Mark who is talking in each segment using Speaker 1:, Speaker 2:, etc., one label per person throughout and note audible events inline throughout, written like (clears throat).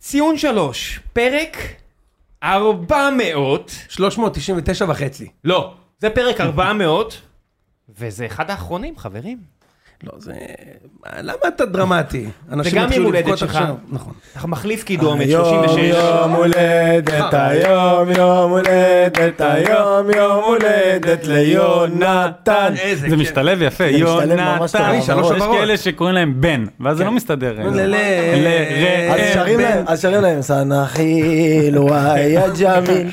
Speaker 1: ציון שלוש, פרק 400,
Speaker 2: 399 וחצי.
Speaker 1: לא, זה פרק 400, וזה אחד האחרונים, חברים.
Speaker 2: לא, זה... למה אתה דרמטי? אנשים
Speaker 1: גם
Speaker 2: יתחילו
Speaker 1: יום הולדת
Speaker 2: לבכות
Speaker 1: שלך.
Speaker 2: עכשיו. נכון.
Speaker 1: אתה מחליף קידומת 36.
Speaker 3: יום הולדת, היום יום הולדת, היום יום הולדת ליונתן.
Speaker 2: איזה
Speaker 4: זה משתלב יפה,
Speaker 3: משתלב ממש טוב.
Speaker 4: יונתן,
Speaker 3: אני, שלוש
Speaker 4: יש
Speaker 2: הברות.
Speaker 4: כאלה שקוראים להם בן, ואז זה לא מסתדר.
Speaker 2: כן. ל- ל-
Speaker 4: ל-
Speaker 3: אז
Speaker 4: אה,
Speaker 3: שרים
Speaker 4: בן.
Speaker 3: להם, אז שרים להם, סנחיל וואי יא ג'מיל.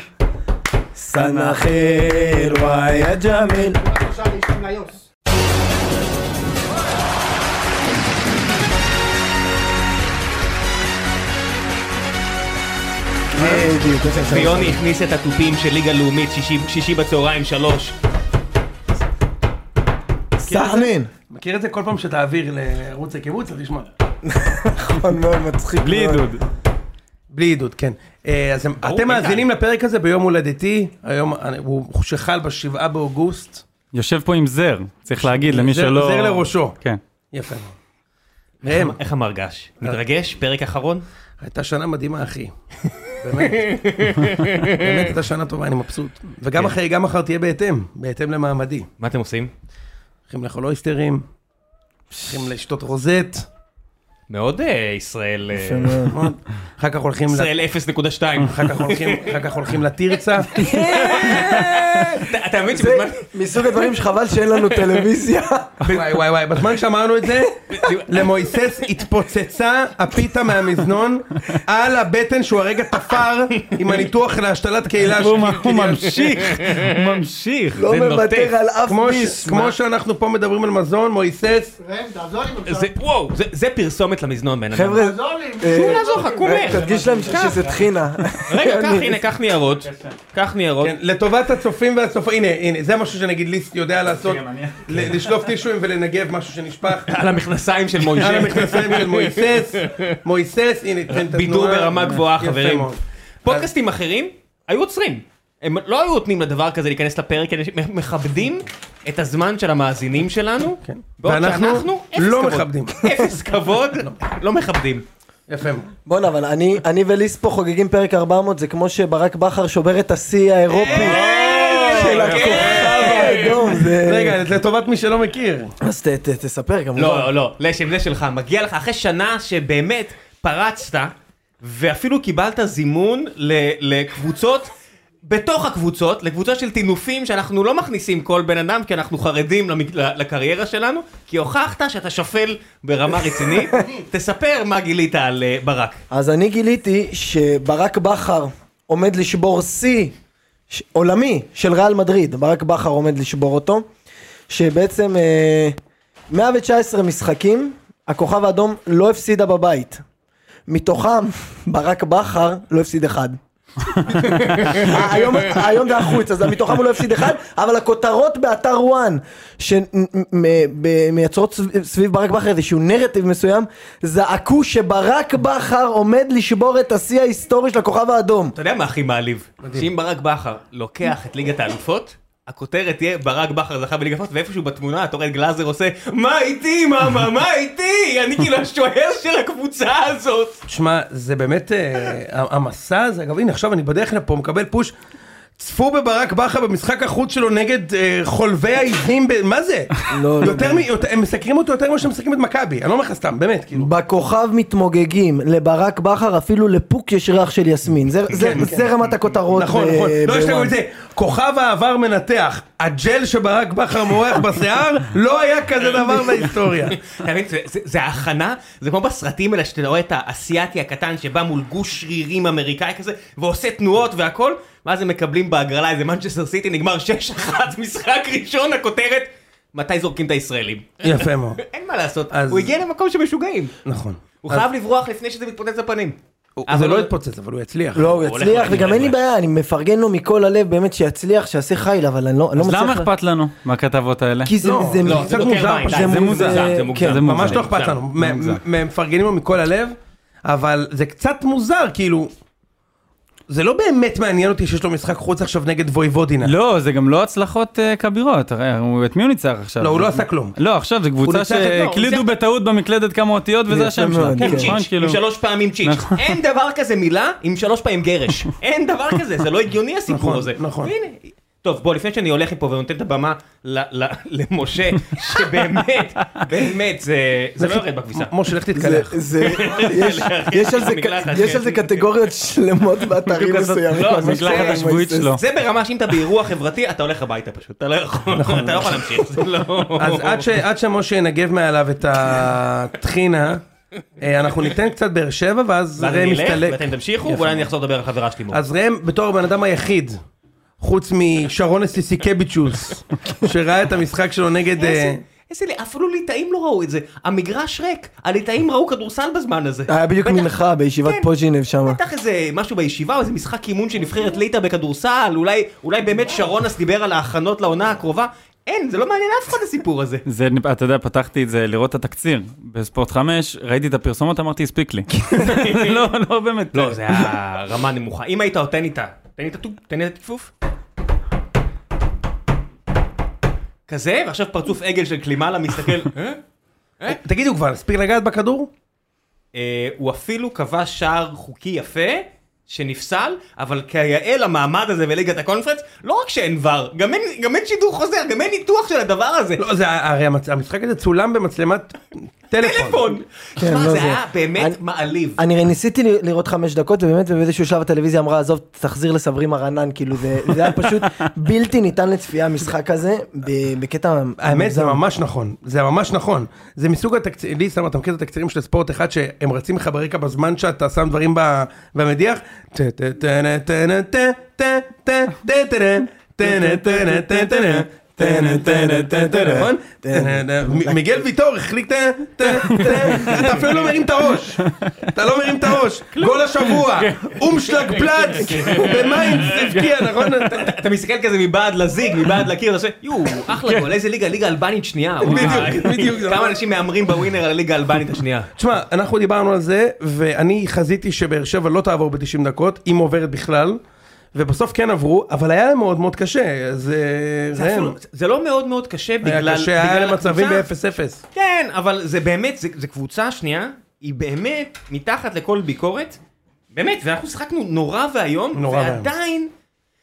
Speaker 3: סנחיל וואי יא ג'מיל. בדיוק, יש להם שלוש.
Speaker 1: ויוני הכניס את התופים של ליגה לאומית, שישי- שישי בצהריים, שלוש.
Speaker 3: כן. סחנין.
Speaker 2: מכיר את זה כל פעם שתעביר לערוץ הקיבוץ, אז תשמע.
Speaker 3: נכון מאוד מצחיק.
Speaker 4: בלי
Speaker 3: מאוד.
Speaker 4: עידוד.
Speaker 2: בלי עידוד, כן. אה, אז הם-
Speaker 1: ברור,
Speaker 2: אתם
Speaker 1: איתן.
Speaker 2: מאזינים לפרק הזה ביום הולדתי, היום אני- הוא שחל בשבעה באוגוסט.
Speaker 4: יושב פה עם זר, צריך להגיד למי
Speaker 2: זר-
Speaker 4: שלא...
Speaker 2: זר לראשו.
Speaker 3: (laughs)
Speaker 4: כן.
Speaker 2: יפה. מאוד. ראם,
Speaker 1: איך המרגש?
Speaker 3: אה.
Speaker 1: מתרגש? פרק אחרון?
Speaker 2: הייתה שנה מדהימה, אחי. באמת. באמת הייתה שנה טובה, אני מבסוט. וגם אחרי, גם מחר תהיה בהתאם, בהתאם למעמדי.
Speaker 1: מה אתם עושים?
Speaker 2: הולכים לאכול אויסטרים, הולכים לשתות רוזט,
Speaker 1: מאוד אה, ישראל... אה,
Speaker 3: יפה מאוד.
Speaker 2: נכון? אחר כך הולכים... ל-
Speaker 1: (laughs) ישראל 0.2.
Speaker 3: (laughs)
Speaker 2: אחר כך הולכים- אחר כך הולכים לתרצה.
Speaker 1: אתה- אתה מבין שבזמן...
Speaker 3: מסוג הדברים שחבל שאין לנו
Speaker 2: (laughs)
Speaker 3: טלוויזיה.
Speaker 2: וואי וואי וואי, בזמן שאמרנו את זה, למויסס התפוצצה הפיתה מהמזנון על הבטן שהוא הרגע תפר עם הניתוח להשתלת קהילה. כאילו.
Speaker 4: הוא
Speaker 2: של-
Speaker 4: הוא ממשיך, הוא ממשיך.
Speaker 3: לא
Speaker 1: זה נוטף.
Speaker 3: מוותר על אף
Speaker 2: כמו ש-
Speaker 3: ביס.
Speaker 2: כמו שאנחנו פה מדברים על מזון, מויסס,
Speaker 1: זה- וואו, זה- זה פרסומת למזנון בן אדם.
Speaker 3: חבר'ה,
Speaker 2: לא,
Speaker 3: כן. אה,
Speaker 1: תנו לעזור לך, קום לך.
Speaker 3: תדגיש להם שזה טחינה.
Speaker 1: רגע, קח, הנה, קח ניירות. קח ניירות.
Speaker 2: כן, לטובת הצופים והצופים, הנה, הנה, זה משהו שנגיד ליסט יודע לעשות, ל- לשלוף טישויים ולנגב משהו שנשפך.
Speaker 1: על המכנסיים של מוישה.
Speaker 2: על המכנסיים של מויסס, מויסס, הנה, תן את התנועה.
Speaker 1: בידור ברמה גבוהה,
Speaker 2: יפה
Speaker 1: חברים.
Speaker 2: מאוד.
Speaker 1: פודקאסטים אחרים היו עוצרים. הם לא היו נותנים לדבר כזה להיכנס לפרק, אלה מכבדים את הזמן של המאזינים שלנו, בעוד
Speaker 2: כן. ואנחנו
Speaker 1: שאנחנו אפס
Speaker 2: לא
Speaker 1: כבוד.
Speaker 2: מכבדים.
Speaker 1: אפס כבוד, לא מכבדים.
Speaker 2: יפה מאוד.
Speaker 3: בואנה, אבל אני אני וליס פה חוגגים פרק 400, זה כמו שברק בכר שובר את השיא האירופי. של הכוכב האדום. זה-
Speaker 2: אה, רגע, לטובת מי שלא מכיר.
Speaker 3: אז ת- ת- תספר כמובן.
Speaker 1: לא, לא, לשם זה שלך, מגיע לך אחרי שנה שבאמת פרצת, ואפילו קיבלת זימון ל- לקבוצות. בתוך הקבוצות, לקבוצה של טינופים שאנחנו לא מכניסים כל בן אדם כי אנחנו חרדים למק- ל- לקריירה שלנו, כי הוכחת שאתה שפל ברמה רצינית. תספר מה גילית על אה, ברק.
Speaker 3: אז אני גיליתי שברק בכר עומד לשבור שיא ש- עולמי של ריאל מדריד, ברק בכר עומד לשבור אותו, שבעצם אה, 119 משחקים, הכוכב האדום לא הפסידה בבית. מתוכם (laughs) ברק בכר לא הפסיד אחד. היום, היום זה החוץ, אז מתוכם הוא לא הפסיד אחד, אבל הכותרות באתר וואן, שמייצרות סביב, סביב ברק בכר איזשהו נרטיב מסוים, זעקו שברק בכר עומד לשבור את השיא ההיסטורי של הכוכב האדום.
Speaker 1: אתה יודע מה הכי מעליב? שאם ברק בכר לוקח את ליגת האלופות, הכותרת תהיה ברק בכר זכה בליגת האלופות, ואיפשהו בתמונה אתה רואה את גלאזר עושה מה איתי מאמה, מה איתי? אני כאילו השוער של הקבוצה הזאת.
Speaker 2: שמע, זה באמת, אה, המסע הזה, אגב, הנה, עכשיו אני בדרך לפה, מקבל פוש. צפו בברק בכר במשחק החוץ שלו נגד אה, חולבי העיזים, ב- מה זה?
Speaker 3: לא, לא,
Speaker 2: יותר מ- יותר- הם מסקרים אותו יותר ממה שהם מסקרים את מכבי, אני לא אומר לך סתם, באמת, כאילו.
Speaker 3: בכוכב מתמוגגים, לברק בכר אפילו לפוק יש ריח של יסמין, זה, זה, זה רמת הכותרות.
Speaker 2: כן, נכון,
Speaker 3: ב-
Speaker 2: נכון. לא, יש לנו
Speaker 3: בוואן.
Speaker 2: את זה. כוכב העבר מנתח, הג'ל שברק בכר מורח בשיער, לא היה כזה דבר בהיסטוריה.
Speaker 1: אתה מבין? זה- זה- זה ההכנה, זה כמו בסרטים האלה שאתה רואה את האסייתי הקטן שבא מול גוש שרירים אמריקאי כזה, ועושה תנועות והכל, ואז הם מקבלים בהגרלה איזה מנצ'סטר סיטי, נגמר 6-1 (laughs) משחק ראשון, הכותרת, מתי זורקים את הישראלים?
Speaker 2: יפה מאוד,
Speaker 1: אין מה לעשות,
Speaker 2: אז-
Speaker 1: הוא הגיע למקום שמשוגעים.
Speaker 2: נכון.
Speaker 1: הוא חייב לברוח לפני שזה מתפוצץ בפנים.
Speaker 2: אז זה לא התפוצץ, אבל הוא יצליח.
Speaker 3: לא, הוא
Speaker 1: הולך
Speaker 3: יצליח,
Speaker 1: להרים
Speaker 3: וגם אין לי
Speaker 1: רגליים.
Speaker 3: בעיה, אני מפרגן לו מכל הלב, באמת שיצליח, שיעשה חיל, אבל אני לא אני לא
Speaker 4: אז
Speaker 3: מצליח...
Speaker 4: למה
Speaker 3: לה-
Speaker 4: אכפת לנו מהכתבות האלה?
Speaker 3: כי זה...
Speaker 2: לא,
Speaker 3: זה-
Speaker 2: לא,
Speaker 1: זה
Speaker 2: קצת מוזר,
Speaker 1: דוקר מים,
Speaker 2: פשוט.
Speaker 1: די,
Speaker 3: זה
Speaker 1: זה
Speaker 3: מוזר,
Speaker 1: מוזר,
Speaker 3: זה
Speaker 1: זה
Speaker 3: כן.
Speaker 1: מוגזם.
Speaker 4: זה
Speaker 2: ממש
Speaker 4: מוזר.
Speaker 2: לא אכפת לנו, מ- מ- מפרגנים לו מכל הלב, אבל זה קצת מוזר, כאילו, זה לא באמת מעניין אותי שיש לו משחק חוץ עכשיו נגד וויבודינה.
Speaker 4: לא, זה גם לא הצלחות אה, כבירות, הרי הוא- את מי הוא ניצח עכשיו?
Speaker 2: לא, הוא לא עשה כלום.
Speaker 4: לא, עכשיו זו
Speaker 2: הוא
Speaker 4: קבוצה
Speaker 2: ניצח את- לא, הוא
Speaker 4: שהקלידו
Speaker 1: ניצח-
Speaker 4: בטעות במקלדת כמה אותיות וזה
Speaker 3: יפה
Speaker 4: השם שלה.
Speaker 3: מאוד, כן.
Speaker 1: כן,
Speaker 4: נכון,
Speaker 1: צ'יץ',
Speaker 4: כאילו.
Speaker 1: עם שלוש פעמים צ'יץ'.
Speaker 4: נכון.
Speaker 1: אין דבר כזה מילה עם שלוש פעמים גרש. אין דבר כזה, זה לא הגיוני הסיפור
Speaker 2: נכון,
Speaker 1: הזה.
Speaker 2: נכון.
Speaker 1: והנה, טוב, בוא, לפני שאני הולך מפה ונותן את הבמה ל- ל- למשה, שבאמת, באמת, זה- זה לא יורד בכביסה.
Speaker 2: משה, לך
Speaker 1: (laughs)
Speaker 3: זה,
Speaker 2: תתקלח.
Speaker 3: זה, יש, יש, על זה,
Speaker 1: המקלחת,
Speaker 3: יש
Speaker 1: כן.
Speaker 3: על זה קטגוריות שלמות באתרים
Speaker 4: בדיוק הזאת-
Speaker 3: מסוימים.
Speaker 1: לא,
Speaker 3: ממש
Speaker 1: המקלחת
Speaker 3: קטע עם
Speaker 4: השבועית
Speaker 3: מויסס.
Speaker 4: שלו.
Speaker 1: זה ברמה שאם אתה באירוע חברתי, אתה הולך הביתה פשוט, אתה לא יכול, אתה לא יכול להמשיך, זה לא...
Speaker 2: אז עד ש- עד שמשה ינגב מעליו את הטחינה, אה, אנחנו ניתן קצת באר שבע,
Speaker 1: ואז
Speaker 2: ואז ראם
Speaker 1: אני אלך,
Speaker 2: יסתלק.
Speaker 1: ואתם תמשיכו, ואולי אני אחזור לדבר על חברה שלי. מור.
Speaker 2: אז ראם, בתור הבן אדם היחיד, חוץ משרון אסיסיקביצ'וס,
Speaker 1: (laughs)
Speaker 2: שראה את המשחק שלו נגד... אה,
Speaker 1: איזה- איזה, אפילו ליטאים לא ראו את זה. המגרש ריק, הליטאים ראו כדורסל בזמן הזה.
Speaker 3: היה בדיוק
Speaker 1: בטח-
Speaker 3: מנחה בישיבת
Speaker 1: כן.
Speaker 3: פוז'ינב שם.
Speaker 1: בטח איזה משהו בישיבה, או איזה משחק אימון של נבחרת ליטא בכדורסל, אולי, אולי באמת שרונס דיבר על ההכנות לעונה הקרובה. אין, זה לא מעניין אף אחד הסיפור הזה.
Speaker 4: זה, אתה יודע, פתחתי את זה לראות את התקציר בספורט 5, ראיתי את הפרסומות, אמרתי, הספיק לי. לא, לא באמת.
Speaker 1: (laughs) לא, זה היה רמה נמוכה. אם היית נותן לי את ה... תן לי את הטוב, תן לי את הטפוף. כזה, ועכשיו פרצוף עגל של קלימלה מסתכל. (laughs) "אה?
Speaker 2: תגידו כבר, הספיק לגעת בכדור?
Speaker 1: אה, הוא אפילו כבש שער חוקי יפה, שנפסל, אבל כיאה למעמד הזה בליגת הקונפרנס, לא רק שאין ור, גם אין, גם אין שידור חוזר, גם אין ניתוח של הדבר הזה.
Speaker 2: לא, זה הרי המצ- המשחק הזה צולם במצלמת טלפון.
Speaker 1: טלפון!
Speaker 3: כן,
Speaker 1: שמע,
Speaker 3: לא
Speaker 1: זה
Speaker 3: זה.
Speaker 1: היה באמת
Speaker 3: אני-
Speaker 1: מעליב.
Speaker 3: אני ניסיתי ל- לראות חמש דקות ובאמת באיזשהו שלב הטלוויזיה אמרה עזוב תחזיר לסברי מרנן כאילו זה זה היה פשוט בלתי ניתן לצפייה המשחק הזה ב- בקטע
Speaker 2: האמת זה
Speaker 3: מוגזם.
Speaker 2: ממש נכון, זה ממש נכון. זה מסוג התקצירים, לי סתם אתה מכיר את התקצירים של ספורט אחד שהם רצים לך ברקע בזמן שאתה שם דברים ב- במדיח? טה, טה, טה, טה, טה, טה, טה, טה, טה, טה, טה, טה, טה, טה, טה, טה, טה, טה, טה, טה, נכון? טה, טה, טה. מ- מיגל ויטור החליק טה, טה, טה. אתה אפילו לא מרים את הראש, אתה לא מרים את הראש, גול השבוע, אומשלג פלץ, במיינדס הבקיע, נכון?
Speaker 1: אתה מסתכל כזה מבעד לזיג, מבעד לקיר, אתה עושה, יואו, אחלה גול, איזה ליגה, ליגה אלבנית שנייה. וואי."
Speaker 2: כן. בדיוק, בדיוק, זה
Speaker 1: כמה
Speaker 2: ממש-
Speaker 1: אנשים מהמרים בווינר על הליגה האלבנית השנייה.
Speaker 2: תשמע, אנחנו דיברנו על זה, ואני חזיתי שבאר שבע לא תעבור ב-90 דקות, אם עוברת בכלל, ובסוף כן עברו, אבל היה להם מאוד מאוד קשה, אז אה,
Speaker 1: זה
Speaker 2: ראם,
Speaker 1: אפילו- זה לא מאוד מאוד קשה בגלל...
Speaker 2: היה קשה, היה
Speaker 1: בגלל
Speaker 2: להם מצבים
Speaker 1: הקבוצה.
Speaker 2: ב-0-0.
Speaker 1: כן, אבל זה באמת, זה, זה קבוצה שנייה, היא באמת מתחת לכל ביקורת. באמת, ואנחנו שיחקנו נורא ואיום,
Speaker 2: נורא ואיום.
Speaker 1: ועדיין...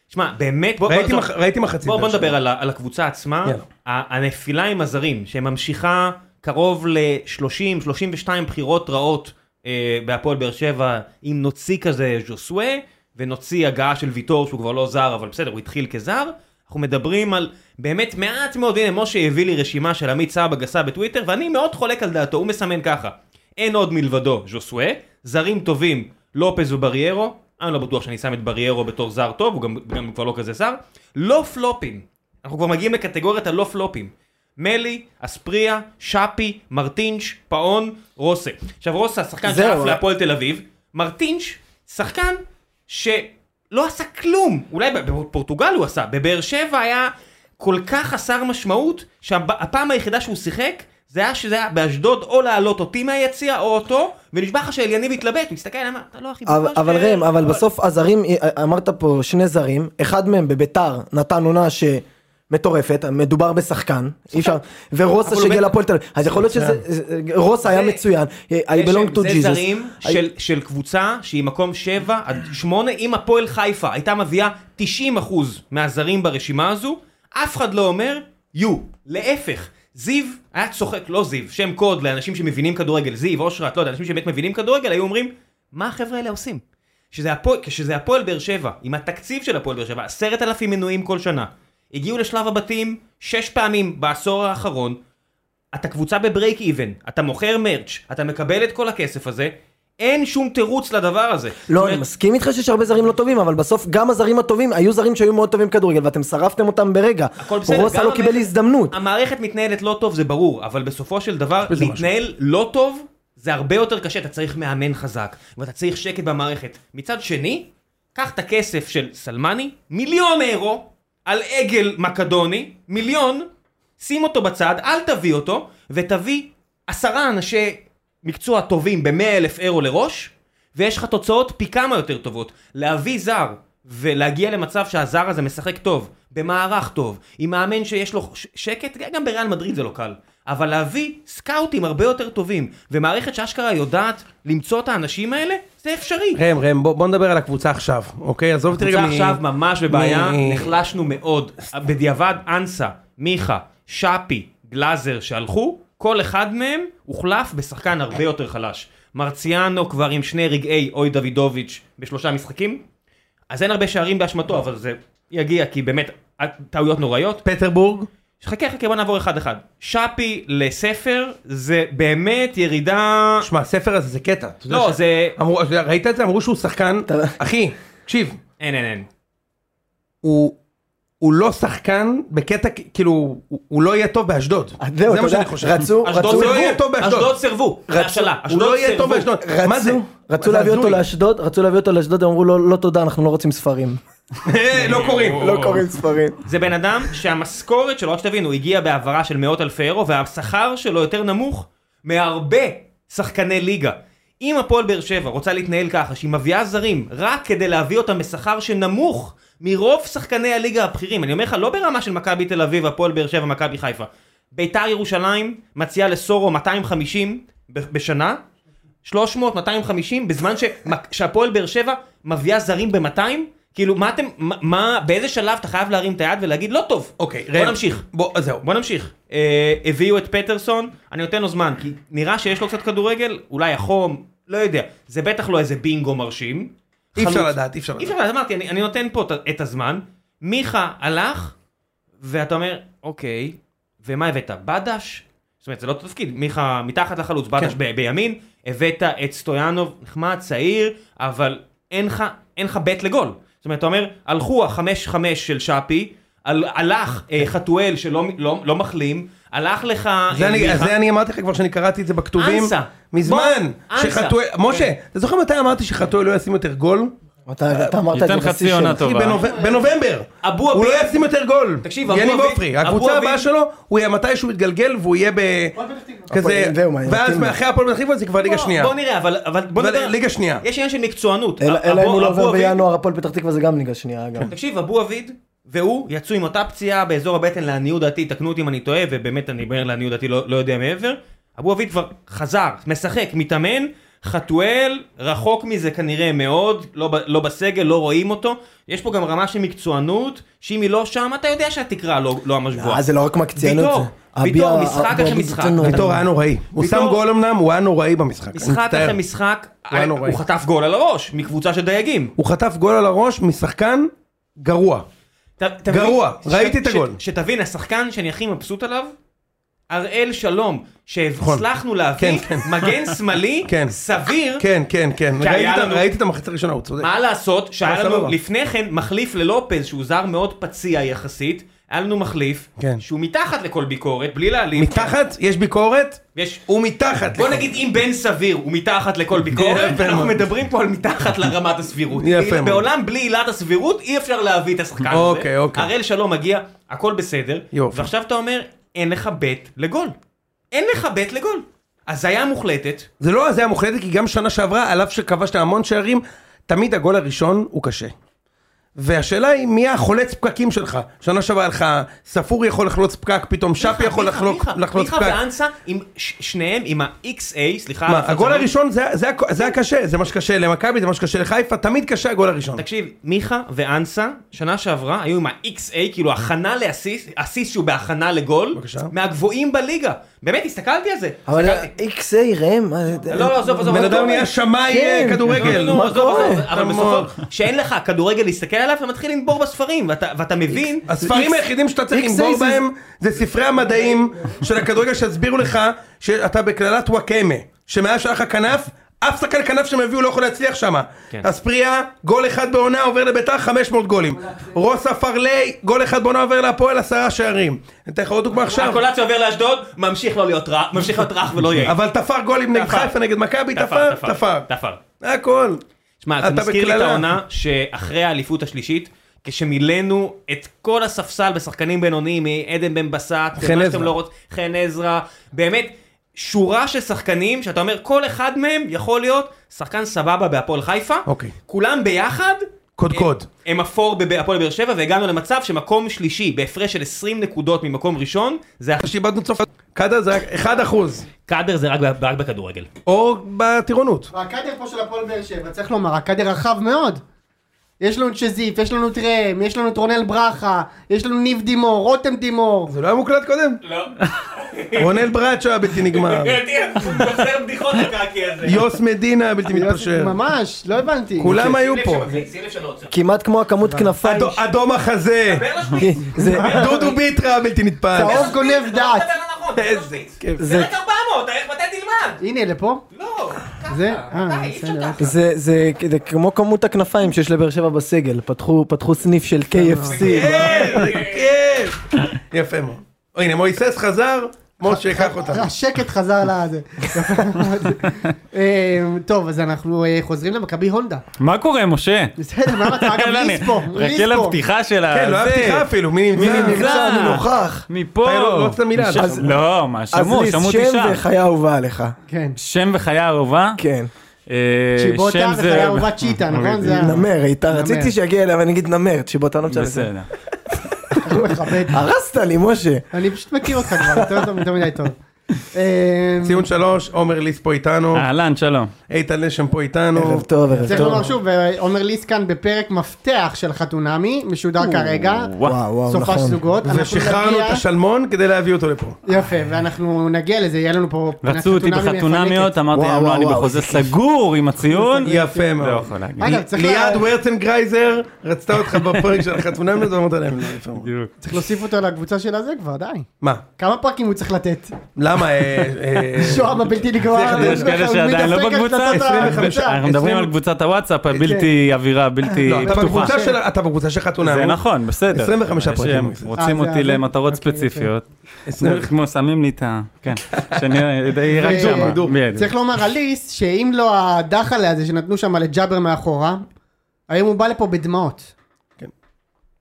Speaker 1: שמע, באמת, בוא,
Speaker 2: ראיתי
Speaker 1: בוא,
Speaker 2: מח- ראיתי מחצית.
Speaker 1: בוא, בוא
Speaker 2: באר שבע.
Speaker 1: נדבר על, ה- על הקבוצה עצמה.
Speaker 2: יאללה.
Speaker 1: ה- הנפילה עם הזרים, שממשיכה קרוב ל-30-32 בחירות רעות אה, בהפועל באר שבע, עם נוציא כזה ז'וסווה, ונוציא הגעה של ויטור, שהוא כבר לא זר, אבל בסדר, הוא התחיל כזר. אנחנו מדברים על באמת מעט מאוד, הנה משה הביא לי רשימה של עמית סבא גסה בטוויטר, ואני מאוד חולק על דעתו, הוא מסמן ככה. אין עוד מלבדו ז'וסווה, זרים טובים לופז ובריירו, אני לא בטוח שאני שם את בריירו בתור זר טוב, הוא גם, גם כבר לא כזה זר. לא פלופים, אנחנו כבר מגיעים לקטגוריית הלא פלופים. מלי, אספריה, שפי, מרטינש, פאון, רוסה. עכשיו רוסה, שחקן
Speaker 3: זהו. אה?
Speaker 1: שעף להפועל תל אביב, מרטינש, שחקן שלא עשה כלום, אולי בפורטוגל הוא עשה, בבאר שבע היה כל כך חסר משמעות, שהפעם היחידה שהוא שיחק, זה היה שזה היה באשדוד או להעלות אותי מהיציע או אותו, ונשבע לך שאליניב התלבט, הוא הסתכל עליי, אמר, אתה לא הכי
Speaker 3: אבל
Speaker 1: בטוח
Speaker 3: אבל
Speaker 1: ש-
Speaker 3: ראם אבל בסוף הזרים אה, אמרת פה שני זרים אחד מהם בביתר נתן עונה ש... מטורפת, מדובר בשחקן, אי אפשר, ורוסה
Speaker 2: אבל הוא
Speaker 3: שהגיע
Speaker 2: מת-
Speaker 3: להפועל תל אביב, אז יכול להיות שזה, זה- רוסה היה
Speaker 1: זה-
Speaker 3: מצוין, אה, I
Speaker 1: זה
Speaker 3: belong to Jesus.
Speaker 1: זרים
Speaker 3: I-
Speaker 1: של, של קבוצה שהיא מקום 7 עד 8, אם הפועל חיפה הייתה מביאה 90% מהזרים ברשימה הזו, אף אחד לא אומר, יו, להפך. זיו היה צוחק, לא זיו, שם קוד לאנשים שמבינים כדורגל, זיו, אושרת, לא יודע, אנשים שבאמת מבינים כדורגל, היו אומרים, מה החבר'ה האלה עושים? שזה הפועל, כשזה הפועל באר שבע, עם התקציב של הפועל באר שבע, עשרת אלפים מנויים כל שנה, הגיעו לשלב הבתים שש פעמים בעשור האחרון, אתה קבוצה בברייק איבן, אתה מוכר מרץ', אתה מקבל את כל הכסף הזה, אין שום תירוץ לדבר הזה. זאת
Speaker 3: לא,
Speaker 1: אומרת,
Speaker 3: אני מסכים איתך שיש הרבה זרים לא טובים, אבל בסוף גם הזרים הטובים, היו זרים שהיו מאוד טובים כדורגל, ואתם שרפתם אותם ברגע.
Speaker 1: הכל בסדר,
Speaker 3: רוסה
Speaker 1: גם אה,
Speaker 3: לא
Speaker 1: המערכת-
Speaker 3: קיבל הזדמנות.
Speaker 1: המערכת מתנהלת לא טוב, זה ברור, אבל בסופו של דבר,
Speaker 2: בזה
Speaker 1: להתנהל לא טוב, זה הרבה יותר קשה, אתה צריך מאמן חזק, ואתה צריך שקט במערכת. מצד שני, קח את הכסף של סלמני, מיליון אירו, על עגל מקדוני, מיליון, שים אותו בצד, אל תביא אותו, ותביא עשרה אנשי מקצוע טובים ב-100 אלף אירו לראש, ויש לך תוצאות פי כמה יותר טובות. להביא זר ולהגיע למצב שהזר הזה משחק טוב, במערך טוב, עם מאמן שיש לו ש- שקט, גם בריאל מדריד זה לא קל. אבל להביא סקאוטים הרבה יותר טובים, ומערכת שאשכרה יודעת למצוא את האנשים האלה, זה אפשרי.
Speaker 2: ראם, ראם, בוא בוא נדבר על הקבוצה עכשיו, אוקיי? עזוב אותי רגע
Speaker 1: הקבוצה עכשיו ממש בבעיה,
Speaker 2: מ-
Speaker 1: נחלשנו מאוד. בדיעבד, אנסה, מיכה, שפי, גלאזר שהלכו, כל אחד מהם הוחלף בשחקן הרבה יותר חלש. מרציאנו כבר עם שני רגעי אוי דוידוביץ' בשלושה משחקים, אז אין הרבה שערים באשמתו, אבל זה יגיע, כי באמת, טעויות נוראיות.
Speaker 2: פטרבורג,
Speaker 1: חכה חכה בוא נעבור אחד אחד. שפי לספר זה באמת ירידה...
Speaker 2: שמע, הספר הזה זה קטע. אתה יודע
Speaker 1: לא
Speaker 2: ש-
Speaker 1: זה...
Speaker 2: אמרו, אתה יודע, ראית את זה? אמרו שהוא שחקן,
Speaker 3: אתה-
Speaker 2: אחי, תקשיב,
Speaker 1: אין אין אין.
Speaker 2: הוא... הוא לא שחקן בקטע כ- כאילו הוא, הוא לא יהיה טוב באשדוד
Speaker 1: אה,
Speaker 3: אז אה, זהו,
Speaker 2: זה
Speaker 3: אתה
Speaker 2: מה שאני
Speaker 3: יודע,
Speaker 2: חושב.
Speaker 3: רצו,
Speaker 1: אשדוד
Speaker 3: רצו,
Speaker 2: הוא לא יהיה
Speaker 1: סירבו,
Speaker 2: טוב באשדוד.
Speaker 1: אשדוד סירבו, זה השאלה,
Speaker 2: הוא
Speaker 1: אשדוד
Speaker 2: לא יהיה טוב
Speaker 1: סירבו.
Speaker 2: באשדוד מה זה
Speaker 3: רצו, רצו
Speaker 2: זה
Speaker 3: להביא אותו
Speaker 2: הזוי.
Speaker 3: לאשדוד, רצו להביא אותו לאשדוד, אמרו לו לא תודה, אנחנו לא רוצים ספרים.
Speaker 2: (laughs) לא קוראים
Speaker 3: לא קוראים ספרים.
Speaker 1: זה בן אדם שהמשכורת שלו, רק שתבינו, הגיעה בהעברה של מאות אלפי אירו, והשכר שלו יותר נמוך מהרבה שחקני ליגה. אם הפועל באר שבע רוצה להתנהל ככה, שהיא מביאה זרים רק כדי להביא אותם בשכר שנמוך מרוב שחקני הליגה הבכירים, אני אומר לך, לא ברמה של מכבי תל אביב, הפועל באר שבע, מכבי חיפה. ביתר ירושלים מציעה לסורו 250 ב- בשנה, 300, 250, בזמן ש- שהפועל באר שבע מביאה זרים ב-200? כאילו, מה אתם, מה- מה, באיזה שלב אתה חייב להרים את היד ולהגיד, לא טוב.
Speaker 2: אוקיי
Speaker 1: בוא נמשיך.
Speaker 2: בוא זהו
Speaker 1: בוא נמשיך. אה, הביאו את פטרסון, אני נותן לו זמן, כי נראה שיש לו קצת כדורגל, אולי החום, לא יודע. זה בטח לא איזה בינגו מרשים.
Speaker 2: אי אפשר
Speaker 1: חלוץ-
Speaker 2: לדעת אי אפשר
Speaker 1: אי
Speaker 2: לדעת
Speaker 1: אפשר, אז אמרתי, אני, אני נותן פה את- את הזמן. מיכה הלך, ואתה אומר, אוקיי, ומה הבאת? בדש? זאת אומרת, זה לא אותו תפקיד, מיכה מתחת לחלוץ, בדש
Speaker 2: כן.
Speaker 1: ב- בימין, הבאת את סטויאנוב, נחמד, צעיר, אבל אין לך, אין לך בית לגול. זאת אומרת, אתה אומר, הלכו החמש חמש של שפי, על, הלך
Speaker 2: כן.
Speaker 1: אה, חתואל שלא לא, לא מחלים, הלך לך...
Speaker 2: זה
Speaker 1: אה,
Speaker 2: אני-
Speaker 1: מיכה.
Speaker 2: זה אני אמרתי לך כבר שאני קראתי את זה בכתובים
Speaker 1: אנסה.
Speaker 2: מזמן
Speaker 1: בוא, אנסה. כן.
Speaker 2: שחתואל משה אתה זוכר מתי אמרתי שחתואל לא ישים יותר גול
Speaker 3: אתה אתה אמרת את זה
Speaker 4: ייתן חצי
Speaker 3: בשיא
Speaker 4: עונה
Speaker 3: שלך.
Speaker 2: אחי,
Speaker 4: טובה.
Speaker 2: בנובמבר- בנובמבר
Speaker 1: אבו
Speaker 2: הוא
Speaker 1: אביב-
Speaker 2: לא ישים יותר גול
Speaker 1: תקשיב, אבו
Speaker 2: יניב
Speaker 1: אביב-
Speaker 2: עופרי
Speaker 1: אבו
Speaker 2: הקבוצה הבאה
Speaker 1: אביב-
Speaker 2: שלו הוא יהיה מתישהו יתגלגל והוא יהיה ב... כזה
Speaker 3: הפועל- זהו, מה,
Speaker 2: ואז
Speaker 3: מתאים לו.
Speaker 2: אחרי הפועל פתח תקווה זה כבר ליגה
Speaker 1: בוא-
Speaker 2: שנייה
Speaker 1: בוא נראה, אבל, אבל בוא
Speaker 2: אבל
Speaker 1: נדבר.
Speaker 2: ליגה שנייה.
Speaker 1: יש עניין של מקצוענות.
Speaker 3: אלא אלא אם
Speaker 1: אבו-
Speaker 3: הוא לא
Speaker 1: אבו
Speaker 3: עובר
Speaker 1: אביב-
Speaker 3: בינואר, הפועל פתח תקווה זה גם ליגה שנייה אגב.
Speaker 1: תקשיב, אבו עביד והוא יצאו עם אותה פציעה באזור הבטן לעניות דעתי, תקנו אותי אם אני טועה, ובאמת אני אומר לעניות דעתי לא, לא יודע מעבר. אבו עביד כבר חזר, משחק, מתאמן, חתואל, רחוק מזה כנראה מאוד, לא, ב- לא בסגל, לא רואים אותו. יש פה גם רמה של מקצוענות, שאם היא לא שם, אתה יודע שהתקרה לא, לא ממש גבוהה.
Speaker 3: אה, זה לא רק מקצינות.
Speaker 1: ויטור,
Speaker 3: זה-
Speaker 1: ויטור,
Speaker 3: אביה-
Speaker 1: משחק
Speaker 3: אבו
Speaker 1: אחרי
Speaker 3: אבו
Speaker 1: משחק.
Speaker 3: ציטונו.
Speaker 2: ויטור היה נוראי הוא
Speaker 1: ויטור-
Speaker 2: שם גול אמנם הוא היה נוראי במשחק אני
Speaker 1: משחק
Speaker 2: מצטער.
Speaker 1: אחרי משחק, אה,
Speaker 2: היה
Speaker 1: הוא
Speaker 3: לא
Speaker 2: נוראי.
Speaker 1: חטף גול על הראש, מקבוצה של דייגים.
Speaker 2: הוא חטף גול על הראש משחקן גרוע
Speaker 1: ת- תבין-
Speaker 2: גרוע, ראיתי את הגול.
Speaker 1: ש, שתבין, השחקן שאני הכי מבסוט עליו, הראל שלום,
Speaker 2: נכון.
Speaker 1: שהצלחנו להביא,
Speaker 2: כן, כן.
Speaker 1: מגן שמאלי,
Speaker 2: (laughs) כן.
Speaker 1: סביר,
Speaker 2: כן כן כן
Speaker 1: כי היה
Speaker 2: ראיתי את ה-
Speaker 1: לנו-
Speaker 2: ראיתי את המחצית הראשונה הוא צודק
Speaker 1: מה לעשות, שהיה
Speaker 2: אבל
Speaker 1: לנו
Speaker 2: סבבה.
Speaker 1: לפני כן מחליף ללופז, שהוא זר מאוד פציע יחסית, היה לנו מחליף,
Speaker 2: כן.
Speaker 1: שהוא מתחת לכל ביקורת, בלי להעליב,
Speaker 2: מתחת יש ביקורת
Speaker 1: יש...
Speaker 2: הוא מתחת
Speaker 1: בוא נגיד אם בן סביר הוא מתחת לכל ביקורת,
Speaker 2: יפה
Speaker 1: אנחנו
Speaker 2: מאוד.
Speaker 1: מדברים פה על מתחת לרמת הסבירות. כאילו,
Speaker 2: יפה מאוד.
Speaker 1: בעולם בלי עילת הסבירות אי אפשר להביא את השחקן הזה.
Speaker 2: אוקיי, אוקיי.
Speaker 1: הראל שלום מגיע, הכל בסדר.
Speaker 2: יופי.
Speaker 1: ועכשיו אתה אומר, אין לך בית לגול. אין לך בית לגול. הזיה מוחלטת.
Speaker 2: זה לא הזיה מוחלטת, כי גם שנה שעברה, על אף שכבשת המון שערים, תמיד הגול הראשון הוא קשה. והשאלה היא, מי החולץ פקקים שלך? שנה שעברה היה לך, ספורי יכול לחלוץ פקק, פתאום שפי יכול
Speaker 1: מיכה,
Speaker 2: לחלוק-
Speaker 1: מיכה,
Speaker 2: לחלוץ
Speaker 1: מיכה
Speaker 2: פקק.
Speaker 1: ואנסה, עם ש- שניהם עם ה-XA, סליחה. על
Speaker 2: מה,
Speaker 1: ההפצה.
Speaker 2: הגול הראשון זה- זה הכ- זה הקשה, זה מה שקשה למכבי, זה מה שקשה לחיפה, תמיד קשה הגול הראשון.
Speaker 1: תקשיב, מיכה ואנסה, שנה שעברה, היו עם ה-XA, כאילו הכנה לאסיס, אסיס שהוא בהכנה לגול,
Speaker 2: בבקשה.
Speaker 1: מהגבוהים בליגה. באמת, הסתכלתי על זה.
Speaker 3: אבל
Speaker 1: הסתכלתי.
Speaker 3: XA ראם, מה זה-
Speaker 1: לא, לא, עזוב, עזוב.
Speaker 2: אה,
Speaker 1: עזוב,
Speaker 2: בן אדם
Speaker 1: עזוב.
Speaker 2: נהיה שמאי
Speaker 3: כן.
Speaker 2: אה, כדורגל.
Speaker 1: נו,
Speaker 2: מה
Speaker 1: עזוב,
Speaker 2: קורה?
Speaker 1: עזוב, אבל
Speaker 2: כמוהו.
Speaker 1: בסופו, שאין לך כדורגל להסתכל עליו, אתה מתחיל לנבור בספרים, ואתה- ואתה מבין...
Speaker 2: הספרים היחידים שאתה צריך
Speaker 3: X-
Speaker 2: לנבור
Speaker 3: X-
Speaker 2: בהם זה ספרי המדעים של הכדורגל שהסבירו לך שאתה בקללת וואקמה, שמאז שהיה לך כנף, אף שחקן כנף שהם הביאו לא יכול להצליח שם.
Speaker 1: כן.
Speaker 2: אספריה, גול אחד בעונה עובר לביתר 500 גולים. רוסה פרלי, גול אחד בעונה עובר להפועל עשרה שערים. אני אתן לך עוד דוגמה עכשיו.
Speaker 1: הקולציה עובר לאשדוד, ממשיך לא להיות רך, ממשיך להיות רך ולא יהיה.
Speaker 2: אבל תפר גולים נגד
Speaker 1: תפר.
Speaker 2: חיפה, נגד מכבי, תפר, תפר.
Speaker 1: תפר.
Speaker 2: הכל.
Speaker 1: שמע, זה
Speaker 2: אתה
Speaker 1: מזכיר לי את
Speaker 2: בקללה.
Speaker 1: העונה שאחרי האליפות השלישית, כשמילאנו את כל הספסל בשחקנים בינוניים, מעדן בן בסט,
Speaker 2: חן
Speaker 1: מה
Speaker 2: עזרא.
Speaker 1: שאתם לא רוצ- חן עזרא, באמת, שורה של שחקנים, שאתה אומר, כל אחד מהם יכול להיות שחקן סבבה בהפועל חיפה.
Speaker 2: אוקיי.
Speaker 1: כולם ביחד.
Speaker 2: קודקוד.
Speaker 1: הם אפור בב- בהפועל באר שבע, והגענו למצב שמקום שלישי, בהפרש של 20 נקודות ממקום ראשון, זה הכי...
Speaker 2: שאיבדנו צרפת. קאדה זה רק 1%
Speaker 1: קאדר זה רק ב- רק בכדורגל.
Speaker 2: או בטירונות.
Speaker 5: והקאדר פה של הפועל באר שבע, צריך לומר, הקאדר רחב מאוד. יש לנו את שזיף, יש לנו את ראם, יש לנו את רונל ברכה, יש לנו ניב דימור, רותם דימור.
Speaker 2: זה לא היה מוקלט קודם?
Speaker 1: לא. (laughs)
Speaker 2: רונל ברצ'ו היה בלתי נגמר.
Speaker 1: חוזר בדיחות הקקי הזה.
Speaker 2: יוס מדינה בלתי מתפשר.
Speaker 5: ממש, לא הבנתי.
Speaker 2: כולם היו פה.
Speaker 1: לא
Speaker 3: כמעט כמו הכמות כנפיים.
Speaker 2: אדו- אדום החזה.
Speaker 3: זה-
Speaker 2: דודו ביטרה בלתי נתפס.
Speaker 5: צהוב גונב
Speaker 1: לא
Speaker 5: דעת.
Speaker 1: איזה כיף.
Speaker 3: זה-
Speaker 1: רק 400, איך מתי תלמד?
Speaker 5: הנה, לפה?
Speaker 1: לא, ככה.
Speaker 5: זה? אה,
Speaker 1: די, אי אפשר
Speaker 5: בסדר.
Speaker 1: ככה.
Speaker 3: זה, זה, זה כמו כמות הכנפיים שיש לבאר שבע בסגל, פתחו, פתחו סניף של KFC.
Speaker 2: אה. איזה כיף. כן, יפה מאוד. או, הנה מויסס חזר, משה קח אותה.
Speaker 5: השקט חזר לזה. יפה מאוד. אה, טוב, אז אנחנו אה, חוזרים למכבי הונדה.
Speaker 4: מה קורה, משה?
Speaker 5: בסדר, מה
Speaker 4: (laughs)
Speaker 5: המצב? אגב,
Speaker 4: אני-
Speaker 5: ריס פה, ריס
Speaker 4: חכה
Speaker 5: פה.
Speaker 4: לפתיחה של ה...
Speaker 2: כן, לא
Speaker 4: זה.
Speaker 2: היה פתיחה אפילו, מי נמצא?
Speaker 3: נמצא,
Speaker 4: נמצא.
Speaker 3: אה, אני נוכח.
Speaker 4: מפה.
Speaker 2: אתה לא- לא רצית מילה,
Speaker 4: מש-
Speaker 2: אז-
Speaker 4: לא, מה,
Speaker 3: אז
Speaker 4: שמעו,
Speaker 3: ליס,
Speaker 4: שמעו אותי
Speaker 3: שם
Speaker 4: שם.
Speaker 3: וחיה אהובה עליך.
Speaker 5: כן.
Speaker 4: שם וחיה ערובה.
Speaker 3: כן.
Speaker 4: אה,
Speaker 5: צ'יבוטה
Speaker 4: שם זה-
Speaker 5: וחיה אהובת צ'יטה, נכון? זה ה-
Speaker 3: נמר, היית, רציתי שיגיע אליה ואני אגיד נמר, שבאותה לא משנה.
Speaker 4: בסדר.
Speaker 5: מכבד.
Speaker 3: הרסת לי, משה.
Speaker 5: אני פשוט מכיר אותך כבר, יותר טוב, יותר מדי טוב. אה,
Speaker 2: ציון שלוש, עומר ליס פה איתנו,
Speaker 4: אהלן, שלום.
Speaker 2: איתן לשם פה איתנו.
Speaker 3: ערב טוב, ערב
Speaker 5: צריך לומר
Speaker 3: טוב.
Speaker 5: שוב, אה, עומר ליס כאן בפרק מפתח של חתונמי, משודר כרגע,
Speaker 3: וואו, וואו,
Speaker 5: סופה
Speaker 3: נכון.
Speaker 5: זוגות. אנחנו
Speaker 2: ושחררנו
Speaker 5: נגיע-
Speaker 2: את השלמון כדי להביא אותו לפה.
Speaker 5: יפה, ואנחנו נגיע לזה, יהיה לנו פה... פינת
Speaker 4: רצו אותי
Speaker 5: חתונמי
Speaker 4: בחתונמיות,
Speaker 5: מפנקת.
Speaker 4: אמרתי
Speaker 3: וואו,
Speaker 4: להם לא,
Speaker 3: וואו,
Speaker 4: אני
Speaker 3: וואו,
Speaker 4: בחוזה
Speaker 3: איזה כיף.
Speaker 4: סגור עם הציון.
Speaker 2: יפה
Speaker 4: לא
Speaker 2: מאוד.
Speaker 4: יכול להגיד.
Speaker 5: אגב, צריך
Speaker 2: ליעד
Speaker 5: לה-
Speaker 2: וורצנגרייזר רצתה אותך בפרק של החתונמיות ואמרת להם לא יפה מאוד.
Speaker 5: צריך להוסיף אותו לקבוצה של הזה כבר, די.
Speaker 2: מה?
Speaker 5: כמה פרקים הוא צריך לתת?
Speaker 2: למה? אה, אה,
Speaker 5: שוהם הבלתי נגמר.
Speaker 2: צריך-
Speaker 4: יש כאלה
Speaker 5: הוא
Speaker 4: שעדיין לא
Speaker 5: מתדפק על
Speaker 4: בקבוצה,
Speaker 5: פצצת הקבוצה.
Speaker 4: אנחנו מדברים על קבוצת הוואטסאפ הבלתי אווירה,
Speaker 5: אה,
Speaker 4: בלתי
Speaker 2: כן, לא, אתה
Speaker 4: פתוחה.
Speaker 5: כן.
Speaker 2: בקבוצה של- אתה בקבוצה של חתונמי.
Speaker 4: זה נכון, בסדר.
Speaker 2: 25
Speaker 4: יש
Speaker 2: פרקים.
Speaker 4: שהם רוצים
Speaker 5: אה, זה-
Speaker 4: אותי
Speaker 5: זה-
Speaker 4: למטרות
Speaker 5: אוקיי, יפה.
Speaker 4: ספציפיות.
Speaker 2: עשרים וחמש.
Speaker 4: כמו שמים לי את ה... כן. שאני די רק
Speaker 5: ו-
Speaker 4: שם.
Speaker 5: דור. אה, צריך לומר על ליס, שאם לא הדחלה הזה שנתנו שם לג'אבר מאחורה, היום הוא בא לפה בדמעות.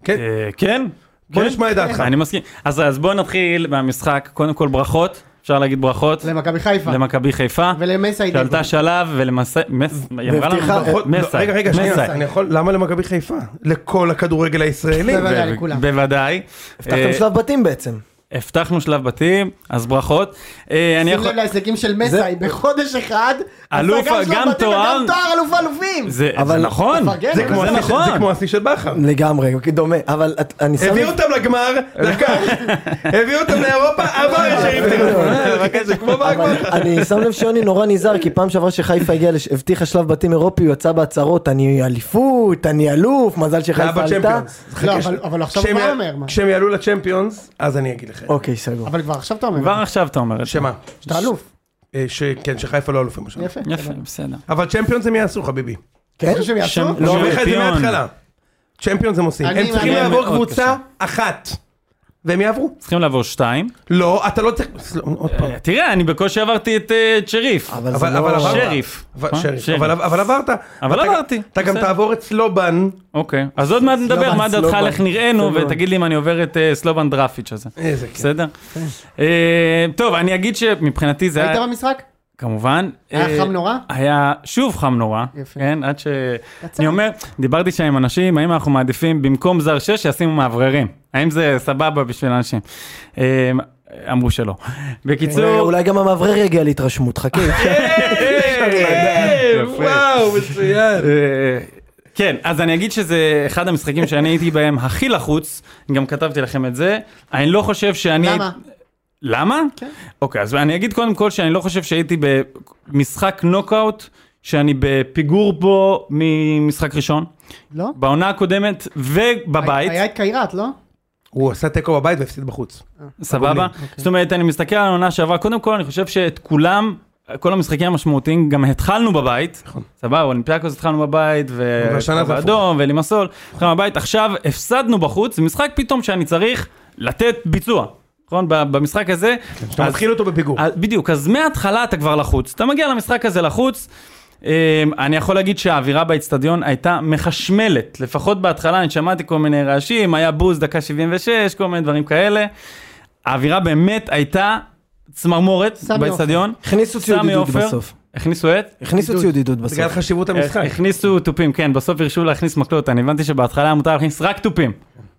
Speaker 4: אה, כן?
Speaker 2: בוא
Speaker 4: כן.
Speaker 2: נשמע את דעתך.
Speaker 4: אני מסכים. אז אז בואו נתחיל מהמשחק. קודם כל ברכות, אפשר להגיד ברכות.
Speaker 5: למכבי חיפה.
Speaker 4: למכבי חיפה.
Speaker 5: ולמסי דגו.
Speaker 4: שעלתה שלב ולמסי... מס- היא אמרה לנו
Speaker 3: והבטיחה-
Speaker 4: ברכות-
Speaker 2: לא,
Speaker 4: אה, מסי.
Speaker 2: רגע, רגע,
Speaker 4: מסי.
Speaker 2: שנייה, אני יכול, למה למכבי חיפה? לכל הכדורגל הישראלי?
Speaker 5: בוודאי. בוודאי, לכולם.
Speaker 4: בוודאי.
Speaker 3: הבטחתם
Speaker 4: אה,
Speaker 3: שלב בתים בעצם.
Speaker 4: הבטחנו שלב בתים, אז ברכות. אה, אני
Speaker 5: שים
Speaker 4: יכול...
Speaker 5: לב להישגים של מסי בחודש אחד.
Speaker 4: אלוף,
Speaker 5: השגה של
Speaker 4: גם
Speaker 5: הבתים
Speaker 4: תואר.
Speaker 5: וגם תואר אלוף אלופים.
Speaker 4: זה זה
Speaker 3: אבל-
Speaker 4: נכון,
Speaker 5: תפרגן,
Speaker 4: זה
Speaker 5: אבל
Speaker 4: כמו-
Speaker 2: זה
Speaker 4: זה
Speaker 2: השיא של- זה
Speaker 4: נכון.
Speaker 2: כמו השיא של בכר.
Speaker 3: לגמרי, דומה, אבל את- אני שם...
Speaker 2: הביאו
Speaker 3: לב-
Speaker 2: אותם לגמר,
Speaker 5: (laughs)
Speaker 2: לקח, הביאו אותם לאירופה, עבר
Speaker 5: אה,
Speaker 2: ישרים תירוץ. זה כמו
Speaker 3: אבל
Speaker 2: בכר.
Speaker 3: אני שם לב שיוני נורא נזהר כי פעם שעברה שחיפה הגיעה, לש- הבטיחה שלב בתים אירופי, הוא יצא בהצהרות, אני אליפות, אני אלוף, מזל
Speaker 2: היה
Speaker 3: שחיפה עלתה.
Speaker 2: בצ'מפיונס.
Speaker 5: לא, אבל- אבל עכשיו הוא
Speaker 2: כשהם
Speaker 5: כבר
Speaker 2: יע-
Speaker 5: אומר. מה.
Speaker 2: כשהם יעלו לצ'מפיונס, אז אני אגיד לך.
Speaker 3: אוקיי, סגור.
Speaker 5: אבל כבר עכשיו אתה אומר.
Speaker 4: כבר עכשיו אתה אומר את זה.
Speaker 2: שמה?
Speaker 5: שאתה אלוף.
Speaker 2: אה, שכן, שחיפה לא אלופים עכשיו.
Speaker 5: יפה.
Speaker 4: יפה, בסדר.
Speaker 2: אבל צ'מפיונס הם יעשו חביבי.
Speaker 5: אתה חושב שהם יעשו?
Speaker 4: שם- לא,
Speaker 2: אני אומר לך את זה
Speaker 4: צ'מפיון.
Speaker 2: מההתחלה. צ'מפיונס הם עושים.
Speaker 5: אני-
Speaker 2: הם צריכים
Speaker 5: אני-
Speaker 2: לעבור
Speaker 4: מאוד
Speaker 2: קבוצה
Speaker 4: קשה.
Speaker 2: אחת. והם יעברו.
Speaker 4: צריכים לעבור שתיים.
Speaker 2: לא, אתה לא צריך... סל- עוד פעם.
Speaker 4: אה, תראה, אני בקושי עברתי את אה, צ'ריף.
Speaker 3: אבל זה
Speaker 2: אבל- אבל
Speaker 3: לא...
Speaker 2: עברת.
Speaker 4: שריף.
Speaker 2: אבל-
Speaker 4: אה?
Speaker 2: שריף.
Speaker 4: שריף.
Speaker 2: אבל- אבל עברת.
Speaker 4: אבל
Speaker 2: אתה-
Speaker 4: עברתי.
Speaker 2: אתה גם
Speaker 4: בסדר.
Speaker 2: תעבור את סלובן.
Speaker 4: אוקיי. אז עוד מעט נדבר
Speaker 3: סלובן,
Speaker 4: מה דעתך על
Speaker 3: סלובן.
Speaker 4: איך נראינו,
Speaker 3: סלובן.
Speaker 4: ותגיד לי אם אני עובר את אה, סלובן דרפיץ' הזה.
Speaker 2: איזה כיף.
Speaker 4: בסדר? אה, טוב, אני אגיד שמבחינתי זה היה...
Speaker 5: היית במשחק?
Speaker 4: כמובן.
Speaker 5: היה
Speaker 4: אה,
Speaker 5: חם נורא?
Speaker 4: היה שוב חם נורא,
Speaker 5: יפה.
Speaker 4: כן, עד ש... אני אומר, דיברתי שם עם אנשים, האם אנחנו מעדיפים במקום זר 6 שישימו מאווררים? האם זה סבבה בשביל אנשים? אה, אמרו שלא. בקיצור...
Speaker 3: אולי גם המאוורר יגיע להתרשמות, חכה.
Speaker 4: (laughs) כן.
Speaker 2: וואו, מצוין.
Speaker 4: אה, כן, אז אני אגיד שזה אחד המשחקים שאני הייתי בהם הכי לחוץ, גם כתבתי לכם את זה, אני לא חושב שאני...
Speaker 5: למה?
Speaker 4: למה? כן. אוקיי, אז אני אגיד קודם כל שאני לא חושב שהייתי במשחק נוקאוט, שאני בפיגור בו ממשחק ראשון,
Speaker 5: לא?
Speaker 4: בעונה הקודמת ובבית,
Speaker 5: היה את קיירת, לא?
Speaker 2: הוא עשה תיקו בבית והפסיד בחוץ.
Speaker 4: סבבה? זאת אומרת, אני מסתכל על העונה שעברה, קודם כל אני חושב שאת כולם... כל המשחקים המשמעותיים גם התחלנו בבית, סבבה, אולימפיאקוס התחלנו בבית,
Speaker 2: והשנה זה הפוך.
Speaker 4: ואדום ולימסול, התחלנו בבית, עכשיו הפסדנו בחוץ, זה משחק פתאום שאני צריך לתת ביצוע, נכון? ב- במשחק הזה,
Speaker 2: אתה
Speaker 4: אז-
Speaker 2: מתחיל אותו בפיגור.
Speaker 4: אז- בדיוק, אז מההתחלה אתה כבר לחוץ. אתה מגיע למשחק הזה לחוץ. אה, אני יכול להגיד שהאווירה באצטדיון הייתה מחשמלת, לפחות בהתחלה אני שמעתי כל מיני רעשים, היה בוז דקה 76, כל מיני דברים כאלה. האווירה באמת הייתה צמרמורת
Speaker 5: סמי עופר.
Speaker 4: באצטדיון.
Speaker 3: הכניסו ציוד
Speaker 4: סמי
Speaker 3: עידוד
Speaker 4: עופר.
Speaker 3: בסוף.
Speaker 4: הכניסו את?
Speaker 3: הכניסו ציוד עידוד
Speaker 2: בגלל
Speaker 3: בסוף.
Speaker 2: חשיבות
Speaker 4: אה,
Speaker 2: המשחק.
Speaker 4: הכניסו תופים, כן, בסוף הרשו להכניס מקלות, אני הבנתי שבהתחלה היה מותר להכניס רק תופים,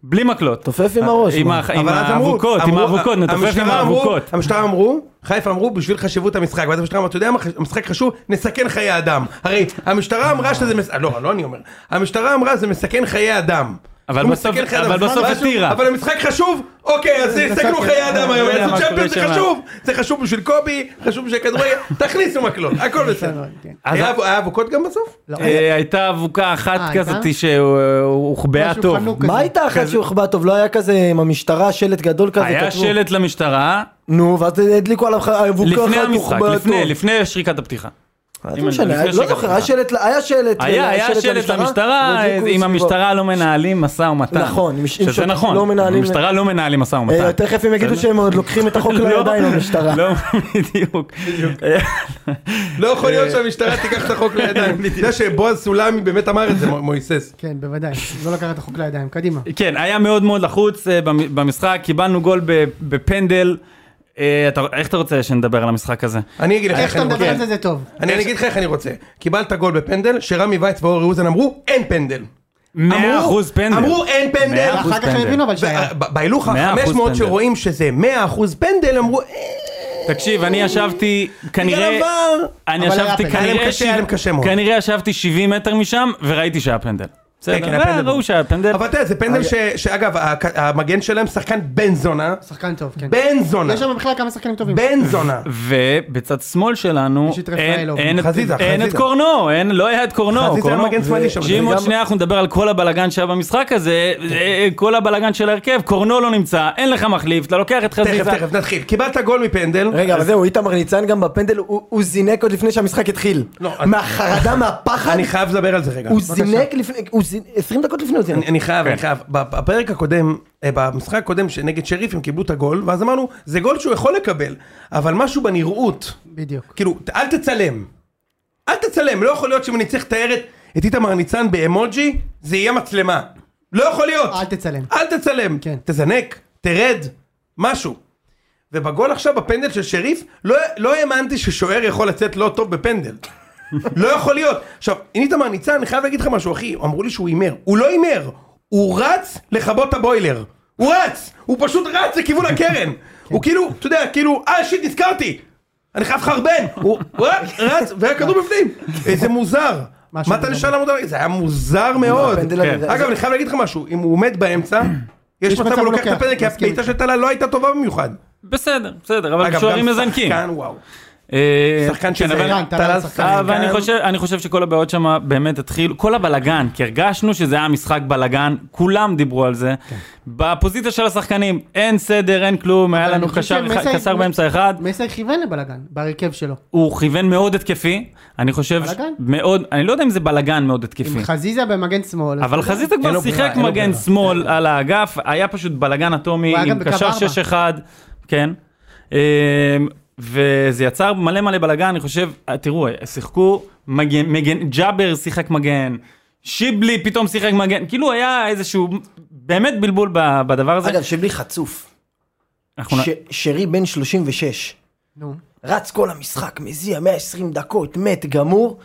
Speaker 4: בלי מקלות.
Speaker 3: תופף עם הראש.
Speaker 4: אה, עם
Speaker 3: מה?
Speaker 4: ה- עם
Speaker 2: אבל אז אמרו,
Speaker 4: האבוקות, עם
Speaker 2: אמרו-
Speaker 4: האבוקות, נתופף עם
Speaker 2: המשטרה אמרו-
Speaker 4: האבוקות.
Speaker 2: המשטרה אמרו, חיפה אמרו, בשביל חשיבות המשחק, ואז המשטרה אמרה, אתה יודע מה, המשחק חשוב, נסכן חיי אדם. הרי המשטרה אמרה שזה, מס- לא, לא אני אומר, המשטרה אמרה זה מסכן חיי אדם.
Speaker 4: אבל
Speaker 2: הוא
Speaker 4: בסוף-
Speaker 2: מסכן חיי אדם.
Speaker 4: אבל בסוף
Speaker 2: משהו-
Speaker 4: התירה.
Speaker 2: אבל המשחק חשוב, אוקיי, אז יסכנו חיי אדם היום,
Speaker 5: לא
Speaker 4: יודע
Speaker 2: יעשו
Speaker 4: מה
Speaker 2: צ'מפיון, זה
Speaker 4: קורה שם.
Speaker 2: חשוב, זה חשוב בשביל קובי, חשוב בשביל
Speaker 5: (laughs)
Speaker 2: הכדורגל, תכניסו מקלות, הכל בסדר.
Speaker 5: כן.
Speaker 4: אז-
Speaker 2: היה היה אבוקות גם בסוף?
Speaker 5: לא,
Speaker 4: אה, הייתה אבוקה אחת
Speaker 5: אה, הייתה?
Speaker 4: כזאת שהוחבאה
Speaker 5: משהו
Speaker 4: טוב.
Speaker 5: חנוק
Speaker 3: מה
Speaker 5: כזה.
Speaker 3: הייתה אחת שהוחבא טוב? לא היה כזה עם המשטרה שלט גדול כזה?
Speaker 4: היה
Speaker 3: כתבו?
Speaker 4: שלט למשטרה
Speaker 3: נו, ואז הדליקו עליו אבוקה אחת
Speaker 4: לפני המשחק,
Speaker 3: הוחבא
Speaker 4: לפני,
Speaker 3: טוב.
Speaker 4: לפני שריקת הפתיחה.
Speaker 3: אה,
Speaker 4: אם
Speaker 3: לא משנה,
Speaker 4: אני- לפני
Speaker 3: לא
Speaker 4: שריקת
Speaker 3: זוכר,
Speaker 4: הפתיחה.
Speaker 3: היה שלט, היה שלט, אה,
Speaker 4: היה, היה שלט למשטרה,
Speaker 3: והדליקו
Speaker 4: עם
Speaker 3: סביבו.
Speaker 4: המשטרה לא מנהלים משא ומתן.
Speaker 3: נכון, עם- עם
Speaker 4: שזה
Speaker 3: ש-
Speaker 4: נכון,
Speaker 3: לא מנהלים-
Speaker 4: המשטרה לא מנהלים משא ומתן.
Speaker 3: אה, תכף הם יגידו שהם עוד לוקחים את החוק
Speaker 4: (laughs) לא,
Speaker 3: לידיים המשטרה.
Speaker 4: (laughs) לא, בדיוק.
Speaker 2: לא יכול להיות
Speaker 4: אה,
Speaker 2: שהמשטרה תיקח את החוק
Speaker 4: (laughs)
Speaker 2: לידיים. אתה יודע שבועז סולמי באמת אמר את זה, מו- מויסס.
Speaker 5: כן, בוודאי. לא לקחת את החוק לידיים,
Speaker 4: (laughs)
Speaker 5: קדימה.
Speaker 4: כן, היה מאוד מאוד לחוץ אה, במ- במשחק, קיבלנו גול ב- בפנדל. אה, אתה- איך אתה רוצה שנדבר על המשחק הזה?
Speaker 2: אני אגיד לך
Speaker 5: איך
Speaker 2: איך
Speaker 5: אתה
Speaker 2: אני רוצה.
Speaker 4: כן.
Speaker 5: מדבר על זה זה טוב.
Speaker 2: אני אני אגיד לך איך אני רוצה. קיבלת גול בפנדל, שרמי וייץ ואורי אוזן אמרו אין פנדל.
Speaker 4: 100%
Speaker 2: אמרו-
Speaker 4: פנדל.
Speaker 2: אמרו אין פנדל.
Speaker 4: מאה אחוז
Speaker 5: אחר כך
Speaker 4: פנדל.
Speaker 5: הם הבינו אבל שהיה.
Speaker 2: ב- ב- בהילוך
Speaker 4: מאה אחוז
Speaker 2: ה-500
Speaker 4: פנדל.
Speaker 2: שרואים שזה 100% פנדל אמרו "אה,
Speaker 4: תקשיב, אני ישבתי
Speaker 2: בגלל
Speaker 4: כנראה...
Speaker 2: עבר.
Speaker 4: אני
Speaker 5: אבל היה
Speaker 4: ישבתי
Speaker 5: פנדל.
Speaker 2: היה להם
Speaker 4: כנראה...
Speaker 2: קשה, היה להם קשה מאוד.
Speaker 4: כנראה ישבתי 70 מטר משם, וראיתי שהיה פנדל.
Speaker 2: כן,
Speaker 4: בסדר, אה,
Speaker 2: היה פנדל.
Speaker 4: ראו שהיה פנדל.
Speaker 2: אבל אתה יודע זה פנדל ש- שאגב הכ- המגן שלהם שחקן בן זונה.
Speaker 5: שחקן טוב, כן.
Speaker 2: בן זונה.
Speaker 5: יש שם בכלל כמה שחקנים טובים.
Speaker 2: בן זונה.
Speaker 4: ובצד שמאל שלנו
Speaker 5: יש את
Speaker 4: אין,
Speaker 5: רפאלוב.
Speaker 4: אין, את-
Speaker 2: חזיזה,
Speaker 4: אין את
Speaker 2: חזיזה.
Speaker 4: קורנו, אין, לא היה את קורנו.
Speaker 2: חזיזה היה
Speaker 4: קורנו-
Speaker 2: מגן שמאלי שם.
Speaker 4: שאם עוד
Speaker 2: וגם-
Speaker 4: שנייה אנחנו נדבר על כל הבלגן שהיה במשחק הזה, אה, כל הבלגן של ההרכב, קורנו לא נמצא, אין לך מחליף, אתה לוקח את חזיזה.
Speaker 2: תכף תכף נתחיל. קיבלת גול מפנדל.
Speaker 3: רגע, אבל זהו, איתמר ניצן גם בפנדל, הוא הוא זינק עוד לפני שהמשחק התחיל.
Speaker 2: לא, אני-
Speaker 3: מהחרדה, מהפחד,
Speaker 2: אני חייב לדבר על זה רגע.
Speaker 3: הוא זינק לפני, הוא זינק, 20 דקות לפני הוא זינק.
Speaker 2: אני, אני חייב, אני חייב. בפרק הקודם, אה, במשחק הקודם שנגד שריף הם קיבלו את הגול, ואז אמרנו, זה גול שהוא יכול לקבל, אבל משהו בנראות,
Speaker 5: בדיוק.
Speaker 2: כאילו, ת- אל תצלם. אל תצלם, לא יכול להיות שאם אני צריך לתאר את, את איתמר ניצן באמוג'י, זה יהיה מצלמה. לא יכול להיות.
Speaker 5: אל תצלם.
Speaker 2: אל תצלם.
Speaker 5: כן.
Speaker 2: תזנק, תרד, משהו. ובגול עכשיו בפנדל של שריף, לא, לא האמנתי ששוער יכול לצאת לא טוב בפנדל. לא יכול להיות. עכשיו, אם איתמר ניצן, אני חייב להגיד לך משהו, אחי, אמרו לי שהוא הימר. הוא לא הימר, הוא רץ לכבות את הבוילר. הוא רץ! הוא פשוט רץ לכיוון
Speaker 5: (laughs)
Speaker 2: הקרן.
Speaker 5: כן.
Speaker 2: הוא כאילו, אתה יודע, כאילו, אה, שיט, נזכרתי! אני חייב לחרבן! הוא הוא רק רץ, והכדור
Speaker 5: (laughs)
Speaker 2: בפנים! איזה מוזר!
Speaker 5: משהו
Speaker 2: מה אתה
Speaker 5: לא מוזר.
Speaker 2: נשאל עמוד זה היה מוזר מאוד.
Speaker 3: הפנדל הזה-
Speaker 4: כן.
Speaker 3: זה-
Speaker 2: אגב, אני חייב להגיד לך משהו, אם הוא עומד באמצע, יש
Speaker 5: יש
Speaker 2: מצב
Speaker 5: מצב
Speaker 2: הוא
Speaker 5: הוא
Speaker 2: לוקח את
Speaker 5: לוקח,
Speaker 2: הפנדל, כי
Speaker 5: מסכים
Speaker 2: הפעיטה של טלה לא הייתה טובה במיוחד.
Speaker 4: בסדר, בסדר, אבל
Speaker 2: אגב,
Speaker 4: שוערים
Speaker 2: גם
Speaker 4: מזנקים.
Speaker 2: שחקן, וואו.
Speaker 4: אה,
Speaker 2: שחקן
Speaker 4: כן,
Speaker 2: שזה...
Speaker 4: אבל-
Speaker 5: שחקן,
Speaker 2: טלה
Speaker 5: שחקן.
Speaker 2: שחקן.
Speaker 4: אבל אני חושב, אני חושב שכל הבעיות שם באמת התחילו, כל הבלגן, כי הרגשנו שזה היה משחק בלגן, כולם דיברו על זה.
Speaker 5: כן.
Speaker 4: בפוזיציה של השחקנים, אין סדר, אין כלום, היה
Speaker 5: אבל
Speaker 4: לנו
Speaker 5: אני חושב
Speaker 4: קשר אחד-
Speaker 5: שמסי-
Speaker 4: קשר באמצע אחד,
Speaker 5: מסי כיוון לבלגן, בהרכב שלו.
Speaker 4: הוא כיוון מאוד התקפי, אני חושב, ש-
Speaker 5: בלגן?
Speaker 4: מאוד, אני לא יודע אם זה בלגן מאוד התקפי.
Speaker 5: עם חזיזה במגן שמאל.
Speaker 4: אבל חזיזה
Speaker 2: לו
Speaker 4: כבר
Speaker 2: ברירה,
Speaker 4: שיחק
Speaker 2: אין לו
Speaker 4: מגן
Speaker 2: ברירה.
Speaker 4: שמאל על האגף, היה פשוט בלגן אטומי
Speaker 5: הוא היה גם
Speaker 4: עם
Speaker 5: בקו
Speaker 4: קשר
Speaker 5: ארבע.
Speaker 4: 6-1, כן. אמ, וזה יצר מלא מלא בלגן, אני חושב, אה, תראו, שיחקו מגן, מגן, ג'אבר שיחק מגן, שיבלי פתאום שיחק מגן, כאילו היה איזשהו באמת בלבול ב- בדבר הזה.
Speaker 3: אגב, שבלי חצוף,
Speaker 4: אנחנו נ-
Speaker 3: ש- שרי בן 36,
Speaker 5: נו.
Speaker 3: רץ כל המשחק, מזיע 120 דקות, מת, גמור.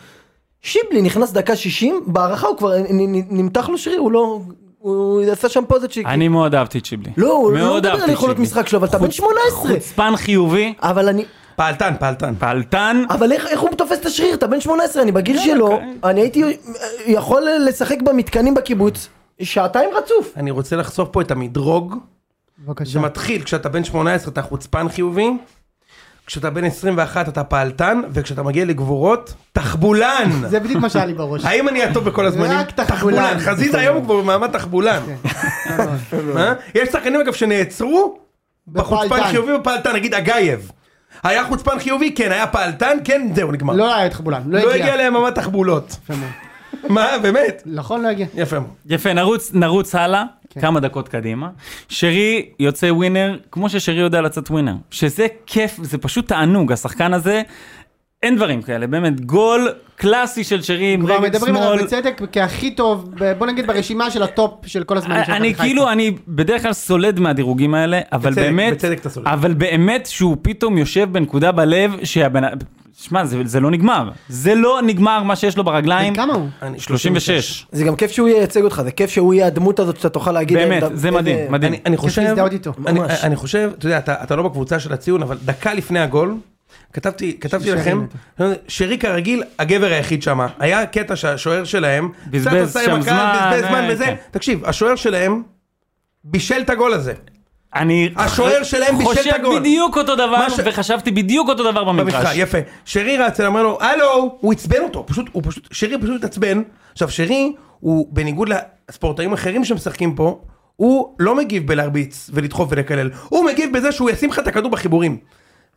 Speaker 3: שיבלי נכנס דקה 60, בהערכה הוא כבר נ- נ- נמתח לו שרי, הוא לא... הוא עשה שם פוזת שהיא...
Speaker 4: אני מאוד אהבתי את שיבלי.
Speaker 3: לא, הוא לא
Speaker 4: מאוד
Speaker 3: מדבר
Speaker 4: אהבתי
Speaker 3: על
Speaker 4: את
Speaker 3: יכולות
Speaker 4: שיבלי.
Speaker 3: משחק שלו, אבל אתה בן
Speaker 4: חוץ-
Speaker 3: 18.
Speaker 4: חוצפן חיובי,
Speaker 3: אבל אני...
Speaker 2: פעלתן, פעלתן.
Speaker 4: פעלתן,
Speaker 3: אבל איך, איך הוא תופס את השריר? אתה בן 18, אני
Speaker 4: כן,
Speaker 3: בגיל שלו,
Speaker 4: אוקיי.
Speaker 3: אני הייתי אה, יכול לשחק במתקנים בקיבוץ שעתיים רצוף.
Speaker 2: אני רוצה לחשוף פה את המדרוג
Speaker 5: בבקשה.
Speaker 2: זה מתחיל כשאתה בן 18 אתה חוצפן חיובי, כשאתה בן 21 אתה פעלתן, וכשאתה מגיע לגבורות, תחבולן!
Speaker 5: (laughs) זה בדיוק מה שהיה לי בראש.
Speaker 2: האם אני הטוב בכל הזמנים?
Speaker 5: רק תחבולן.
Speaker 2: חזיזה היום הוא כבר במעמד תחבולן.
Speaker 5: כן.
Speaker 2: מה? יש שחקנים אגב שנעצרו בחוצפן
Speaker 5: בפעלתן.
Speaker 2: חיובי ופעלתן, נגיד אגייב. היה חוצפן חיובי? כן. היה פעלתן? כן, זהו, נגמר.
Speaker 5: לא היה את חבולן, לא
Speaker 2: לא
Speaker 5: הגיע.
Speaker 2: הגיע למעמד תחבולות.
Speaker 5: יפה מאוד.
Speaker 2: מה, באמת?
Speaker 5: נכון, לא הגיע.
Speaker 2: יפה מאוד.
Speaker 4: יפה, נרוץ, נרוץ הלאה, כן. כמה דקות קדימה. שרי יוצא ווינר, כמו ששרי יודע לצאת ווינר. שזה כיף, זה פשוט תענוג, השחקן הזה, אין דברים כאלה, באמת, גול קלאסי של שרים,
Speaker 5: כבר
Speaker 4: רגל
Speaker 5: מדברים עליו
Speaker 4: שמאל.
Speaker 5: בצדק כהכי טוב, ב- בוא נגיד ברשימה של הטופ של כל הזמן. של
Speaker 4: אני
Speaker 5: מכבי
Speaker 4: כאילו,
Speaker 5: חיפה.
Speaker 4: אני בדרך כלל סולד מהדירוגים האלה, אבל
Speaker 2: בצדק,
Speaker 4: באמת,
Speaker 2: בצדק אתה סולד.
Speaker 4: אבל באמת שהוא פתאום יושב בנקודה בלב, שהבן... שמע, זה, זה לא נגמר. זה לא נגמר מה שיש לו ברגליים.
Speaker 5: בן כמה הוא?
Speaker 2: אני-
Speaker 4: 36.
Speaker 3: זה גם כיף שהוא ייצג אותך, זה כיף שהוא יהיה הדמות הזאת שאתה תוכל להגיד...
Speaker 4: באמת,
Speaker 3: אה,
Speaker 4: זה
Speaker 3: אה,
Speaker 4: מדהים,
Speaker 3: אה,
Speaker 4: מדהים.
Speaker 2: אני, אני חושב,
Speaker 5: להזדהות איתו.
Speaker 2: אני,
Speaker 3: ממש.
Speaker 2: אני חושב, אתה יודע, אתה, אתה לא בקבוצה של הציון, אבל דקה לפני הגול, כתבתי, כתבתי לכם, שרי כרגיל, הגבר היחיד שם, היה קטע שהשוער שלהם,
Speaker 4: בזבז
Speaker 2: קצת עשה עם
Speaker 4: שם
Speaker 2: הקהל, בזבז
Speaker 4: זמן,
Speaker 2: זמן
Speaker 4: אה,
Speaker 2: וזה,
Speaker 4: כן.
Speaker 2: תקשיב, השוער שלהם בישל את הגול הזה,
Speaker 4: אני
Speaker 2: השוער שלהם בישל את הגול.
Speaker 4: חושב בדיוק אותו דבר,
Speaker 2: מה ש-
Speaker 4: וחשבתי בדיוק אותו דבר
Speaker 2: במשחק,
Speaker 4: במגרש.
Speaker 2: יפה, שרי רץ אליו, אומר לו, הלו, הוא עצבן אותו, פשוט, הוא פשוט, שרי פשוט התעצבן, עכשיו שרי, הוא בניגוד לספורטאים אחרים שמשחקים פה, הוא לא מגיב בלהרביץ ולדחוף ולקלל, הוא מגיב בזה שהוא ישים לך את הכדור בחיבורים.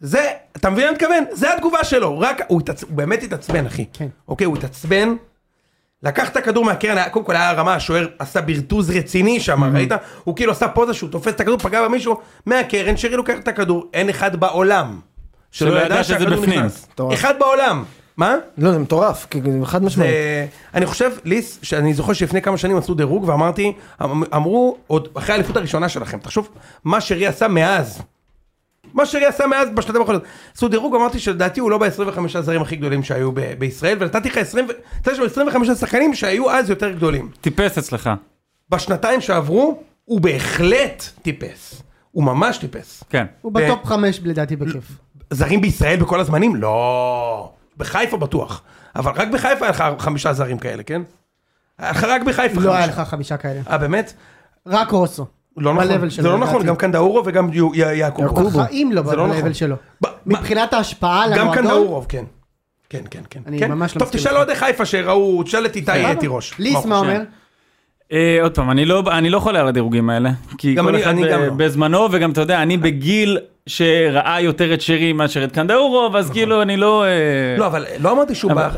Speaker 2: זה, אתה מבין מה אני מתכוון? זה התגובה שלו, רק, הוא, התעצ... הוא באמת התעצבן אחי.
Speaker 5: כן.
Speaker 2: אוקיי, הוא התעצבן, לקח את הכדור מהקרן, היה- קודם כל היה הרמה, השוער עשה ברטוז רציני שם, ראית? הוא כאילו עשה פוזה שהוא תופס את הכדור, פגע במישהו, מהקרן, שרי לוקח את הכדור, אין אחד בעולם. שלא ידע
Speaker 4: שזה
Speaker 2: שהכדור
Speaker 4: בפנים.
Speaker 2: נכנס.
Speaker 3: מטורף.
Speaker 2: אחד בעולם. מה?
Speaker 3: לא, זה מטורף, כאילו, חד משמעית.
Speaker 2: זה- אה, אני חושב, ליס, שאני זוכר שלפני כמה שנים עשו דירוג ואמרתי, אמ- אמרו, עוד אחרי האליפות הראשונה שלכם, תחשוב מה שרי עשה מאז. מה שרי עשה מאז בשנתיים האחרונות. עשו דירוג, אמרתי שלדעתי הוא לא ב-25 הזרים הכי גדולים שהיו ב- בישראל, ונתתי לך 20 ו- נתתי לו 25 השחקנים שהיו אז יותר גדולים.
Speaker 4: טיפס אצלך.
Speaker 2: בשנתיים שעברו, הוא בהחלט טיפס. הוא ממש טיפס.
Speaker 4: כן.
Speaker 5: הוא
Speaker 2: ב-
Speaker 5: בטופ חמש לדעתי בכיף.
Speaker 2: זרים בישראל בכל הזמנים? לא. בחיפה בטוח. אבל רק בחיפה היה לך חמישה זרים כאלה, כן? היה לך רק בחיפה
Speaker 5: לא היה
Speaker 2: חמישה.
Speaker 5: לך חמישה כאלה.
Speaker 2: אה באמת?
Speaker 5: רק רוסו.
Speaker 2: לא נכון,
Speaker 5: ב-level
Speaker 2: זה
Speaker 5: שלו,
Speaker 2: לא נכון,
Speaker 5: לדעתי.
Speaker 2: גם קנדאורוב וגם יו- י- יעקובוב.
Speaker 5: בחיים לא
Speaker 2: זה לא נכון.
Speaker 5: ב-level שלו.
Speaker 2: ב-
Speaker 5: מבחינת ההשפעה על
Speaker 2: גם
Speaker 5: המועדון.
Speaker 2: קנדאורוב, כן. כן, כן, כן.
Speaker 5: אני
Speaker 2: כן.
Speaker 5: ממש לא
Speaker 2: טוב,
Speaker 5: מסכים
Speaker 2: תשאל
Speaker 5: איתך.
Speaker 2: אוהדי חיפה שראו, תשאל את איתי
Speaker 5: סבבה.
Speaker 2: תירוש.
Speaker 5: ליס מה
Speaker 2: הוא
Speaker 5: אומר?
Speaker 2: חושב?
Speaker 4: אה, עוד פעם, אני לא, אני לא חולה על הדירוגים האלה, כי
Speaker 2: גם
Speaker 4: כל
Speaker 2: אני-
Speaker 4: אחד
Speaker 2: אני
Speaker 4: ב-
Speaker 2: גם לא.
Speaker 4: בזמנו, וגם אתה יודע, אני בגיל שראה יותר את שרי מאשר את קנדאורוב, אז כאילו אני לא... אה,
Speaker 2: נכון. לא, אבל לא אמרתי שהוא
Speaker 4: אבל-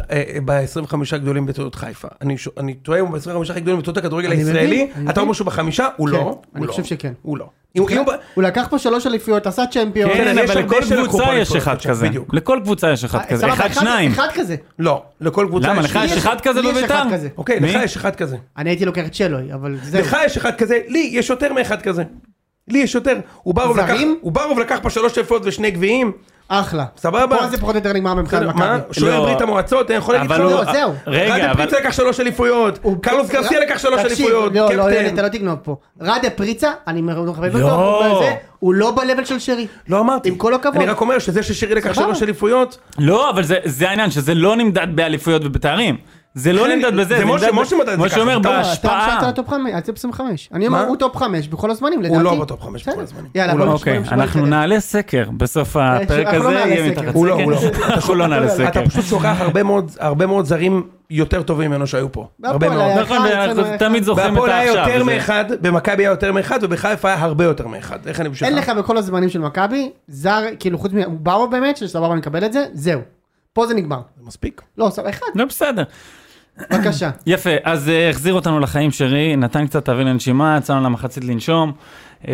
Speaker 2: ב-25 הגדולים בתולדות חיפה. אני ש- אני טועה, הוא ב-25 הכי גדולים בתולדות הכדורגל
Speaker 5: אני מבין,
Speaker 2: הישראלי,
Speaker 5: אני
Speaker 2: אתה
Speaker 5: מבין.
Speaker 2: אומר שהוא בחמישה? הוא
Speaker 5: כן,
Speaker 2: לא. הוא
Speaker 5: אני
Speaker 2: לא.
Speaker 5: חושב שכן.
Speaker 2: הוא לא. אם- אם הוא ב-
Speaker 5: כאילו, הוא לקח פה שלוש אליפויות, עשה צ'מפיון.
Speaker 2: כן,
Speaker 4: כן,
Speaker 2: יש הרבה
Speaker 4: אבל לכל
Speaker 2: שלקחו
Speaker 4: קבוצה
Speaker 2: פה
Speaker 4: יש
Speaker 2: אליפויות,
Speaker 4: אחד כזה.
Speaker 2: בדיוק. אה,
Speaker 4: לכל קבוצה יש אחד כזה.
Speaker 5: אה, סבבה,
Speaker 4: אחד, שניים.
Speaker 5: אחד כזה.
Speaker 2: לא, לכל קבוצה
Speaker 4: למה,
Speaker 2: יש-
Speaker 4: לך יש אחד כזה
Speaker 5: לי יש אחד
Speaker 4: בביתר?
Speaker 5: כזה.
Speaker 2: אוקיי, לך
Speaker 4: מי?
Speaker 2: יש אחד כזה.
Speaker 5: אני הייתי לוקח את שלוי, אבל זהו.
Speaker 2: לך יש אחד כזה, לי יש יותר מאחד כזה. לי יש יותר. אוברוב לקח-
Speaker 5: זרים?
Speaker 2: אוברוב לקח פה שלוש אליפות ושני גביעים.
Speaker 5: אחלה.
Speaker 2: סבבה.
Speaker 5: פה זה פחות או יותר נגמר מבחינת
Speaker 2: בסדר, מה?
Speaker 5: מכבי.
Speaker 2: שוער
Speaker 4: לא.
Speaker 2: ברית המועצות, אני יכול להגיד
Speaker 4: אבל
Speaker 2: שלא.
Speaker 5: לא,
Speaker 4: הוא...
Speaker 5: זהו.
Speaker 4: רגע,
Speaker 2: ראדה
Speaker 4: אבל...
Speaker 2: פריצה לקח שלוש אליפויות,
Speaker 5: הוא- לא.
Speaker 2: קרלוס גרסיה לקח שלוש
Speaker 5: תקשיב,
Speaker 2: אליפויות,
Speaker 5: לא, לא, יוני,
Speaker 2: קפטן.
Speaker 5: אתה לא תגנוב פה. ראדה פריצה, אני מכבד
Speaker 4: לא.
Speaker 5: אותו, הוא בזה, הוא לא ב-level של שרי.
Speaker 2: לא אמרתי,
Speaker 5: עם כל הכבוד.
Speaker 2: אני רק אומר שזה ששירי לקח
Speaker 5: סבבה.
Speaker 2: שלוש אליפויות,
Speaker 4: לא, אבל זה, זה העניין, שזה לא נמדד באליפויות ובתארים. זה לא
Speaker 2: כן,
Speaker 4: נמדד
Speaker 2: זה
Speaker 4: בזה,
Speaker 2: משה-
Speaker 4: נמדד... ב-
Speaker 2: משה מדד את זה
Speaker 4: משה
Speaker 2: ככה.
Speaker 4: אומר
Speaker 2: אתה-
Speaker 5: לא, אתה
Speaker 4: בהשפעה.
Speaker 5: שאלת על הטופ חמש, על טיפ חמש. אני אומר,
Speaker 2: מה?
Speaker 5: הוא טופ חמש בכל הזמנים, לדעתי.
Speaker 2: הוא לא בטופ חמש בכל
Speaker 5: בסדר.
Speaker 2: הזמנים.
Speaker 5: יאללה,
Speaker 2: הוא לא.
Speaker 5: בוא נשמע-
Speaker 4: אוקיי,
Speaker 5: נשמע
Speaker 4: אנחנו
Speaker 5: נתקדם.
Speaker 4: נעלה סקר בסוף הפרק
Speaker 5: אנחנו לא
Speaker 4: הזה,
Speaker 5: נעלה
Speaker 4: יהיה
Speaker 5: סקר.
Speaker 4: מתחת
Speaker 2: הוא לא, הוא
Speaker 4: סקר. (laughs) אנחנו לא נעלה סקר.
Speaker 2: אתה פשוט שוכח הרבה מאוד- הרבה מאוד זרים יותר טובים ממנו שהיו פה,
Speaker 5: והפועל
Speaker 2: הרבה מאוד.
Speaker 5: היה-
Speaker 4: נכון,
Speaker 5: אחד,
Speaker 4: ואנחנו
Speaker 5: אחד.
Speaker 4: תמיד זוכרים את
Speaker 2: בהפועל היה
Speaker 4: העכשיו.
Speaker 2: יותר
Speaker 4: זה-
Speaker 2: מאחד, במכבי היה יותר מאחד, ובחיפה היה הרבה יותר מאחד, איך אני בשבילך?
Speaker 5: אין לך בכל הזמנים של מכבי, זר, כאילו חוץ מבאו באמת, שסבבה נקבל את זה, זהו. פה זה נגמר.
Speaker 2: מספיק.
Speaker 5: לא,
Speaker 4: (laughs)
Speaker 5: סבבה, אחד,
Speaker 4: לא, בסדר.
Speaker 5: בבקשה.
Speaker 4: יפה, אז אה, החזיר אותנו לחיים שרי, נתן קצת אוויר לנשימה, יצאנו למחצית לנשום. אה,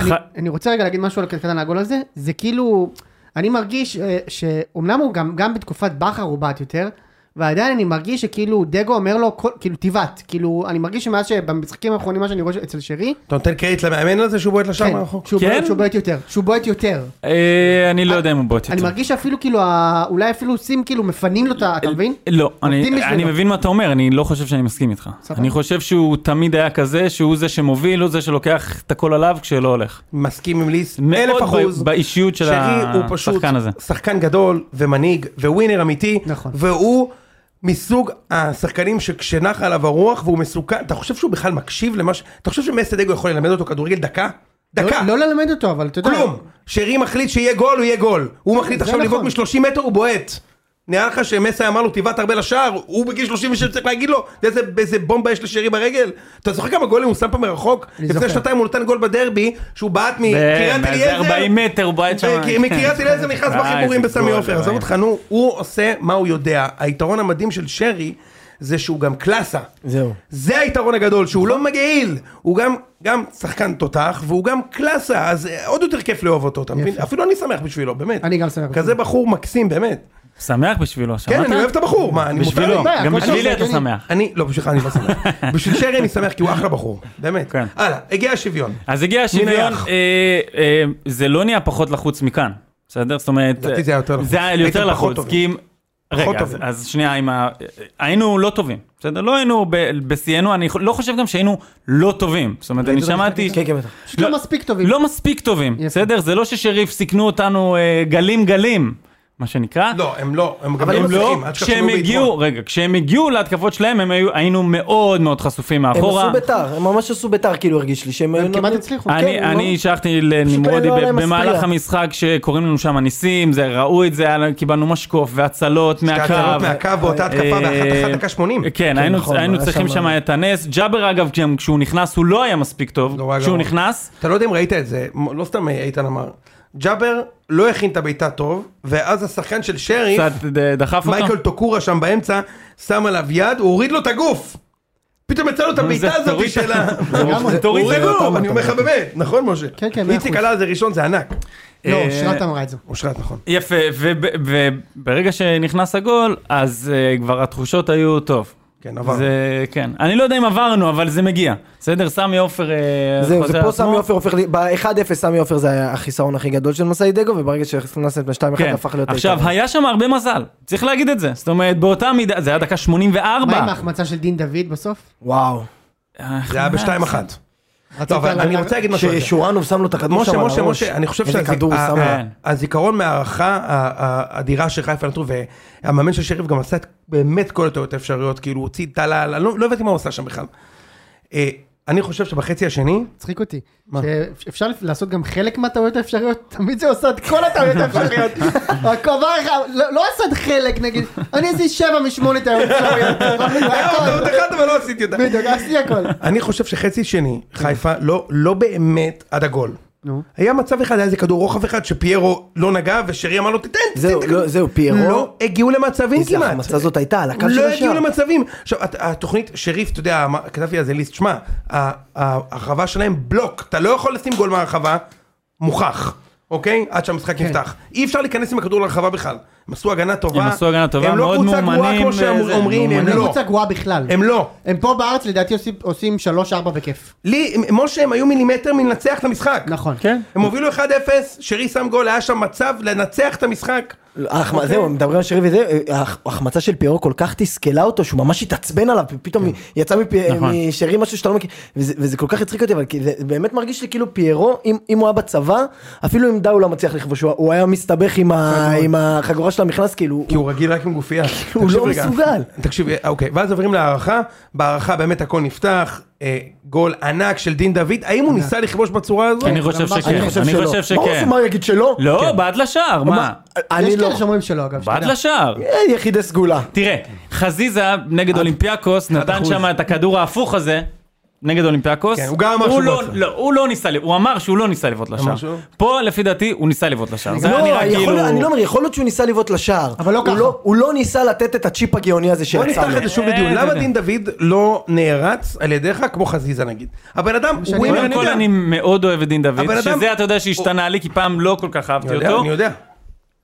Speaker 4: ח-
Speaker 5: אני- אני רוצה רגע להגיד משהו על קטן הגול הזה, זה כאילו, אני מרגיש אה, שאומנם הוא גם, גם בתקופת בכר הוא בעט יותר, ועדיין אני מרגיש שכאילו דגו אומר לו, כל- כאילו תבעט, כאילו, אני מרגיש שמאז שבמשחקים האחרונים מה שאני רואה אצל שרי,
Speaker 2: אתה נותן קרדיט למאמן על זה שהוא בועט לשער
Speaker 5: כן,
Speaker 2: מרחוק?
Speaker 5: שהוא
Speaker 4: כן?
Speaker 5: בועט- שהוא בועט יותר, שהוא בועט יותר.
Speaker 4: אה, אני לא יודע אם הוא בוט
Speaker 5: אני
Speaker 4: יותר.
Speaker 5: מרגיש שאפילו כאילו, ה- אולי אפילו עושים כאילו מפנים לו את ה... אתה מבין?
Speaker 4: לא, אני,
Speaker 5: עובדים בשבילו.
Speaker 4: אני מבין מה אתה אומר, אני לא חושב שאני מסכים איתך.
Speaker 5: סבבה.
Speaker 4: אני חושב שהוא תמיד היה כזה, שהוא זה שמוביל, הוא זה שלוקח את הכל עליו כשלא הולך.
Speaker 2: מסכים עם ליס,
Speaker 4: מאוד
Speaker 2: אלף
Speaker 4: ב-
Speaker 2: אחוז.
Speaker 4: באישיות של
Speaker 2: שרי הוא פשוט
Speaker 4: השחקן הזה.
Speaker 2: שחקן גדול ומנהיג וווינר אמיתי,
Speaker 5: נכון.
Speaker 2: והוא מסוג השחקנים שכשנחה עליו הרוח והוא מסוכן, אתה חושב שהוא בכלל מקשיב למה ש... אתה חושב שמסי דגו יכול ללמד אותו כדורגל דקה? דקה.
Speaker 5: לא, לא ללמד אותו, אבל אתה יודע.
Speaker 2: כלום. שרי מחליט שיהיה גול, הוא יהיה גול. הוא מחליט
Speaker 5: זה
Speaker 2: עכשיו לבעוט
Speaker 5: נכון.
Speaker 2: מ-30 מטר, הוא בועט. נראה לך שמסי אמר לו תבעט הרבה לשער, הוא בגיל 36 צריך להגיד לו, אתה יודע איזה- איזה בומבה יש לשרי ברגל? אתה זוכר כמה גולים הוא שם פה מרחוק? לפני
Speaker 5: זוכר.
Speaker 2: שנתיים הוא נתן גול בדרבי, שהוא בעט
Speaker 4: כן,
Speaker 2: מקריית
Speaker 4: באיזה
Speaker 2: אליעזר.
Speaker 4: 40 מטר הוא בעט שם.
Speaker 2: כי מקריית אליעזר נכנס
Speaker 4: אה,
Speaker 2: בחיבורים
Speaker 4: איזה
Speaker 2: בסמי
Speaker 4: גול,
Speaker 2: עופר, עזוב
Speaker 4: אלוהים.
Speaker 2: אותך, נו, הוא עושה מה הוא יודע. היתרון המדהים של שרי זה שהוא גם קלאסה.
Speaker 3: זהו.
Speaker 2: זה היתרון הגדול, שהוא לא מגעיל, הוא גם, גם שחקן תותח, והוא גם קלאסה, אז אה, עוד יותר כיף לאהוב אותו, אתה מבין? אפילו אני שמח בשבילו, באמת.
Speaker 5: אני גם שמח
Speaker 2: כזה
Speaker 5: בשבילו.
Speaker 2: בחור מקסים, באמת.
Speaker 4: שמח בשבילו, שמעת?
Speaker 2: כן, אני אוהב את הבחור, מה, אני מותר לי?
Speaker 4: בשבילו,
Speaker 5: אין בעיה,
Speaker 4: גם
Speaker 5: הכל
Speaker 4: בשבילי
Speaker 5: טוב,
Speaker 4: אתה
Speaker 5: הגיוני.
Speaker 4: שמח.
Speaker 2: אני, לא, בשבילך אני לא
Speaker 4: (laughs)
Speaker 2: שמח. בשביל שרי אני שמח כי הוא אחלה בחור, באמת.
Speaker 4: כן.
Speaker 2: הלאה, הגיע השוויון.
Speaker 4: אז הגיע השוויון,
Speaker 2: נייח?
Speaker 4: אה, אה, זה לא נהיה פחות לחוץ מכאן, בסדר? זאת אומרת,
Speaker 2: לדעתי זה היה יותר לחוץ.
Speaker 4: זה היה יותר
Speaker 2: הייתם פחות
Speaker 4: לחוץ,
Speaker 2: טובים.
Speaker 4: כי אם...
Speaker 2: פחות
Speaker 4: רגע, אז-
Speaker 2: טובים.
Speaker 4: אז שנייה, עם ה... היינו לא טובים, בסדר? לא היינו ב- בשיאנו, אני לא חושב גם שהיינו לא טובים. זאת אומרת, אני שמעתי...
Speaker 3: כן, כן, בטח.
Speaker 5: פשוט לא מספיק טובים.
Speaker 4: לא מספיק טובים,
Speaker 5: יפה.
Speaker 4: בסדר? זה לא ששריף סיכנו אותנו אה, גלים גלים, מה שנקרא.
Speaker 2: לא, הם לא, הם גם
Speaker 4: אבל
Speaker 2: לא
Speaker 4: הם לא,
Speaker 2: מצליחים, אל תשכחו
Speaker 4: כשהם
Speaker 2: ביתרון.
Speaker 4: הגיעו, רגע, כשהם הגיעו להתקפות שלהם, הם היו, היינו מאוד מאוד חשופים
Speaker 3: הם
Speaker 4: מאחורה.
Speaker 3: עשו ביתר, הם ממש עשו ביתר, כאילו הרגיש לי שהם...
Speaker 5: הם כמעט הצליחו.
Speaker 4: אני,
Speaker 3: כן,
Speaker 4: אני
Speaker 3: לא-
Speaker 4: השלחתי
Speaker 3: פשוט
Speaker 4: לנמרודי
Speaker 3: לא היה
Speaker 4: ב-
Speaker 3: להם
Speaker 4: במהלך
Speaker 3: מספריה.
Speaker 4: המשחק שקוראים לנו שם הניסים, זה ראו את זה, היה לנו- קיבלנו משקוף והצלות מהקו. אה,
Speaker 2: שההצלות מהקו באותה התקפה באחת אחת דקה 80.
Speaker 4: כן, היינו,
Speaker 3: נכון,
Speaker 4: היינו
Speaker 3: היה
Speaker 4: צריכים
Speaker 3: שם-
Speaker 4: שם את הנס. ג'אבר אגב, כשהם- כשהוא נכנס הוא לא היה מספיק טוב.
Speaker 2: לא היה
Speaker 4: כשהוא
Speaker 2: גרוע.
Speaker 4: נכנס,
Speaker 2: אתה לא יודע אם ראית את זה, מ- לא סתם איתן אמר. ג'אבר לא הכין את הבעיטה טוב, ואז השחקן של שרי,
Speaker 4: קצת ד- דחף אותו.
Speaker 2: מייקל טוקורה שם באמצע, שם עליו יד, הוא הוריד לו את הגוף. פתאום יצא לו את הבעיטה
Speaker 4: זה-
Speaker 2: הזאת
Speaker 4: תוריד-
Speaker 2: של ה...
Speaker 4: זה- תוריד
Speaker 2: הוא
Speaker 4: את
Speaker 2: הוריד
Speaker 4: הגוף.
Speaker 2: לו, אני אומר לך באמת, נכון משה?
Speaker 5: כן, כן, מאה
Speaker 2: איציק
Speaker 5: אחוז.
Speaker 2: עלה על זה ראשון, זה ענק.
Speaker 5: לא,
Speaker 4: אה,
Speaker 5: אושרת אמרה את זה.
Speaker 2: אושרת, נכון.
Speaker 4: יפה, וברגע שנכנס הגול, אז אה, כבר התחושות היו טוב.
Speaker 2: כן, עבר.
Speaker 4: זה, כן. אני לא יודע אם עברנו, אבל זה מגיע. בסדר, סמי עופר אה,
Speaker 3: זהו,
Speaker 4: חוזר
Speaker 3: זה פה
Speaker 4: לעצמו.
Speaker 3: סמי עופר הופך, לי- ב-1-0 סמי עופר זה היה החיסרון הכי גדול של מסאי דגו, וברגע שהכנסנו את ה-2-1
Speaker 2: לא
Speaker 4: כן.
Speaker 3: הפך להיות...
Speaker 4: עכשיו,
Speaker 3: העיקר.
Speaker 4: היה שם הרבה מזל, צריך להגיד את זה. זאת אומרת, באותה מידה, זה היה דקה 84.
Speaker 5: מה עם ההחמצה של דין דוד בסוף?
Speaker 3: וואו.
Speaker 2: זה היה בשתיים אחת.
Speaker 5: רצית
Speaker 2: טוב, אבל
Speaker 5: לה-
Speaker 2: אני רוצה להגיד משהו. על זה.
Speaker 3: ששורנוב שם לו את הכדור שם
Speaker 2: אה, משה,
Speaker 3: על
Speaker 2: משה,
Speaker 3: הראש.
Speaker 2: משה, אני חושב
Speaker 3: איזה כדור הוא שם.
Speaker 4: אה,
Speaker 2: שהזיכרון הזיכרון מהערכה ה- ה- האדירה של חיפה נתנו, והמאמן של שריף גם עשה את באמת כל הטעויות האפשריות, כאילו הוא הוציא את טלל, אני לא לא הבנתי מה הוא עשה שם בכלל. אה, אני חושב שבחצי
Speaker 3: (laughs)
Speaker 2: השני,
Speaker 5: מצחיק אותי. שאפשר לפ- לעשות גם חלק מהטעויות האפשריות, (laughs) תמיד זה עושה את כל הטעויות האפשריות. רק הוא עבר לך, לא- לא עשה את חלק נגיד, אני עשיתי שבע משמונה טעויות אפשריות.
Speaker 3: לא,
Speaker 2: היה עוד טעות
Speaker 5: הכל.
Speaker 2: אחת אבל לא עשיתי אותה.
Speaker 5: בדיוק, עשיתי הכל.
Speaker 2: אני חושב שחצי שני, חיפה לא- לא באמת עד הגול.
Speaker 5: נו.
Speaker 2: היה מצב אחד, היה איזה כדור רוחב אחד שפיירו לא נגע, ושרי אמר לו תיתן, תיתן.
Speaker 3: זהו,
Speaker 2: תיתן."
Speaker 3: לא, זהו, פיירו-
Speaker 2: לא הגיעו למצבים
Speaker 3: איזה
Speaker 2: כמעט.
Speaker 3: החמצה זאת הייתה, על הקו של
Speaker 2: לא
Speaker 3: השער.
Speaker 2: הגיעו למצבים. עכשיו, הת- התוכנית, שריף, אתה יודע, אמר- כתבתי על זה ליסט, שמע, ה- ההרחבה שלהם בלוק, אתה לא יכול לשים גול מהרחבה, מוכח, אוקיי? עד שהמשחק
Speaker 5: כן.
Speaker 2: נפתח. אי אפשר להיכנס עם הכדור לרחבה בכלל. הם עשו הגנה טובה.
Speaker 4: הם עשו הגנה טובה,
Speaker 2: הם לא
Speaker 4: מאוד
Speaker 2: קבוצה גרועה
Speaker 4: מאומנים,
Speaker 2: כמו שהם
Speaker 4: וזה,
Speaker 2: אומרים, הם
Speaker 5: הם לא
Speaker 2: לא.
Speaker 5: קבוצה גרועה בכלל.
Speaker 2: הם לא.
Speaker 5: הם פה בארץ לדעתי עושים- עושים שלוש ארבע בכיף.
Speaker 2: לי, משה, הם היו מילימטר מלנצח את המשחק.
Speaker 5: נכון.
Speaker 4: כן.
Speaker 2: הם הובילו 1-0, שרי שם גול, היה שם מצב לנצח את המשחק.
Speaker 3: ההחמ- אה,
Speaker 2: אוקיי.
Speaker 3: זהו, מדברים על שרי וזה, ההח- ההחמצה של פיירו כל כך תסכלה אותו, שהוא ממש התעצבן עליו,
Speaker 2: כן.
Speaker 3: פתאום יצא מפי-
Speaker 4: נכון.
Speaker 3: משרי משהו שאתה לא מכיר, וזה וזה כל כך הצחיק אותי, אבל כי זה באמת מרגיש לי כאילו פיירו, אם אם הוא היה בצבא, אפילו עם דאו לא מצליח לכבוש, הוא- הוא היה מסתבך עם ה- עם החגורה של המכנס, כאילו,
Speaker 2: כי הוא רגיל רק עם גופייה.
Speaker 3: הוא
Speaker 2: תקשיב
Speaker 3: לא
Speaker 2: רגע.
Speaker 3: מסוגל.
Speaker 2: תקשיב, אה, אוקיי, ואז עוברים להערכה, בהערכה באמת הכל נפתח, אה, גול ענק של דין דוד, האם הוא ניסה לכבוש בצורה הזו?
Speaker 4: אני חושב
Speaker 5: אני
Speaker 4: שכן, כן, אני
Speaker 3: שלא.
Speaker 4: חושב
Speaker 3: ברור
Speaker 4: שכן.
Speaker 3: שמה הוא יגיד שלא?
Speaker 2: כן.
Speaker 4: לא, בעד לשער, מה?
Speaker 3: אני
Speaker 5: יש
Speaker 3: לא.
Speaker 5: כאלה שאומרים שלא אגב.
Speaker 4: בעד
Speaker 5: שתדע.
Speaker 4: לשער.
Speaker 3: אה, יחידי סגולה.
Speaker 4: תראה, חזיזה נגד אולימפיאקוס נתן
Speaker 2: אה, אחוז.
Speaker 4: שם את הכדור ההפוך הזה. נגד אולימפיאקוס,
Speaker 2: כן, הוא גם אמר שהוא
Speaker 4: לא,
Speaker 2: לא עשה.
Speaker 4: לא, הוא לא ניסה, ל- הוא אמר שהוא לא ניסה לבעוט לשער,
Speaker 2: שהוא-
Speaker 4: פה לפי דעתי הוא ניסה לבעוט לשער, זה
Speaker 3: לא,
Speaker 4: היה נראה
Speaker 3: יכול-
Speaker 4: כאילו,
Speaker 3: אני לא אומר, יכול להיות שהוא ניסה לבעוט לשער.
Speaker 5: אבל לא
Speaker 3: הוא
Speaker 5: ככה.
Speaker 3: הוא לא ניסה לתת את הצ'יפ הגאוני הזה
Speaker 2: בוא
Speaker 3: שיצא
Speaker 2: נפתח
Speaker 3: לו.
Speaker 2: את זה שוב
Speaker 4: אה,
Speaker 2: לדיון,
Speaker 4: אתה
Speaker 2: למה
Speaker 4: יודע.
Speaker 2: דין דוד לא נערץ על ידיך כמו חזיזה נגיד? הבן אדם, הוא
Speaker 5: אומר,
Speaker 2: ווינר,
Speaker 4: קודם
Speaker 2: אני
Speaker 4: כל
Speaker 2: יודע.
Speaker 4: אני מאוד אוהב את דין
Speaker 2: הבן
Speaker 4: דוד,
Speaker 2: אדם-
Speaker 4: שזה אתה יודע שהשתנה לי, כי פעם לא כל כך
Speaker 2: אני
Speaker 4: אהבתי
Speaker 2: יודע,
Speaker 4: אותו,
Speaker 2: אני יודע.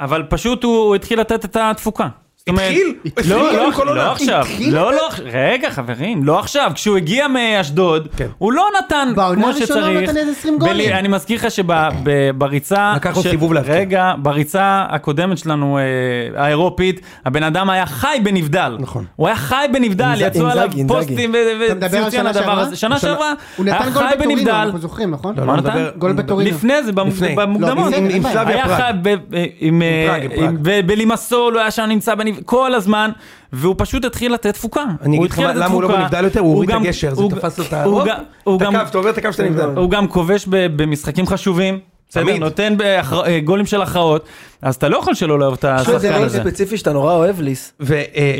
Speaker 4: אבל פשוט הוא הוא התחיל לתת את התפוקה. זאת אומרת-
Speaker 2: התחיל? התחיל
Speaker 4: לא,
Speaker 2: כאילו
Speaker 4: לא,
Speaker 2: כל
Speaker 4: לא
Speaker 2: עונה.
Speaker 4: עכשיו,
Speaker 5: התחיל
Speaker 4: לא, לא, רגע חברים, לא עכשיו, כשהוא הגיע מאשדוד,
Speaker 2: כן.
Speaker 4: הוא לא נתן
Speaker 5: בעונה
Speaker 4: כמו
Speaker 5: הראשונה הוא לא
Speaker 4: שצריך,
Speaker 5: נתן איזה 20 גולים. אוקיי.
Speaker 4: בלי- אני מזכיר לך שבריצה,
Speaker 2: לקח לו סיבוב להבקיע.
Speaker 4: רגע, בריצה הקודמת שלנו, אה, האירופית, הבן אדם היה חי בנבדל,
Speaker 2: נכון.
Speaker 4: הוא היה חי בנבדל,
Speaker 3: אינז-
Speaker 4: יצאו עליו
Speaker 3: אינזאגי, אינזאגי.
Speaker 4: פוסטים ו-
Speaker 5: אתה מדבר על
Speaker 4: וציוצים על
Speaker 5: שנה
Speaker 4: הדבר
Speaker 5: שעברה?
Speaker 4: הזה, שנה
Speaker 2: שנה-
Speaker 4: שעברה,
Speaker 5: הוא
Speaker 4: היה
Speaker 5: נתן גול
Speaker 4: חי
Speaker 5: בטורינו,
Speaker 4: בנבדל,
Speaker 5: אנחנו זוכרים, נכון?
Speaker 2: לא,
Speaker 4: מה
Speaker 2: לא,
Speaker 4: נתן?
Speaker 2: מדבר-
Speaker 5: גול
Speaker 2: מדבר-
Speaker 5: בטורינו.
Speaker 4: לפני זה, במ-
Speaker 2: לפני.
Speaker 4: במוקדמות.
Speaker 5: לא,
Speaker 2: עם- עם
Speaker 5: אין
Speaker 2: סלאביה
Speaker 4: היה
Speaker 2: פראג.
Speaker 4: חי ב- ב- עם, אה,
Speaker 2: פראג, עם פראג.
Speaker 4: עם- ב- בלימסול, הוא היה שם נמצא בנב- כל הזמן, והוא פשוט התחיל לתת תפוקה.
Speaker 2: אני
Speaker 4: הוא
Speaker 2: אגיד לך
Speaker 4: התחיל
Speaker 2: מה-
Speaker 4: לתת
Speaker 2: למה הוא לא
Speaker 4: תפוקה.
Speaker 2: בנבדל יותר, הוא הוריד את
Speaker 4: גם-
Speaker 2: הגשר, זה
Speaker 4: הוא-
Speaker 2: תפס לו את
Speaker 4: הוא
Speaker 2: ה...
Speaker 4: גם- הוא
Speaker 2: את
Speaker 4: גם-
Speaker 2: הקו, אתה עובר את הקו של הנבדל.
Speaker 4: הוא גם כובש ב- במשחקים חשובים. בסדר,
Speaker 2: תמיד.
Speaker 4: נותן בהכר- אה, גולים של הכרעות, אז אתה לא יכול שלא לאהוב את
Speaker 3: יש לו לא איזה
Speaker 4: השחקן
Speaker 3: רעיון
Speaker 4: הזה.
Speaker 3: ספציפי שאתה נורא אוהב, ליס.
Speaker 2: ו- אה,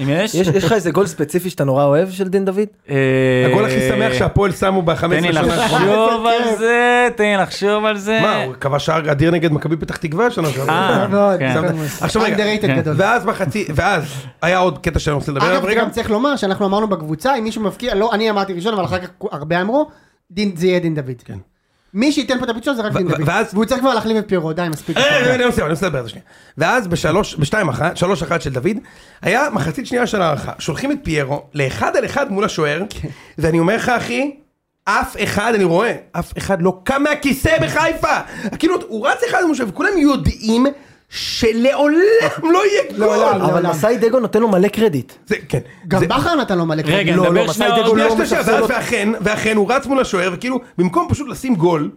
Speaker 4: אם יש?
Speaker 3: יש יש לך איזה גול ספציפי שאתה נורא אוהב של דין דוד?
Speaker 4: אה,
Speaker 2: הגול הכי שמח שהפועל שמו
Speaker 4: תן לי
Speaker 2: ב-15 שנה האחרונה.
Speaker 4: לחשוב על זה, תן לי לחשוב על זה.
Speaker 2: מה, הוא כבש שער אדיר נגד מכבי פתח תקווה שנה שעברה.
Speaker 4: אה,
Speaker 5: מאוד,
Speaker 4: כן.
Speaker 5: מאוד.
Speaker 2: עכשיו רגע,
Speaker 5: Underrated גדול.
Speaker 2: ואז בחצי, ואז היה עוד קטע שאני רוצה לדבר עליו
Speaker 5: אגב,
Speaker 2: רגע.
Speaker 5: גם צריך לומר שאנחנו אמרנו בקבוצה, אם מישהו מבקיע, לא, אני אמרתי ראשון, אבל אחר כך הרבה אמרו, דין, זה יהיה דין דוד. מי שייתן פה את הביצוע זה רק
Speaker 2: כן. ו-
Speaker 5: דין
Speaker 2: ו-
Speaker 5: דוד.
Speaker 2: ואז-
Speaker 5: והוא צריך כבר להחליף את פיירו, די, מספיק.
Speaker 2: אה, אני מסיים, אני מסיים לדבר על זה שנייה. ואז בשלוש, בשתיים אחת, שלוש אחת של דוד, היה מחצית שנייה של הערכה. שולחים את פיירו לאחד על אחד מול השוער,
Speaker 5: כן.
Speaker 2: ואני אומר לך, אחי, אף אחד, אני רואה, אף אחד לא קם מהכיסא בחיפה. כאילו, הוא רץ אחד מול השוער, וכולם יודעים
Speaker 5: (laughs)
Speaker 2: שלעולם לא יהיה גול.
Speaker 5: לעולם.
Speaker 3: אבל מסאי דגו נותן לו מלא קרדיט.
Speaker 2: זה, כן.
Speaker 5: גם
Speaker 2: זה-
Speaker 5: בכר נתן לו מלא
Speaker 4: רגע,
Speaker 5: קרדיט.
Speaker 3: לא,
Speaker 4: נדבר
Speaker 3: לא,
Speaker 4: שנייה
Speaker 3: מסאי
Speaker 4: עוד
Speaker 3: דגו
Speaker 4: שנייה.
Speaker 3: לא-
Speaker 2: אוקיי, יש את השער, ואז
Speaker 3: מספסל אותו.
Speaker 2: ואכן, ואכן הוא רץ מול השוער, וכאילו, במקום פשוט לשים גול,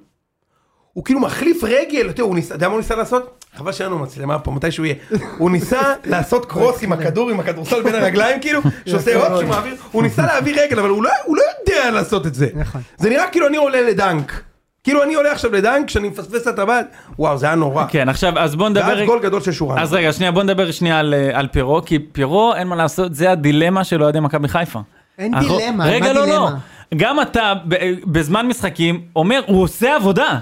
Speaker 2: הוא כאילו מחליף רגל, אתה יודע, הוא ניסה, אתה יודע מה הוא ניסה לעשות? חבל שאין לנו מצלמה פה, מתי שהוא יהיה. הוא ניסה לעשות קרוס עם הכדור, עם הכדורסל בין הרגליים, כאילו, שעושה הופ, שמעביר, הוא ניסה להעביר רגל, אבל הוא לא, הוא לא יודע לעשות את זה.
Speaker 5: נכון.
Speaker 2: זה נראה כאילו אני עולה לדנק. כאילו אני עולה עכשיו לדנק, כשאני מפספס את הטבעת, וואו, זה היה נורא.
Speaker 4: כן, עכשיו, אז בוא נדבר...
Speaker 2: ואז גול גדול של שורן.
Speaker 4: אז רגע, שנייה, בוא נדבר שנייה על, אה, על פירו, כי פירו, אין מה לעשות, זה הדילמה של אוהדי מכבי חיפה.
Speaker 5: אין
Speaker 4: אנחנו-
Speaker 5: דילמה,
Speaker 4: רגע,
Speaker 5: מה
Speaker 4: לא, לא.
Speaker 5: דילמה?
Speaker 4: גם אתה, ב- אה, בזמן משחקים, אומר, הוא עושה עבודה.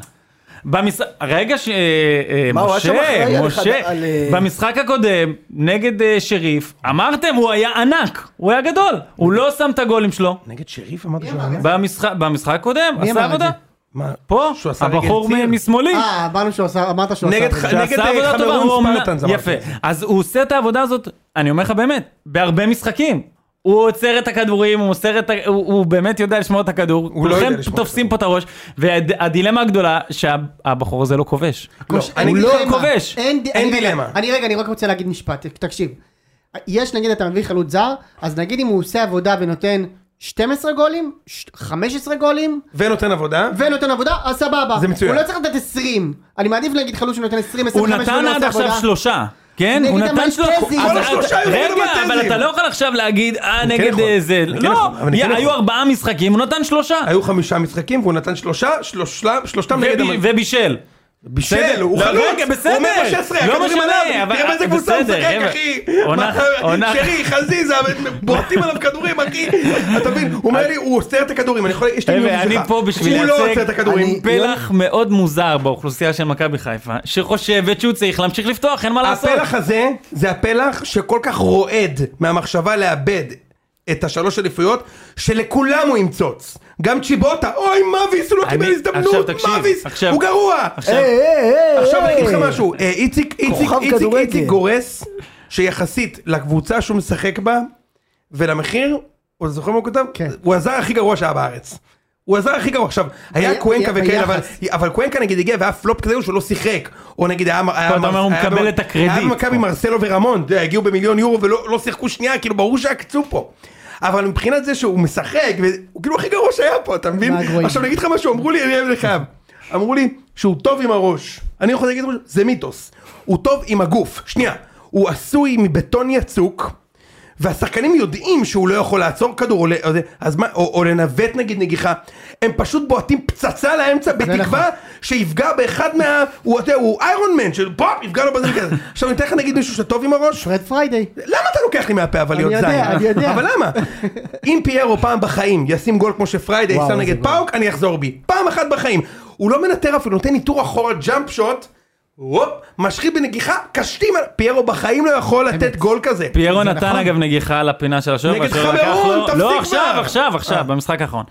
Speaker 4: במשחק, רגע ש... אה, אה,
Speaker 3: מה, הוא היה שם אחראי
Speaker 4: משה,
Speaker 3: על
Speaker 4: משה,
Speaker 3: אחד- על, אה,
Speaker 4: במשחק הקודם, נגד אה, שריף, אמרתם, הוא היה ענק, הוא היה גדול, הוא לא שם את הגולים שלו.
Speaker 2: נגד שריף אמרת שהוא...
Speaker 4: במשחק במשחק הקודם, עשה
Speaker 5: מי אמר את
Speaker 4: עבודה.
Speaker 5: זה?
Speaker 2: מה?
Speaker 4: פה,
Speaker 2: שהוא עשה רגל
Speaker 4: הבחור
Speaker 2: ציר?
Speaker 4: מ- משמאלי.
Speaker 5: אה, אמרנו שהוא עשה, אמרת שהוא עשה.
Speaker 2: נגד
Speaker 5: את זה.
Speaker 2: ח-
Speaker 4: שעשה
Speaker 2: נגד,
Speaker 4: עבודה
Speaker 2: אה,
Speaker 4: טובה,
Speaker 2: חמרון
Speaker 4: הוא אמנם-
Speaker 2: ספרטנס, אמרתי.
Speaker 4: יפה. אז הוא עושה את העבודה הזאת, אני אומר לך באמת, בהרבה משחקים. הוא עוצר את הכדורים, הוא מוסר את ה... הוא, הוא באמת יודע לשמור את הכדור.
Speaker 2: הוא לא יודע
Speaker 4: כולכם
Speaker 2: לשמור את
Speaker 4: תופסים פה את הראש, והדילמה הגדולה שהבחור הזה לא כובש.
Speaker 2: לא,
Speaker 5: כמו ש-
Speaker 2: אני
Speaker 5: אין
Speaker 2: לא
Speaker 5: דילמה.
Speaker 4: כובש.
Speaker 5: אין ד-
Speaker 2: אין
Speaker 5: אני-
Speaker 2: דילמה.
Speaker 5: אני רגע, אני רק רוצה להגיד משפט, תקשיב. יש נגיד אתה מביא חלוץ זר, אז נגיד אם הוא עושה עבודה ונותן 12 גולים, ש- 15 גולים,
Speaker 2: ונותן עבודה.
Speaker 5: ונותן עבודה, אז סבבה.
Speaker 2: זה מצוין.
Speaker 5: הוא לא צריך לתת 20 אני מעדיף להגיד חלוץ שנותן 20, 25
Speaker 4: הוא נתן
Speaker 5: ולא
Speaker 4: עד
Speaker 5: עושה
Speaker 4: עכשיו
Speaker 5: לא עבודה.
Speaker 4: שלושה. כן?
Speaker 5: נגד
Speaker 4: הוא נתן שלושה.
Speaker 5: המלטזים.
Speaker 4: אז-
Speaker 5: כל
Speaker 4: אז-
Speaker 2: השלושה היו נגד
Speaker 4: רגע, אבל
Speaker 2: המלטזים.
Speaker 4: אתה לא יכול עכשיו להגיד, אה,
Speaker 2: אני כן
Speaker 4: נגד
Speaker 2: יכול.
Speaker 4: אה, זה.
Speaker 2: אני כן
Speaker 4: לא,
Speaker 2: יכול, אבל אני
Speaker 4: יא,
Speaker 2: כן
Speaker 4: היו
Speaker 2: יכול.
Speaker 4: ארבעה משחקים, הוא נתן שלושה.
Speaker 2: היו חמישה משחקים והוא נתן שלושה, שלושה, שלושתם נגד
Speaker 4: ובי-
Speaker 2: המ...
Speaker 4: ובישל.
Speaker 2: בישל, הוא
Speaker 4: לא,
Speaker 2: חלוץ,
Speaker 4: רגע, בסדר.
Speaker 2: הוא אומר מה שעשרה,
Speaker 4: לא
Speaker 2: הכדורים
Speaker 4: משנה,
Speaker 2: עליו,
Speaker 4: אבל-
Speaker 2: תראה באיזה קבוצה הוא
Speaker 4: בסדר,
Speaker 2: משחק
Speaker 4: חבר'ה.
Speaker 2: אחי,
Speaker 4: עונה-
Speaker 2: מה-
Speaker 4: עונה-
Speaker 2: שרי, חזיזה, בועטים עליו כדורים אחי, אתה מבין, הוא אומר לי, הוא עוצר את הכדורים, אני יכול, יש לי מיום
Speaker 4: חבר'ה, אני פה בשביל
Speaker 2: הוא לא עוצר את
Speaker 4: לייצג
Speaker 2: הכדורים,
Speaker 4: פלח מאוד מוזר באוכלוסייה של מכבי חיפה, שחושבת שהוא צריך להמשיך לפתוח, אין מה לעשות.
Speaker 2: הפלח הזה, זה הפלח שכל כך רועד מהמחשבה לאבד את השלוש אליפויות, שלכולם הוא ימצוץ. גם צ'יבוטה, אוי מביס, הוא לא
Speaker 4: אני-
Speaker 2: קיבל
Speaker 4: עכשיו
Speaker 2: הזדמנות,
Speaker 4: תקשיב,
Speaker 2: מביס,
Speaker 4: עכשיו-
Speaker 2: הוא גרוע.
Speaker 3: אה, אה, אה,
Speaker 2: עכשיו
Speaker 3: אה.
Speaker 2: אני אגיד לך משהו, אה, איציק, איציק,
Speaker 3: כוכב
Speaker 2: איציק,
Speaker 3: כדורגל.
Speaker 2: איציק גורס, שיחסית לקבוצה שהוא משחק בה, ולמחיר, הוא זוכר מה הוא כתב?
Speaker 5: כן.
Speaker 2: הוא הזר הכי גרוע שהיה בארץ. הוא הזר הכי גרוע. עכשיו, היה קוונקה
Speaker 5: ב-
Speaker 2: וכאלה, אבל-
Speaker 5: ביחס.
Speaker 2: אבל קוונקה נגיד הגיע והיה פלופ כזה שהוא לא שיחק. או נגיד היה... היה
Speaker 4: אתה
Speaker 2: מר-
Speaker 4: אומר, הוא
Speaker 2: היה
Speaker 4: מקבל
Speaker 2: במ-
Speaker 4: את הקרדיט.
Speaker 2: היה במכבי מרסלו ורמון, אתה יודע, הגיעו במיליון יורו ולא לא שיחקו שנייה, כאילו ברור שעקצו פה. אבל מבחינת זה שהוא משחק, הוא כאילו הכי גרוע שהיה פה, אתה מבין?
Speaker 5: מהגרועים.
Speaker 2: עכשיו אני אגיד לך משהו, אמרו לי, אני אוהב לך, אמרו לי שהוא טוב עם הראש. אני יכול להגיד לך משהו, זה מיתוס. הוא טוב עם הגוף, שנייה. הוא עשוי מבטון יצוק, והשחקנים יודעים שהוא לא יכול לעצור כדור, או, ל- או, זה- אז מה, או, או לנווט נגיד נגיחה. הם פשוט בועטים פצצה לאמצע בתקווה שיפגע באחד מה... הוא, אתה יודע, הוא איירון מן, של פופ, יפגע לו בזה כזה. עכשיו אני אתן לך נגיד מישהו שטוב עם הראש,
Speaker 5: פרד פריידי.
Speaker 2: למה אתה לוקח לי מהפה אבל להיות
Speaker 5: יודע,
Speaker 2: זין?
Speaker 5: אני יודע.
Speaker 2: אבל למה? אם פיירו פעם בחיים ישים גול כמו שפריידי
Speaker 3: וואו,
Speaker 2: שם
Speaker 3: איזה
Speaker 2: נגד
Speaker 3: גול.
Speaker 2: פאוק, אני אחזור בי. פעם אחת בחיים. הוא לא מנטר אפילו, נותן ניטור אחורה, ג'אמפ שוט, הופ, משחית בנגיחה, קשתים על... פיירו בחיים לא יכול לתת גול כזה.
Speaker 4: פיירו נתן אגב נגיחה על הפינה של השוער.
Speaker 2: נגד
Speaker 4: והשוער לקח
Speaker 2: חברון,
Speaker 4: לו-
Speaker 2: נכון. תפסיק
Speaker 4: לא
Speaker 2: כבר. אה.
Speaker 4: עכשיו, עכשיו, עכשיו, במשחק האחרון.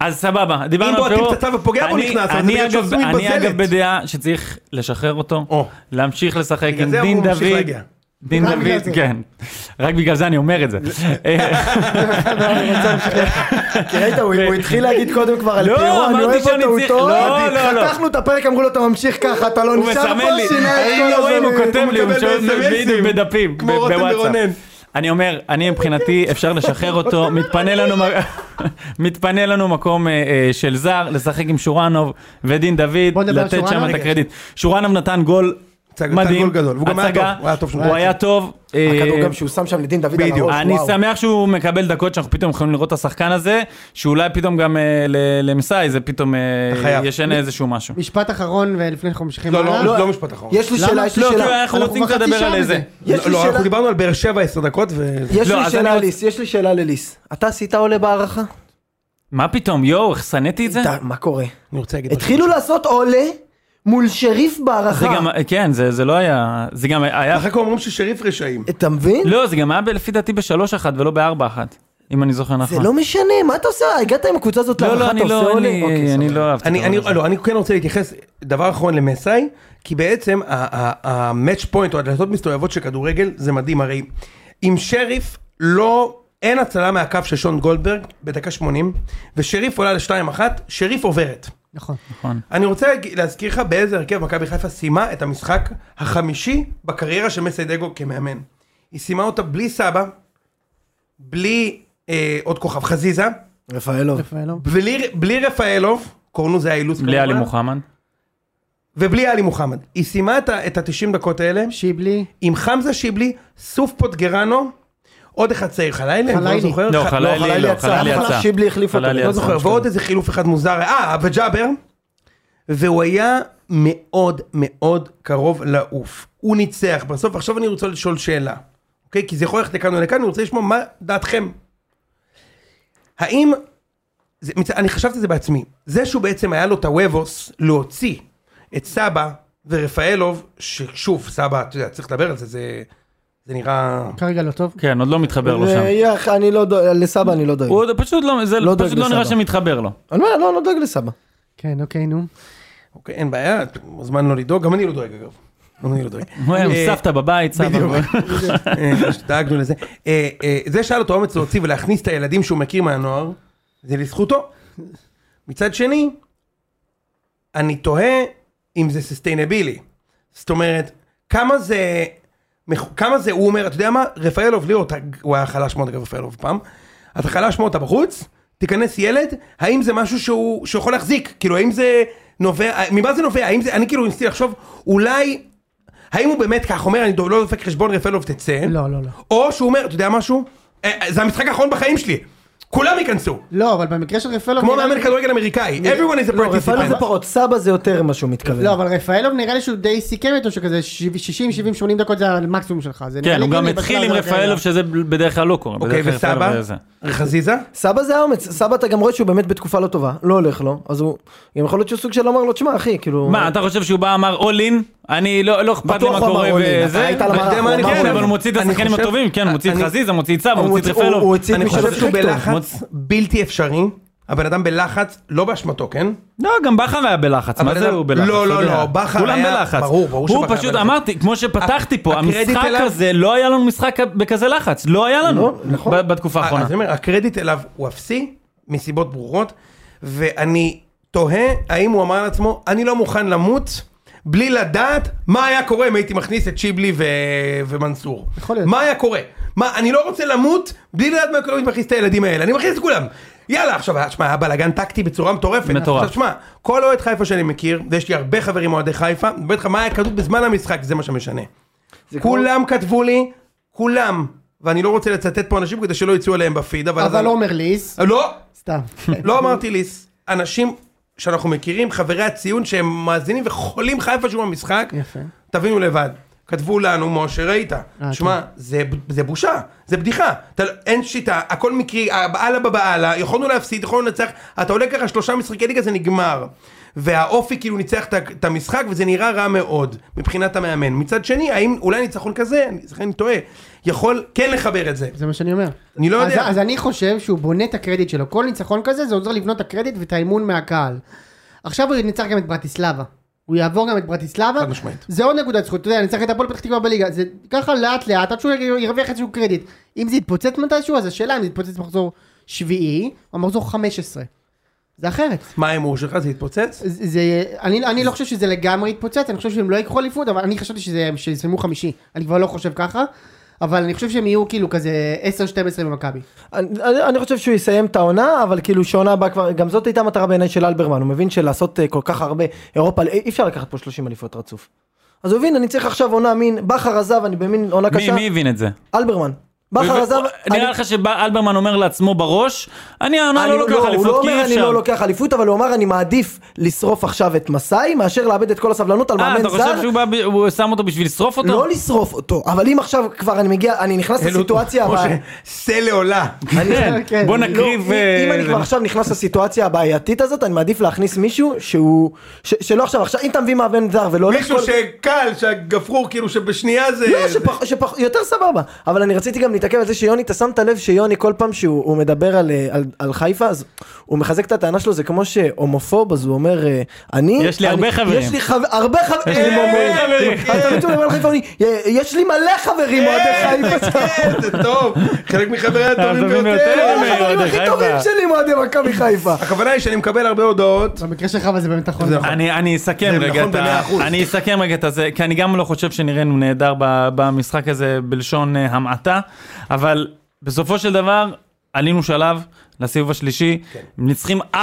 Speaker 4: אז סבבה, דיברנו על
Speaker 2: בועטים
Speaker 4: פירו.
Speaker 2: פצצה ופוגע בו,
Speaker 4: אני-
Speaker 2: נכנס, אבל זה
Speaker 4: אני
Speaker 2: בגלל
Speaker 4: אגב-
Speaker 2: שעשוי
Speaker 4: אני
Speaker 2: בזלת.
Speaker 4: אגב בדעה שצריך לשחרר
Speaker 2: או.
Speaker 4: אותו, להמשיך לשחק
Speaker 2: בגלל
Speaker 4: עם
Speaker 2: זה
Speaker 4: דין
Speaker 2: הוא ממשיך
Speaker 4: דוד.
Speaker 2: להגיע.
Speaker 4: דין
Speaker 5: רק בגלל
Speaker 4: דוד,
Speaker 5: זה.
Speaker 4: כן. רק בגלל זה אני אומר את זה.
Speaker 2: (laughs)
Speaker 3: כי ראית, הוא הוא התחיל להגיד קודם כבר על
Speaker 4: לא,
Speaker 3: פיירו, אני
Speaker 4: אמרתי
Speaker 3: אוהב
Speaker 4: שאני
Speaker 3: אותו, הוא
Speaker 4: צריך-
Speaker 3: טוב.
Speaker 4: לא, לא, לא.
Speaker 3: חתכנו את הפרק, אמרו לו, אתה ממשיך ככה, אתה לא
Speaker 4: הוא
Speaker 3: נשאר
Speaker 4: מסמן
Speaker 3: פה,
Speaker 4: לי,
Speaker 3: שינה את
Speaker 4: האם
Speaker 3: כל
Speaker 4: לא רואים, הוא
Speaker 3: הזמן.
Speaker 4: כותב לי, הוא
Speaker 2: מקבל
Speaker 4: משלם
Speaker 2: ב-SMS-ים,
Speaker 4: בדיוק בדפים,
Speaker 2: כמו
Speaker 4: ב-
Speaker 2: רותם
Speaker 4: בוואטסאפ.
Speaker 2: ורונן.
Speaker 4: אני אומר, אני מבחינתי אפשר לשחרר אותו, מתפנה לנו מ- (laughs) מתפנה לנו מקום אה, אה, של זר, לשחק עם שורנוב ודין
Speaker 5: בוא
Speaker 4: דוד,
Speaker 5: נדבר על
Speaker 4: לתת שם
Speaker 5: שורנוב.
Speaker 4: את הקרדיט. שורנוב נתן גול
Speaker 2: נתן גול
Speaker 4: מדהים,
Speaker 2: גדול, והוא גם היה
Speaker 4: הצגה,
Speaker 2: טוב, הוא היה טוב שהוא
Speaker 4: הוא
Speaker 2: היה
Speaker 4: היה טוב. אה,
Speaker 3: הכדור גם שהוא שם שם לדין דוד על
Speaker 2: בדיוק.
Speaker 3: הראש,
Speaker 4: אני
Speaker 3: וואו.
Speaker 4: שמח שהוא מקבל דקות שאנחנו פתאום יכולים לראות את השחקן הזה, שאולי פתאום גם אה, ל- למסאי זה פתאום אה,
Speaker 2: אתה חייב.
Speaker 4: ישנה איזשהו משהו.
Speaker 5: משפט אחרון ולפני שאנחנו ממשיכים
Speaker 2: לא, לא,
Speaker 5: הלאה.
Speaker 2: לא משפט אחרון.
Speaker 3: יש לי
Speaker 5: למה?
Speaker 3: שאלה, יש לי
Speaker 4: לא, כאילו
Speaker 3: שאלה.
Speaker 4: אנחנו
Speaker 5: אנחנו
Speaker 4: רוצים
Speaker 5: כבר חצי
Speaker 4: לדבר
Speaker 5: שעה
Speaker 4: על איזה.
Speaker 5: בזה.
Speaker 3: יש לי
Speaker 2: לא,
Speaker 3: שאלה.
Speaker 2: אנחנו דיברנו על באר שבע עשר דקות ו...
Speaker 3: יש
Speaker 4: לא,
Speaker 3: לי
Speaker 4: אז
Speaker 3: שאלה
Speaker 4: אני
Speaker 3: לליס, יש לי שאלה לליס. אתה עשית עולה בהערכה?
Speaker 4: מה פתאום, יואו, איך שנאתי את זה?
Speaker 3: אתה- מה קורה?
Speaker 2: אני רוצה להגיד...
Speaker 3: התחילו לעשות עולה מול שריף בהערכה.
Speaker 4: זה גם, כן, זה, זה לא היה, זה גם היה,
Speaker 2: אחר כך אומרים ששריף רשעים.
Speaker 3: אתה מבין?
Speaker 4: לא, זה גם היה ב- לפי דעתי בשלוש אחת ולא בארבע אחת. אם אני זוכר נכון.
Speaker 3: זה לא משנה, מה אתה עושה? הגעת עם הקבוצה הזאת
Speaker 4: לא,
Speaker 3: להערכה,
Speaker 4: לא,
Speaker 3: אתה
Speaker 4: אני
Speaker 3: עושה
Speaker 4: לא,
Speaker 3: עולה? אוקיי,
Speaker 4: אני- אני
Speaker 3: סבבה.
Speaker 4: לא אהבתי
Speaker 2: אני,
Speaker 4: את
Speaker 2: אני,
Speaker 4: הרעיון הזה.
Speaker 2: לא, אני כן רוצה להתייחס, דבר אחרון למסאי, כי בעצם המאץ' פוינט או הדלתות מסתובבות של כדורגל זה מדהים, הרי אם שריף לא, אין הצלה מהקו של שון גולדברג בדקה 80, ושריף עולה ל-2-1, שריף עוברת.
Speaker 5: נכון.
Speaker 4: נכון.
Speaker 2: אני רוצה להג- להזכיר לך באיזה הרכב מכבי חיפה סיימה את המשחק החמישי בקריירה של מסיידגו כמאמן. היא סיימה אותה בלי סבא, בלי אה, עוד כוכב חזיזה,
Speaker 3: רפאלוב.
Speaker 5: רפאלוב.
Speaker 2: בלי, בלי רפאלוב, קורנו זה האילוץ,
Speaker 4: בלי
Speaker 3: לא,
Speaker 2: כמובן,
Speaker 4: עלי מוחמד.
Speaker 2: ובלי עלי מוחמד. היא סיימה את ה- את ה-90 דקות האלה
Speaker 5: שיבלי.
Speaker 2: עם חמזה שיבלי, סוף פוטגרנו, עוד אחד צעיר, חלילה, אני לא
Speaker 5: חלילי.
Speaker 2: זוכר,
Speaker 4: לא,
Speaker 2: ח-
Speaker 4: חלילי
Speaker 3: חלילי
Speaker 4: לא,
Speaker 3: יצא.
Speaker 4: חלילי
Speaker 3: אחלה,
Speaker 4: יצא.
Speaker 3: שיבלי החליף אותו,
Speaker 4: חלילי
Speaker 2: לא
Speaker 4: יצא,
Speaker 2: זוכר,
Speaker 4: משתדל.
Speaker 2: ועוד איזה חילוף אחד מוזר, אה, וג'אבר, והוא היה מאוד מאוד קרוב לעוף. הוא ניצח בסוף, עכשיו אני רוצה לשאול שאלה, אוקיי? כי זה יכול ללכת לכאן או לכאן, אני רוצה לשמוע מה דעתכם. האם, זה, מצ- אני חשבתי את זה בעצמי, זה שהוא בעצם היה לו את הוובוס להוציא את סבא ורפאלוב, ששוב, סבא, אתה יודע, צריך לדבר על זה, זה, זה נראה...
Speaker 5: כרגע לא טוב.
Speaker 4: כן, עוד לא מתחבר לו שם.
Speaker 3: ויהיה אח- אני לא דואג, לסבא אני לא דואג.
Speaker 4: הוא עוד פשוט לא, זה
Speaker 3: לא דואג
Speaker 4: פשוט לא נראה
Speaker 3: לסבא.
Speaker 4: שמתחבר לו.
Speaker 3: אני אומר, לא, לא דואג לסבא.
Speaker 5: כן, אוקיי, נו.
Speaker 2: אוקיי, אין בעיה, אתה מוזמן לא לדאוג, גם אני לא דואג אגב. גם אני לא דואג.
Speaker 4: הוא היה עם
Speaker 2: אה,
Speaker 4: סבתא בבית, סבא.
Speaker 2: בדיוק. אה, דאגנו לזה. אה, אה, זה שהיה לו את האומץ להוציא ולהכניס את הילדים שהוא מכיר מהנוער, זה לזכותו. מצד שני, אני תוהה אם זה ססטיינבילי. זאת אומרת, כמה זה... מח- כמה זה, הוא אומר, אתה יודע מה, רפאלוב ליאור, אתה- הוא היה חלש מאוד אגב רפאלוב פעם, אתה חלש מאוד, אתה בחוץ, תיכנס ילד, האם זה משהו שהוא, שיכול להחזיק, כאילו האם זה נובע, ממה זה נובע, האם זה, אני כאילו ניסיתי לחשוב, אולי, האם הוא באמת כך אומר, אני דו- לא דופק חשבון רפאלוב תצא,
Speaker 5: לא, לא, לא.
Speaker 2: או שהוא אומר, אתה יודע משהו, אה, אה, זה המשחק האחרון בחיים שלי, כולם ייכנסו,
Speaker 5: לא, אבל במקרה של רפאלוב...
Speaker 2: כמו
Speaker 5: נראה לי-
Speaker 2: מאמן כדורגל אמריקאי, everyone is a
Speaker 4: אוקיי,
Speaker 3: לא, רפאלוב זה
Speaker 2: participant,
Speaker 3: פחות, סבא זה יותר מה שהוא מתכוון.
Speaker 5: לא, אבל רפאלוב נראה לי שהוא די סיכם איתו שכזה 60, 70, 80 דקות זה המקסימום שלך. זה נראה
Speaker 4: כן,
Speaker 3: לא
Speaker 5: לי כאילו
Speaker 4: הוא גם
Speaker 5: הגיוני
Speaker 4: התחיל
Speaker 5: בשלב
Speaker 4: עם
Speaker 5: הזה.
Speaker 4: רפאלוב, שזה בדרך כלל לא קורה.
Speaker 2: אוקיי,
Speaker 4: בדרך כלל
Speaker 2: וסבא,
Speaker 4: רפאלוב זה-
Speaker 2: חזיזה,
Speaker 3: סבא זה האומץ, סבא אתה גם רואה שהוא באמת בתקופה לא טובה, לא הולך לו, אז הוא, גם יכול להיות שהוא סוג של אמר לו, תשמע אחי, כאילו,
Speaker 4: מה, אתה חושב שהוא בא אמר אול אין? אני לא לא אכפת לי
Speaker 3: בטוח הוא
Speaker 4: מה
Speaker 3: אמר
Speaker 4: קורה
Speaker 3: all in,
Speaker 4: וזה?
Speaker 3: היית על
Speaker 4: אבל-
Speaker 3: המהלך, הוא
Speaker 2: אני
Speaker 3: אמר
Speaker 4: כן,
Speaker 3: all
Speaker 2: חושב?
Speaker 3: in.
Speaker 4: אבל הוא מוציא את
Speaker 2: אני
Speaker 4: השחקנים
Speaker 2: חושב-
Speaker 4: הטובים, כן, הוא מוציא את
Speaker 2: אני-
Speaker 4: חזיזה, מוציא את סבא,
Speaker 3: הוא
Speaker 4: מוציא את
Speaker 3: הוציא- הוא- הוא
Speaker 4: רפאלוב.
Speaker 3: הוציא את
Speaker 2: אני
Speaker 3: מי שלא
Speaker 2: חושב שהוא
Speaker 3: שיחק טוב.
Speaker 2: בלחץ בלתי אפשרי. הבן אדם בלחץ, לא באשמתו, כן?
Speaker 4: לא, גם בכר היה בלחץ, מה
Speaker 2: אבל
Speaker 4: זה
Speaker 2: אדם-
Speaker 4: הוא בלחץ?
Speaker 2: לא,
Speaker 4: אתה
Speaker 2: לא,
Speaker 4: יודע.
Speaker 2: לא, בכר
Speaker 4: כולם
Speaker 2: היה-
Speaker 4: בלחץ.
Speaker 2: ברור, ברור
Speaker 4: הוא
Speaker 2: שבכר
Speaker 4: פשוט
Speaker 2: בלחץ.
Speaker 4: אמרתי, כמו שפתחתי פה,
Speaker 2: הקרדיט
Speaker 4: המשחק
Speaker 2: אליו-
Speaker 4: הזה, לא היה לנו משחק בכזה לחץ, לא היה לנו ב- בתקופה האחרונה.
Speaker 2: אה, אז אני אומר, הקרדיט אליו הוא אפסי, מסיבות ברורות, ואני תוהה האם הוא אמר לעצמו, אני לא מוכן למות. בלי לדעת מה היה קורה אם הייתי מכניס את שיבלי ו... ומנסור.
Speaker 5: יכול להיות.
Speaker 2: מה היה קורה? מה, אני לא רוצה למות בלי לדעת מה קורה אם אני מכניס את הילדים האלה. אני מכניס את כולם. יאללה, עכשיו, שמע, היה בלאגן טקטי בצורה מטורפת.
Speaker 4: מטורף.
Speaker 2: עכשיו, שמע, כל אוהד חיפה שאני מכיר, ויש לי הרבה חברים אוהדי חיפה, אני אומר לך מה היה כתוב בזמן המשחק, זה מה שמשנה. כולם כתבו לי, כולם, ואני לא רוצה לצטט פה אנשים כדי שלא יצאו אליהם בפיד, אבל...
Speaker 5: אבל עומר ליס,
Speaker 2: לא,
Speaker 5: סתם.
Speaker 2: לא אמרתי ליס. אנשים שאנחנו מכירים, חברי הציון שהם מאזינים וחולים חיפה שהוא במשחק,
Speaker 5: יפה.
Speaker 2: תבינו לבד. כתבו לנו, משה, ראית. שמע, זה, זה בושה, זה בדיחה. אתה, לא- אין שיטה, הכל מקרי, בעלה בבעלה, יכולנו להפסיד, יכולנו לנצח, אתה עולה ככה שלושה משחקי ליגה, זה נגמר. והאופי כאילו ניצח את ה- את המשחק, וזה נראה רע מאוד, מבחינת המאמן. מצד שני, האם אולי ניצחון כזה, אני- לכן אני טועה, יכול כן לחבר את זה.
Speaker 5: זה מה שאני אומר.
Speaker 2: אני לא
Speaker 5: אז-
Speaker 2: יודע.
Speaker 5: אז אני חושב שהוא בונה את הקרדיט שלו. כל ניצחון כזה זה עוזר לבנות את הקרדיט ואת האמון מהקהל. עכשיו הוא ניצח גם את ברטיסלבה. הוא יעבור גם את ברטיסלבה.
Speaker 2: חד משמעית.
Speaker 5: זה עוד נקודת זכות. אתה יודע, ניצח את הפועל פתח תקווה בליגה. זה ככה לאט לאט עד שהוא ירוויח איזשהו קרדיט. אם זה יתפוצץ מתישהו אז השאלה אם זה יתפוצץ במחזור שביעי או במחזור 15. זה אחרת.
Speaker 2: מה ההימור שלך, זה יתפוצץ?
Speaker 5: זה, זה- אני, אני לא חושב שזה לגמרי יתפוצץ, אני חושב שהם לא ייקחו אליפות, אבל אני חשבתי שזה- שיסיימו חמישי, אני כבר לא חושב ככה, אבל אני חושב שהם יהיו כאילו כזה 10-12 במכבי.
Speaker 3: אני- אני אני חושב שהוא יסיים את העונה, אבל כאילו שעונה הבאה כבר, גם זאת הייתה מטרה בעיניי של אלברמן, הוא מבין שלעשות אה, כל כך הרבה אירופה, אי אי אפשר לקחת פה 30 אליפות רצוף. אז הוא הבין, אני צריך עכשיו עונה מין, בכר עזב, אני במין עונה
Speaker 4: מי
Speaker 3: קשה,
Speaker 4: מי הבין את זה?
Speaker 3: אלברמן. בכר עזב, אני-
Speaker 4: נראה לך שאלברמן אומר לעצמו בראש, אני העונה
Speaker 3: אני-
Speaker 4: לא לוקח
Speaker 3: הוא לא
Speaker 4: אליפות, כי
Speaker 3: אומר
Speaker 4: אי
Speaker 3: אני
Speaker 4: אפשר.
Speaker 3: לא לוקח אליפות, אבל הוא אמר אני מעדיף לשרוף עכשיו את מסאי, מאשר לאבד את כל הסבלנות על
Speaker 4: אה,
Speaker 3: מאמן
Speaker 4: אתה
Speaker 3: זר.
Speaker 4: חושב שהוא בא ב- הוא שם אותו בשביל לשרוף אותו?
Speaker 3: לא לשרוף אותו, אבל אם עכשיו כבר אני מגיע, אני נכנס לסיטואציה הבאה.
Speaker 2: משה, סה לעולה.
Speaker 4: כן,
Speaker 5: כן,
Speaker 4: בוא
Speaker 5: לא,
Speaker 3: לא,
Speaker 4: נקריב...
Speaker 3: אם אם
Speaker 4: אה,
Speaker 3: אני
Speaker 4: זה.
Speaker 3: כבר עכשיו נכנס לסיטואציה הבעייתית הזאת, אני מעדיף להכניס מישהו שהוא, ש- שלא עכשיו, עכשיו אם אתה מביא מאמן זר ולא הולך
Speaker 2: מישהו
Speaker 3: כל-
Speaker 2: שקל, שהגפרור כאילו שבשנייה זה...
Speaker 3: לא, שפח- שפח- יותר סבבה, אבל אני רציתי גם מתעכב על זה שיוני, אתה שמת לב שיוני כל פעם שהוא הוא מדבר על, אה, על, על חיפה, אז הוא מחזק את הטענה שלו, זה כמו שהומופוב, אז הוא אומר, אה, אני...
Speaker 4: יש לי
Speaker 3: אני-
Speaker 4: הרבה חברים.
Speaker 3: יש לי חב- הרבה חברים.
Speaker 4: יש לי מלא חברים.
Speaker 3: אז אתה מתאמן על חיפה, אני, "יה- יש לי מלא חברים אוהדי
Speaker 4: אה,
Speaker 3: חיפה.
Speaker 2: כן, זה טוב, חלק מחברי הטובים
Speaker 4: הטובים
Speaker 2: ביותר.
Speaker 4: ביותר.
Speaker 3: כל החברים
Speaker 4: אוהדי
Speaker 3: הכי
Speaker 4: חיפה.
Speaker 3: טובים שלי הם אוהדי מכבי חיפה.
Speaker 2: הכוונה היא שאני מקבל הרבה הודעות.
Speaker 5: במקרה שלך אבל זה באמת נכון.
Speaker 2: זה נכון.
Speaker 4: אני, אני אסכם
Speaker 2: זה
Speaker 4: רגע
Speaker 2: נכון
Speaker 4: את ה...
Speaker 2: במאה אחוז.
Speaker 4: אני אסכם רגע את הזה, כי אני גם לא חושב שנראינו נהדר ב- במשחק הזה בלשון אה, המעטה, אבל בסופו של דבר עלינו שלב לסיבוב השלישי,
Speaker 2: כן.
Speaker 4: מנצחים 4-1.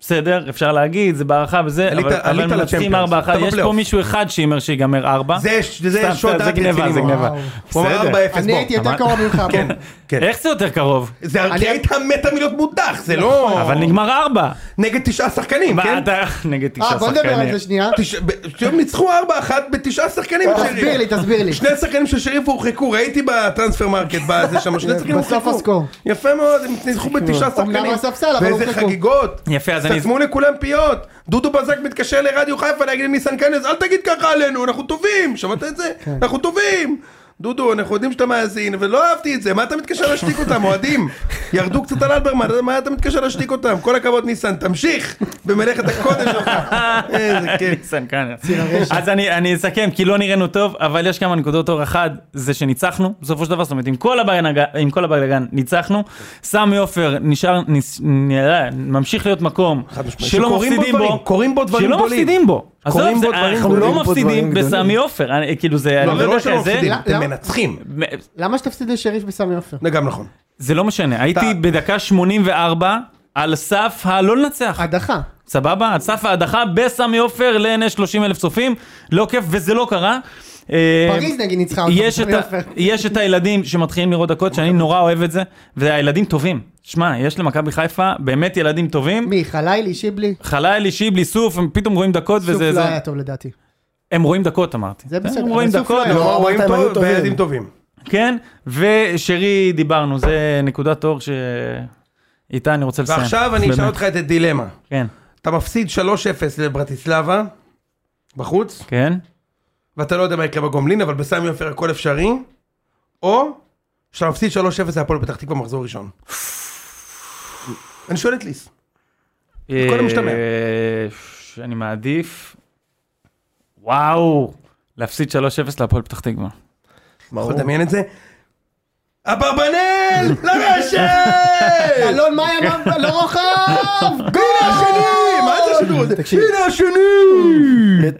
Speaker 4: בסדר, אפשר להגיד, זה בהערכה וזה,
Speaker 2: עלית-
Speaker 4: אבל,
Speaker 2: עלית
Speaker 4: אבל מנצחים
Speaker 2: לצ'מפיונס,
Speaker 4: 4-1,
Speaker 2: אתה
Speaker 4: יש פה
Speaker 2: בפלייאוף.
Speaker 4: מישהו אחד שהימר שיגמר 4.
Speaker 2: זה זה
Speaker 4: סתם,
Speaker 2: שוט
Speaker 4: זה
Speaker 2: ארט
Speaker 4: גניבה, זה
Speaker 2: רציני מאוד.
Speaker 4: גניבה.
Speaker 2: הוא אמר 4-0,
Speaker 4: בסדר. אה?
Speaker 2: בוא.
Speaker 5: אני הייתי יותר
Speaker 4: אבל-
Speaker 5: קרוב ממך. בוא.
Speaker 2: כן, כן.
Speaker 4: איך זה יותר קרוב?
Speaker 2: זה
Speaker 5: אני- נכון.
Speaker 2: כי היית מתה מלהיות מודח, זה לא...
Speaker 4: אבל נגמר 4.
Speaker 2: נגד תשעה שחקנים, כן?
Speaker 4: נגד תשעה
Speaker 5: אה,
Speaker 4: שחקנים.
Speaker 5: בוא נדבר על זה שנייה.
Speaker 2: תש- ב- שהם ניצחו 4-1 בתשעה שחקנים.
Speaker 5: תסביר לי, תסביר לי.
Speaker 2: שני שחקנים של שריף הורחקו, ראיתי בטרנספר מרקט, בזה שם,
Speaker 5: (laughs)
Speaker 2: שני שחקנים
Speaker 5: בסוף
Speaker 2: הורחקו.
Speaker 5: הסקור.
Speaker 2: יפה מאוד, הם ניצחו בתשעה
Speaker 5: אומנם
Speaker 2: שחקנים.
Speaker 5: הספסל, אבל
Speaker 2: ואיזה
Speaker 5: הורחקו.
Speaker 2: חגיגות.
Speaker 4: יפה, אז אני...
Speaker 2: סתמו לכולם פיות. דודו בזק מתקשר לרדיו חיפה להגיד לניסן כנס, אל תגיד ככה עלינו, אנחנו טובים, שמעת את זה?
Speaker 5: כן.
Speaker 2: אנחנו טובים. דודו, אנחנו יודעים שאתה מאזין, ולא אהבתי את זה, מה אתה מתקשר להשתיק אותם,
Speaker 5: (laughs)
Speaker 2: אוהדים? ירדו קצת על אלברמן, מה אתה מתקשר להשתיק אותם? כל הכבוד ניסן, תמשיך במלאכת הקודש
Speaker 4: (laughs)
Speaker 2: שלך. איזה כיף.
Speaker 4: ניסן כהנא. אז אני אני אסכם, כי לא נראינו טוב, אבל יש כמה נקודות אור. אחת, זה שניצחנו, בסופו של דבר, זאת אומרת, עם כל הבלגן- עם כל הבלגן ניצחנו. סמי עופר נשאר, ניס- נראה, ממשיך להיות מקום
Speaker 2: משמעית.
Speaker 4: שלא
Speaker 2: שקורים בו
Speaker 4: מפסידים
Speaker 2: דברים,
Speaker 4: בו.
Speaker 2: קורים בו דברים
Speaker 4: שלא
Speaker 2: גדולים.
Speaker 4: מפסידים בו. עזוב,
Speaker 2: קורים
Speaker 4: זה-
Speaker 2: בו דברים
Speaker 4: אנחנו
Speaker 2: גדולים.
Speaker 4: לא
Speaker 3: קורים בו
Speaker 4: מפסידים
Speaker 3: דברים גדולים.
Speaker 4: בסמי עופר, אני- כאילו זה, אני
Speaker 2: לא, זה
Speaker 4: לא
Speaker 2: לא
Speaker 4: יודע
Speaker 2: שלא
Speaker 4: איך זה.
Speaker 2: מפסידים, אתם
Speaker 5: למה?
Speaker 2: מנצחים.
Speaker 5: למה שתפסיד לשריף בסמי עופר?
Speaker 2: זה גם נכון.
Speaker 4: זה לא משנה, הייתי
Speaker 2: אתה-
Speaker 4: בדקה 84 על סף הלא לנצח.
Speaker 5: הדחה.
Speaker 4: סבבה? על סף ההדחה בסמי עופר לעיני 30 אלף צופים, לא כיף וזה לא קרה. אה,
Speaker 5: פריז נגיד ניצחה אותם,
Speaker 4: יש
Speaker 5: בסמי
Speaker 4: את ה-
Speaker 5: עופר.
Speaker 4: יש את הילדים שמתחילים לראות דקות שאני נורא אוהב את זה, והילדים טובים. שמע, יש למכבי חיפה באמת ילדים טובים.
Speaker 5: מי? חלילי, שיבלי?
Speaker 4: חלילי, שיבלי, סוף, הם פתאום רואים דקות
Speaker 5: סוף
Speaker 4: וזה...
Speaker 5: לא
Speaker 4: זה-
Speaker 5: היה טוב לדעתי.
Speaker 4: הם רואים דקות אמרתי.
Speaker 5: זה בסדר,
Speaker 4: הם
Speaker 5: אבל
Speaker 4: רואים
Speaker 5: סוף לא
Speaker 4: דקות,
Speaker 5: היה.
Speaker 2: לא,
Speaker 3: אמרת,
Speaker 2: רואים
Speaker 3: הם היו
Speaker 2: טוב,
Speaker 3: טובים.
Speaker 2: וילדים טובים.
Speaker 4: כן, ושרי דיברנו, זה נקודת אור ש... איתה אני רוצה לסיים.
Speaker 2: ועכשיו אני אשאל
Speaker 4: באמת.
Speaker 2: אותך את הדילמה.
Speaker 4: כן,
Speaker 2: אתה מפסיד 3-0 לברטיסלבה, בחוץ,
Speaker 4: כן.
Speaker 2: ואתה לא יודע מה יקרה בגומלין, אבל בסמי עופר הכל אפשרי, או שאתה מפסיד 3-0 להפועל פתח תקווה מחזור ראשון. אני שואל את ליס. כל המשתמע.
Speaker 4: אה, ש- אני מעדיף, וואו, להפסיד 3-0 להפועל פתח תקווה.
Speaker 2: אתה יכול לדמיין את זה?
Speaker 3: (laughs)
Speaker 2: אברבנל! לרשת!
Speaker 5: אלון מאיה מה- לא רוחב!
Speaker 2: הנה השני! מה זה השידור הזה?
Speaker 3: תקשיב.
Speaker 2: הנה השני!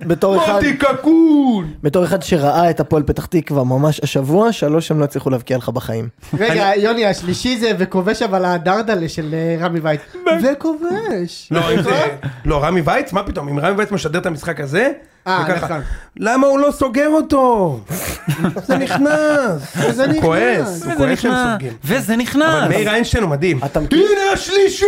Speaker 3: בתור אחד...
Speaker 2: מוטי קקון!
Speaker 3: בתור אחד שראה את הפועל פתח תקווה ממש השבוע, שלוש הם לא הצליחו להבקיע לך בחיים.
Speaker 5: רגע, יוני, השלישי זה וכובש אבל הדרדלה של אה, רמי וייץ. וכובש!
Speaker 2: לא, (laughs) אם זה... לא, רמי וייץ? מה פתאום? אם רמי וייץ משדר את המשחק הזה?
Speaker 5: אה,
Speaker 2: וככה,
Speaker 5: נכון.
Speaker 2: למה הוא לא סוגר אותו? זה נכנס.
Speaker 5: זה
Speaker 2: הוא
Speaker 5: נכנס.
Speaker 2: כועס, הוא
Speaker 4: וזה
Speaker 2: כועס שהם
Speaker 4: נכנס,
Speaker 2: סוגרים.
Speaker 4: וזה נכנס.
Speaker 2: אבל מאיר איינשטיין הוא מדהים.
Speaker 3: אתה מכיר?
Speaker 2: הנה השלישי!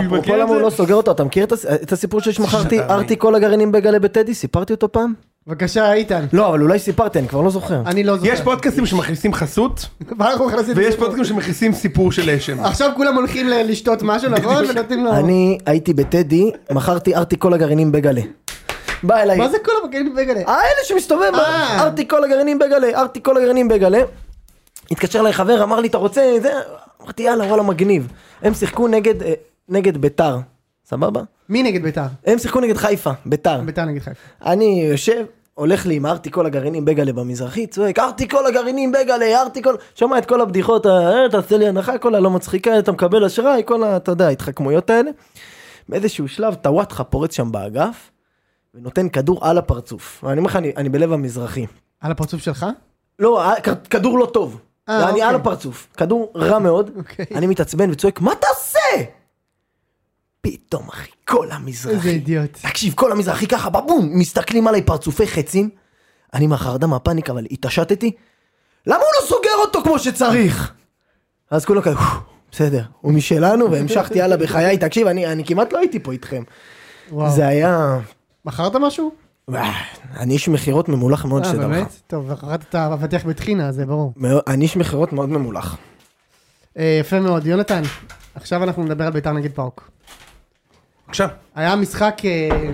Speaker 3: אפרופו
Speaker 2: מכיר את
Speaker 3: למה הוא
Speaker 2: זה?
Speaker 3: לא סוגר אותו, אתה מכיר את הס- את הסיפור
Speaker 5: (laughs)
Speaker 3: ששמכרתי,
Speaker 2: שאתה
Speaker 3: ארתי כל הגרעינים בגלה בטדי? סיפרתי אותו פעם?
Speaker 5: בבקשה, איתן.
Speaker 3: לא, אבל אולי סיפרתי, אני כבר לא זוכר.
Speaker 5: אני לא זוכר.
Speaker 2: יש פודקאסטים שמכניסים חסות,
Speaker 5: (laughs) ברוך נכנסים
Speaker 2: ויש
Speaker 5: לסיפור.
Speaker 2: פודקאסטים שמכניסים סיפור של אשם.
Speaker 5: עכשיו כולם הולכים ל- לשתות משהו, נכון? ונותנים לו...
Speaker 3: אני הייתי בטדי, מכרתי ארתי כל הגרעינים בגלה. בא אליי.
Speaker 5: מה זה כל הבגנים בגלה?
Speaker 3: האלה שמסתובב,
Speaker 5: אה.
Speaker 3: ארתי כל הגרעינים בגלה, ארתי כל הגרעינים בגלה. התקשר אליי חבר, אמר לי, אתה רוצה? זה... אמרתי, יאללה, וואלה, מגניב. הם שיחקו נגד, אה, נגד ביתר, סבבה?
Speaker 5: מי נגד ביתר?
Speaker 3: הם שיחקו נגד חיפה, ביתר.
Speaker 5: ביתר נגד חיפה.
Speaker 3: אני יושב, הולך לי עם ארטיקול הגרעינים בגלה במזרחי, צועק, ארטיקול הגרעינים בגלה, ארטיקול, שומע את כל הבדיחות, "אה, אה, תעשה לי הנחה, כל הלא מצחיקה, אתה מקבל אשראי, כל ה... אתה יודע, ההתחכמויות האלה. באיזשהו שלב, טוואטחה פורץ שם באגף, ונותן כדור על הפרצוף. אני אומר לך, אני, אני בלב המזרחי.
Speaker 5: על הפרצוף שלך?
Speaker 3: לא, אה, כ- כדור לא טוב.
Speaker 5: אה,
Speaker 3: אני
Speaker 5: אוקיי.
Speaker 3: על הפרצוף. כדור רע מאוד.
Speaker 5: אוקיי.
Speaker 3: אני מתעצבן וצועק, מה תעשה? פתאום, אחי, כל המזרחי.
Speaker 5: איזה אידיוט.
Speaker 3: תקשיב, כל המזרחי ככה, בבום, מסתכלים עליי פרצופי חצים. אני מהחרדה, מהפאניקה, אבל התעשתתי. למה הוא לא סוגר אותו כמו שצריך? אז כולם כאלה, "פו, בסדר, הוא משלנו, והמשכתי הלאה בחיי. תקשיב, אני אני כמעט לא הייתי פה איתכם.
Speaker 5: וואו.
Speaker 3: זה היה...
Speaker 5: מכרת משהו?
Speaker 3: וואו, אני איש מכירות ממולח מאוד,
Speaker 5: אה,
Speaker 3: שתדע
Speaker 5: באמת?
Speaker 3: לך.
Speaker 5: טוב, מכרת את המפתח בטחינה, זה ברור.
Speaker 3: מאוד- אני איש מכירות מאוד ממולח.
Speaker 5: אה, יפה מאוד. יונתן, עכשיו אנחנו נדבר על ביתר נגד פאוק.
Speaker 2: בבקשה.
Speaker 5: היה משחק... אה,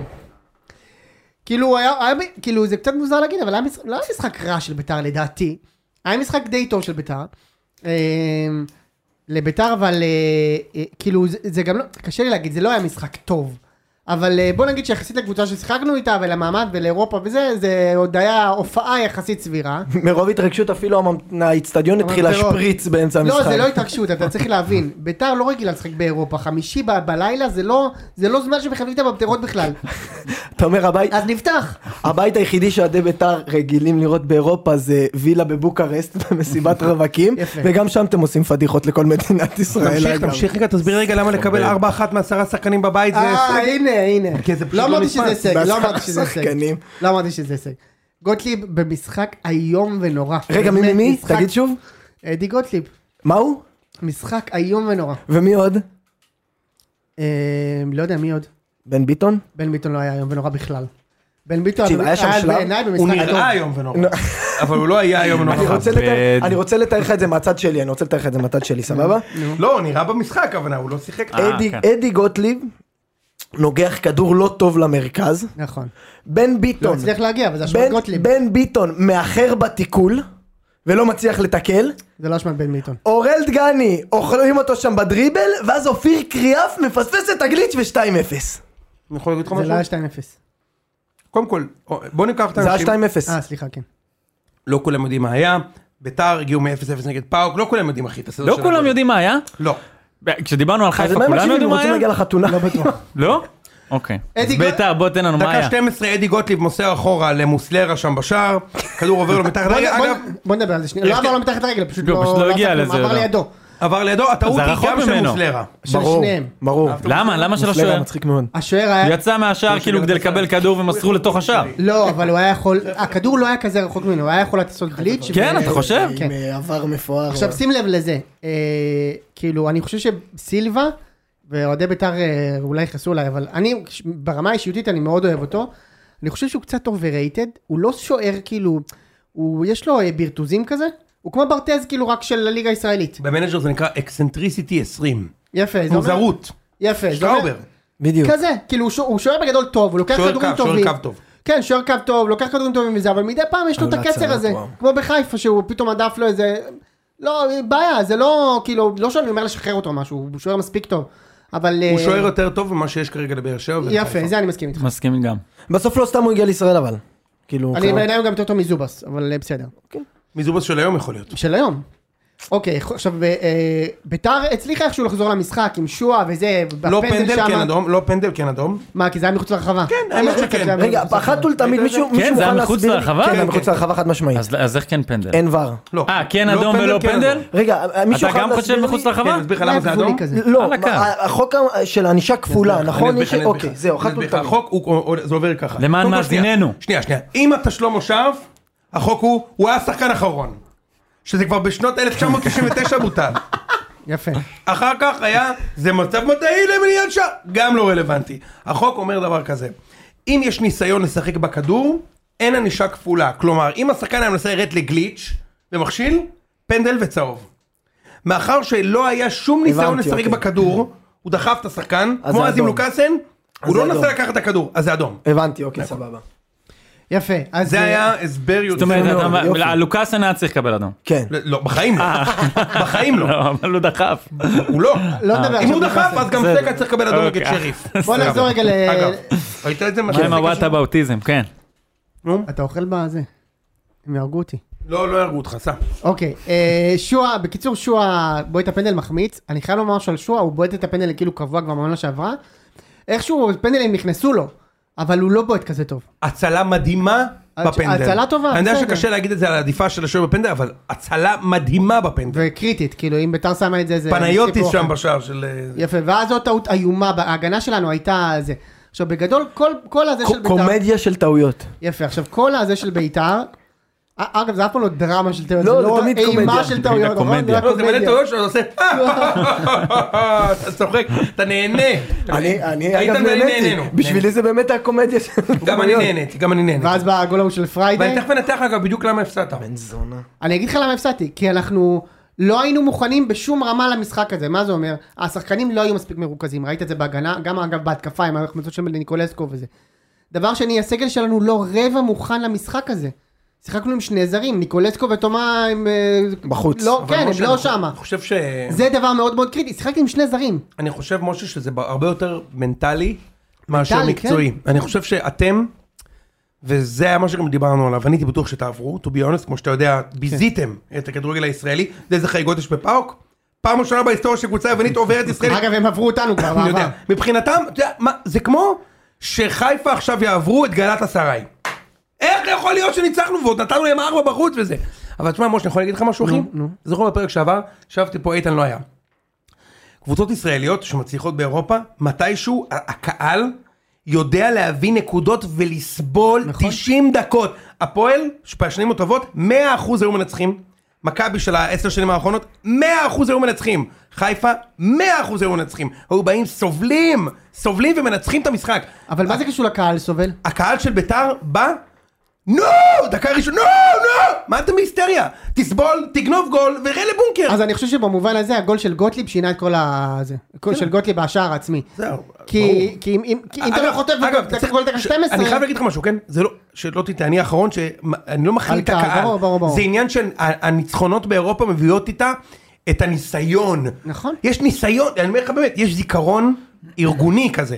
Speaker 5: כאילו, היה, היה, ב- כאילו, זה קצת מוזר להגיד, אבל היה משחק, לא היה משחק רע של ביתר לדעתי. היה משחק די טוב של ביתר. אה, לביתר אבל אה, אה, כאילו זה, זה גם לא, קשה לי להגיד, זה לא היה משחק טוב. אבל אה, בוא נגיד שיחסית לקבוצה ששיחקנו איתה ולמעמד ולאירופה וזה, זה עוד היה הופעה יחסית סבירה.
Speaker 3: מרוב התרגשות אפילו הממ- האיצטדיון התחיל
Speaker 5: הממטרות.
Speaker 3: להשפריץ באמצע
Speaker 5: לא,
Speaker 3: המשחק.
Speaker 5: זה לא התרגשות, אתה צריך להבין. ביתר לא רגילה לשחק באירופה, חמישי ב- בלילה זה לא, זה לא זמן שמחייבים את הממטרות בכלל.
Speaker 3: אתה אומר הבית,
Speaker 5: אז נפתח.
Speaker 3: הבית היחידי שאוהדי בית"ר רגילים לראות באירופה זה וילה בבוקרשט (laughs) במסיבת רווקים,
Speaker 5: יפה.
Speaker 3: וגם שם אתם עושים פדיחות לכל מדינת ישראל.
Speaker 2: תמשיך,
Speaker 3: אגב.
Speaker 2: תמשיך רגע, תסביר רגע למה לקבל 4-1 מעשרה שחקנים בבית זה...
Speaker 5: אה,
Speaker 2: הישג.
Speaker 5: הנה, הנה.
Speaker 2: כי זה פשוט
Speaker 5: לא
Speaker 2: לא
Speaker 5: אמרתי
Speaker 2: נתפס.
Speaker 5: שזה הישג, לא
Speaker 3: בעשרה
Speaker 5: אמרתי שזה הישג.
Speaker 3: שחקנים.
Speaker 5: לא אמרתי שזה הישג. גוטליב במשחק איום ונורא.
Speaker 3: רגע, מי
Speaker 5: באמת,
Speaker 3: מי מי?
Speaker 5: משחק-
Speaker 3: תגיד שוב.
Speaker 5: אדי גוטליב.
Speaker 3: מה הוא?
Speaker 5: משחק איום ונורא.
Speaker 3: ומי עוד?
Speaker 5: אה, לא יודע מי עוד.
Speaker 3: בן ביטון?
Speaker 5: בן ביטון לא היה איום ונורא בכלל. בן ביטון
Speaker 3: תקשיב, היה שם שלב,
Speaker 5: בעיניי
Speaker 2: הוא
Speaker 5: במשחק טוב.
Speaker 2: נראה איום ונורא. אבל הוא לא היה (laughs) איום
Speaker 3: אני
Speaker 2: ונורא.
Speaker 3: רוצה לתאר-
Speaker 4: בד-
Speaker 3: אני רוצה לתאר לך את זה מהצד שלי, אני רוצה לתאר לך את זה מהצד שלי, סבבה?
Speaker 5: אה,
Speaker 2: לא, הוא נראה במשחק, אבל הוא לא שיחק.
Speaker 4: אה,
Speaker 3: אדי-
Speaker 4: כן.
Speaker 3: אדי גוטליב נוגח כדור לא טוב למרכז,
Speaker 5: נכון.
Speaker 3: בן
Speaker 5: לא
Speaker 3: ביטון,
Speaker 5: הצליח להגיע, אבל זה אשמת
Speaker 3: בן-
Speaker 5: גוטליב.
Speaker 3: בן ביטון מאחר בתיקול ולא מצליח לתקל,
Speaker 5: זה לא אשמת בן ביטון.
Speaker 3: אורל דגני אוכלים אותו שם בדריבל, ואז אופיר קריאף מפספס את הגליץ' ו-2-0.
Speaker 2: אני יכול להגיד לך
Speaker 5: זה לא היה
Speaker 2: משהו?
Speaker 5: 2-0.
Speaker 2: קודם כל, בוא ניקח את
Speaker 3: זה היה
Speaker 2: האנשים.
Speaker 3: 2-0.
Speaker 5: אה, סליחה, כן.
Speaker 2: לא כולם יודעים מה היה. ביתר הגיעו מ-0-0 נגד פאוק, לא כולם יודעים אחי את הסדר
Speaker 4: לא
Speaker 2: של
Speaker 4: כולם
Speaker 2: הגול.
Speaker 4: יודעים מה היה?
Speaker 2: לא.
Speaker 4: כשדיברנו על
Speaker 3: אז
Speaker 4: חיפה
Speaker 3: מה הם
Speaker 4: כולם
Speaker 3: מקשיבים?
Speaker 4: יודעים מה
Speaker 3: רוצים
Speaker 4: היה?
Speaker 3: להגיע לחתונה? לא (laughs) בטוח.
Speaker 4: לא? אוקיי. אז
Speaker 5: אדי גו-
Speaker 4: ביתר בוא תן לנו מה
Speaker 2: דקה
Speaker 4: היה.
Speaker 2: 12 אדי גוטליב מוסר אחורה למוסלרה שם
Speaker 4: (laughs)
Speaker 2: בשער, כדור עובר לו מתחת
Speaker 5: בוא-
Speaker 2: לרגל,
Speaker 5: בוא-
Speaker 2: אגב
Speaker 5: בוא נדבר על זה שנייה.
Speaker 2: יש
Speaker 5: לא עבר
Speaker 2: לי-
Speaker 5: לו מתחת לרגל, פשוט
Speaker 4: לא, פשוט לא הגיע
Speaker 5: עשה כלום,
Speaker 4: לזה,
Speaker 5: עבר
Speaker 4: לא.
Speaker 5: לידו.
Speaker 2: עבר לידו, הטעות
Speaker 4: זה
Speaker 2: היא
Speaker 4: רחוק
Speaker 2: גם של
Speaker 4: ממנו.
Speaker 2: מוסלרה.
Speaker 5: של שניהם.
Speaker 3: ברור.
Speaker 4: למה? למה של
Speaker 3: מפלגה
Speaker 4: השוער?
Speaker 3: מצחיק מאוד.
Speaker 5: השוער היה...
Speaker 4: הוא יצא מהשער כאילו כדי לקבל כדור ומסרו לתוך השער.
Speaker 5: לא, אבל הוא היה יכול, הכדור לא היה כזה רחוק ממנו, הוא היה יכול לעשות גליץ'. ו-
Speaker 4: כן, אתה חושב?
Speaker 5: כן.
Speaker 3: עם אה, עבר מפואר.
Speaker 5: עכשיו שים לב לזה, אה, כאילו, אני חושב שסילבה, ואוהדי בית"ר אה, אולי יכעסו עליי, אבל אני, כש- ברמה האישיותית אני מאוד אוהב אותו, אני חושב שהוא קצת overrated, הוא לא שוער כאילו, הוא, יש לו אה, ברטוזים כזה, הוא כמו ברטז כאילו רק של הליגה הישראלית.
Speaker 2: במנג'ר זה נקרא אקסנטריסיטי 20.
Speaker 5: יפה, זה אומר...
Speaker 2: מוזרות.
Speaker 5: יפה, זה אומר...
Speaker 2: שטראובר.
Speaker 3: בדיוק.
Speaker 5: כזה, כאילו הוא שוע- הוא שוער בגדול טוב, הוא לוקח
Speaker 2: שוער
Speaker 5: כדורים
Speaker 2: קו, שוער
Speaker 5: טובים.
Speaker 2: קו טוב.
Speaker 5: כן, שוער קו טוב, לוקח כדורים טובים וזה, אבל מדי פעם יש לו את
Speaker 3: עלולת
Speaker 5: הקצר
Speaker 3: צרות,
Speaker 5: הזה,
Speaker 3: וואו.
Speaker 5: כמו בחיפה שהוא פתאום הדף לו איזה... לא, בעיה, זה לא, כאילו, לא שאני אומר לשחרר אותו או משהו, הוא שוער מספיק טוב, אבל...
Speaker 2: הוא
Speaker 5: אה,
Speaker 2: שוער יותר טוב ממה שיש כרגע לבאר שבע. ולחיפה.
Speaker 5: יפה, זה אני מסכים איתך.
Speaker 4: מסכים גם.
Speaker 3: בסוף לא סתם הוא הגיע לישראל אבל. כאילו...
Speaker 5: אני בעיניי הוא גם יותר טוב מזובס, אבל אה, בסדר.
Speaker 2: מזובס של היום יכול להיות.
Speaker 5: של היום. אוקיי, עכשיו, אה, אה, ביתר הצליחה איכשהו לחזור למשחק עם שועה וזה,
Speaker 2: לא
Speaker 5: בפנדל
Speaker 2: פנדל
Speaker 5: שמה.
Speaker 2: כן אדום, לא פנדל כן אדום.
Speaker 5: מה, כי זה היה מחוץ לרחבה? כן,
Speaker 2: האמת שכן.
Speaker 3: רגע, אחת ולתמיד מישהו
Speaker 4: זה
Speaker 3: מישהו
Speaker 4: היה
Speaker 3: מוכן
Speaker 4: מחוץ
Speaker 3: להסביר לי-
Speaker 4: לרחבה?
Speaker 3: כן,
Speaker 4: כן,
Speaker 3: זה היה מחוץ
Speaker 2: כן.
Speaker 3: לרחבה חד משמעית.
Speaker 4: אז- אז איך כן פנדל?
Speaker 3: אין ור.
Speaker 2: לא.
Speaker 4: אה, כן
Speaker 2: לא
Speaker 4: אדום ולא
Speaker 2: כן
Speaker 4: פנדל?
Speaker 2: אדום.
Speaker 3: רגע, אה, מישהו
Speaker 4: אתה
Speaker 3: יכול
Speaker 4: גם חושב
Speaker 3: להסביר לי-
Speaker 4: מחוץ לרחבה?
Speaker 2: כן, נסביר לך למה זה אדום.
Speaker 3: לא,
Speaker 4: על הקו.
Speaker 3: מה- החוק ה- של ענישה כפולה, נכון?
Speaker 2: אני
Speaker 3: יש-
Speaker 2: אסביר לך, אני
Speaker 3: אוקיי,
Speaker 2: אסביר לך.
Speaker 3: זהו, אחת
Speaker 2: אני אסביר לך.
Speaker 3: ולתמיד.
Speaker 2: החוק הוא- הוא- הוא- זה עובר ככה.
Speaker 4: למען
Speaker 2: קודם כל, שנייה.
Speaker 4: מאזיננו.
Speaker 2: שנייה, שנייה. אם אתה שלמה שרף, החוק הוא, הוא היה שחקן אחרון. שזה כבר
Speaker 4: (laughs)
Speaker 2: בשנות 1999 בוטל.
Speaker 5: יפה.
Speaker 2: אחר כך היה, זה מצב מדעי למניעת שער, גם לא רלוונטי. החוק אומר דבר כזה, אם יש ניסיון לשחק בכדור, אין ענישה כפולה. כלומר, אם השחקן היה מנסה לרדת לגליץ' ומכשיל, פנדל וצהוב. מאחר שלא היה שום ניסיון
Speaker 3: הבנתי,
Speaker 2: לשחק
Speaker 3: אוקיי.
Speaker 2: בכדור, הוא דחף את השחקן,
Speaker 3: אז
Speaker 2: כמו
Speaker 3: זה
Speaker 2: אז עם
Speaker 3: אדום.
Speaker 2: לוקאסן, הוא
Speaker 3: זה
Speaker 2: לא
Speaker 3: אדום.
Speaker 2: נסה לקחת את הכדור, אז זה אדום.
Speaker 3: הבנתי, אוקיי, סבבה.
Speaker 5: יפה, אז...
Speaker 2: זה
Speaker 5: אה,
Speaker 2: היה הסבר
Speaker 4: זאת
Speaker 2: יוצא
Speaker 4: אומרת,
Speaker 2: מאוד.
Speaker 4: אתה-
Speaker 3: יופי.
Speaker 4: אה, לוקאסן היה צריך לקבל אדום.
Speaker 3: כן.
Speaker 2: לא, בחיים לא.
Speaker 4: אה.
Speaker 2: בחיים לא.
Speaker 4: לא, אבל הוא דחף.
Speaker 2: הוא לא.
Speaker 5: לא נדבר
Speaker 2: אם
Speaker 5: עכשיו
Speaker 2: הוא דחף,
Speaker 5: לוקאסן.
Speaker 2: אז גם
Speaker 4: בסדר.
Speaker 2: סקה צריך לקבל אדום נגד
Speaker 4: אוקיי.
Speaker 2: שריף.
Speaker 5: (laughs) בוא
Speaker 2: אגב.
Speaker 5: נחזור רגע ל...
Speaker 2: אגב, ראית את זה?
Speaker 3: כן,
Speaker 4: מה עם הוואט אבאוטיזם? כן.
Speaker 5: אתה אוכל בזה. הם יהרגו אותי.
Speaker 2: לא, לא יהרגו אותך, סע.
Speaker 5: אוקיי, אה, שועה, בקיצור שועה בועט את הפנדל מחמיץ, אני חייב לומר משהו על שועה, הוא בועט את הפנדל כאילו קבוע כבר מהעונה שעברה, איכשהו הפנדלים נכנסו לו, אבל הוא לא בועט כזה טוב.
Speaker 2: הצלה מדהימה
Speaker 5: הצ-
Speaker 2: בפנדל.
Speaker 5: הצלה טובה,
Speaker 2: אני יודע
Speaker 5: בסדר.
Speaker 2: שקשה להגיד את זה על העדיפה של השוער בפנדל, אבל הצלה מדהימה בפנדל.
Speaker 5: וקריטית, כאילו אם ביתר שמה את זה, זה...
Speaker 2: פניוטיס
Speaker 5: סיפור
Speaker 2: שם
Speaker 5: אחר.
Speaker 2: בשער של... אה,
Speaker 5: יפה, ואז עוד טעות איומה, ההגנה שלנו הייתה זה. עכשיו בגדול, כל, כל הזה של
Speaker 3: ק-
Speaker 5: ביתר...
Speaker 3: קומדיה של טעויות.
Speaker 5: יפה, עכשיו כל הזה של ביתר... א- אגב, זה אף פעם לא דרמה של טעויות,
Speaker 3: לא,
Speaker 5: זה
Speaker 3: זה
Speaker 5: לא
Speaker 3: תמיד
Speaker 5: אימה
Speaker 3: קומדיה.
Speaker 5: של טעויות, נכון?
Speaker 4: קומדיה.
Speaker 2: לא, זה מלא טעויות שאתה עושה... "אה", (laughs) אתה צוחק, אתה נהנה.
Speaker 3: אני, אני
Speaker 2: היית
Speaker 3: אגב
Speaker 2: ואני
Speaker 3: נהניתי,
Speaker 2: נהנינו.
Speaker 3: בשבילי זה באמת הקומדיה של...
Speaker 2: גם אני נהניתי, גם אני נהניתי.
Speaker 5: ואז כן, בא הגול ההוא של פריידי.
Speaker 2: ואני תכף אנתח אגב בדיוק למה הפסדת.
Speaker 3: זונה.
Speaker 5: אני אגיד לך למה הפסדתי, כי אנחנו לא היינו מוכנים בשום רמה למשחק הזה, מה זה אומר? השחקנים לא היו מספיק מרוכזים, ראית את זה בהגנה, גם אגב בהתקפה עם ההחמצות של ניקולסקו וזה. דבר שני, הסגל שלנו לא רבע מוכן למשחק הזה. שיחקנו עם שני זרים, ניקולסקו ותומה הם... אה,
Speaker 3: בחוץ.
Speaker 5: לא,
Speaker 2: אבל
Speaker 5: כן, הם
Speaker 2: משה,
Speaker 5: לא
Speaker 2: אני
Speaker 5: שמה.
Speaker 2: חושב ש...
Speaker 5: זה דבר מאוד מאוד קריטי, שיחקתי עם שני זרים.
Speaker 2: אני חושב, משה, שזה ב- הרבה יותר מנטלי מאשר
Speaker 5: מנטלי, כן.
Speaker 2: מקצועי. אני חושב שאתם, וזה היה מה שגם דיברנו עליו, אני הייתי בטוח שתעברו, to be honest, כמו שאתה יודע,
Speaker 5: כן.
Speaker 2: ביזיתם את הכדורגל הישראלי, זה איזה חגיגות יש בפאוק. פעם ראשונה בהיסטוריה שקבוצה יוונית עוברת ישראל.
Speaker 5: אגב, הם עברו אותנו כבר
Speaker 2: כן. אני
Speaker 5: בעבר.
Speaker 2: יודע. מבחינתם, אתה יודע, מה, זה כמו שחיפה עכשיו יעברו את גלת הסריי. איך יכול להיות שניצחנו ועוד נתנו להם ארבע בחוץ וזה? אבל תשמע, משה, אני יכול להגיד לך משהו, אחי? זוכר בפרק שעבר, ישבתי פה, איתן לא היה. קבוצות ישראליות שמצליחות באירופה, מתישהו ה- הקהל יודע להביא נקודות ולסבול 90 דקות. הפועל, בשנים הטובות, 100% היו מנצחים. מכבי של העשר שנים האחרונות, 100% היו מנצחים. חיפה, 100% היו מנצחים. היו באים, סובלים, סובלים ומנצחים את המשחק.
Speaker 5: אבל מה זה קשור לקהל סובל?
Speaker 2: הקהל של ביתר בא, נו! דקה ראשונה, נו! נו! מה אתם בהיסטריה? תסבול, תגנוב גול, וראה לבונקר.
Speaker 5: אז אני חושב שבמובן הזה הגול של גוטליב שינה את כל ה... זה. הגול של גוטליב בשער העצמי.
Speaker 2: כן. זהו, ברור.
Speaker 5: כי כי אם- אם כי אם אתה לא
Speaker 2: אגב,
Speaker 5: חוטף
Speaker 2: אגב,
Speaker 5: דקה-
Speaker 2: צריך-
Speaker 5: גול דקה
Speaker 2: ש-
Speaker 5: 12...
Speaker 2: אני חייב להגיד לך משהו, כן? זה לא, שלא תטעה, אני האחרון שאני לא
Speaker 5: על
Speaker 2: מחליט את
Speaker 5: קהל,
Speaker 2: הקהל.
Speaker 5: ברור, ברור, ברור.
Speaker 2: זה עניין שהניצחונות באירופה מביאות איתה את הניסיון.
Speaker 5: נכון.
Speaker 2: יש ניסיון, אני אומר לך באמת, יש זיכרון ארגוני כזה.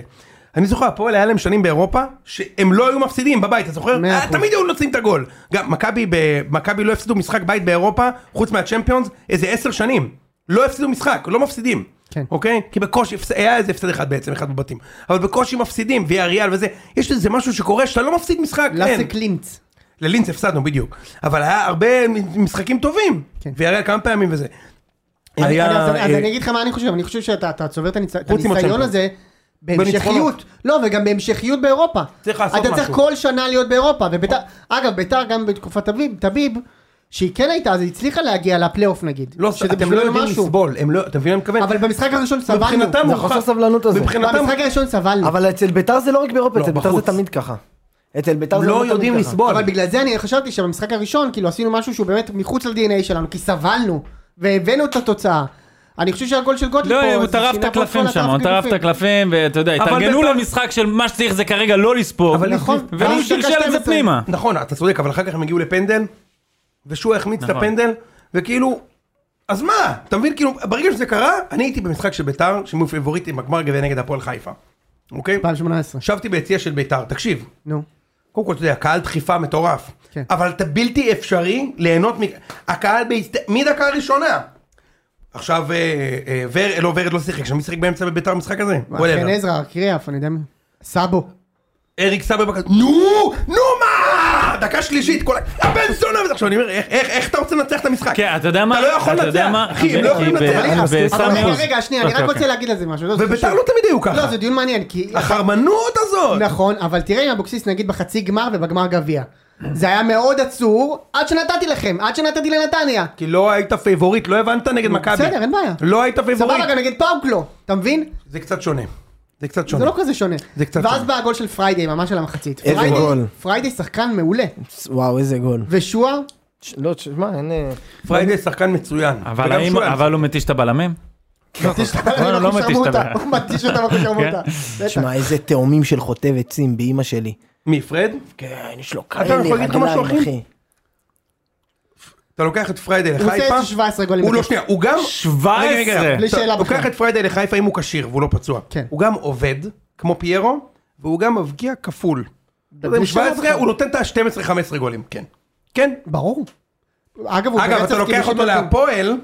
Speaker 2: אני זוכר, הפועל היה להם שנים באירופה, שהם לא היו מפסידים בבית, אתה זוכר?
Speaker 5: מאה
Speaker 2: אה,
Speaker 5: אחוז.
Speaker 2: תמיד היו נוצרים את הגול. גם מכבי ב- מכבי לא הפסידו משחק בית באירופה, חוץ מהצ'מפיונס, איזה עשר שנים. לא הפסידו משחק, לא מפסידים.
Speaker 5: כן.
Speaker 2: אוקיי? כי בקושי, הפס- היה איזה הפסד אחד בעצם, אחד בבתים. אבל בקושי מפסידים, ויה ריאל וזה. יש איזה משהו שקורה שאתה לא מפסיד משחק.
Speaker 5: לאסה
Speaker 2: אין.
Speaker 5: קלינץ.
Speaker 2: ללינץ הפסדנו, בדיוק. אבל היה הרבה משחקים טובים.
Speaker 5: כן.
Speaker 2: ויה ריאל כמה פעמים וזה.
Speaker 5: אני-
Speaker 2: היה,
Speaker 5: אני- אז- אז
Speaker 2: אה,
Speaker 5: אני אגיד לך מה אני חושב, אני חושב שאתה אתה צובר את הניצ- את
Speaker 2: חוץ עם
Speaker 5: הניסיון
Speaker 2: הצ'מפיונס.
Speaker 5: הזה בהמשכיות,
Speaker 2: בניצחונות.
Speaker 5: לא וגם בהמשכיות באירופה,
Speaker 2: צריך לעשות
Speaker 5: אתה צריך
Speaker 2: משהו.
Speaker 5: כל שנה להיות באירופה, וביתר- אגב ביתר גם בתקופת תביב, תביב, שהיא כן הייתה אז היא הצליחה להגיע לפלייאוף נגיד,
Speaker 2: לא,
Speaker 5: שזה
Speaker 2: אתם לא
Speaker 5: בשבילנו
Speaker 2: יודעים
Speaker 5: משהו.
Speaker 2: לסבול, הם לא, אתה מבין מה אני מתכוון?
Speaker 5: אבל במשחק הראשון סבלנו,
Speaker 2: מבחינתם
Speaker 3: זה
Speaker 2: הוא
Speaker 3: החוסר
Speaker 2: חס-
Speaker 3: סבלנות הזה.
Speaker 2: מבחינתם
Speaker 5: במשחק הראשון סבלנו,
Speaker 3: אבל אצל ביתר זה לא רק באירופה,
Speaker 2: לא,
Speaker 3: אצל ביתר זה
Speaker 2: בחוץ.
Speaker 3: תמיד ככה. אצל ביתר זה
Speaker 2: לא
Speaker 3: תמיד
Speaker 2: יודעים
Speaker 3: ככה.
Speaker 2: לסבול.
Speaker 5: אבל בגלל זה אני חשבתי שבמשחק הראשון כאילו עשינו משהו שהוא באמת מחוץ ל-DNA שלנו כי סבלנו והבאנו את התוצאה. אני חושב שהגול של גוטליב
Speaker 4: לא,
Speaker 5: פה,
Speaker 4: הוא
Speaker 5: זה
Speaker 4: טרף את
Speaker 5: שינה פה כל
Speaker 4: הקלפים שם, הוא טרף את
Speaker 5: הקלפים.
Speaker 4: הקלפים, ואתה יודע,
Speaker 2: אבל
Speaker 4: התארגנו
Speaker 2: בית"ר-
Speaker 4: למשחק של מה שצריך זה כרגע לא לספור,
Speaker 2: אבל
Speaker 5: נכון.
Speaker 4: והוא
Speaker 5: ואז
Speaker 4: שלשל
Speaker 5: דקה
Speaker 4: את זה
Speaker 5: 12.
Speaker 4: פנימה.
Speaker 2: נכון, אתה צודק, אבל אחר כך הם הגיעו לפנדל, ושוע החמיץ את
Speaker 4: נכון.
Speaker 2: הפנדל, וכאילו, אז מה? אתה מבין, כאילו, ברגע שזה קרה, אני הייתי במשחק של ביתר, שהם היו פייבוריטים בגמר גביע נגד הפועל חיפה. אוקיי?
Speaker 5: 2018.
Speaker 2: ישבתי ביציע של ביתר, תקשיב,
Speaker 5: נו.
Speaker 2: קודם כל, אתה יודע, קהל דחיפה מטורף.
Speaker 5: כן.
Speaker 2: אבל אתה בלתי אפשרי ליהנות מ... הקהל בהסת... מדקה ראשונה. עכשיו, אה, אה, ורד, לא, ורד לא שיחק, שם מי שיחק באמצע בביתר במשחק הזה?
Speaker 5: חן
Speaker 2: Whatever.
Speaker 5: כן, עזרא, קריאף, אני יודע מי. סאבו.
Speaker 2: אריק סבא בקטן, נו, נו מה, דקה שלישית, כל ה... הבן זונה, וזה- עכשיו אני אומר, איך- איך איך אתה רוצה לנצח את המשחק?
Speaker 4: כן, אתה יודע מה?
Speaker 2: אתה לא יכול
Speaker 4: אתה יודע
Speaker 2: לנצח,
Speaker 4: מה?
Speaker 2: אחי, הם לא
Speaker 4: כי
Speaker 2: יכולים
Speaker 4: ב-
Speaker 2: לנצח,
Speaker 4: אבל
Speaker 2: אני
Speaker 4: רגע,
Speaker 2: מסכים.
Speaker 4: בסדר,
Speaker 5: אבל רגע,
Speaker 4: אחוז.
Speaker 5: רגע, שנייה, אני
Speaker 4: אוקיי,
Speaker 5: רק רוצה
Speaker 4: אוקיי.
Speaker 5: להגיד על זה משהו. לא, זה
Speaker 2: וביתר
Speaker 5: חשוב.
Speaker 2: לא תמיד היו ככה. נכון.
Speaker 5: לא, זה דיון מעניין, כי...
Speaker 2: החרמנות הזאת.
Speaker 5: נכון, אבל תראה עם אבוקסיס נגיד בחצי גמר ובגמר גביע. זה היה מאוד עצור, עד שנתתי לכם, עד שנתתי לנתניה.
Speaker 2: כי לא היית פייבוריט, לא הבנת נגד מכבי.
Speaker 5: בסדר, אין בעיה.
Speaker 2: לא היית פייבוריט.
Speaker 5: סבבה, גם נגד פאוק לא, אתה מבין?
Speaker 2: זה קצת שונה. זה קצת שונה.
Speaker 5: זה לא כזה שונה.
Speaker 2: זה קצת
Speaker 5: ואז
Speaker 2: שונה.
Speaker 5: בא הגול של פריידי, ממש על המחצית.
Speaker 3: איזה
Speaker 5: פריידי-
Speaker 3: גול.
Speaker 5: פריידי שחקן מעולה.
Speaker 3: וואו, איזה גול.
Speaker 5: ושועה,
Speaker 3: ש- לא, תשמע, אין... אה,
Speaker 2: פריידי שחקן מצוין.
Speaker 4: אבל
Speaker 2: וגם
Speaker 4: האם-
Speaker 2: שוען.
Speaker 4: אבל הוא מתיש את הבלמים?
Speaker 5: מתיש אותה,
Speaker 4: לא, לא
Speaker 5: (laughs) אנחנו
Speaker 4: מתיש כן.
Speaker 5: שרמו
Speaker 4: את
Speaker 5: אותה.
Speaker 4: הבעיה.
Speaker 5: הוא מתיש אותה, אנחנו שרמו אותה. בטח.
Speaker 3: תשמע, איזה תאומים של חוטב עצים באימא שלי.
Speaker 2: מי, פרד?
Speaker 3: כן, יש לו
Speaker 2: אתה
Speaker 3: כאלה
Speaker 2: יכול להגיד לך משהו,
Speaker 3: רגליים,
Speaker 2: אחי?
Speaker 3: אחי.
Speaker 2: אתה לוקח את פריידי
Speaker 5: הוא עושה
Speaker 2: לחיפה.
Speaker 5: איזה 17 גולים.
Speaker 2: הוא לא,
Speaker 5: בקטע.
Speaker 2: שנייה, הוא גם...
Speaker 4: 17.
Speaker 2: רגע, רגע, רגע.
Speaker 5: בלי
Speaker 2: אתה
Speaker 5: שאלה
Speaker 2: לוקח
Speaker 5: בכלל.
Speaker 2: את פריידי לחיפה אם הוא כשיר והוא לא פצוע.
Speaker 5: כן.
Speaker 2: הוא גם עובד, כמו פיירו, והוא גם מבקיע כפול. אתה יודע, עם
Speaker 5: בלי שאלה
Speaker 2: 17
Speaker 5: בכלל.
Speaker 2: הוא נותן את ה-12-15 גולים, כן. כן.
Speaker 5: ברור. אגב, הוא
Speaker 2: אגב,
Speaker 5: ברצף
Speaker 2: אתה לוקח
Speaker 5: כיבושים
Speaker 2: אותו
Speaker 5: מדהים.
Speaker 2: להפועל,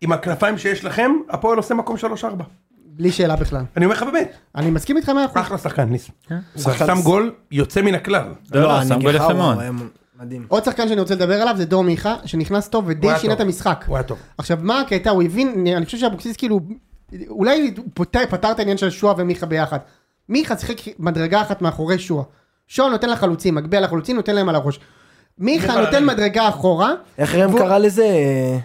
Speaker 2: עם הכנפיים שיש לכם, הפועל עושה מקום 3-4.
Speaker 5: בלי שאלה בכלל.
Speaker 2: אני אומר לך באמת,
Speaker 5: אני מסכים איתך מאה אחוז.
Speaker 2: אחלה כן. שחקן, ניס. הוא
Speaker 3: שחקן-
Speaker 2: שם גול יוצא מן הכלל.
Speaker 4: לא, לא,
Speaker 3: אני
Speaker 4: שם
Speaker 3: אגיד
Speaker 4: גול
Speaker 3: לך,
Speaker 4: יפה
Speaker 3: הוא
Speaker 4: מאוד. (laughs)
Speaker 3: היה מדהים.
Speaker 5: עוד שחקן שאני רוצה לדבר עליו זה דור מיכה, שנכנס טוב ודי
Speaker 2: הוא היה
Speaker 5: שינה את
Speaker 2: טוב.
Speaker 5: המשחק.
Speaker 2: הוא היה טוב.
Speaker 5: עכשיו מה הקטע, הוא הבין, אני חושב שאבוקסיס כאילו, אולי הוא פותר- פתר את העניין של שועה ומיכה ביחד. מיכה שיחק מדרגה אחת מאחורי שועה. שועה נותן לחלוצים, מגביה לחלוצים, נותן להם על הראש. מיכה
Speaker 2: מיכה
Speaker 5: נותן
Speaker 2: לרגל.
Speaker 5: מדרגה אחורה.
Speaker 3: איך ראם
Speaker 5: והוא-
Speaker 3: קרא לזה? אה,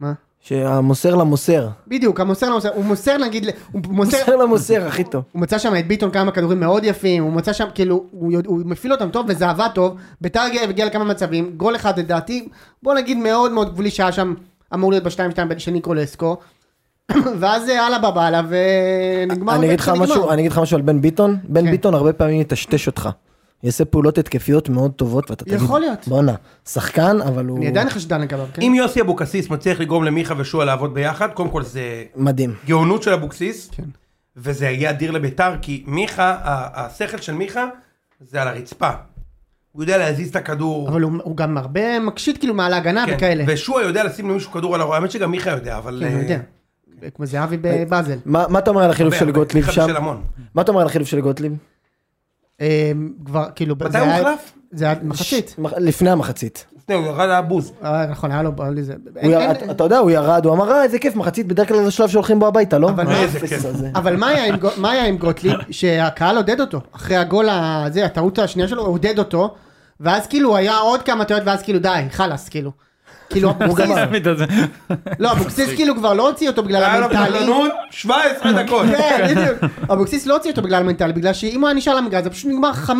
Speaker 5: מה?
Speaker 3: שהמוסר למוסר.
Speaker 5: בדיוק, המוסר למוסר, הוא מוסר נגיד, ל- הוא מוסר,
Speaker 3: מוסר למוסר, הכי טוב.
Speaker 5: הוא מצא שם את ביטון כמה כדורים מאוד יפים, הוא מצא שם, כאילו, הוא, יודע- הוא מפעיל אותם טוב וזה עבד טוב, ביתר הגיע- הגיע לכמה מצבים, גול אחד לדעתי, בוא נגיד מאוד מאוד גבולי שהיה שם, אמור להיות בשתיים שתיים של ניקולסקו, (coughs) ואז אה, הלאה בבא הלאה ונגמר.
Speaker 3: אני אגיד לך
Speaker 5: ונגמר.
Speaker 3: משהו, אני אגיד לך משהו על בן ביטון. בן
Speaker 5: כן.
Speaker 3: ביטון הרבה פעמים יטשטש אותך. יעשה פעולות התקפיות מאוד טובות, ואתה תגיד,
Speaker 5: יכול להיות.
Speaker 3: בואנה, שחקן, אבל הוא
Speaker 5: אני עדיין חשדן לגביו, כן?
Speaker 2: אם יוסי אבוקסיס מצליח לגרום למיכה ושועה לעבוד ביחד, קודם כל זה
Speaker 3: מדהים.
Speaker 2: גאונות של אבוקסיס,
Speaker 5: כן.
Speaker 2: וזה יהיה אדיר לביתר, כי מיכה, ה- השכל של מיכה, זה על הרצפה. הוא יודע להזיז את הכדור.
Speaker 5: אבל לא הוא הוא גם הרבה מקשיט כאילו מעל ההגנה
Speaker 2: כן.
Speaker 5: וכאלה.
Speaker 2: ושועה יודע לשים למישהו כדור על הרוע, האמת שגם מיכה יודע, אבל... אה,
Speaker 5: כן, אני יודע. כמו זהבי בבאזל.
Speaker 3: מה מה אתה אומר על החילוף של גוטליב שם?
Speaker 2: של המון.
Speaker 3: מה אתה אומר על החילוף של גוטליב?
Speaker 5: אה, כבר כאילו...
Speaker 2: מתי
Speaker 5: זה
Speaker 2: הוא
Speaker 5: היה-
Speaker 2: הוחלף?
Speaker 5: זה היה מחצית.
Speaker 3: מח- לפני המחצית.
Speaker 2: לפני, הוא ירד הבוז.
Speaker 5: אה, נכון, היה לו... בא לי זה-
Speaker 3: הוא
Speaker 5: אין-
Speaker 3: יר-
Speaker 5: אין-
Speaker 3: אתה- אתה יודע, הוא ירד, הוא אמר, אה, איזה כיף, מחצית, בדרך כלל זה השלב שהולכים בו הביתה, לא?
Speaker 5: אבל
Speaker 3: מה
Speaker 5: מה-
Speaker 2: איזה
Speaker 3: האפס
Speaker 2: כיף.
Speaker 3: הזה?
Speaker 5: אבל מה היה עם גו- מה היה עם
Speaker 2: (laughs)
Speaker 5: גוטליב? שהקהל עודד אותו. אחרי הגול הזה, הטעות השנייה שלו, הוא עודד אותו. ואז כאילו היה עוד כמה טעויות, ואז כאילו די, חלאס, כאילו.
Speaker 2: (laughs)
Speaker 5: כאילו אבוקסיס, לא, אבוקסיס כאילו כבר לא הוציא אותו בגלל
Speaker 2: היה לו
Speaker 5: המנטלי.
Speaker 2: בגלנות 17 דקות.
Speaker 5: כן, בדיוק. אבוקסיס לא הוציא אותו בגלל המנטלי, בגלל שאם הוא היה נשאר על המגרש, זה פשוט נגמר 5-0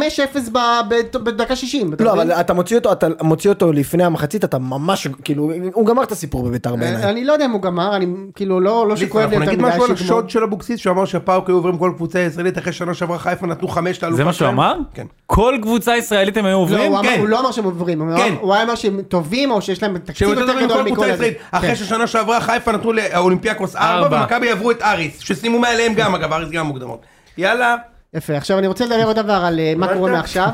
Speaker 5: ב- ב- בדקה 60. אתה
Speaker 3: לא,
Speaker 5: מבין?
Speaker 3: אבל אתה מוציא אותו, אתה מוציא אותו לפני המחצית, אתה ממש, כאילו, הוא גמר את הסיפור בביתר בעיניי.
Speaker 5: אני לא יודע אם הוא גמר, אני כאילו לא לא שכואב לי
Speaker 2: אנחנו
Speaker 5: יותר
Speaker 2: נגיד
Speaker 5: מדי
Speaker 2: משהו על
Speaker 5: שיגמור.
Speaker 2: השוד של אבוקסיס, שהוא אמר שהפאוק היו עוברים כל קבוצה ישראלית אחרי שנה שעברה חיפה נתנו חמש לאלופה
Speaker 4: זה מה שהוא
Speaker 2: שלהם.
Speaker 4: אמר?
Speaker 2: כן.
Speaker 4: כל קבוצה ישראלית הם היו
Speaker 5: לא,
Speaker 4: עוברים?
Speaker 5: הוא אמר-
Speaker 2: כן.
Speaker 5: הוא לא אמר שהם עוברים, הוא אמר-
Speaker 2: כן.
Speaker 5: הוא היה אמר שהם טובים או שיש להם תקציב
Speaker 2: שהם יותר
Speaker 5: יותר
Speaker 2: טובים
Speaker 5: גדול כן.
Speaker 2: מכל
Speaker 5: מכל
Speaker 2: קבוצה
Speaker 5: הזה.
Speaker 2: ישראלית. אחרי ששנה שעברה חיפה נתנו לאולימפיאקוס
Speaker 4: ארבע.
Speaker 2: ארבע, ומכבי עברו את אריס, שסיימו מעליהם גם, אגב, אריס גם מוקדמות. יאללה.
Speaker 5: יפה, עכשיו אני רוצה לדבר עוד דבר על אה, מה
Speaker 3: לא
Speaker 2: הבנת?
Speaker 3: (laughs)
Speaker 5: קורה מעכשיו.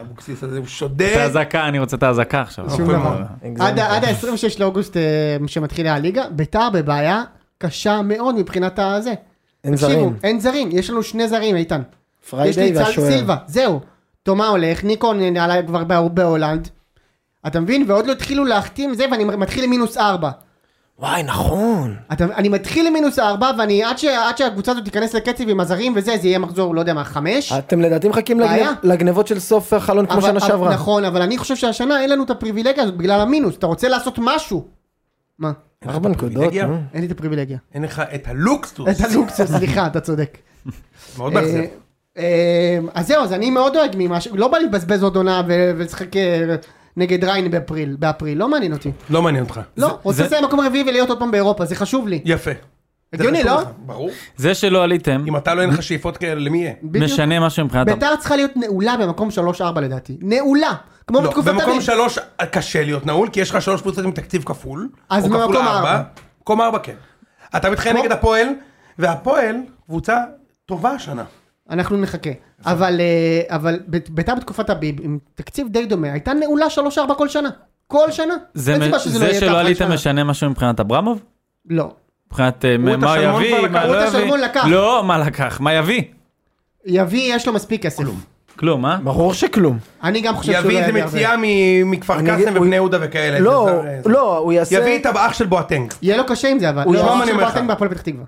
Speaker 2: אבוקסיס הזה הוא
Speaker 4: את
Speaker 2: שודד.
Speaker 4: האזעקה, אני רוצה את האזעקה עכשיו.
Speaker 3: אוקיי.
Speaker 5: שום דבר.
Speaker 3: הגזמתי.
Speaker 5: עד ה- עד ה-26 לאוגוסט אה, שמתחילה הליגה, ביתר בבעיה קשה מאוד מבחינת הזה.
Speaker 3: אין
Speaker 5: תקשיבו,
Speaker 3: זרים.
Speaker 5: אין זרים, יש לנו שני זרים, איתן. יש לי
Speaker 3: פריידי
Speaker 5: צל
Speaker 3: והשוער.
Speaker 5: סילבה, זהו. תומה הולך, ניקון עלה כבר בהור- בהולנד. אתה מבין? ועוד לא התחילו להחתים זה, ואני מתחיל עם מינוס ארבע.
Speaker 3: וואי, נכון.
Speaker 5: אתה, אני מתחיל עם מינוס ארבע, ואני עד, ש, עד שהקבוצה הזאת תיכנס לקצב עם הזרים וזה, זה יהיה מחזור, לא יודע מה, חמש?
Speaker 3: אתם לדעתי מחכים
Speaker 5: בעיה.
Speaker 3: לגנב- לגנבות של סוף החלון אה, כמו
Speaker 5: אבל-
Speaker 3: שנה
Speaker 5: אבל-
Speaker 3: שעברה.
Speaker 5: נכון, אבל אני חושב שהשנה אין לנו את הפריבילגיה הזאת בגלל המינוס. אתה רוצה לעשות משהו. מה?
Speaker 3: ארבע נקודות,
Speaker 2: פריבילגיה?
Speaker 3: נו.
Speaker 5: אין לי את הפריבילגיה.
Speaker 2: אין לך את הלוקסוס.
Speaker 5: את
Speaker 2: (laughs)
Speaker 5: הלוקסוס, סליחה, אתה צודק.
Speaker 2: מאוד מאכזב.
Speaker 5: אה, אה, אז זהו, אז אני מאוד דואג ממה ש... לא בא לי לבזבז עוד עונה ו- ולשחק אה, נגד ריין באפריל, באפריל, לא מעניין אותי.
Speaker 2: לא מעניין אותך.
Speaker 5: לא, רוצה לסיים מקום רביעי ולהיות עוד פעם באירופה, זה חשוב לי.
Speaker 2: יפה.
Speaker 5: הגיוני,
Speaker 2: זה חשוב
Speaker 5: לא?
Speaker 2: לך. ברור.
Speaker 4: זה שלא עליתם,
Speaker 2: אם אתה לא אין לך שאיפות כאלה, למי יהיה?
Speaker 5: בדיוק.
Speaker 4: משנה משהו מבחינת...
Speaker 5: ביתר צריכה להיות נעולה במקום 3-4 לדעתי. נעולה! כמו
Speaker 2: לא,
Speaker 5: בתקופת
Speaker 2: במקום
Speaker 5: אביב.
Speaker 2: שלוש קשה להיות נעול, כי יש לך שלוש קבוצות עם תקציב כפול.
Speaker 5: אז
Speaker 2: או כפול
Speaker 5: במקום
Speaker 2: לארבע.
Speaker 5: ארבע.
Speaker 2: במקום ארבע כן. אתה מתחיל
Speaker 5: כמו-
Speaker 2: נגד הפועל, והפועל קבוצה טובה השנה.
Speaker 5: אנחנו נחכה. אבל אה, אבל בית- ביתר בתקופת אביב, עם תקציב די דומה, הייתה נעולה 3-4 כל שנה. כל שנה.
Speaker 4: זה
Speaker 5: אין
Speaker 4: מ-
Speaker 5: סיבה שזה לא
Speaker 4: זה
Speaker 5: יהיה
Speaker 4: שלא
Speaker 5: ככה
Speaker 4: עליתם
Speaker 5: השנה.
Speaker 4: משנה משהו מבחינת אברמוב?
Speaker 5: לא.
Speaker 4: מבחינת אה,
Speaker 2: הוא את
Speaker 4: מה
Speaker 2: השלמון כבר
Speaker 4: יביא,
Speaker 2: לקח,
Speaker 4: מה
Speaker 5: הוא את
Speaker 4: לא
Speaker 5: השלמון לקח.
Speaker 4: יביא. לא, מה לקח? מה יביא?
Speaker 5: יביא, יש לו מספיק כסף.
Speaker 4: כלום, אה?
Speaker 3: ברור שכלום.
Speaker 5: אני גם חושב שהוא לא
Speaker 2: יביא איזה
Speaker 5: יביא הרבה.
Speaker 2: מציאה מ- מכפר
Speaker 3: אני אגיד-
Speaker 2: קאסם
Speaker 3: הוא-
Speaker 2: ובני יהודה וכאלה.
Speaker 3: לא,
Speaker 2: אה, זה- זה-
Speaker 3: לא, הוא יעשה...
Speaker 2: יביא את האח של בואטנג.
Speaker 5: יהיה לו קשה עם זה אבל.
Speaker 2: הוא
Speaker 5: לא,
Speaker 2: יבוא,
Speaker 5: הוא
Speaker 2: אני
Speaker 5: של
Speaker 2: אומר לך.
Speaker 5: בואטנג בהפועל פתח תקווה.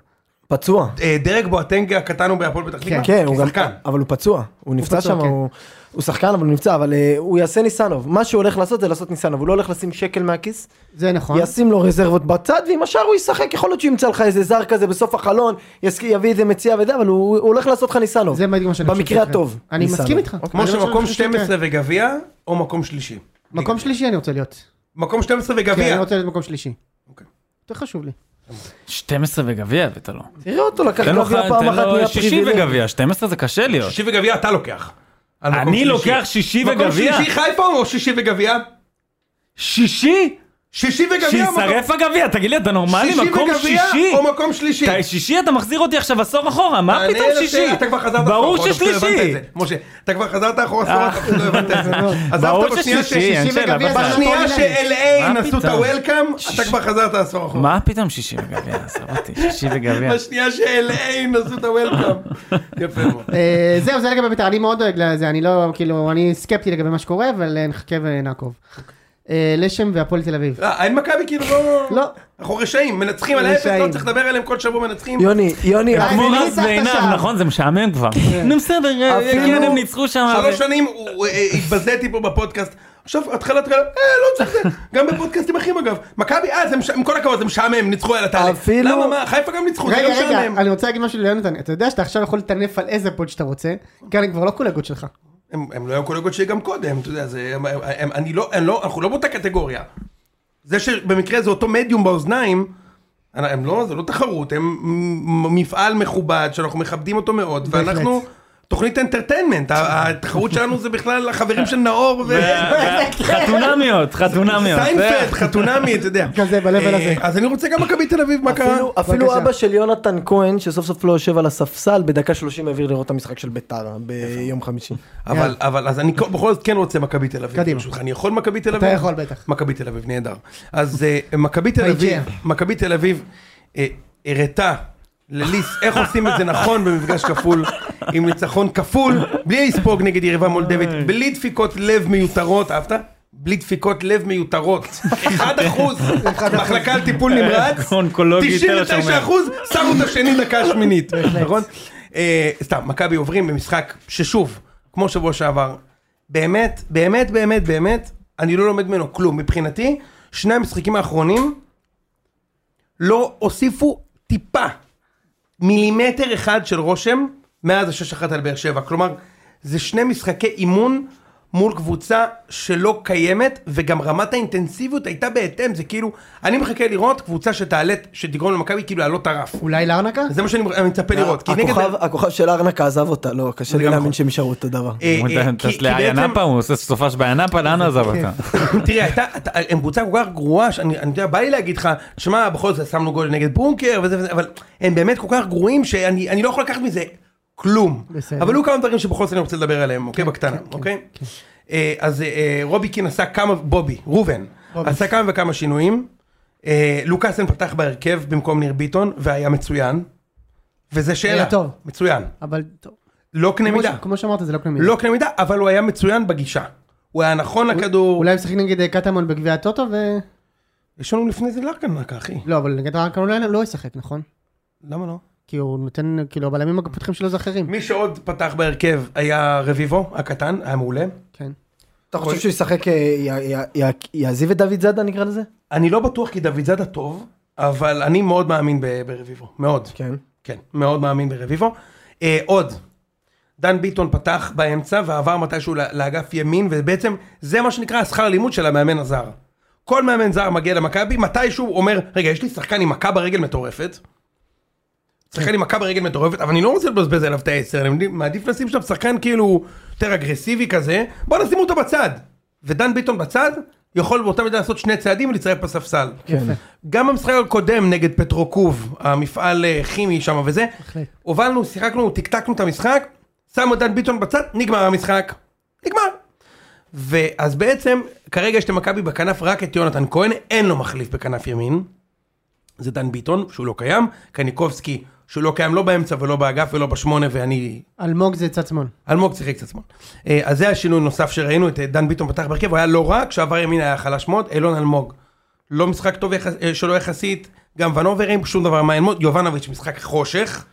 Speaker 3: פצוע.
Speaker 2: אה, דרג בואטנג הקטן הוא בהפועל פתח תקווה?
Speaker 3: כן, הוא גם...
Speaker 2: שחקן.
Speaker 3: אבל הוא פצוע. הוא נפצע
Speaker 5: פצוע,
Speaker 3: שם,
Speaker 5: כן.
Speaker 3: הוא- הוא שחקן אבל הוא נפצע, אבל אה, הוא יעשה ניסנוב. מה שהוא הולך לעשות זה לעשות ניסנוב. הוא לא הולך לשים שקל מהכיס,
Speaker 5: זה נכון.
Speaker 3: ישים לו רזרבות בצד, ועם השאר הוא ישחק. יכול להיות שהוא ימצא לך איזה זר כזה בסוף החלון, יסק- יביא איזה מציע וזה, אבל הוא הוא הולך לעשות לך ניסנוב.
Speaker 5: זה בדיוק מה שאני חושב
Speaker 3: במקרה
Speaker 5: שיקרה.
Speaker 3: הטוב.
Speaker 5: אני
Speaker 3: ניסנוב.
Speaker 5: מסכים איתך.
Speaker 2: כמו
Speaker 5: אני חושב
Speaker 2: שמקום
Speaker 3: כן.
Speaker 5: שזה יקרה.
Speaker 2: 12 וגביע, או מקום שלישי.
Speaker 5: מקום שלישי אני רוצה להיות.
Speaker 2: מקום 12
Speaker 5: כן, אני
Speaker 2: וגביע.
Speaker 5: רוצה להיות מקום שלישי.
Speaker 2: אוקיי.
Speaker 5: יותר חשוב לי.
Speaker 4: 12 וגביע לא. הבאת לו.
Speaker 3: תראה אותו לקח
Speaker 4: כן, תן לו
Speaker 3: גביע פעם אחת
Speaker 4: תן לו 60
Speaker 3: מהפריבילג.
Speaker 4: לא וגביע, 12 זה קשה להיות.
Speaker 2: שישי וגביע אתה לוקח. על מקום
Speaker 4: אני
Speaker 2: שלישי.
Speaker 4: לוקח שישי
Speaker 2: מקום
Speaker 4: וגביע?
Speaker 2: שלישי חיפה או שישי וגביע?
Speaker 4: שישי?
Speaker 2: שישי וגביע או מקום-
Speaker 4: שישרף הגביע, תגיד לי, אתה נורמלי?
Speaker 2: שישי
Speaker 4: מקום
Speaker 2: וגביע
Speaker 4: שישי?
Speaker 2: או מקום שלישי?
Speaker 4: אתה- שישי אתה מחזיר אותי עכשיו עשור אחורה, מה
Speaker 2: אני
Speaker 4: פתאום
Speaker 2: אלף
Speaker 4: שישי?
Speaker 2: שאלה, אתה כבר חזרת
Speaker 4: ברור
Speaker 2: אחורה, אתה אפילו לא הבנת
Speaker 4: ששלישי.
Speaker 2: את זה. משה, אתה כבר חזרת אחורה, סליחה, אתה אפילו לא הבנת את זה.
Speaker 4: אה, ברור
Speaker 2: עזבת בשנייה
Speaker 4: ששישי,
Speaker 2: ש-
Speaker 4: אין
Speaker 5: שישי
Speaker 4: שאלה,
Speaker 5: וגביע כן, זה
Speaker 4: בטח.
Speaker 5: ענף.
Speaker 2: בשנייה
Speaker 4: מה
Speaker 2: ש-LA נשאו את
Speaker 4: פתאום?
Speaker 2: הוולקאם, אתה כבר חזרת עשור אחורה.
Speaker 4: מה פתאום שישי וגביע? עזוב אותי, שישי וגביע.
Speaker 2: בשנייה ש-LA נשאו את הוולקאם.
Speaker 4: (laughs)
Speaker 2: יפה מאוד.
Speaker 5: אה, זהו, זה לגבי בית"ר, אני מאוד דואג לזה, אני לא, כאילו, אני סקפטי לגבי מה שקורה, אבל אה, נחכה ונעקוב. אה, לשם והפועל תל אביב.
Speaker 2: אה, אין מכבי כאילו לא...
Speaker 5: לא.
Speaker 2: אנחנו רשעים, מנצחים על האפס,
Speaker 5: רשעים.
Speaker 2: לא צריך לדבר עליהם כל שבוע מנצחים.
Speaker 3: יוני, יוני,
Speaker 5: אה,
Speaker 4: כמו
Speaker 5: אני
Speaker 4: רז
Speaker 5: ניצחת
Speaker 4: ועינב,
Speaker 5: שם.
Speaker 4: נכון? זה משעמם כבר. נו בסדר, אה,
Speaker 3: אפילו-
Speaker 4: כן, הם ניצחו שם.
Speaker 2: כן. שלוש
Speaker 4: אבל-
Speaker 2: שנים הוא- הוא- אה, התבזיתי פה בפודקאסט. עכשיו התחלה התחלה, אה לא צריך זה, גם בפודקאסטים אחרים אגב. מכבי, אה זה מש- עם כל הכבוד זה משעמם, ניצחו על הטלנט.
Speaker 3: אפילו-
Speaker 2: למה מה, חיפה גם ניצחו, זה
Speaker 5: רגע,
Speaker 2: לא
Speaker 5: רגע,
Speaker 2: משעמם.
Speaker 5: אני רוצה להגיד משהו ליונתן, אתה יודע שאתה עכשיו יכול לטנף על איזה פוד שאתה רוצה, כי אני כבר לא קולגות שלך.
Speaker 2: הם הם לא היו קולגות שלי גם קודם, אתה יודע, זה- הם- הם- הם- אני לא, אני לא- אנחנו לא באותה קטגוריה. זה שבמקרה זה אותו מדיום באוזניים, אני- הם לא, זה לא תחרות, הם מ- מפעל מכובד שאנחנו מכבדים אותו מאוד,
Speaker 5: בהחלט.
Speaker 2: ואנחנו תוכנית אנטרטיינמנט, ה- התחרות שלנו זה בכלל החברים של נאור ו...
Speaker 4: אה, חתונמיות, חתונמיות.
Speaker 2: סיינפלד, חתונמי, אתה יודע.
Speaker 5: כזה, ב-level הזה.
Speaker 2: אה, אז אני רוצה גם מכבי תל אביב, מה קרה?
Speaker 3: אפילו- אפילו
Speaker 5: בבקשה.
Speaker 3: אבא של יונתן כהן, שסוף סוף לא יושב על הספסל, בדקה 30 העביר לראות את המשחק של ביתר ביום חמישי.
Speaker 2: אבל, אבל, אז אני כל- בכל זאת כן רוצה מכבי תל אביב.
Speaker 5: קדימה.
Speaker 2: ברשותך. אני יכול מכבי תל אביב?
Speaker 5: אתה יכול, בטח.
Speaker 2: מכבי תל אביב, נהדר. אז אה, מכבי תל אביב,
Speaker 5: היי,
Speaker 2: מכבי תל אביב אה, הראתה לליס איך עושים את זה נכון במפגש כפול, עם ניצחון כפול, בלי לספוג נגד יריבה מולדבית, בלי דפיקות לב מיותרות, אהבת? בלי דפיקות לב
Speaker 5: (laughs)
Speaker 2: מיותרות, 1 אחוז, מחלקה על טיפול נמרץ,
Speaker 4: (laughs) אונקולוגי, תל
Speaker 2: 99
Speaker 4: השומר.
Speaker 2: אחוז, שמו את השני
Speaker 4: (laughs)
Speaker 2: דקה שמינית, נכון? אה, סתם, מכבי עוברים במשחק ששוב, כמו שבוע שעבר, באמת, באמת, באמת, באמת, אני לא לומד ממנו כלום. מבחינתי, שני המשחקים האחרונים לא הוסיפו טיפה, מילימטר אחד של רושם, מאז השש אחת על באר שבע. כלומר, זה שני משחקי אימון מול קבוצה שלא קיימת, וגם רמת האינטנסיביות הייתה בהתאם, זה כאילו, אני מחכה לראות קבוצה שתעלה, שתגרום למכבי כאילו לעלות הרף.
Speaker 5: אולי לארנקה?
Speaker 2: זה מה שאני אני מצפה לראות. כי נגד-
Speaker 3: הכוכב- הכוכב של ארנקה עזב אותה, לא, קשה
Speaker 2: זה
Speaker 3: לי
Speaker 2: גם נכון.
Speaker 3: להאמין שהם יישארו אותו דבר.
Speaker 2: אה,
Speaker 4: הוא
Speaker 2: אה, כי-
Speaker 4: טס
Speaker 2: כי
Speaker 4: לאיה
Speaker 2: בעצם-
Speaker 4: נאפה, הוא עושה סופש באנפה, לאן הוא עזב אותה?
Speaker 2: תראה, הייתה, אתה- הם קבוצה כל כך גרועה, שאני, אני יודע, בא לי להגיד לך, שמע, בכל זאת שמנו גול נגד בונקר וזה וזה, אבל הם באמת כל כך גרועים שאני אני לא יכול לקחת מזה כלום.
Speaker 5: בסדר. כן,
Speaker 2: אבל היו כמה דברים שבכל זאת אני רוצה לדבר עליהם, אוקיי? בקטנה, אוקיי? אה, אז אה, אה, רובי קין עשה כמה, בובי, ראובן, עשה כמה וכמה שינויים. אה, לוקאסן פתח בהרכב במקום ניר ביטון, והיה מצוין. וזה שאלה.
Speaker 5: טוב.
Speaker 2: מצוין.
Speaker 5: אבל טוב.
Speaker 2: לא קנה
Speaker 5: כמו
Speaker 2: מידה.
Speaker 5: ש- כמו שאמרת, זה לא קנה מידה.
Speaker 2: לא קנה מידה, אבל הוא היה מצוין בגישה. הוא היה נכון לכדור.
Speaker 5: אולי הוא משחק נגד אה, קטמון בגביע הטוטו ו...
Speaker 2: יש לנו לפני זה לארקנקה, אחי.
Speaker 5: לא, אבל נגד ארנקה אולי לא ישחק, נכון?
Speaker 2: למה לא?
Speaker 5: כי הוא נותן, כאילו, הבלמים הפותחים שלו זה אחרים.
Speaker 2: מי שעוד פתח בהרכב היה רביבו הקטן, היה מעולה.
Speaker 5: כן.
Speaker 3: אתה חושב שהוא ישחק, אה, י- י- י- יעזיב את דוד זאדה נקרא לזה?
Speaker 2: אני לא בטוח כי דוד זאדה טוב, אבל אני מאוד מאמין ב- ברביבו, מאוד.
Speaker 3: כן.
Speaker 2: כן, מאוד מאמין ברביבו. אה, עוד, דן ביטון פתח באמצע ועבר מתישהו ל- לאגף ימין, ובעצם זה מה שנקרא השכר לימוד של המאמן הזר. כל מאמן זר מגיע למכבי, מתישהו הוא אומר, רגע, יש לי שחקן עם מכה ברגל מטורפת. שחקן עם מכה ברגל מטורפת, אבל אני לא רוצה לבזבז עליו את העשר, אני מדי- מעדיף לשים שם שחקן כאילו יותר אגרסיבי כזה, בוא נשים אותו בצד. ודן ביטון בצד, יכול באותה מידה לעשות שני צעדים ולהצטרף בספסל. גם במשחק הקודם נגד פטרוקוב, המפעל אה, כימי שם וזה,
Speaker 5: בהחלט.
Speaker 2: הובלנו, שיחקנו, טקטקנו את המשחק, שמו את דן ביטון בצד, נגמר המשחק. נגמר. ואז בעצם, כרגע יש למכבי בכנף רק את יונתן כהן, אין לו מחליף בכנף ימין. זה דן ביטון, שהוא לא קיים, קניקובסקי, שהוא לא קיים לא באמצע ולא באגף ולא בשמונה, ואני
Speaker 5: אלמוג זה צד שמאל.
Speaker 2: אלמוג שיחק קצת שמאל. אה, אז זה השינוי נוסף שראינו, את אה, דן ביטון פתח בהרכב, הוא היה לא רע, כשעבר ימינה היה חלש מאוד, אילון אלמוג. לא משחק טוב יחס, אה, שלו יחסית, גם ונובר אין שום דבר מה ללמוד, יובנוביץ' משחק חושך,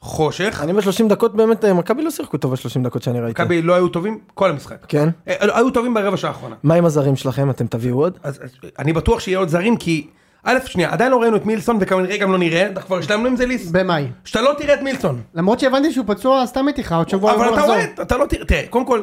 Speaker 2: חושך,
Speaker 3: אני ב-30 דקות באמת, אה, מכבי לא שיחקו טוב ב-30 דקות שאני ראיתי.
Speaker 2: מכבי לא היו טובים כל המשחק.
Speaker 3: כן?
Speaker 2: אה, לא, היו טובים ברבע שעה האחרונה.
Speaker 3: מה עם הזרים שלכם? אתם תביאו עוד?
Speaker 2: אז אז אני בטוח שיהיה עוד זרים, כי א', שנייה, עדיין לא ראינו את מילסון וכנראה גם לא נראה, אנחנו כבר השלמנו עם זה ליס,
Speaker 5: במאי.
Speaker 2: שאתה לא תראה את מילסון.
Speaker 5: למרות שהבנתי שהוא פצוע סתם מתיחה, עוד שבוע הוא
Speaker 2: אבל אתה
Speaker 5: יחזור.
Speaker 2: רואה, אתה לא תראה, תראה, קודם כל,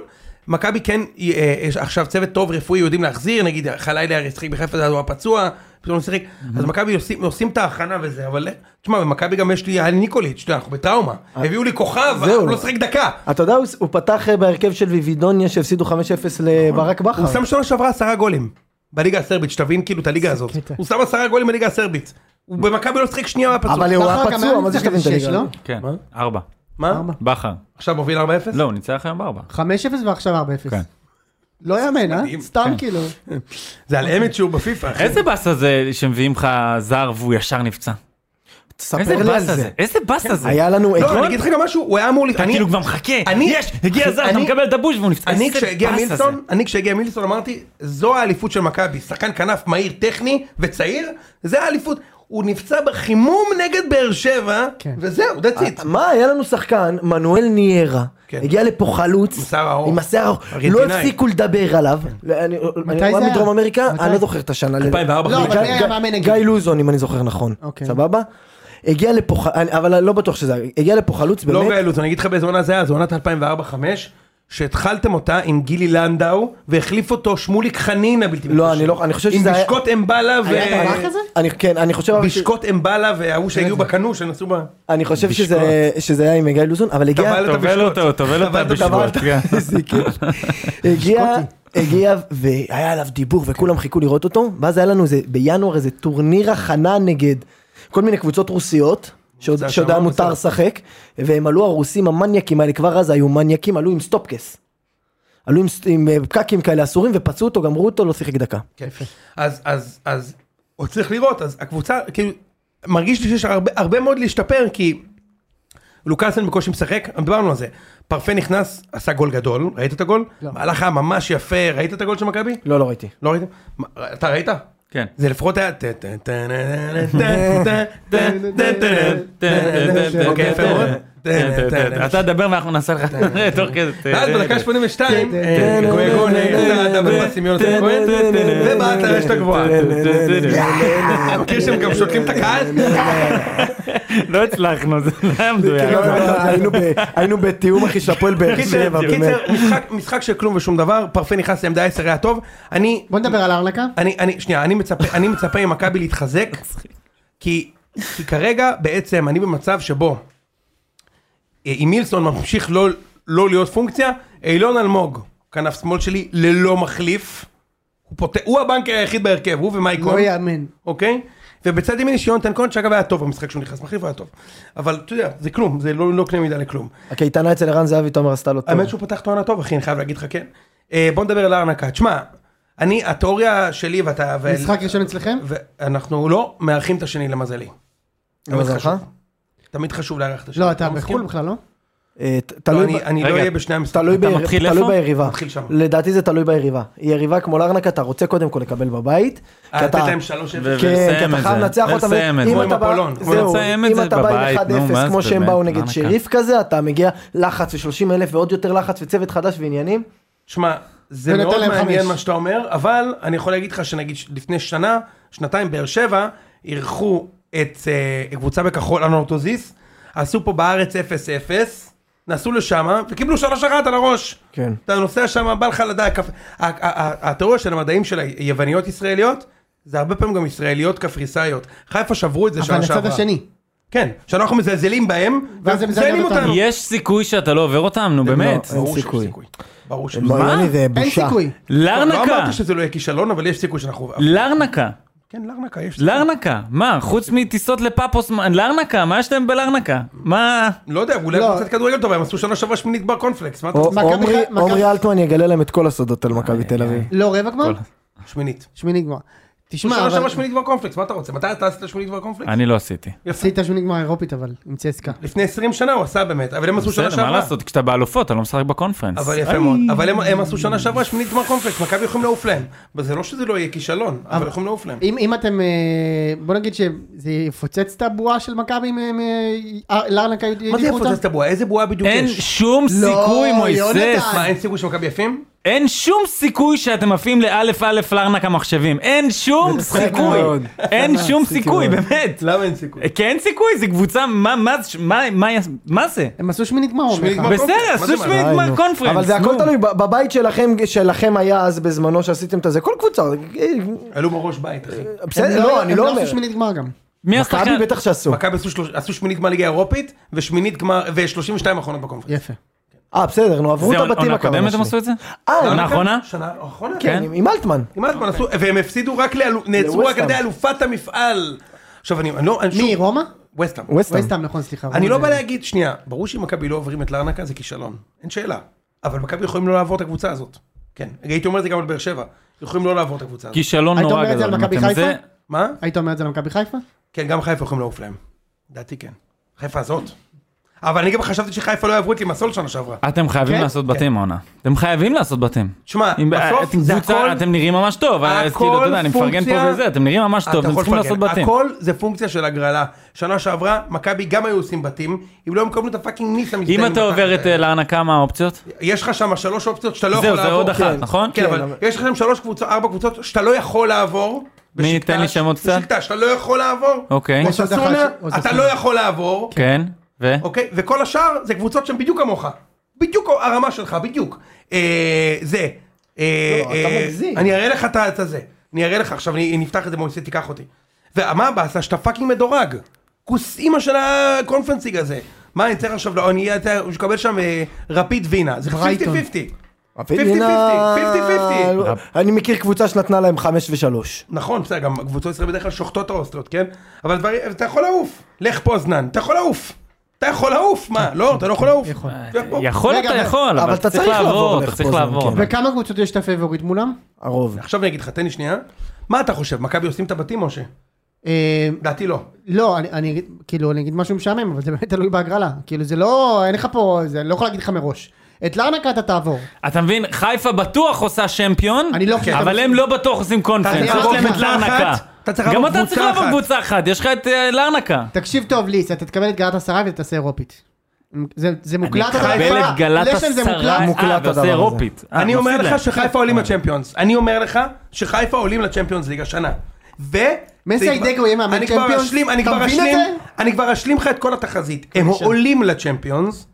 Speaker 2: מכבי כן, אה, יש עכשיו צוות טוב רפואי, יודעים להחזיר, נגיד חלילה שיחק בחיפה, זה היה פצוע, פתאום הוא שיחק, אז מכבי עושים- עושים את ההכנה וזה, אבל אה, תשמע, במכבי גם יש לי, היה לי ניקוליץ', אתה יודע, אנחנו בטראומה,
Speaker 4: אה,
Speaker 2: הביאו לי כוכב,
Speaker 3: זהו.
Speaker 2: הוא לא שיחק דקה.
Speaker 3: אתה יודע, הוא- הוא פתח אה, בהרכב של ויבידוניה שהפסידו 5-0 לברק בכר.
Speaker 2: נכון. הוא שם שנה שעברה עשרה גולים, בליגה הסרבית, שתבין כאילו את הליגה הזאת,
Speaker 5: קטע.
Speaker 2: הוא שם עשרה גולים בליגה הסרבית, הוא במכבי לא שיחק שנייה, הוא היה פצוע.
Speaker 3: אבל הוא היה
Speaker 5: בכר גם היה
Speaker 3: פצוע, מה זה
Speaker 5: משחק
Speaker 3: שתבין את
Speaker 5: שש,
Speaker 3: הליגה?
Speaker 5: לא?
Speaker 4: כן, ארבע.
Speaker 2: מה?
Speaker 4: בכר.
Speaker 2: עכשיו מוביל 4-0?
Speaker 4: לא, הוא ניצח היום בארבע.
Speaker 5: 5-0 ועכשיו 4-0.
Speaker 4: כן.
Speaker 5: לא יאמן,
Speaker 2: מדהים.
Speaker 5: אה? סתם
Speaker 4: כן.
Speaker 5: כאילו.
Speaker 2: זה על אמת שהוא בפיפ"א, אחי.
Speaker 4: איזה באסה זה שמביאים לך זר והוא ישר נפצע? איזה
Speaker 3: ספר לי על
Speaker 4: באסה
Speaker 3: זה.
Speaker 4: זה? איזה באסה זה?
Speaker 3: היה לנו
Speaker 2: לא, אני
Speaker 3: אתמול,
Speaker 2: אגיד לך גם משהו, הוא היה אמור... לי-
Speaker 4: אתה
Speaker 2: אני-
Speaker 4: כאילו כבר מחכה.
Speaker 2: אני-
Speaker 4: יש, הגיע זר, אתה
Speaker 2: אני-
Speaker 4: מקבל דבוש והוא נפצע.
Speaker 2: אני
Speaker 4: איזה
Speaker 2: כשהגיע
Speaker 4: באסה זה?
Speaker 2: מילסון, אני כשהגיע מילסון אמרתי, זו האליפות של מכבי, שחקן כנף מהיר, טכני וצעיר, זה האליפות. הוא נפצע בחימום נגד באר שבע,
Speaker 5: כן.
Speaker 2: וזהו, that's it.
Speaker 3: מה היה לנו שחקן, מנואל ניירה,
Speaker 2: כן.
Speaker 3: הגיע לפה חלוץ,
Speaker 2: עם שיער ארוך.
Speaker 3: עם השיער הארוך, לא
Speaker 2: ארגנטינאי. כן.
Speaker 3: הפסיקו לדבר עליו, לא, אני-
Speaker 5: מתי
Speaker 3: אני
Speaker 5: זה
Speaker 3: רואה
Speaker 5: היה?
Speaker 3: מדרום אמריקה,
Speaker 5: מתי?
Speaker 3: אני לא זוכר את השנה,
Speaker 4: 2004,
Speaker 5: לא, אבל
Speaker 3: גיא-
Speaker 5: מי היה
Speaker 3: גיא-
Speaker 5: מאמן נגיד?
Speaker 3: גיא לוזון אם אני זוכר נכון,
Speaker 5: אוקיי.
Speaker 3: סבבה? הגיע לפה, ח- אני- אבל אני לא בטוח שזה, היה. הגיע לפה חלוץ
Speaker 2: לא
Speaker 3: באמת,
Speaker 2: גאלוס, אני אגיד לך באיזה עונה זה היה, זו עונת 2004-2005, שהתחלתם אותה עם גילי לנדאו, והחליף אותו שמוליק חנין הבלתי
Speaker 3: לא, אני לא- אני חושב שזה
Speaker 2: היה...
Speaker 3: היה-
Speaker 2: עם בשקוט אמבלה ו...
Speaker 5: היה דבר כזה?
Speaker 3: אני, כן, אני חושב, אבל ש-
Speaker 2: בשקוט אמבלה וההוא שהגיעו בקנו, שנסעו ב...
Speaker 3: אני חושב
Speaker 2: בשקוט.
Speaker 3: שזה, שזה היה עם גיא לוזון, אבל הגיע,
Speaker 2: טבל את
Speaker 4: טובל
Speaker 2: הבשקוט.
Speaker 4: אותו, טובל אותה
Speaker 2: טבלת את הבלת.
Speaker 4: בשבועות. כן.
Speaker 3: איזה
Speaker 2: (laughs)
Speaker 3: כיף. הגיע, הגיע, והיה עליו דיבור וכולם חיכו לראות אותו, ואז היה לנו איזה, בינואר איזה טורניר הכנה נגד כל מיני קבוצות רוסיות. שעוד
Speaker 2: זה
Speaker 3: שעוד היה
Speaker 2: השמות
Speaker 3: מותר
Speaker 2: בסדר.
Speaker 3: לשחק, והם עלו הרוסים המניאקים האלה, כבר אז היו מניאקים, עלו עם סטופקס. עלו עם, ס- עם אה, פקקים כאלה אסורים ופצעו אותו, גמרו אותו, לא שיחק דקה.
Speaker 2: כן. אז, אז, אז, עוד צריך לראות, אז הקבוצה, כאילו, מרגיש לי שיש הרבה, הרבה מאוד להשתפר, כי לוקאסן בקושי משחק, דיברנו על זה. פרפה נכנס, עשה גול גדול, ראית את הגול? לא. מהלך היה ממש יפה, ראית את הגול של מכבי?
Speaker 3: לא, לא ראיתי.
Speaker 2: לא ראיתם? מה, אתה ראית? (laughs)
Speaker 4: כן.
Speaker 2: זה לפחות היה... טה, טה, טה, נה, נה, נה, טה, טה, טה, טה, נה, טה, נה, נה. אוקיי, יפה מאוד. טה, נה, טה, כן, אה, נה.
Speaker 4: כן, אתה תדבר ואנחנו נעשה לך תוך כדי.
Speaker 2: ואז בדקה 82,
Speaker 3: טה, נה,
Speaker 2: גויגון,
Speaker 3: נה, נה,
Speaker 2: אתה מנסים יונתן כהן, ובעט לרשת הגבוהה. מכיר שהם גם שותלים את הקהל?
Speaker 4: לא הצלחנו, זה לא היה
Speaker 2: כן,
Speaker 4: מדויק.
Speaker 3: (laughs) היינו ב- היינו בתיאום אחי של הפועל באר שבע,
Speaker 2: קיצר,
Speaker 3: באמת.
Speaker 2: קיצר, משחק- משחק של כלום ושום דבר, פרפה נכנס לעמדה 10 היה טוב, אני
Speaker 5: בוא נדבר על ארלקה.
Speaker 2: אני, אני, שנייה, אני מצפה, אני מצפה ממכבי להתחזק, כי, כי כרגע בעצם אני במצב שבו אה, אם מילסון ממשיך לא, לא להיות פונקציה, אילון אלמוג, כנף שמאל שלי, ללא מחליף, הוא, פות... הוא הבנקר היחיד בהרכב, הוא ומייקון,
Speaker 5: לא יאמן.
Speaker 2: אוקיי? ובצד ימין יש יונתן כהן, שאגב היה טוב במשחק שהוא נכנס מחליף, היה טוב. אבל אתה יודע, זה כלום, זה לא, לא קנה מידה לכלום.
Speaker 3: הקייטנה אצל ערן זהבי, תומר עשתה לו טוב.
Speaker 2: האמת שהוא פתח את העונה טוב, אחי, אני חייב להגיד לך כן. אה, בוא נדבר על הארנקה. תשמע, אני, התיאוריה שלי ואתה... ו-
Speaker 5: משחק ראשון אצלכם?
Speaker 2: ואנחנו לא מארחים את השני למזלי. תמיד
Speaker 3: למזלך?
Speaker 2: חשוב. תמיד חשוב לארח את השני.
Speaker 5: לא, אתה
Speaker 2: מסכים?
Speaker 5: בחו"ל בכלל, לא?
Speaker 3: אה, ת-
Speaker 2: לא,
Speaker 3: תלוי, ב-
Speaker 2: אני- אני לא
Speaker 4: רגע,
Speaker 2: אהיה בשני המשחקים.
Speaker 3: תלוי ביריב-
Speaker 4: מתחיל
Speaker 3: תלוי
Speaker 4: איפה?
Speaker 3: ביריבה.
Speaker 2: מתחיל שם.
Speaker 3: לדעתי זה תלוי ביריבה. היא יריבה כמו לארנק, אתה רוצה קודם כל לקבל בבית.
Speaker 2: אה,
Speaker 3: כי
Speaker 2: לתת
Speaker 3: אתה-
Speaker 2: להם שלוש אפס.
Speaker 4: ו-
Speaker 3: כן, כי
Speaker 4: ולסיים
Speaker 3: אתה
Speaker 4: את
Speaker 3: חייב
Speaker 4: זה.
Speaker 3: לנצח אותם.
Speaker 4: ולסיים את
Speaker 3: אם
Speaker 4: זה.
Speaker 2: כמו
Speaker 3: אתה
Speaker 2: עם
Speaker 3: בא-
Speaker 2: אפולון. כמו
Speaker 3: זהו,
Speaker 4: לסיים את
Speaker 3: אם
Speaker 4: זה
Speaker 3: אתה בא עם
Speaker 4: בבית, נו, מה
Speaker 3: 1-0 כמו
Speaker 4: זה
Speaker 3: שהם באו
Speaker 4: באמת,
Speaker 3: נגד
Speaker 4: ארנקה.
Speaker 3: שריף כזה, אתה מגיע לחץ ו-30 אלף ועוד יותר לחץ וצוות חדש ועניינים.
Speaker 2: שמע, זה
Speaker 5: ונתן
Speaker 2: מאוד
Speaker 5: להם
Speaker 2: מעניין
Speaker 5: חמש.
Speaker 2: מה שאתה אומר, אבל אני יכול להגיד לך שנגיד ש- לפני שנה, שנתיים, באר שבע, אירחו את אה, קבוצה בכחול, אנורטוזיס, עשו פה בארץ 0-0, נסעו לשם, וקיבלו 3-1 על הראש.
Speaker 3: כן.
Speaker 2: אתה נוסע שם, בא לך לדעת, כפ- ה- ה- ה- התיאוריה של המדעים של היווניות ישראליות, זה הרבה פעמים גם ישראליות קפריסאיות. חיפה שברו את זה
Speaker 5: אבל
Speaker 2: שנה שעברה.
Speaker 5: לצד
Speaker 3: אה,
Speaker 5: השני.
Speaker 2: כן, שאנחנו מזלזלים בהם,
Speaker 5: ואז הם מזלזלים אותנו.
Speaker 2: כן.
Speaker 4: יש סיכוי שאתה לא עובר אותם, נו באמת.
Speaker 3: אין
Speaker 2: ברור שיש
Speaker 3: סיכוי.
Speaker 2: סיכוי. ברור שיש
Speaker 3: לא, יוני, זה
Speaker 5: אין
Speaker 3: בושה.
Speaker 5: סיכוי.
Speaker 2: לא
Speaker 4: לארנקה, לא.
Speaker 2: אמרתי שזה לא יהיה כישלון, אבל יש סיכוי שאנחנו...
Speaker 4: לארנקה,
Speaker 2: כן, לארנקה יש
Speaker 4: לא.
Speaker 2: סיכוי.
Speaker 4: לארנקה, מה, חוץ מטיסות לפאפוס, מה- לארנקה, מה יש להם בלארנקה? מה?
Speaker 2: לא יודע, אולי
Speaker 5: לא.
Speaker 2: קבוצת כדורגל טובה, הם עשו שנה שעברה שמינית בר קונפלקס, מה אתה
Speaker 3: או-
Speaker 2: רוצה?
Speaker 5: מכבי
Speaker 3: עומרי-
Speaker 5: ח- מכבי-
Speaker 3: עומרי אלטמן יגלה להם את כל הסודות על מכבי תל אביב.
Speaker 5: לא רבע גמר?
Speaker 2: שמינית.
Speaker 5: שמיני גמר. תשמע,
Speaker 2: שנה שעברה
Speaker 5: אבל...
Speaker 2: שמינית בר קונפלקס, מה אתה רוצה? מתי אתה עשית שמינית בר קונפלקס?
Speaker 4: אני לא עשיתי.
Speaker 2: יפה.
Speaker 5: עשית שמיני גמר אירופית אבל, עם צסקה.
Speaker 2: לפני 20 שנה הוא עשה באמת, אבל הם עשו שנה
Speaker 4: בסדר, מה
Speaker 2: שעברה.
Speaker 4: לעשות, כשאתה באלופות, אתה לא משחק בקונפרנס.
Speaker 2: אבל יפה מאוד, אבל הם- הם עשו שנה שעברה שמינית גמר קונפלקס, מכבי יכולים לעוף להם. אבל זה לא שזה לא יהיה כישלון, אבל יכולים לעוף להם.
Speaker 5: אם, אם אתם, אה, בוא נגיד שזה יפוצץ את הבועה של מכבי אם הם, אה, אה, לארנקה ידיחו
Speaker 2: מה
Speaker 5: אותה?
Speaker 2: זה יפוצץ את הבועה? איזה בועה בדיוק
Speaker 4: אין
Speaker 2: יש?
Speaker 4: שום סיכוי, מויסס.
Speaker 5: יונתן.
Speaker 2: מה, אין סיכוי שמכבי יפים?
Speaker 4: אין שום סיכוי שאתם עפים לאלף אלף לארנק המחשבים. אין שום סיכוי.
Speaker 3: מאוד.
Speaker 4: אין שום סיכוי,
Speaker 3: מאוד.
Speaker 4: באמת.
Speaker 2: למה אין סיכוי?
Speaker 4: כי אין סיכוי, זו קבוצה, מה- מה זה- מה- מה- מה זה?
Speaker 5: הם לא- עשו שמיני גמר, אומר
Speaker 2: שמינית
Speaker 5: לך.
Speaker 2: גמר.
Speaker 4: בסדר,
Speaker 2: קונפרנס, לא, מה
Speaker 4: עשו
Speaker 2: זה
Speaker 4: שמינית
Speaker 3: די,
Speaker 4: גמר
Speaker 3: אה, נו.
Speaker 4: קונפרנס.
Speaker 3: אבל זה הכל
Speaker 4: נו.
Speaker 3: תלוי, ב- בבית שלכם, שלכם היה אז בזמנו שעשיתם את זה, כל קבוצה, אה,
Speaker 2: עלו מראש בית, אחי.
Speaker 5: הם
Speaker 3: בסדר, לא, אני לא
Speaker 5: הם לא
Speaker 3: אומר,
Speaker 5: עשו שמינית גמר גם.
Speaker 4: מי השחקן?
Speaker 3: מכבי בטח שעשו,
Speaker 2: מכבי עשו שלוש- עשו שמינית גמר ליגה אירופית, ושמינית גמר, ו-32 אחרונות בקונפרנס.
Speaker 5: יפה.
Speaker 3: אה בסדר, נו עברו
Speaker 4: זה
Speaker 3: את הבתים
Speaker 4: עונה קודמת הם
Speaker 3: הכוונה
Speaker 4: עשו
Speaker 3: שלי,
Speaker 4: את זה?
Speaker 3: אה,
Speaker 4: עונה האחרונה?
Speaker 2: שנה האחרונה, כן.
Speaker 3: כן, עם- עם אלטמן,
Speaker 2: עם אלטמן עשו, והם הפסידו רק, לאלו- נעצרו רק על ידי אלופת המפעל. עכשיו אני, אני לא, אני
Speaker 5: מי, רומא?
Speaker 2: ווסטהאם.
Speaker 3: ווסטהאם,
Speaker 5: וסטאם, נכון, סליחה.
Speaker 2: אני
Speaker 5: רומא
Speaker 2: לא
Speaker 5: זה-
Speaker 2: בא להגיד, שנייה, ברור שאם מכבי לא עוברים את לארנקה זה כישלון, אין שאלה. אבל מכבי יכולים לא לעבור את הקבוצה הזאת. כן, הייתי אומר את זה גם על באר שבע. יכולים לא לעבור את הקבוצה הזאת.
Speaker 4: כישלון
Speaker 5: היית
Speaker 4: נורא
Speaker 5: אומר את זה
Speaker 4: גדול.
Speaker 5: על מכבי
Speaker 4: אתם זה-
Speaker 5: חיפה?
Speaker 2: מה?
Speaker 5: היית אומר את זה למכבי חיפה?
Speaker 2: כן, גם חיפה יכולים לעוף להם. לדעתי כן. חיפה הזאת. אבל אני גם חשבתי שחיפה לא יעברו את לימסול שנה שעברה.
Speaker 4: אתם חייבים
Speaker 2: כן?
Speaker 4: לעשות בתים העונה. אתם חייבים לעשות בתים.
Speaker 2: תשמע,
Speaker 4: אם-
Speaker 2: בסוף
Speaker 4: אתם
Speaker 2: זה
Speaker 4: קבוצה-
Speaker 2: הכל-
Speaker 4: אתם נראים ממש טוב, אז
Speaker 2: הכל
Speaker 4: כאילו, אתה יודע, אני מפרגן פה
Speaker 2: פונקציה-
Speaker 4: וזה, אתם נראים ממש טוב,
Speaker 2: אתה
Speaker 4: אתם
Speaker 2: יכול
Speaker 4: צריכים
Speaker 2: לפרגן.
Speaker 4: לעשות בתים.
Speaker 2: הכל זה פונקציה של הגרלה. שנה שעברה, מכבי גם היו עושים בתים, אם לא הם קבלו את הפאקינג ניס המזדהים.
Speaker 4: אם אתה עובר את אה, להנקה, מה האופציות?
Speaker 2: יש לך שם שלוש אופציות שאתה לא יכול
Speaker 4: זהו,
Speaker 2: לעבור.
Speaker 4: זה עוד אחת, נכון?
Speaker 2: כן, אבל יש לכם שלוש קבוצות, ארבע קבוצות שאתה לא יכול לעבור.
Speaker 4: מי,
Speaker 2: בשקטש-
Speaker 4: תן לי שמות קצת.
Speaker 2: בשקטש, אתה לא יכול לעבור.
Speaker 4: אוקיי.
Speaker 5: יש עוד אחת
Speaker 2: אוססונה,
Speaker 5: ש-
Speaker 2: אתה
Speaker 5: אוססונה.
Speaker 2: לא יכול לעבור.
Speaker 4: כן, ו?
Speaker 2: אוקיי? וכל השאר זה קבוצות שהן בדיוק כמוך. בדיוק הרמה שלך, בדיוק. אה, זה. אה,
Speaker 3: לא, אתה
Speaker 2: אה,
Speaker 3: מגזים.
Speaker 2: אני אראה לך את ה- את הזה. אני אראה לך, עכשיו אני נפתח את זה במועצת, תיקח אותי. ומה הבאסה? שאתה פאקינג מדורג. כוס אימא של הקונפרנסינג הזה. מה אני צריך עכשיו, לא, אני אצטרך לקבל שם אה, רפיד וינה. זה 50-50.
Speaker 5: ברייטון.
Speaker 2: 50-50, 50-50.
Speaker 3: אני מכיר קבוצה שנתנה להם חמש ושלוש.
Speaker 2: נכון, בסדר, גם קבוצות ישראל בדרך כלל שוחטות את האוסטריות, כן? אבל דברים, אתה יכול לעוף. לך פוזנן, אתה יכול לעוף. אתה יכול לעוף, מה? לא, אתה לא יכול לעוף.
Speaker 5: יכול.
Speaker 2: אתה יכול.
Speaker 4: יכול
Speaker 5: רגע,
Speaker 4: אתה
Speaker 5: אבל-
Speaker 4: יכול, אבל אתה צריך לעבור,
Speaker 3: דרך
Speaker 4: אתה צריך
Speaker 3: פוזנן,
Speaker 4: לעבור.
Speaker 3: כן.
Speaker 5: וכמה קבוצות יש את הפייבוריט מולם?
Speaker 3: הרוב.
Speaker 2: עכשיו אני אגיד לך, תן לי שנייה. מה אתה חושב, מכבי עושים את הבתים, משה?
Speaker 5: אה,
Speaker 2: לדעתי לא.
Speaker 5: לא, אני- אני אגיד, כאילו, אני אגיד משהו משעמם, אבל זה באמת תלוי בהגרלה. כאילו, זה לא, אין לך פה, זה- אני לא יכול להגיד לך מראש. את לארנקה אתה תעבור.
Speaker 4: אתה מבין, חיפה בטוח עושה שמפיון,
Speaker 5: אני לא חושב שאתה
Speaker 4: אבל
Speaker 5: מבין.
Speaker 4: הם לא בטוח עושים קונפרנס,
Speaker 5: צריך
Speaker 4: יש
Speaker 5: לעבור
Speaker 4: להם את
Speaker 5: קבוצה
Speaker 4: לארנקה.
Speaker 2: אחת, אתה צריך
Speaker 4: גם
Speaker 2: לעבור
Speaker 4: אתה צריך
Speaker 2: קבוצה
Speaker 4: לעבור
Speaker 2: אחת.
Speaker 4: קבוצה אחת, יש לך את אה, לארנקה.
Speaker 5: תקשיב טוב, ליס, אתה תקבל את גלת הסריי ותעשה אירופית. זה זה מוקלט, אתה
Speaker 4: תקבל את גלת
Speaker 5: לשם זה
Speaker 4: הסרה,
Speaker 5: מוקלט.
Speaker 4: אה,
Speaker 3: מוקלט הדבר
Speaker 4: ועושה
Speaker 3: הזה.
Speaker 4: אירופית. אה,
Speaker 2: אני אומר
Speaker 4: מפסיד
Speaker 2: לך
Speaker 4: להם. אה.
Speaker 2: שחיפה עולים לצ'מפיונס. אני אומר לך שחיפה עולים לצ'מפיונס ליג השנה. ו...
Speaker 5: מסי
Speaker 2: זה כבר-
Speaker 5: דגו יהיה מאמן
Speaker 2: אני כבר
Speaker 5: צ'מפיונס?
Speaker 2: אשלים- אני
Speaker 5: אתה
Speaker 2: כבר
Speaker 5: מבין את
Speaker 2: אשלים-
Speaker 5: זה?
Speaker 2: אני כבר אשלים לך את כל התחזית. הם
Speaker 5: בבקשה.
Speaker 2: עולים לצ'מפיונס,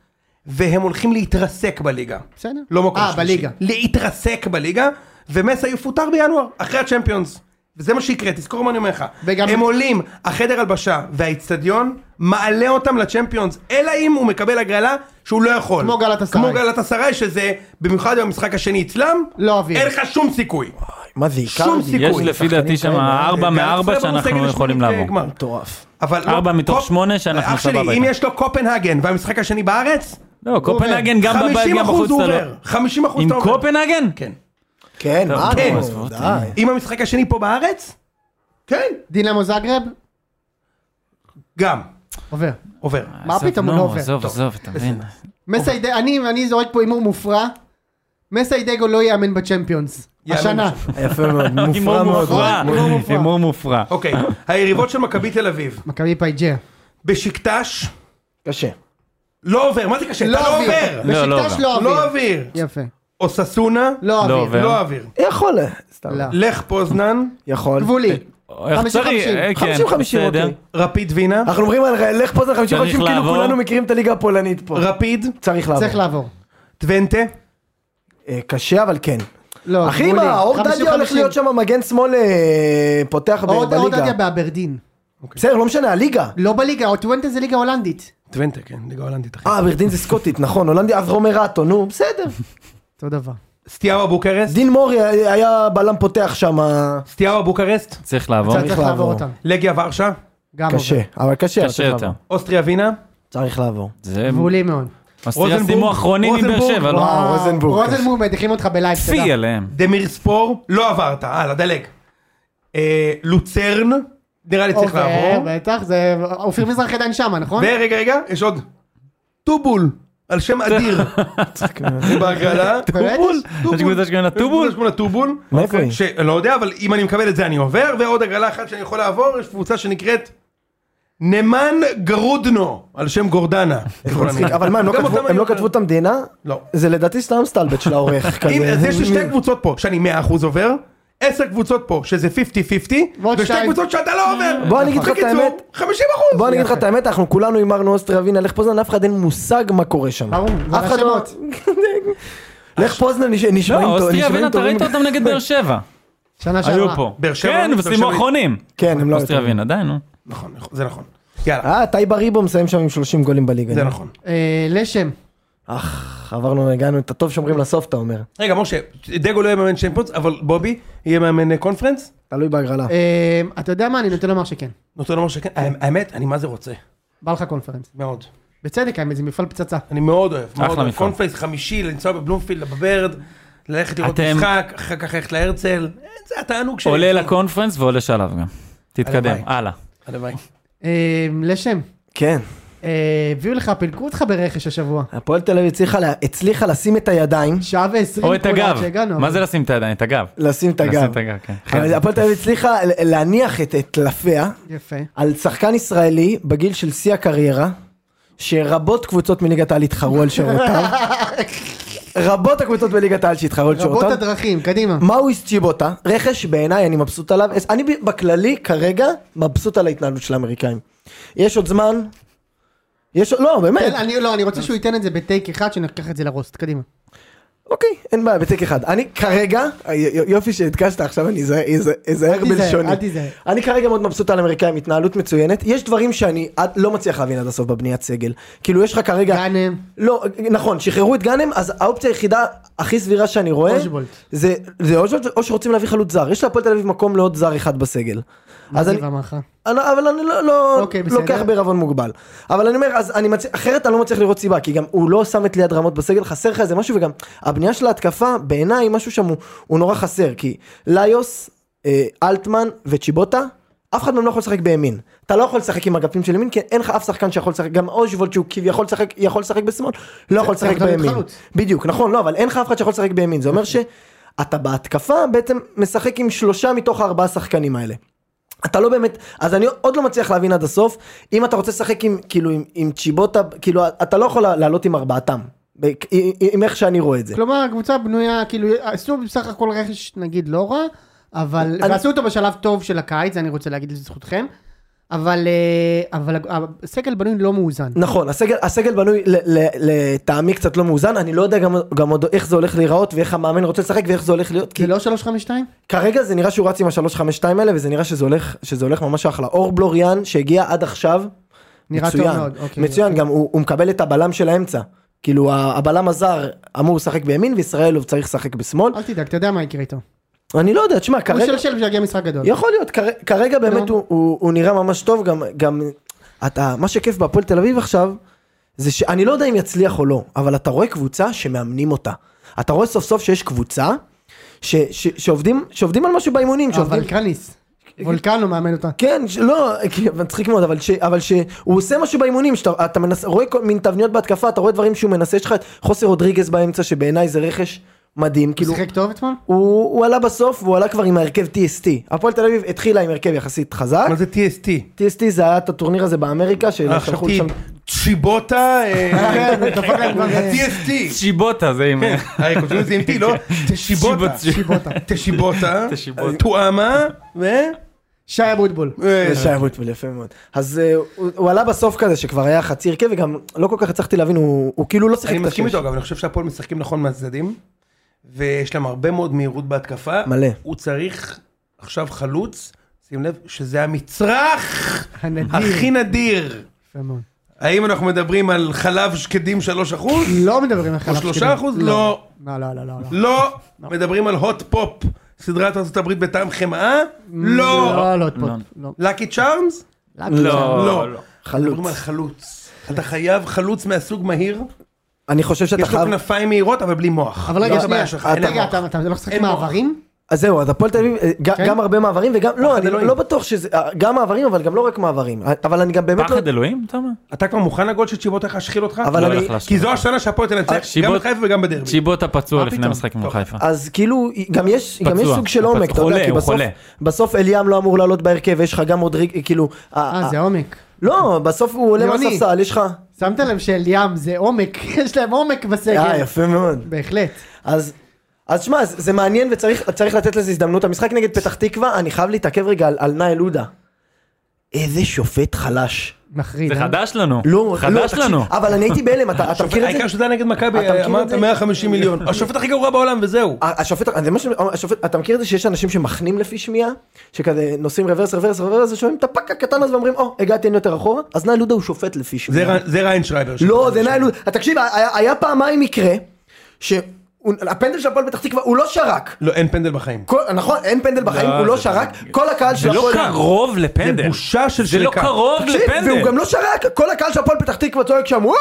Speaker 2: והם הולכים להתרסק בליגה.
Speaker 5: בסדר.
Speaker 2: לא מקום
Speaker 5: אה,
Speaker 2: שלישי.
Speaker 5: בליגה.
Speaker 2: להתרסק בליגה, ומסה יפוטר בינואר, אחרי הצ'מפיונס. וזה מה שיקרה, תזכור מה אני אומר לך.
Speaker 5: וגם-
Speaker 2: הם עולים, החדר הלבשה והאיצטדיון מעלה אותם לצ'מפיונס, אלא אם הוא מקבל הגרלה שהוא לא יכול.
Speaker 5: כמו גלאטסראי.
Speaker 2: כמו גלאטסראי, שזה במיוחד במשחק השני אצלם,
Speaker 5: לא אוויר.
Speaker 2: אין לך שום סיכוי.
Speaker 3: מה זה,
Speaker 2: שום
Speaker 3: איקרדי?
Speaker 2: סיכוי.
Speaker 4: יש לפי דעתי שם ארבע מארבע
Speaker 2: גלאטסראי
Speaker 4: שאנחנו
Speaker 2: בסגל
Speaker 4: יכולים
Speaker 2: השמינית,
Speaker 4: לעבור.
Speaker 2: כן, גמר.
Speaker 3: מטורף.
Speaker 2: אבל לא-
Speaker 4: ארבע מתוך
Speaker 2: קופ-
Speaker 4: שמונה שאנחנו
Speaker 2: אח שלי,
Speaker 4: סבבה
Speaker 2: אם
Speaker 4: איתם.
Speaker 2: יש לו קופנהגן והמשחק השני בארץ,
Speaker 4: לא, קופנהגן גם בבית,
Speaker 2: 50%
Speaker 4: גם
Speaker 2: הוא
Speaker 4: בחוץ. אתה לא-
Speaker 2: עובר. 50% אתה
Speaker 4: עם
Speaker 2: עובר.
Speaker 4: קופנהגן?
Speaker 2: כן.
Speaker 3: כן,
Speaker 4: טוב,
Speaker 3: מה
Speaker 2: כן.
Speaker 3: אתה אומר? די.
Speaker 2: אם המשחק השני פה בארץ? כן.
Speaker 5: דינמו זגרב,
Speaker 2: גם.
Speaker 5: עובר.
Speaker 2: עובר.
Speaker 5: מה
Speaker 4: עזוב,
Speaker 5: פתאום הוא
Speaker 4: נו,
Speaker 5: לא עובר?
Speaker 4: עזוב, עזוב, אתה מבין.
Speaker 5: מסיידגו, אני אני זורק פה הימור מופרע. מסיידגו לא יאמן בצ'מפיונס.
Speaker 2: יאמן
Speaker 5: השנה.
Speaker 3: יפה מאוד, מופרע
Speaker 4: הימור
Speaker 3: מאוד.
Speaker 4: מופרע,
Speaker 5: מאוד. הימור מופרע.
Speaker 4: הימור מופרע.
Speaker 2: אוקיי. היריבות של מכבי תל אביב.
Speaker 5: מכבי פייג'ה.
Speaker 2: בשקטש,
Speaker 3: קשה.
Speaker 2: לא עובר. מה זה קשה? אתה לא עובר.
Speaker 4: לא, לא
Speaker 5: בשקטש לא
Speaker 2: לא
Speaker 5: אוויר.
Speaker 2: עובר.
Speaker 5: יפה.
Speaker 2: אוססונה,
Speaker 5: לא
Speaker 4: לא
Speaker 5: אוויר.
Speaker 4: עובר.
Speaker 2: לא עובר.
Speaker 3: יכול. סתם.
Speaker 5: לא.
Speaker 2: לך פוזנן,
Speaker 3: יכול.
Speaker 5: גבולי.
Speaker 4: איך
Speaker 5: חמישים,
Speaker 4: צריך?
Speaker 5: חמישים.
Speaker 4: אה, כן,
Speaker 3: חמישים, חמישים,
Speaker 4: בסדר.
Speaker 3: אוקיי.
Speaker 2: רפיד וינה,
Speaker 3: אנחנו מדברים על לך פה זה 50
Speaker 4: צריך
Speaker 3: חודשים, כאילו
Speaker 4: לעבור.
Speaker 3: כולנו מכירים את הליגה הפולנית פה.
Speaker 2: רפיד,
Speaker 3: צריך לעבור.
Speaker 5: צריך לעבור.
Speaker 2: טוונטה,
Speaker 3: אה, קשה אבל כן.
Speaker 5: לא,
Speaker 3: אחי
Speaker 5: גבולי.
Speaker 3: מה, אור
Speaker 5: חמישים,
Speaker 3: דדיה הולך
Speaker 5: חמישים.
Speaker 3: להיות שם מגן שמאל אה, פותח ב-
Speaker 5: אור- אור
Speaker 3: בליגה.
Speaker 5: דדיה באברדין.
Speaker 3: בסדר, לא משנה, הליגה.
Speaker 5: לא בליגה, אוטוונטה זה ליגה הולנדית.
Speaker 2: טוונטה, כן, ליגה הולנדית אחי.
Speaker 3: אה, ברדין זה סקוטית, נכון, הולנדיה, אז רומר אטו, נו, בסדר.
Speaker 5: אותו דבר.
Speaker 2: סטיאבה בוקרסט,
Speaker 3: דין מורי אה, היה בלם פותח שם, אה,
Speaker 2: סטיאבה בוקרסט,
Speaker 4: צריך לעבור.
Speaker 5: צריך לעבור
Speaker 3: לעבור.
Speaker 5: אותם.
Speaker 2: לגיה ורשה,
Speaker 5: גם
Speaker 3: קשה,
Speaker 5: עובר.
Speaker 3: אבל קשה. אבל
Speaker 4: קשה
Speaker 3: צריך
Speaker 4: יותר.
Speaker 3: לעבור.
Speaker 2: אוסטריה וינה,
Speaker 3: צריך לעבור.
Speaker 4: זה...
Speaker 5: גבולי מאוד. אה,
Speaker 4: אוסטריה
Speaker 2: רוזנבורג,
Speaker 4: סיימו אחרונים עם באר
Speaker 2: רוזנבורג,
Speaker 4: שבע, לא?
Speaker 3: וואו, אה, רוזנבורג.
Speaker 5: רוזנבורג מדיחים אותך בלייב,
Speaker 4: פי
Speaker 5: תודה.
Speaker 4: עליהם.
Speaker 2: דמיר ספור, לא עברת, הלאה, דלג. אה, לוצרן, נראה לי צריך
Speaker 5: עובר,
Speaker 2: לעבור.
Speaker 5: אוקיי, בטח, זה... אופיר מזרח עדיין שמה, נכון?
Speaker 2: ורגע, רגע, יש עוד. טובול, על שם
Speaker 3: (laughs)
Speaker 2: אדיר. בהגרלה.
Speaker 5: טובול?
Speaker 4: יש קבוצה שקוראים לה טובול?
Speaker 2: יש קבוצה טובול.
Speaker 3: מאיפה היא?
Speaker 2: שלא יודע, אבל אם אני מקבל את זה אני עובר, ועוד הגרלה אחת שאני יכול לעבור, יש קבוצה שנקראת נמן גרודנו, על שם גורדנה.
Speaker 3: מצחיק, אבל מה, הם לא
Speaker 2: גם
Speaker 3: כתבו-
Speaker 2: אותם
Speaker 3: הם לא
Speaker 2: אני-
Speaker 3: כתבו את המדינה?
Speaker 2: לא.
Speaker 3: זה לדעתי סתם סטלבט
Speaker 2: (laughs)
Speaker 3: של העורך.
Speaker 2: אם-
Speaker 3: כזה.
Speaker 2: אז יש לי שתי קבוצות פה שאני 100% עובר, עשר קבוצות פה שזה 50-50,
Speaker 5: ועוד
Speaker 2: ושתי
Speaker 5: שתיים.
Speaker 2: קבוצות שאתה לא עובר.
Speaker 3: בוא אני אגיד לך את
Speaker 2: בקיצור,
Speaker 3: האמת.
Speaker 2: 50%.
Speaker 3: בוא אני אגיד לך את האמת, אנחנו כולנו הימרנו אוסטריה ווינה, לך פוזנן, אף אחד אין מושג מה קורה שם.
Speaker 5: ברור, זה
Speaker 3: אף אחד לא-
Speaker 5: השמות.
Speaker 3: (laughs) לך פוזנן נש-
Speaker 4: לא,
Speaker 3: נשמעים טוב-
Speaker 4: אוסטריה
Speaker 3: נשמעים
Speaker 4: ווינה, אתה
Speaker 3: טובים.
Speaker 4: ראית אותם נגד באר שבע.
Speaker 5: שנה
Speaker 4: (laughs)
Speaker 5: שעברה.
Speaker 4: היו פה.
Speaker 2: באר שבע?
Speaker 4: כן,
Speaker 2: באר
Speaker 4: וסיימו
Speaker 2: שבע.
Speaker 4: אחרונים.
Speaker 3: כן, הם לא...
Speaker 4: אוסטריה ווינה, די, נו.
Speaker 2: נכון, זה נכון. יאללה,
Speaker 3: אה, טייבה ריבו מסיים שם עם 30 גולים בליגה.
Speaker 2: זה נכון.
Speaker 5: אה, לשם.
Speaker 3: אך, עברנו, הגענו את הטוב שומרים לסוף, אתה אומר.
Speaker 2: רגע, משה, דגו לא יהיה מאמן צ'מפיונס, אבל בובי יהיה מאמן אה, קונפרנס?
Speaker 3: תלוי בהגרלה.
Speaker 5: אה, אתה יודע מה? אני נוטה לומר שכן.
Speaker 2: נותן לומר לא שכן. האמת, האמת, אני מה זה רוצה.
Speaker 5: בא לך קונפרנס.
Speaker 2: מאוד.
Speaker 5: בצדק, האמת, זה מפעל פצצה.
Speaker 2: אני מאוד אוהב. מאוד
Speaker 4: אחלה
Speaker 2: אוהב.
Speaker 4: מפעל.
Speaker 2: קונפרנס חמישי, לנסוע בבלומפילד, בברד, ללכת לראות
Speaker 4: אתם-
Speaker 2: משחק, אחר כך ללכת להרצל. אה, זה התענוג שלי.
Speaker 4: עולה לקונפרנס ועולה שלב גם. תתקדם,
Speaker 2: הלוואי.
Speaker 4: הלאה.
Speaker 2: הלוואי.
Speaker 5: אה, לשם.
Speaker 3: כן.
Speaker 5: אה, הביאו לך, פילגו אותך ברכש השבוע.
Speaker 3: הפועל תל אביב הצליחה לה- הצליחה לשים את הידיים,
Speaker 5: שעה ועשרים.
Speaker 4: או את
Speaker 5: כולה
Speaker 4: הגב.
Speaker 5: עד שהגענו,
Speaker 4: מה
Speaker 5: אבל-
Speaker 4: זה לשים את הידיים? את הגב.
Speaker 3: לשים את
Speaker 4: לשים
Speaker 3: הגב.
Speaker 4: את הגב, כן.
Speaker 3: אבל הפועל תל אביב הצליחה ל- להניח את את טלפיה (laughs)
Speaker 5: יפה.
Speaker 3: על שחקן ישראלי בגיל של שיא הקריירה, שרבות קבוצות מליגת העל התחרו על (laughs) שירותיו. רבות הקבוצות בליגת העל שהתחרו על
Speaker 5: רבות
Speaker 3: שירותיו.
Speaker 5: הדרכים, קדימה.
Speaker 3: מאויס צ'יבוטה, רכש בעיניי אני מבסוט עליו, אני ב- בכללי כרגע מבסוט על ההתנהלות של האמריקאים. יש עוד זמן, יש, לא, באמת.
Speaker 5: תן- אני- לא, אני רוצה שהוא ייתן את זה בטייק אחד, שניקח את זה לרוסט, קדימה.
Speaker 3: אוקיי, אין בעיה, בטק אחד. אני כרגע, י- י- יופי שהדגשת, עכשיו אני אזהר- אזהר- אזהר
Speaker 5: תיזהר,
Speaker 3: בלשוני.
Speaker 5: אל תיזהר.
Speaker 3: אני כרגע מאוד מבסוט על האמריקאים, התנהלות מצוינת. יש דברים שאני עד- לא מצליח להבין עד הסוף בבניית סגל. כאילו, יש לך כרגע...
Speaker 5: גאנם.
Speaker 3: לא, נכון, שחררו את גאנם, אז האופציה היחידה הכי סבירה שאני רואה,
Speaker 5: אושבולט.
Speaker 3: זה זה אושבולט, או שרוצים להביא חלוץ זר. יש להפועל תל אביב מקום לעוד זר אחד בסגל. אז אני...
Speaker 5: מגיב אמרך.
Speaker 3: אני, אבל אני לא, לא
Speaker 5: אוקיי, בסדר.
Speaker 3: לוקח בערבון מוגבל. אבל אני אומר, אז אני מצ... אחרת אני לא מצליח לראות סיבה, כי גם הוא לא שם את ליד רמות בסגל, חסר לך איזה משהו, וגם הבנייה של ההתקפה, בעיניי, משהו שם הוא, הוא נורא חסר, כי ליוס, אה, אלטמן וצ'יבוטה, אף אחד מהם לא יכול לשחק בימין. אתה לא יכול לשחק עם אגפים של ימין, כי אין לך אף שחקן שיכול לשחק, גם אוז'וולד שהוא כביכול לשחק, יכול לשחק בשמאל, לא יכול לשחק
Speaker 5: צריך גם את
Speaker 3: בימין.
Speaker 5: חלוץ.
Speaker 3: בדיוק, נכון, לא, אבל אין לך אף אחד שיכול לשחק בימין,
Speaker 5: (laughs)
Speaker 3: זה אומר שאתה בהתקפה בעצם משחק עם שלושה מתוך הארבעה שחקנים האלה. אתה לא באמת, אז אני עוד לא מצליח להבין עד הסוף, אם אתה רוצה לשחק עם, כאילו, עם, עם צ'יבוטה, כאילו, אתה לא יכול לעלות עם ארבעתם, ב- עם- עם איך שאני רואה את זה.
Speaker 5: כלומר, הקבוצה בנויה, כאילו, עשו בסך הכל רכש, נגיד, לא רע, אבל,
Speaker 3: אני-
Speaker 5: ועשו אותו בשלב טוב של הקיץ, זה אני רוצה להגיד לזכותכם, אבל, אה, אבל הסגל בנוי לא מאוזן.
Speaker 3: נכון, הסגל, הסגל בנוי ל- ל- לטעמי קצת לא מאוזן, אני לא יודע גם, גם עוד איך זה הולך להיראות ואיך המאמן רוצה לשחק ואיך זה הולך להיות, כי
Speaker 5: זה לא 352?
Speaker 3: כרגע זה נראה שהוא רץ עם השלוש חמש שתיים האלה וזה נראה שזה הולך, שזה הולך ממש אחלה. אור בלוריאן שהגיע עד עכשיו,
Speaker 5: נראה טוב
Speaker 3: מצוין,
Speaker 5: מאוד, אוקיי.
Speaker 3: מצוין, גם הוא, הוא מקבל את הבלם של האמצע. כאילו ה- הבלם הזר אמור לשחק בימין וישראל הוא צריך לשחק בשמאל.
Speaker 5: אל תדאג, אתה יודע מה יקרה איתו.
Speaker 3: אני לא יודע, תשמע,
Speaker 5: הוא
Speaker 3: כרגע...
Speaker 5: שלשל ושיגיע משחק גדול.
Speaker 3: יכול להיות, כר- כרגע באמת
Speaker 5: לא.
Speaker 3: הוא- הוא הוא נראה ממש טוב, גם, גם אתה, מה שכיף בהפועל תל אביב עכשיו, זה שאני לא יודע אם יצליח או לא, אבל אתה רואה קבוצה שמאמנים אותה. אתה רואה סוף סוף שיש קבוצה ש, ש, שעובדים, שעובדים על משהו באימונים, שעובדים...
Speaker 5: אבל כן. קרניס, וולקן הוא מאמן אותה.
Speaker 3: כן, ש- לא, כי- מצחיק מאוד, אבל, ש, אבל שהוא עושה משהו באימונים, שאתה אתה מנס, רואה כל מיני תבניות בהתקפה, אתה רואה דברים שהוא מנסה, יש לך את חוסר רודריגז באמצע, שבעיניי זה רכש מדהים, כאילו...
Speaker 5: הוא שיחק טוב אתמול?
Speaker 3: הוא, הוא עלה בסוף, והוא עלה כבר עם ההרכב TST. הפועל תל אביב התחילה עם הרכב יחסית חזק.
Speaker 2: מה זה TST?
Speaker 3: TST זה היה את הטורניר הזה באמריקה,
Speaker 2: אה, חשבתי
Speaker 3: ששלחו שם...
Speaker 2: צ'יבוטה, (laughs) אה,
Speaker 5: כן,
Speaker 2: כן. (laughs) TST.
Speaker 4: שיבוטה זה
Speaker 3: כן.
Speaker 4: עם...
Speaker 2: הרי כותבים את זה עם T, (laughs) לא? תשיבוטה.
Speaker 5: שיבוטה.
Speaker 2: תשיבוטה.
Speaker 4: תשיבוטה.
Speaker 2: תואמה. ו...
Speaker 5: שי אבוטבול.
Speaker 2: אה,
Speaker 3: זה שי אבוטבול, יפה מאוד. אז אה, הוא, הוא עלה בסוף כזה, שכבר היה חצי הרכב, וגם לא כל כך הצלחתי להבין, הוא, הוא כאילו לא שיחק
Speaker 2: אני
Speaker 3: את
Speaker 2: מסכים
Speaker 3: השש.
Speaker 2: איתו, אגב, אני חושב שהפועל משחקים נכון מהצדדים, ויש להם הרבה מאוד מהירות בהתקפה.
Speaker 3: מלא.
Speaker 2: הוא צריך עכשיו חלוץ, שים לב שזה המצרך
Speaker 5: הנדיר.
Speaker 2: הכי נדיר.
Speaker 5: יפה מאוד.
Speaker 2: האם אנחנו מדברים על חלב שקדים 3 אחוז?
Speaker 5: לא מדברים על חלב
Speaker 2: שלושה
Speaker 5: שקדים.
Speaker 2: אחוז? לא.
Speaker 5: לא, לא, לא, לא. לא.
Speaker 2: לא. מדברים על הוט פופ, סדרת ארה"ב בטעם חמאה? לא.
Speaker 5: לא, לא, עוד פעם. לא.
Speaker 2: לקי צ'ארמס?
Speaker 4: לא,
Speaker 2: לא.
Speaker 4: לא.
Speaker 2: מדברים על
Speaker 3: חלוץ.
Speaker 2: חלוץ. אתה חייב חלוץ מהסוג מהיר,
Speaker 3: אני חושב שאתה
Speaker 2: יש לו
Speaker 3: חייב...
Speaker 2: כנפיים מהירות אבל בלי מוח.
Speaker 5: אבל
Speaker 2: לא
Speaker 5: רגע,
Speaker 2: הבעיה
Speaker 5: שנייה.
Speaker 2: שלך, אין
Speaker 5: רגע,
Speaker 2: המוח.
Speaker 5: אתה- אתה לא משחק
Speaker 2: אין מוח.
Speaker 5: מעברים?
Speaker 3: אז זהו, אז הפועל תל אביב, אה, ג- גם הרבה מעברים וגם... לא, אני
Speaker 2: כן? אלוהים.
Speaker 3: לא בטוח שזה... אה, גם מעברים, אבל גם לא רק מעברים. אה, אבל אני גם באמת לא...
Speaker 4: (laughs) פחד אלוהים, אתה אומר?
Speaker 2: אתה כבר מוכן לגול שצ'יבוטה איך להשחיל אותך?
Speaker 3: אבל
Speaker 4: לא
Speaker 3: אני...
Speaker 4: הלך להשחיל.
Speaker 2: כי זו השנה שהפועל תנצח גם
Speaker 4: שיבוט-
Speaker 2: בחיפה וגם בדרבי.
Speaker 4: צ'יבוטה פצוע לפני
Speaker 2: פתאום?
Speaker 4: המשחק מול חיפה.
Speaker 3: אז כאילו גם יש גם יש
Speaker 4: פצוע.
Speaker 3: סוג של
Speaker 4: הוא
Speaker 3: עומק,
Speaker 4: פצוע.
Speaker 3: אתה יודע,
Speaker 4: חולה,
Speaker 3: כי
Speaker 4: הוא
Speaker 3: בסוף
Speaker 4: חולה.
Speaker 3: בסוף אליאם לא אמור לעלות בהרכב, יש לך גם עוד ריג, כאילו, ה-
Speaker 5: אה,
Speaker 3: ה-
Speaker 5: זה עומק.
Speaker 3: לא, בסוף הוא עולה
Speaker 5: יוני.
Speaker 3: מהספסל, יש לך,
Speaker 5: שמת לב שאליאם זה עומק, (laughs) יש להם עומק
Speaker 3: אה
Speaker 5: בסגל.
Speaker 3: יפה מאוד,
Speaker 5: בהחלט.
Speaker 3: אז. אז שמע, זה זה מעניין וצריך צריך לתת לזה הזדמנות. המשחק נגד פתח תקווה, אני חייב להתעכב רגע על- על נאל עודה. איזה שופט חלש.
Speaker 5: מחריד.
Speaker 4: זה
Speaker 5: אה?
Speaker 4: חדש לנו.
Speaker 3: לא, לא,
Speaker 4: חדש
Speaker 3: תקשיב,
Speaker 4: לנו.
Speaker 3: אבל אני הייתי בהלם, אתה אתה
Speaker 2: השופט-
Speaker 3: מכיר את זה?
Speaker 2: העיקר שזה היה נגד מכבי,
Speaker 3: אתה מכיר את
Speaker 2: אמרת
Speaker 3: זה?
Speaker 2: 150 מיליון.
Speaker 3: (laughs)
Speaker 2: השופט הכי גרוע בעולם וזהו.
Speaker 3: השופט, זה מה ש... השופט, אתה מכיר את זה שיש אנשים שמחנים לפי שמיעה? שכזה נוסעים רוורס, רוורס, רוורס, ושומעים את הפאק הקטן הזה ואומרים, או, הגעתי אין יותר אחורה, אז נאי לודה הוא שופט לפי
Speaker 2: זה
Speaker 3: שמיעה.
Speaker 2: ר- זה ריינשרייבר.
Speaker 3: כן. לא, זה נאי לודה, תקשיב, היה- היה פעמיים מקרה, שהפנדל של הפועל פתח תקווה הוא לא שרק.
Speaker 2: לא, אין פנדל בחיים.
Speaker 3: כל- נכון, אין פנדל בחיים,
Speaker 4: לא,
Speaker 3: הוא לא
Speaker 4: זה-
Speaker 3: שרק, כל הקהל של
Speaker 4: זה לא
Speaker 3: הפועל...
Speaker 4: קרוב לפנדל.
Speaker 2: זה בושה של
Speaker 4: זה לא
Speaker 2: שריקה.
Speaker 4: קרוב
Speaker 3: תקשיב, והוא גם
Speaker 4: לפנדל.
Speaker 3: לא שרק, כל הקהל של הפועל פתח תקווה צועק שם, "וואי!"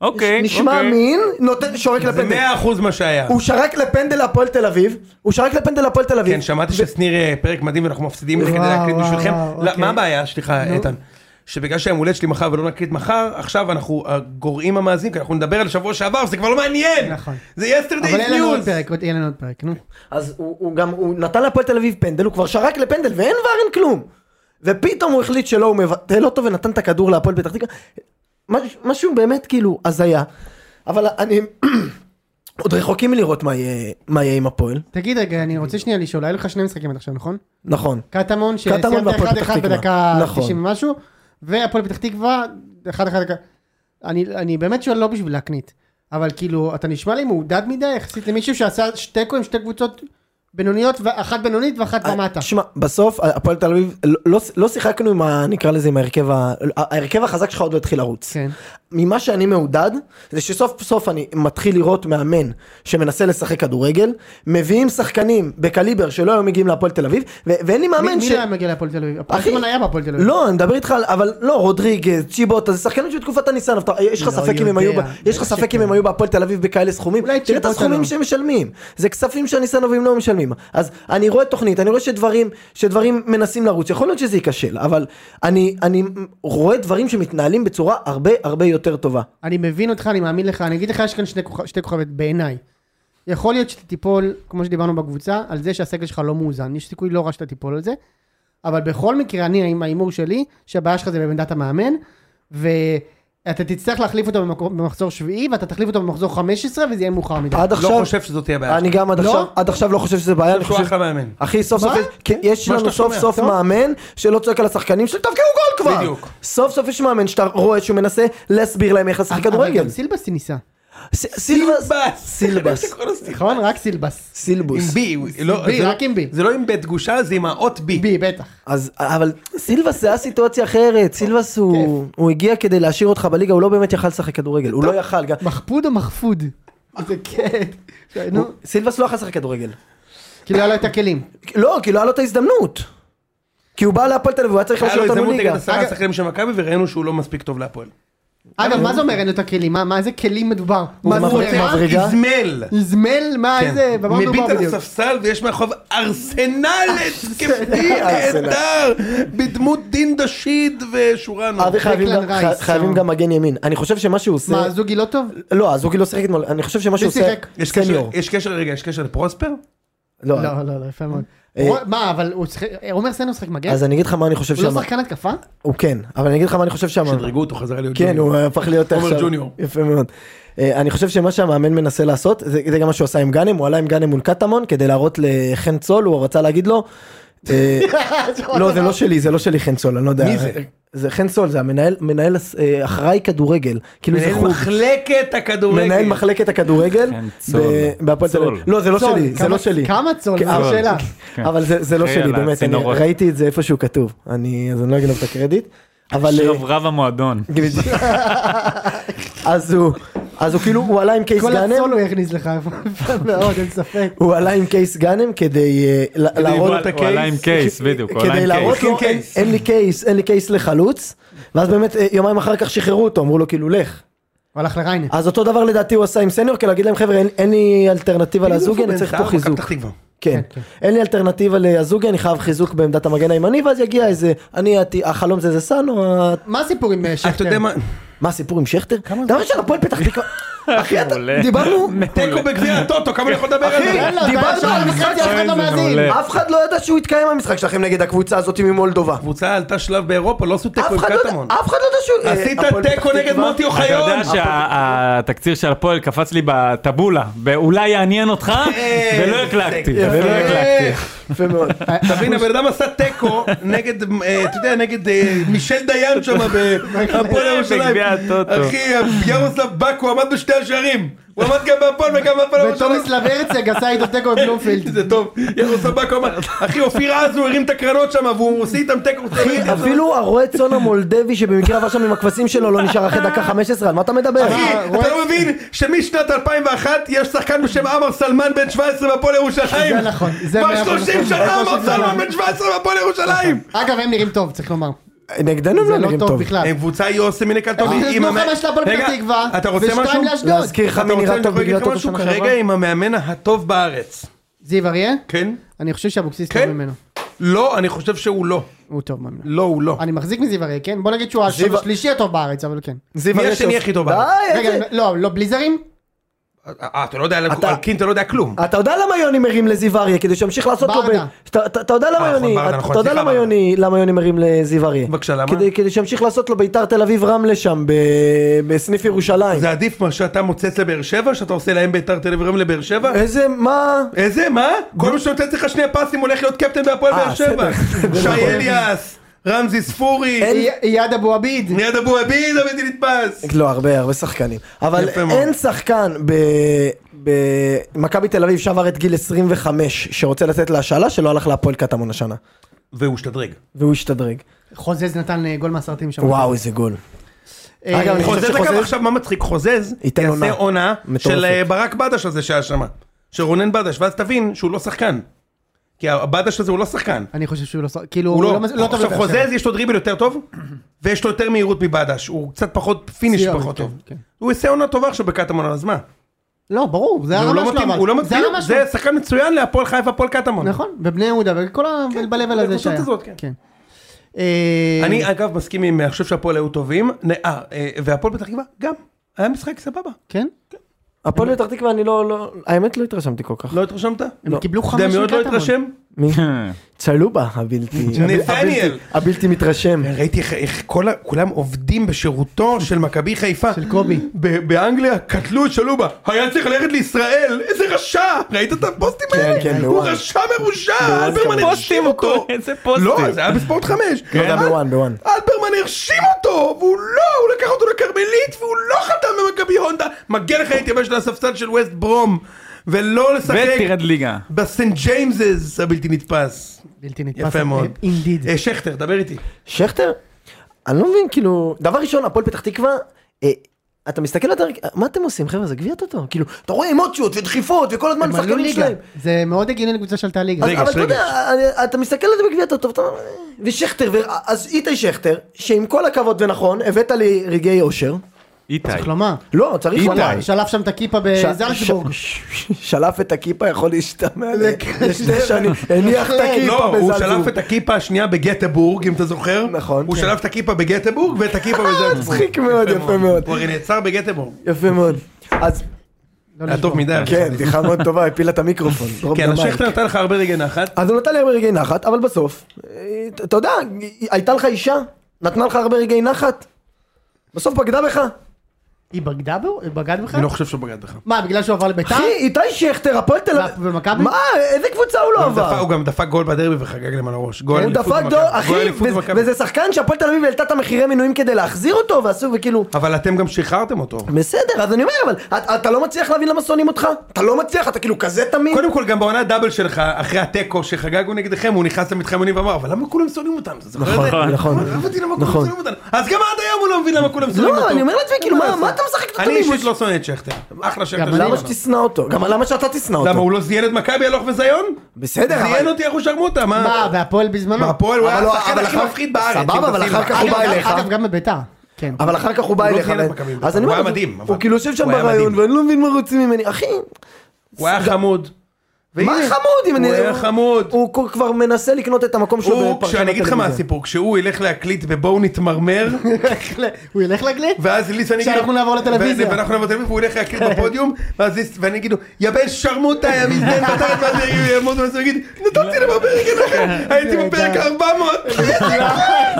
Speaker 4: אוקיי.
Speaker 3: נשמע
Speaker 4: אוקיי.
Speaker 3: מין, נותן, שורק
Speaker 2: זה
Speaker 3: לפנדל.
Speaker 2: 100% מה שהיה.
Speaker 3: הוא שרק לפנדל הפועל תל אביב, הוא שרק לפנדל הפועל תל אביב.
Speaker 2: כן, שמעתי ששניר אה, פרק מדהים ואנחנו מפסידים את זה כדי
Speaker 5: וואו,
Speaker 2: להקליט
Speaker 5: וואו,
Speaker 2: בשבילכם.
Speaker 5: וואו,
Speaker 2: לא,
Speaker 5: אוקיי.
Speaker 2: מה הבעיה? סליחה,
Speaker 5: נו.
Speaker 2: איתן. שבגלל שהיום הולדת שלי מחר ולא נקליט מחר, עכשיו אנחנו אה, גורעים המאזינים, כי אנחנו נדבר על שבוע שעבר, זה כבר לא מעניין!
Speaker 5: נכון.
Speaker 2: זה יסטרדי
Speaker 5: אבל יהיה לנו עוד
Speaker 2: ניוז!
Speaker 5: פרק, עוד- יהיה לנו עוד פרק, נו.
Speaker 3: אז הוא, הוא גם, הוא נתן להפועל תל אביב פנדל, הוא כבר שרק לפנדל ואין ור אין כלום. ופתאום הוא החליט שלא, הוא מבטל אותו ונתן את הכדור להפועל פתח תקווה. משהו- משהו באמת כאילו הזיה. אבל אני, (clears throat) עוד רחוקים מלראות מה יהיה, מה יהיה עם הפועל.
Speaker 5: תגיד רגע, אני רוצה שנייה לשאול, היה לך שני משחקים עד עכשיו, נכון?
Speaker 3: נכון.
Speaker 5: קטמון, שסיימת
Speaker 3: והפועל
Speaker 5: 1-1
Speaker 3: פתח תקווה.
Speaker 5: בדקה
Speaker 3: נכון.
Speaker 5: 90 ומשהו, והפועל פתח תקווה, אחד אחד, אחד. אני, אני באמת שואל לא בשביל להקנית, אבל כאילו, אתה נשמע לי מעודד מדי יחסית למישהו שעשה שתי תיקו עם שתי קבוצות בינוניות, אחת בינונית ואחת
Speaker 3: אה,
Speaker 5: למטה.
Speaker 3: תשמע, בסוף הפועל תל אביב, לא- לא- לא שיחקנו עם ה... נקרא לזה עם ההרכב ה... ההרכב החזק שלך עוד לא התחיל לרוץ.
Speaker 5: כן.
Speaker 3: ממה שאני מעודד, זה שסוף סוף אני מתחיל לראות מאמן שמנסה לשחק כדורגל, מביאים שחקנים בקליבר שלא היו מגיעים להפועל תל אביב, ו- ואין לי
Speaker 5: מי
Speaker 3: מאמן
Speaker 5: מי לא היה מגיע להפועל תל אביב? הפועל
Speaker 3: אחי,
Speaker 5: תל היה בהפועל תל אביב.
Speaker 3: לא, אני מדבר איתך על, אבל לא, רודריגז, צ'יבוטה, זה שחקנים שבתקופת הניסיון, אתה- יש לך
Speaker 5: לא
Speaker 3: ספק אם הם היו,
Speaker 5: יודע,
Speaker 3: ב- יש לך
Speaker 5: בטח
Speaker 3: ספק אם
Speaker 5: שכן.
Speaker 3: הם היו בהפועל תל אביב בכאלה סכומים,
Speaker 5: אולי
Speaker 3: תראה את
Speaker 5: צ'יבוטה
Speaker 3: הסכומים
Speaker 5: לא.
Speaker 3: שהם משלמים, זה כספים שהניסיונובים לא משלמים, אז אני רואה תוכנית, אני רואה שדברים, שדברים מנסים לרוץ, יכול להיות שזה ייכשל, אבל אני, אני רואה דברים שמתנהלים בצורה הרבה הרבה יותר טובה.
Speaker 5: אני מבין אותך, אני מאמין לך, אני אגיד לך, יש כאן שני כוכב- שתי כוכבים בעיניי. יכול להיות שאתה תיפול, כמו שדיברנו בקבוצה, על זה שהסגל שלך לא מאוזן, יש סיכוי לא רע שאתה תיפול על זה, אבל בכל מקרה, אני עם ההימור שלי, שהבעיה שלך זה בעמדת המאמן, ואתה תצטרך להחליף אותו במקור- במחזור שביעי, ואתה תחליף אותו במחזור 15, וזה יהיה מאוחר מדי.
Speaker 3: עד
Speaker 2: לא
Speaker 3: עכשיו,
Speaker 2: חושב שזאת תהיה בעיה.
Speaker 3: אני גם עד
Speaker 5: לא?
Speaker 3: עכשיו, עד עכשיו לא חושב שזה בעיה, אני
Speaker 2: שהוא
Speaker 3: חושב,
Speaker 2: אחלה מאמן.
Speaker 3: אחי סוף סוף
Speaker 5: מה?
Speaker 3: יש, כן, יש
Speaker 2: מה
Speaker 3: לנו
Speaker 2: שאתה
Speaker 3: סוף
Speaker 2: שומע,
Speaker 3: סוף
Speaker 2: טוב.
Speaker 3: מאמן שלא צועק על השחקנים שלו תבקיעו גול כבר.
Speaker 2: בדיוק.
Speaker 3: סוף סוף יש מאמן שאתה רואה שהוא מנסה להסביר להם איך
Speaker 2: אה,
Speaker 3: לשחק
Speaker 5: אבל
Speaker 3: כדורגל.
Speaker 5: גם סילבס ניסה,
Speaker 3: ס- סילבס. סילבס.
Speaker 5: נכון? רק סילבס.
Speaker 2: עם
Speaker 3: סילבוס.
Speaker 2: בי, לא-
Speaker 5: בי,
Speaker 2: זה לא-
Speaker 5: רק עם בי.
Speaker 2: זה לא עם בית גושה, זה עם האות בי.
Speaker 5: בי, בטח.
Speaker 3: אז אבל סילבס זה היה סיטואציה אחרת, סילבס הוא הוא הגיע כדי להשאיר אותך בליגה, הוא לא באמת יכל לשחק כדורגל, הוא לא יכל, גם-
Speaker 5: מחפוד או מחפוד? זה כן. נו,
Speaker 3: סילבס לא יכל לשחק כדורגל.
Speaker 5: כאילו היה לו את הכלים.
Speaker 3: לא, כי לא היה לו את ההזדמנות. כי הוא בא להפועל תל אביב, הוא היה צריך
Speaker 2: היה
Speaker 3: להשאיר
Speaker 2: לו
Speaker 3: אותנו
Speaker 2: הזדמנות נגד
Speaker 3: ליגה.
Speaker 2: עשרה
Speaker 5: אגב-
Speaker 2: שחקנים של מכבי וראינו שהוא לא מספיק טוב להפועל.
Speaker 5: אגב, מה זה אומר אין לו את הכלים? מה- מה זה כלים מדובר? מה זה
Speaker 3: מבריק,
Speaker 5: אומר?
Speaker 3: מבריק. מדרגה?
Speaker 2: איזמל.
Speaker 5: איזמל, מה
Speaker 2: כן.
Speaker 5: זה? במה מדובר
Speaker 2: מביט על
Speaker 5: בדיוק?
Speaker 2: הספסל ויש מאחוריו ארסנל התקפי נהדר בדמות דין דוד ושורנו.
Speaker 3: אבי חייבים
Speaker 5: דקלן
Speaker 3: אה, גם-
Speaker 5: רייס,
Speaker 3: חי- חייבים
Speaker 5: אה.
Speaker 3: גם מגן ימין. אני חושב שמה שהוא עושה...
Speaker 5: מה, הזוגי לא טוב?
Speaker 3: לא, אז הוא כאילו שיחק אתמול, אני חושב שמה שהוא עושה...
Speaker 5: שיחק?
Speaker 2: יש קשר- אה,
Speaker 3: סניור.
Speaker 2: יש קשר, רגע, יש קשר לפרוספר?
Speaker 3: לא,
Speaker 5: לא, לא, לא, יפה מאוד.
Speaker 3: אה,
Speaker 5: רוא- מה, אבל הוא שיחק, עומר סנו שיחק מגן?
Speaker 3: אז אני אגיד לך מה אני חושב
Speaker 5: הוא לא
Speaker 3: שם.
Speaker 5: שחקן התקפה?
Speaker 3: הוא כן, אבל אני אגיד לך מה אני חושב שם.
Speaker 2: שדרגו אותו חזרה להיות
Speaker 3: כן,
Speaker 2: ג'וניור.
Speaker 3: הוא הפך להיות
Speaker 2: עומר
Speaker 3: עכשיו.
Speaker 2: ג'וניור.
Speaker 3: יפה מאוד. אה, אני חושב שמה שהמאמן מנסה לעשות, זה זה גם מה שהוא עשה עם גאנם, הוא עלה עם גאנם מול קטמון כדי להראות לחן צול, הוא רצה להגיד לו, אה, לא זה לא שלי, זה לא שלי חן צול, אני לא יודע.
Speaker 2: מי זה?
Speaker 3: זה חן צול, זה המנהל, מנהל הס- אה, אחראי כדורגל, כאילו זה
Speaker 2: מנהל
Speaker 3: חוג.
Speaker 2: מחלקת הכדורגל.
Speaker 3: מנהל מחלקת הכדורגל,
Speaker 4: חן
Speaker 3: ב-
Speaker 4: צול.
Speaker 3: בהפועל תל אביב.
Speaker 4: צול.
Speaker 3: לא זה לא
Speaker 5: צול,
Speaker 3: שלי, זה
Speaker 5: כמה-
Speaker 3: לא שלי.
Speaker 5: כמה צול?
Speaker 3: כן,
Speaker 5: זו
Speaker 3: אבל-
Speaker 5: השאלה.
Speaker 4: כן.
Speaker 3: אבל זה זה לא
Speaker 4: אחי,
Speaker 3: שלי
Speaker 4: על
Speaker 3: באמת, אני
Speaker 4: הצינורות.
Speaker 3: ראיתי את זה איפה שהוא כתוב, אני אז אני לא אגנוב את הקרדיט. אבל אה, (laughs)
Speaker 4: שרברב המועדון.
Speaker 3: בדיוק. (laughs) אז הוא אז הוא כאילו הוא עלה עם קייס
Speaker 5: כל הצול
Speaker 3: גאנם,
Speaker 5: הוא הכניס לך, (laughs) יפה מאוד, אין ספק.
Speaker 3: הוא עלה עם קייס גאנם כדי אה, לה- להראות
Speaker 4: הוא הוא עלה עם קייס, בדיוק, הוא עלה
Speaker 3: אה, כדי
Speaker 4: עם
Speaker 3: להראות
Speaker 4: קייס.
Speaker 3: לו
Speaker 2: עם
Speaker 3: אין-
Speaker 2: קייס.
Speaker 3: אין לי קייס אין לי קייס לחלוץ. ואז באמת אה, יומיים אחר כך שחררו אותו אמרו לו כאילו לך.
Speaker 5: הוא הלך לריינה.
Speaker 3: אז אותו דבר לדעתי הוא עשה עם סניור כי להגיד להם חבר'ה אין- אין לי אלטרנטיבה
Speaker 2: כאילו
Speaker 3: לזוגי אני צריך פה חיזוק.
Speaker 2: פתח תקווה.
Speaker 3: כן. אין לי אלטרנטיבה לזוגי אני חייב חיזוק בעמדת המגן הימני ואז יגיע איזה אני הת- החלום זה זה סאנו. ה-
Speaker 5: מה הסיפור עם אה, שכטר?
Speaker 2: אתה
Speaker 3: כן.
Speaker 2: יודע מה?
Speaker 3: מה הסיפור עם שכטר? דבר ראשון הפועל פתח תקווה. אחי אתה
Speaker 4: מעולה.
Speaker 3: דיברנו
Speaker 2: תיקו בגביע הטוטו, כמה אני יכול לדבר על זה?
Speaker 5: אין לו, אתה יודע,
Speaker 3: דיברנו
Speaker 5: שעה
Speaker 3: על משחק
Speaker 5: וחצי, אף אחד לא
Speaker 4: איזה
Speaker 5: מאזין.
Speaker 4: מעולה.
Speaker 3: אף אחד לא ידע שהוא יתקיים המשחק שלכם נגד הקבוצה הזאת ממולדובה.
Speaker 2: הקבוצה עלתה שלב באירופה, לא עשו תיקו
Speaker 3: אף
Speaker 2: עם
Speaker 3: אחד לא
Speaker 2: קטמון.
Speaker 3: ידע- אף אחד לא ידע שהוא...
Speaker 2: עשית
Speaker 3: אה, הפועל
Speaker 2: תיקו
Speaker 3: פתח
Speaker 2: נגד
Speaker 3: תקווה.
Speaker 2: מוטי
Speaker 4: אתה
Speaker 2: אוחיון.
Speaker 4: יודע שהתקציר של הפועל קפץ לי בטבולה, ואולי יעניין אותך,
Speaker 3: אה,
Speaker 4: ולא הקלקתי,
Speaker 2: יפה.
Speaker 4: ולא הקלקתי.
Speaker 3: יפה מאוד.
Speaker 2: אה, תבין, הבן אדם עשה תיקו נגד, אה, אתה יודע, נגד אה, מישל דיין שם בהפועל ירושלים.
Speaker 4: בגביע הטוטו.
Speaker 2: אחי, ירוסלב בקו עמד בשתי השערים. הוא עמד גם בהפועל וגם בהפועל ירושלים.
Speaker 5: ותומס לברצג עשה איתו תיקו בבלומפילד.
Speaker 2: (laughs) זה טוב. ירוסלב בקו אמר, אחי, אופיר אז הוא הרים את הקרנות שם והוא עושה איתם תיקו.
Speaker 3: אפילו הרועה צאן המולדבי שבמקרה עבר שם עם הכבשים שלו לא נשאר אחרי דקה 15 על מה אתה מדבר?
Speaker 2: אחי, אתה לא מבין שמשנת 2001 יש שחקן בשם עמר סלמן בן 17 בהפועל ירושלים.
Speaker 5: זה נכון, זה מאה
Speaker 2: כבר
Speaker 5: אחוז
Speaker 2: 30
Speaker 5: נכון.
Speaker 2: שנה עמר
Speaker 5: 30
Speaker 2: סלמן
Speaker 5: שנה.
Speaker 2: בן 17 בהפועל ירושלים.
Speaker 5: אגב, הם נראים טוב, צריך לומר.
Speaker 3: נגדנו הם
Speaker 5: זה
Speaker 3: לא
Speaker 5: לא
Speaker 3: נראים
Speaker 5: טוב
Speaker 3: טוב.
Speaker 5: בכלל.
Speaker 2: הם אה, קבוצה יוסי מן הקלטובי.
Speaker 5: הם נתנו אה, חמש להפועל פתח תקווה,
Speaker 2: אתה רוצה
Speaker 5: ושתיים
Speaker 2: משהו?
Speaker 5: לאשדוד.
Speaker 3: להזכיר לך
Speaker 2: אתה
Speaker 3: מי
Speaker 2: רוצה
Speaker 3: נראה
Speaker 2: אני
Speaker 3: טוב
Speaker 2: יכול להגיד
Speaker 3: בגלל
Speaker 2: לך
Speaker 3: טוטו
Speaker 2: משהו?
Speaker 3: שנה שעברה?
Speaker 2: כרגע עם המאמן הטוב בארץ.
Speaker 5: זיו אריה?
Speaker 2: כן?
Speaker 5: אני חושב שאבוקסיס טוב
Speaker 2: כן?
Speaker 5: ממנו.
Speaker 2: לא, אני חושב שהוא לא.
Speaker 5: הוא טוב ממנו.
Speaker 2: לא, הוא לא.
Speaker 5: אני מחזיק מזיו אריה, כן? בוא נגיד שהוא השם
Speaker 3: זיו-
Speaker 5: השלישי הטוב בארץ, אבל כן.
Speaker 3: זיו
Speaker 2: מי
Speaker 3: הראל
Speaker 2: השני
Speaker 3: שעושה-
Speaker 2: הכי טוב
Speaker 3: די,
Speaker 2: בארץ?
Speaker 5: רגע,
Speaker 3: איזה-
Speaker 5: לא, לא בלי זרים?
Speaker 2: אה, אתה לא יודע, על
Speaker 3: אתה-
Speaker 2: על קין אתה לא יודע כלום.
Speaker 5: אה.
Speaker 3: אתה יודע למה יוני מרים לזיו אריה כדי שימשיך לעשות לו... ב-
Speaker 5: ברדה.
Speaker 3: אתה- אתה אתה יודע למה
Speaker 2: אה, נכון,
Speaker 3: יוני...
Speaker 2: ברדה, נכון,
Speaker 3: אתה יודע
Speaker 2: סליחה,
Speaker 3: למה
Speaker 2: ברדה.
Speaker 3: יוני... למה יוני מרים לזיו אריה?
Speaker 2: בבקשה, למה?
Speaker 3: כדי- כדי שימשיך לעשות לו ביתר תל אביב רמלה שם ב- בסניף ירושלים.
Speaker 2: זה עדיף מה שאתה מוצץ לבאר שבע, שאתה עושה להם ביתר תל אביב רם לבאר שבע?
Speaker 5: אה.
Speaker 3: איזה מה?
Speaker 2: איזה, מה? כל מי שנותן לך שני פסים הולך להיות קפטן בהפועל
Speaker 5: (laughs)
Speaker 3: אה,
Speaker 2: באר שבע.
Speaker 5: נכון.
Speaker 3: בסדר.
Speaker 2: שי אליאס, רמזי ספורי,
Speaker 3: אין-
Speaker 5: אייד אבו עביד.
Speaker 2: מיד אבו עביד הבלתי נתפס.
Speaker 5: אה.
Speaker 3: לא, הרבה, הרבה שחקנים. אבל
Speaker 2: יפה מאוד.
Speaker 3: אין שחקן ב- במכבי תל אביב שעבר את גיל 25 שרוצה לצאת להשאלה שלא הלך להפועל קטמון השנה.
Speaker 2: והוא השתדרג.
Speaker 3: והוא השתדרג.
Speaker 5: חוזז נתן אה, גול מהסרטים שם.
Speaker 3: וואו, איזה גול.
Speaker 5: אה,
Speaker 3: אגב, אני חושב
Speaker 2: חוזז
Speaker 3: שחוזז-
Speaker 2: אגב עכשיו מה מצחיק חוזז
Speaker 3: ייתן
Speaker 2: יעשה
Speaker 3: עונה.
Speaker 2: עונה
Speaker 3: מטורפת.
Speaker 2: של אה, ברק בדש הזה שהיה שם. של רונן בדש ואז תבין שהוא לא שחקן. כי הבדש הזה הוא לא שחקן.
Speaker 5: אני חושב שהוא לא... ש- כאילו,
Speaker 2: הוא לא,
Speaker 5: מס- טוב
Speaker 2: עכשיו
Speaker 5: לבאר
Speaker 2: חוזז
Speaker 5: שבע.
Speaker 2: יש לו דריבל יותר טוב ויש לו יותר מהירות מבדש הוא קצת פחות פיניש
Speaker 5: סיום,
Speaker 2: פחות
Speaker 5: כן,
Speaker 2: טוב.
Speaker 5: כן.
Speaker 2: הוא יעשה עונה טובה עכשיו בקטמון אז מה?
Speaker 5: לא, ברור, זה
Speaker 2: הוא
Speaker 5: הרמה
Speaker 2: לא
Speaker 5: שלו.
Speaker 2: מתאים,
Speaker 5: אבל.
Speaker 2: הוא לא
Speaker 5: זה
Speaker 2: מתאים,
Speaker 5: הרמה שלו.
Speaker 2: זה שחקן מצוין להפועל חיפה, הפועל קטמון.
Speaker 5: נכון, בבני יהודה, וכל ה... בלבל הזה
Speaker 2: בקבוצות
Speaker 5: שהיה.
Speaker 2: כן, הזאת, כן.
Speaker 5: אה,
Speaker 2: אני אגב מסכים עם, אני חושב שהפועל היו טובים, נ- אה, אה, והפועל פתח תקווה גם, היה משחק סבבה.
Speaker 5: כן?
Speaker 3: הפועל פתח תקווה אני לא, לא, האמת לא התרשמתי כל כך.
Speaker 2: לא התרשמת?
Speaker 5: הם קיבלו חמש
Speaker 2: דמיון לא
Speaker 5: מקטמון.
Speaker 2: התרשם?
Speaker 3: מי? צלובה הבלתי,
Speaker 2: נתניאל.
Speaker 3: הבלתי מתרשם.
Speaker 2: ראיתי איך- איך כל ה- כולם עובדים בשירותו של מכבי חיפה.
Speaker 5: של קובי.
Speaker 2: ב- באנגליה קטלו את שלובה, היה צריך ללכת לישראל, איזה רשע! ראית את הפוסטים האלה?
Speaker 3: כן,
Speaker 2: הוא
Speaker 3: בוואן.
Speaker 2: רשע מרושע,
Speaker 3: בוואן
Speaker 2: אלברמן
Speaker 3: כמובן.
Speaker 2: הרשים אותו!
Speaker 4: איזה פוסטים.
Speaker 2: לא, זה היה בספורט חמש. אה?
Speaker 3: לא, גם בוואן, בוואן.
Speaker 2: אלברמן הרשים אותו, והוא לא, הוא לקח אותו לכרמלית, והוא לא חתם במכבי הונדה. מגיע לך להתייבש לספסל של ווסט ברום, ולא לשחק
Speaker 4: ותרד ליגה.
Speaker 2: בסנט ג'יימסס הבלתי נתפס.
Speaker 5: בלתי נתפס.
Speaker 2: יפה מאוד.
Speaker 5: אינדיד.
Speaker 2: אה, שכטר, דבר איתי.
Speaker 3: שכטר? אני לא מבין, כאילו, דבר ראשון, הפועל פתח תקווה, אה, אתה מסתכל על הדרג, מה אתם עושים, חבר'ה, זה גביע טוטו, כאילו, אתה רואה אמוציות ודחיפות וכל הזמן
Speaker 5: הם עלו
Speaker 3: שחקנים
Speaker 5: ליגה.
Speaker 3: שלהם.
Speaker 5: זה מאוד הגיוני לקבוצה שעלתה ליגה.
Speaker 3: אז-
Speaker 2: רגע,
Speaker 3: אבל אתה
Speaker 2: רגע.
Speaker 3: יודע, אני- אתה מסתכל על זה בגביע טוטו, ואתה אומר, אה, ושכטר, ו- אז איתי שכטר, שעם כל הכבוד ונכון, הבאת לי רגעי אושר,
Speaker 4: איתי.
Speaker 5: צריך לומר.
Speaker 3: לא, צריך
Speaker 5: שלף-
Speaker 3: לומר,
Speaker 5: שלף שם את הכיפה
Speaker 3: ש-
Speaker 5: בזלצבורג.
Speaker 3: ש- ש- שלף את הכיפה יכול להשתמע ל- לשני
Speaker 5: זה-
Speaker 3: שנים, הניח את
Speaker 5: לא,
Speaker 3: הכיפה
Speaker 2: לא, הוא
Speaker 3: בזלזול.
Speaker 2: שלף את הכיפה השנייה בגטבורג, אם אתה זוכר.
Speaker 3: נכון,
Speaker 2: הוא
Speaker 3: כן.
Speaker 2: שלף את הכיפה בגטבורג ואת הכיפה בזלצבורג.
Speaker 3: מצחיק מאוד, יפה מאוד.
Speaker 2: הוא הרי נעצר בגטבורג.
Speaker 3: יפה מאוד. אז
Speaker 5: לא
Speaker 2: היה
Speaker 5: לשבור.
Speaker 2: אה, טוב מדי.
Speaker 3: כן, לא בדיחה מאוד טובה, הפילה את המיקרופון. (laughs) דרום
Speaker 2: כן,
Speaker 3: גמל.
Speaker 2: השכטר נתן לך הרבה רגעי נחת.
Speaker 3: אז הוא נתן לי הרבה רגעי נחת, אבל בסוף, אה, אתה יודע, הייתה לך אישה, נתנה לך הרבה רגעי נחת, בסוף בגדה בך.
Speaker 5: היא בגדה בו? היא בגד בך?
Speaker 2: אני לא חושב שהוא בגד בך.
Speaker 5: מה, בגלל שהוא עבר לביתר?
Speaker 3: אחי, איתי שכטר, הפועל תל אביב.
Speaker 5: ומכבי?
Speaker 3: מה, איזה קבוצה הוא לא
Speaker 2: הוא דפק-
Speaker 3: עבר?
Speaker 2: הוא גם דפק גול בדרבי וחגג להם על הראש. גול
Speaker 3: הוא
Speaker 2: אליפות
Speaker 3: דפק
Speaker 2: במכבי.
Speaker 3: דור,
Speaker 2: גול
Speaker 3: אחי,
Speaker 2: אליפות
Speaker 3: וזה-
Speaker 2: במכבי.
Speaker 3: וזה שחקן שהפועל תל אביב העלתה את המחירי מינויים כדי להחזיר אותו, ועשו וכאילו...
Speaker 2: אבל אתם גם שחררתם אותו.
Speaker 3: בסדר, אז אני אומר, אבל אתה- אתה לא מצליח להבין למה שונאים אותך? אתה לא מצליח, אתה כאילו כזה תמים?
Speaker 2: קודם כל גם בעונה דאבל שלך, אחרי התיקו שחגגנו נגדכם, הוא נכנס למתחם יונים ואמר, אבל למה כולם שונאים אותנו? אתה זוכר את זה?
Speaker 3: נכון, נכון.
Speaker 2: לא הבנתי למה כולם
Speaker 3: נכון.
Speaker 2: שונאים אותנו. אז גם עד היום הוא לא מבין למה כולם שונאים אותו.
Speaker 3: לא, אני אומר לעצמי, כאילו, מה מה אתה משחק את
Speaker 2: אני
Speaker 3: התמים?
Speaker 2: אישית לא שונא את שכטר. אחלה שכטר.
Speaker 5: אני
Speaker 2: שלי.
Speaker 3: למה שתשנא אותו? גם למה שאתה תשנא לא אותו?
Speaker 2: למה הוא לא זיין את מכבי הלוך וזיון?
Speaker 3: בסדר,
Speaker 2: זיין אותי איך הוא שרמוטה, מה?
Speaker 5: מה, והפועל בזמנו?
Speaker 2: בהפועל הוא
Speaker 3: אבל
Speaker 2: היה
Speaker 3: לא,
Speaker 2: השחקן
Speaker 3: אבל
Speaker 2: הכי
Speaker 3: אחר-
Speaker 2: מפחיד בארץ.
Speaker 3: סבבה,
Speaker 2: אם
Speaker 3: אבל
Speaker 2: תשים
Speaker 3: אחר
Speaker 2: לב.
Speaker 3: כך
Speaker 5: אגב,
Speaker 3: הוא בא
Speaker 5: גם-
Speaker 3: אליך. אוקיי.
Speaker 5: אגב, גם בביתר. כן.
Speaker 3: אבל אחר כך הוא בא
Speaker 2: הוא לא
Speaker 3: אליך,
Speaker 2: זיין את
Speaker 3: אבל-
Speaker 2: מכבי,
Speaker 3: אז
Speaker 2: הוא
Speaker 3: אני
Speaker 2: היה
Speaker 3: אומר,
Speaker 2: מדהים, אבל-
Speaker 3: הוא כאילו יושב שם
Speaker 2: הוא היה
Speaker 3: ברעיון
Speaker 2: מדהים.
Speaker 3: ואני לא מבין מה רוצים ממני, אחי,
Speaker 2: הוא היה חמוד.
Speaker 3: מה
Speaker 2: והנה,
Speaker 3: חמוד אם אני,
Speaker 2: הוא היה חמוד.
Speaker 3: הוא כל- כבר מנסה לקנות את המקום שלו
Speaker 2: הוא,
Speaker 3: בפרשן
Speaker 2: כשאני אגיד לך מה
Speaker 3: הטלוויזיה.
Speaker 2: הסיפור, כשהוא ילך להקליט בבואו נתמרמר,
Speaker 5: הוא ילך לגליד?
Speaker 2: ואז ליס ואני
Speaker 5: כשאנחנו
Speaker 2: לו-
Speaker 5: נעבור לטלוויזיה.
Speaker 2: ו- ואנחנו נעבור לטלוויזיה, והוא ילך להקליט בפודיום, ואז ליס ואני אגיד לו, יבש שרמוטה, יא
Speaker 5: (laughs)
Speaker 2: מזדיין בטלת, ואז הוא יעמוד ואז הוא יגיד, נתתי לו בפרק אליכם, הייתי בפרק
Speaker 5: (laughs)
Speaker 2: 400,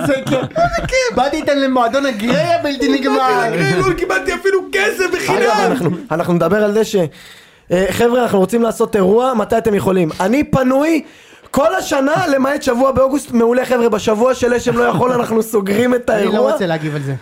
Speaker 5: זה כיף. (laughs) באתי איתן למועדון הגריי הבלתי נגמר.
Speaker 2: לא קיבלתי אפילו כסף (laughs)
Speaker 3: אגב,
Speaker 2: בחינם.
Speaker 3: אנחנו- אנחנו נדבר על זה ש... אה, חבר'ה, אנחנו רוצים לעשות אירוע, מתי אתם יכולים? אני פנוי כל השנה, (laughs) למעט שבוע באוגוסט, מעולה חבר'ה, בשבוע של לשם לא יכול, אנחנו סוגרים את
Speaker 5: אני
Speaker 3: האירוע.
Speaker 5: לא רוצה להגיב על זה.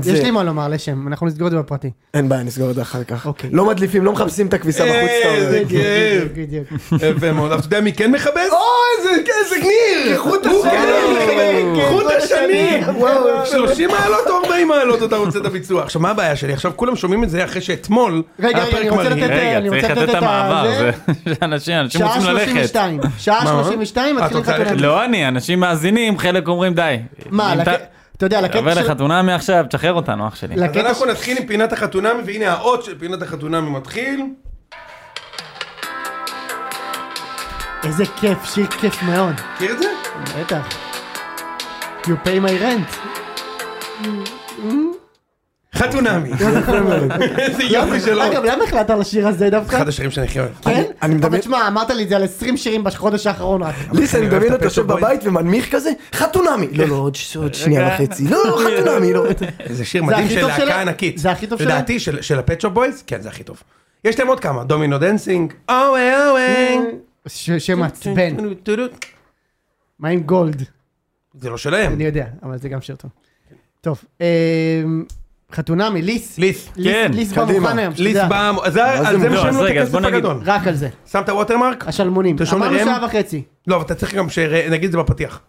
Speaker 3: זה-
Speaker 5: יש לי מה לומר לשם, אנחנו נסגור את זה בפרטי.
Speaker 3: אין בעיה, נסגור את זה אחר כך.
Speaker 5: אוקיי.
Speaker 3: לא מדליפים, לא מחפשים את הכביסה
Speaker 2: אה,
Speaker 3: בחוץ. אתה אומר. (laughs)
Speaker 2: זה כיף.
Speaker 5: בדיוק.
Speaker 2: יפה מאוד, אבל אה, אתה יודע מי כן מכבס?
Speaker 3: או, איזה- איזה ניר!
Speaker 2: חוט השנים, כן
Speaker 5: כן,
Speaker 2: חוט השנים,
Speaker 5: וואו.
Speaker 2: 30 מעלות או 40 מעלות אתה רוצה את הביצוע. עכשיו מה הבעיה שלי? עכשיו כולם שומעים את זה אחרי שאתמול,
Speaker 5: רגע,
Speaker 2: היה
Speaker 5: רגע, אני
Speaker 2: פרק
Speaker 5: רוצה
Speaker 2: מרהיב.
Speaker 5: לתת- אני
Speaker 4: רגע,
Speaker 5: רוצה
Speaker 4: צריך
Speaker 5: לתת
Speaker 4: לתת את
Speaker 5: את הזה.
Speaker 4: המעבר. זה- (laughs) אנשים אנשים
Speaker 5: שעה
Speaker 4: רוצים ללכת.
Speaker 5: 32, שעה
Speaker 2: מה?
Speaker 5: 32 מתחילים
Speaker 2: את רוצה
Speaker 5: חתונה.
Speaker 2: ללכת?
Speaker 4: לא אני, אנשים מאזינים, חלק אומרים די.
Speaker 5: מה,
Speaker 4: אם
Speaker 5: לק-
Speaker 4: אתה-
Speaker 5: אתה יודע, לקטע
Speaker 4: תעבור
Speaker 5: של-
Speaker 4: לחתונה מעכשיו, תשחרר אותנו אח שלי.
Speaker 2: אז
Speaker 5: לקטע
Speaker 2: אנחנו נתחיל עם פינת החתונמי, והנה האות של פינת החתונמי מתחיל.
Speaker 5: ש- איזה כיף, שיר כיף מאוד.
Speaker 2: מכיר את זה?
Speaker 5: בטח. You pay my rent. (laughs)
Speaker 2: חתונמי. (laughs)
Speaker 3: לא,
Speaker 2: איזה יופי של אות.
Speaker 5: אגב, למה החלטת על השיר הזה דווקא?
Speaker 2: אחד השירים שאני הכי אוהב.
Speaker 5: כן?
Speaker 3: אני מדמיין-
Speaker 5: אבל תשמע, אמרת לי את זה על 20 שירים בחודש האחרון רק.
Speaker 3: ליסה, אני
Speaker 2: אני אוהב
Speaker 3: מדמיין
Speaker 2: את
Speaker 3: אותו
Speaker 2: הפטו
Speaker 3: יושב
Speaker 2: בויז.
Speaker 3: בבית ומנמיך כזה, חתונמי. לא, לא, עוד ש- עוד שנייה וחצי. לא, לא, חתונמי, לא.
Speaker 2: זה שיר
Speaker 5: זה
Speaker 2: מדהים
Speaker 5: הכי
Speaker 2: של
Speaker 5: טוב
Speaker 2: להקה
Speaker 5: שלה?
Speaker 2: ענקית.
Speaker 5: זה הכי טוב שלה?
Speaker 2: לדעתי של- של הפצ'ו בויז, כן זה הכי טוב. יש להם עוד כמה, דומינו דנסינג, אווי אווי.
Speaker 5: ש- שם מעצבן. מה עם גולד?
Speaker 2: זה לא שלהם.
Speaker 5: אני יודע, אבל זה גם שרטון. טוב, אמ, חתונמי, ליס.
Speaker 2: ליס,
Speaker 5: ליס-
Speaker 4: כן,
Speaker 5: ליס בא
Speaker 3: קדימה.
Speaker 5: מוכן היום,
Speaker 2: ליס
Speaker 5: שתדע.
Speaker 2: בא, זה
Speaker 3: מה זה
Speaker 2: על זה
Speaker 3: מוזר?
Speaker 2: משלם
Speaker 4: אז
Speaker 2: לו את
Speaker 4: רגע, אז
Speaker 2: הכסף
Speaker 4: בוא נגיד-
Speaker 2: הגדול.
Speaker 5: רק על זה.
Speaker 2: שמת ווטרמרק?
Speaker 5: השלמונים.
Speaker 2: אתה שומר
Speaker 5: אמרנו
Speaker 2: הם?
Speaker 5: שעה וחצי.
Speaker 2: לא, אבל אתה צריך גם שנגיד את זה בפתיח.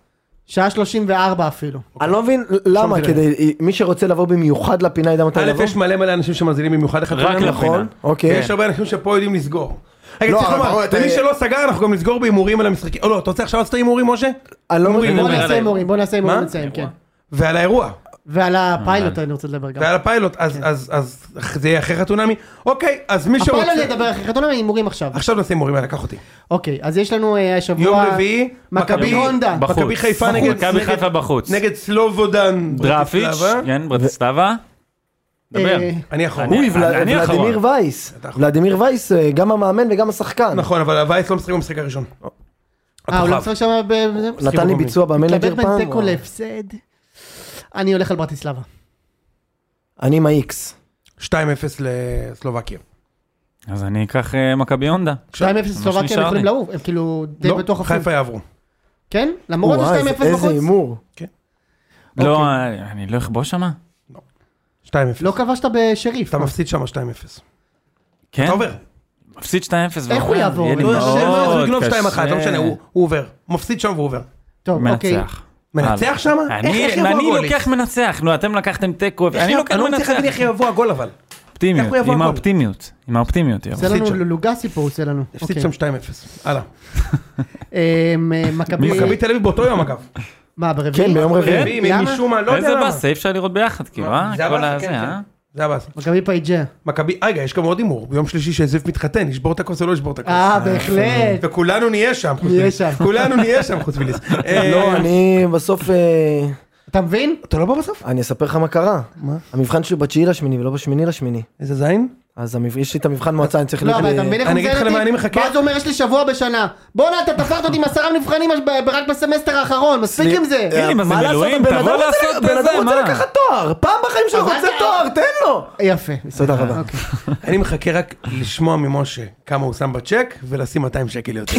Speaker 5: שעה 34 אפילו.
Speaker 3: אני לא מבין למה,
Speaker 2: שום
Speaker 3: כדי, מי שרוצה לבוא במיוחד לפינה ידע מתי
Speaker 2: א',
Speaker 3: לבוא.
Speaker 2: יש מלא מלא אנשים שמאזינים במיוחד אחד.
Speaker 4: רק
Speaker 2: שלנו.
Speaker 4: לפינה.
Speaker 3: נכון, אוקיי.
Speaker 2: יש הרבה אנשים שפה יודעים לסגור. רגע,
Speaker 3: לא,
Speaker 2: צריך
Speaker 3: אבל
Speaker 2: לומר,
Speaker 3: אתה-
Speaker 2: ומי שלא סגר אנחנו גם נסגור בהימורים על המשחקים. או לא, אתה רוצה עכשיו לעשות הימורים, משה?
Speaker 3: אני לא מבין.
Speaker 5: בוא
Speaker 4: נדבר על
Speaker 5: נעשה הימורים, בוא נעשה הימורים
Speaker 2: מה?
Speaker 5: נסיים, כן.
Speaker 2: ועל האירוע.
Speaker 4: כן.
Speaker 5: ועל הפיילוט אני רוצה לדבר גם.
Speaker 2: ועל הפיילוט. אז- אז אז זה יהיה אחרי חתונמי. אוקיי, אז מי שרוצה...
Speaker 5: הפיילוט נדבר אחרי חתונמי, הימורים עכשיו.
Speaker 2: עכשיו נעשה הימורים, יאללה, קח אותי.
Speaker 5: אוקיי, אז יש לנו אה, השבוע...
Speaker 2: יום רביעי,
Speaker 5: מכבי
Speaker 2: מכבי-
Speaker 5: הונדה.
Speaker 4: בחוץ.
Speaker 2: מכבי חיפה
Speaker 4: בחוץ.
Speaker 2: נגד-
Speaker 4: מכבי
Speaker 2: נגד-
Speaker 4: חיפה בחוץ.
Speaker 2: נגד סלובודן.
Speaker 4: דראפיץ',
Speaker 2: ברטיסלבה.
Speaker 4: כן, ברטיסלבה. דבר.
Speaker 5: אה,
Speaker 2: אני אחרון.
Speaker 4: אני-
Speaker 3: אוי, ול-
Speaker 4: אני אחרון.
Speaker 3: ולדימיר וייס. ולדימיר וייס, אה, גם המאמן וגם השחקן.
Speaker 2: נכון, אבל וייס לא משחק במשחק הראשון.
Speaker 5: אה, הוא
Speaker 2: הכוכב.
Speaker 5: לא משחק שם ב... זה-
Speaker 3: נתן לי ביצוע במנג'ר
Speaker 5: מתלבט בין
Speaker 3: פעם.
Speaker 5: תיקו להפסד. אני הולך על ברטיסלבה.
Speaker 3: אני עם האיקס.
Speaker 2: 2-0 לסלובקיה.
Speaker 4: אז אני אקח אה, מכבי הונדה.
Speaker 5: 2-0
Speaker 4: מה
Speaker 5: סלובקיה
Speaker 4: שנשאר
Speaker 5: הם יכולים
Speaker 4: לי.
Speaker 5: לעוף, הם כאילו די
Speaker 2: לא,
Speaker 5: בטוח אפילו.
Speaker 2: חיפה יעברו.
Speaker 5: כן? למרות
Speaker 3: וואי,
Speaker 5: ה-2-0
Speaker 3: איזה
Speaker 5: בחוץ.
Speaker 3: הימור.
Speaker 4: לא,
Speaker 2: אוקיי.
Speaker 4: אה, אני לא אכבוש שמה?
Speaker 2: 2-0.
Speaker 5: לא כבשת בשריף.
Speaker 2: אתה מפסיד שם 2-0.
Speaker 4: כן?
Speaker 2: אתה עובר.
Speaker 4: מפסיד 2-0.
Speaker 5: איך הוא
Speaker 4: ועובר.
Speaker 5: יעבור?
Speaker 4: יהיה לי
Speaker 5: לא,
Speaker 2: לא,
Speaker 4: מאוד
Speaker 2: השם לא יעזור לגנוב 2-1, לא
Speaker 4: קשה.
Speaker 2: משנה, הוא הוא עובר. הוא מפסיד שם והוא עובר.
Speaker 5: טוב, אוקיי.
Speaker 4: מנצח.
Speaker 2: מנצח
Speaker 4: אה,
Speaker 2: שם?
Speaker 4: אני-
Speaker 2: איך- איך יבוא
Speaker 4: אני
Speaker 2: הגול?
Speaker 4: לוקח מנצח, נו אתם לקחתם תיקו,
Speaker 2: איך
Speaker 4: אני
Speaker 2: יבוא-
Speaker 4: לוקח
Speaker 2: אני לא מצליח להבין איך
Speaker 4: מנצח.
Speaker 2: יבוא הגול אבל. איך
Speaker 4: אופטימיות,
Speaker 2: הוא יבוא
Speaker 4: עם
Speaker 2: הגול?
Speaker 4: האופטימיות, עם האופטימיות יבוא.
Speaker 5: עושה לנו
Speaker 2: הפסיד שם.
Speaker 5: לוגסי פה, הוא עושה לנו.
Speaker 2: הפסיד
Speaker 5: אוקיי.
Speaker 2: שם 2-0. הלאה.
Speaker 5: אמ, אה, מכבי...
Speaker 2: מכבי תל אביב באותו יום אגב.
Speaker 5: מה, ברביעי?
Speaker 3: כן, ביום רביעי.
Speaker 2: רביעי, מ-
Speaker 5: למה?
Speaker 2: משום מה, לא יודע
Speaker 4: איזה
Speaker 2: למה.
Speaker 4: באסה, אי אפשר לראות ביחד, כאילו, אה?
Speaker 2: זה
Speaker 4: כל
Speaker 2: הבאסה,
Speaker 4: הזה,
Speaker 2: כן,
Speaker 4: אה?
Speaker 2: כן. זה הבאסה.
Speaker 5: מכבי פייג'ה.
Speaker 2: מכבי, רגע, יש גם עוד הימור. ביום שלישי שזיף מתחתן, ישבור את הכוס או לא ישבור את הכוס.
Speaker 5: אה, בהחלט.
Speaker 2: וכולנו נהיה שם. חוץ
Speaker 5: נהיה
Speaker 2: מליס.
Speaker 5: שם.
Speaker 2: כולנו נהיה שם חוץ מליס. אה,
Speaker 3: לא, אני בסוף... אה,
Speaker 5: אתה מבין?
Speaker 2: אתה לא בא בסוף?
Speaker 3: אני אספר לך מה קרה.
Speaker 2: מה?
Speaker 3: המבחן שלי בתשיעי לשמיני ולא בשמיני לשמיני.
Speaker 2: איזה זין?
Speaker 3: אז המב- יש לי את המבחן מועצה, אני צריך... אה,
Speaker 5: לא,
Speaker 3: ללכת
Speaker 5: אבל
Speaker 3: ל-
Speaker 5: אתה מבין איך
Speaker 2: אני
Speaker 5: הוא
Speaker 2: אגיד לך
Speaker 5: מזיין
Speaker 2: למה אני
Speaker 5: אותי?
Speaker 2: מחכה.
Speaker 5: ואז הוא אומר, יש לי שבוע בשנה. בואנה, אתה תפרת אותי עם עשרה מבחנים אז ב- רק בסמסטר האחרון, מספיק עם זה.
Speaker 2: אה,
Speaker 4: אין לי מה זה
Speaker 3: מה לעשות,
Speaker 4: מילואים,
Speaker 3: הבן אדם
Speaker 4: תבוא
Speaker 3: רוצה-
Speaker 4: לעשות
Speaker 3: הבן
Speaker 4: את זה,
Speaker 3: אדם רוצה
Speaker 4: מה?
Speaker 3: לקחת תואר. פעם בחיים שלו
Speaker 5: אבל
Speaker 3: רוצה
Speaker 5: אתה-
Speaker 3: תואר, תן לו.
Speaker 5: יפה.
Speaker 3: תודה רבה.
Speaker 5: אוקיי.
Speaker 2: אני מחכה רק לשמוע ממשה כמה הוא שם בצ'ק ולשים 200 שקל (laughs) יותר.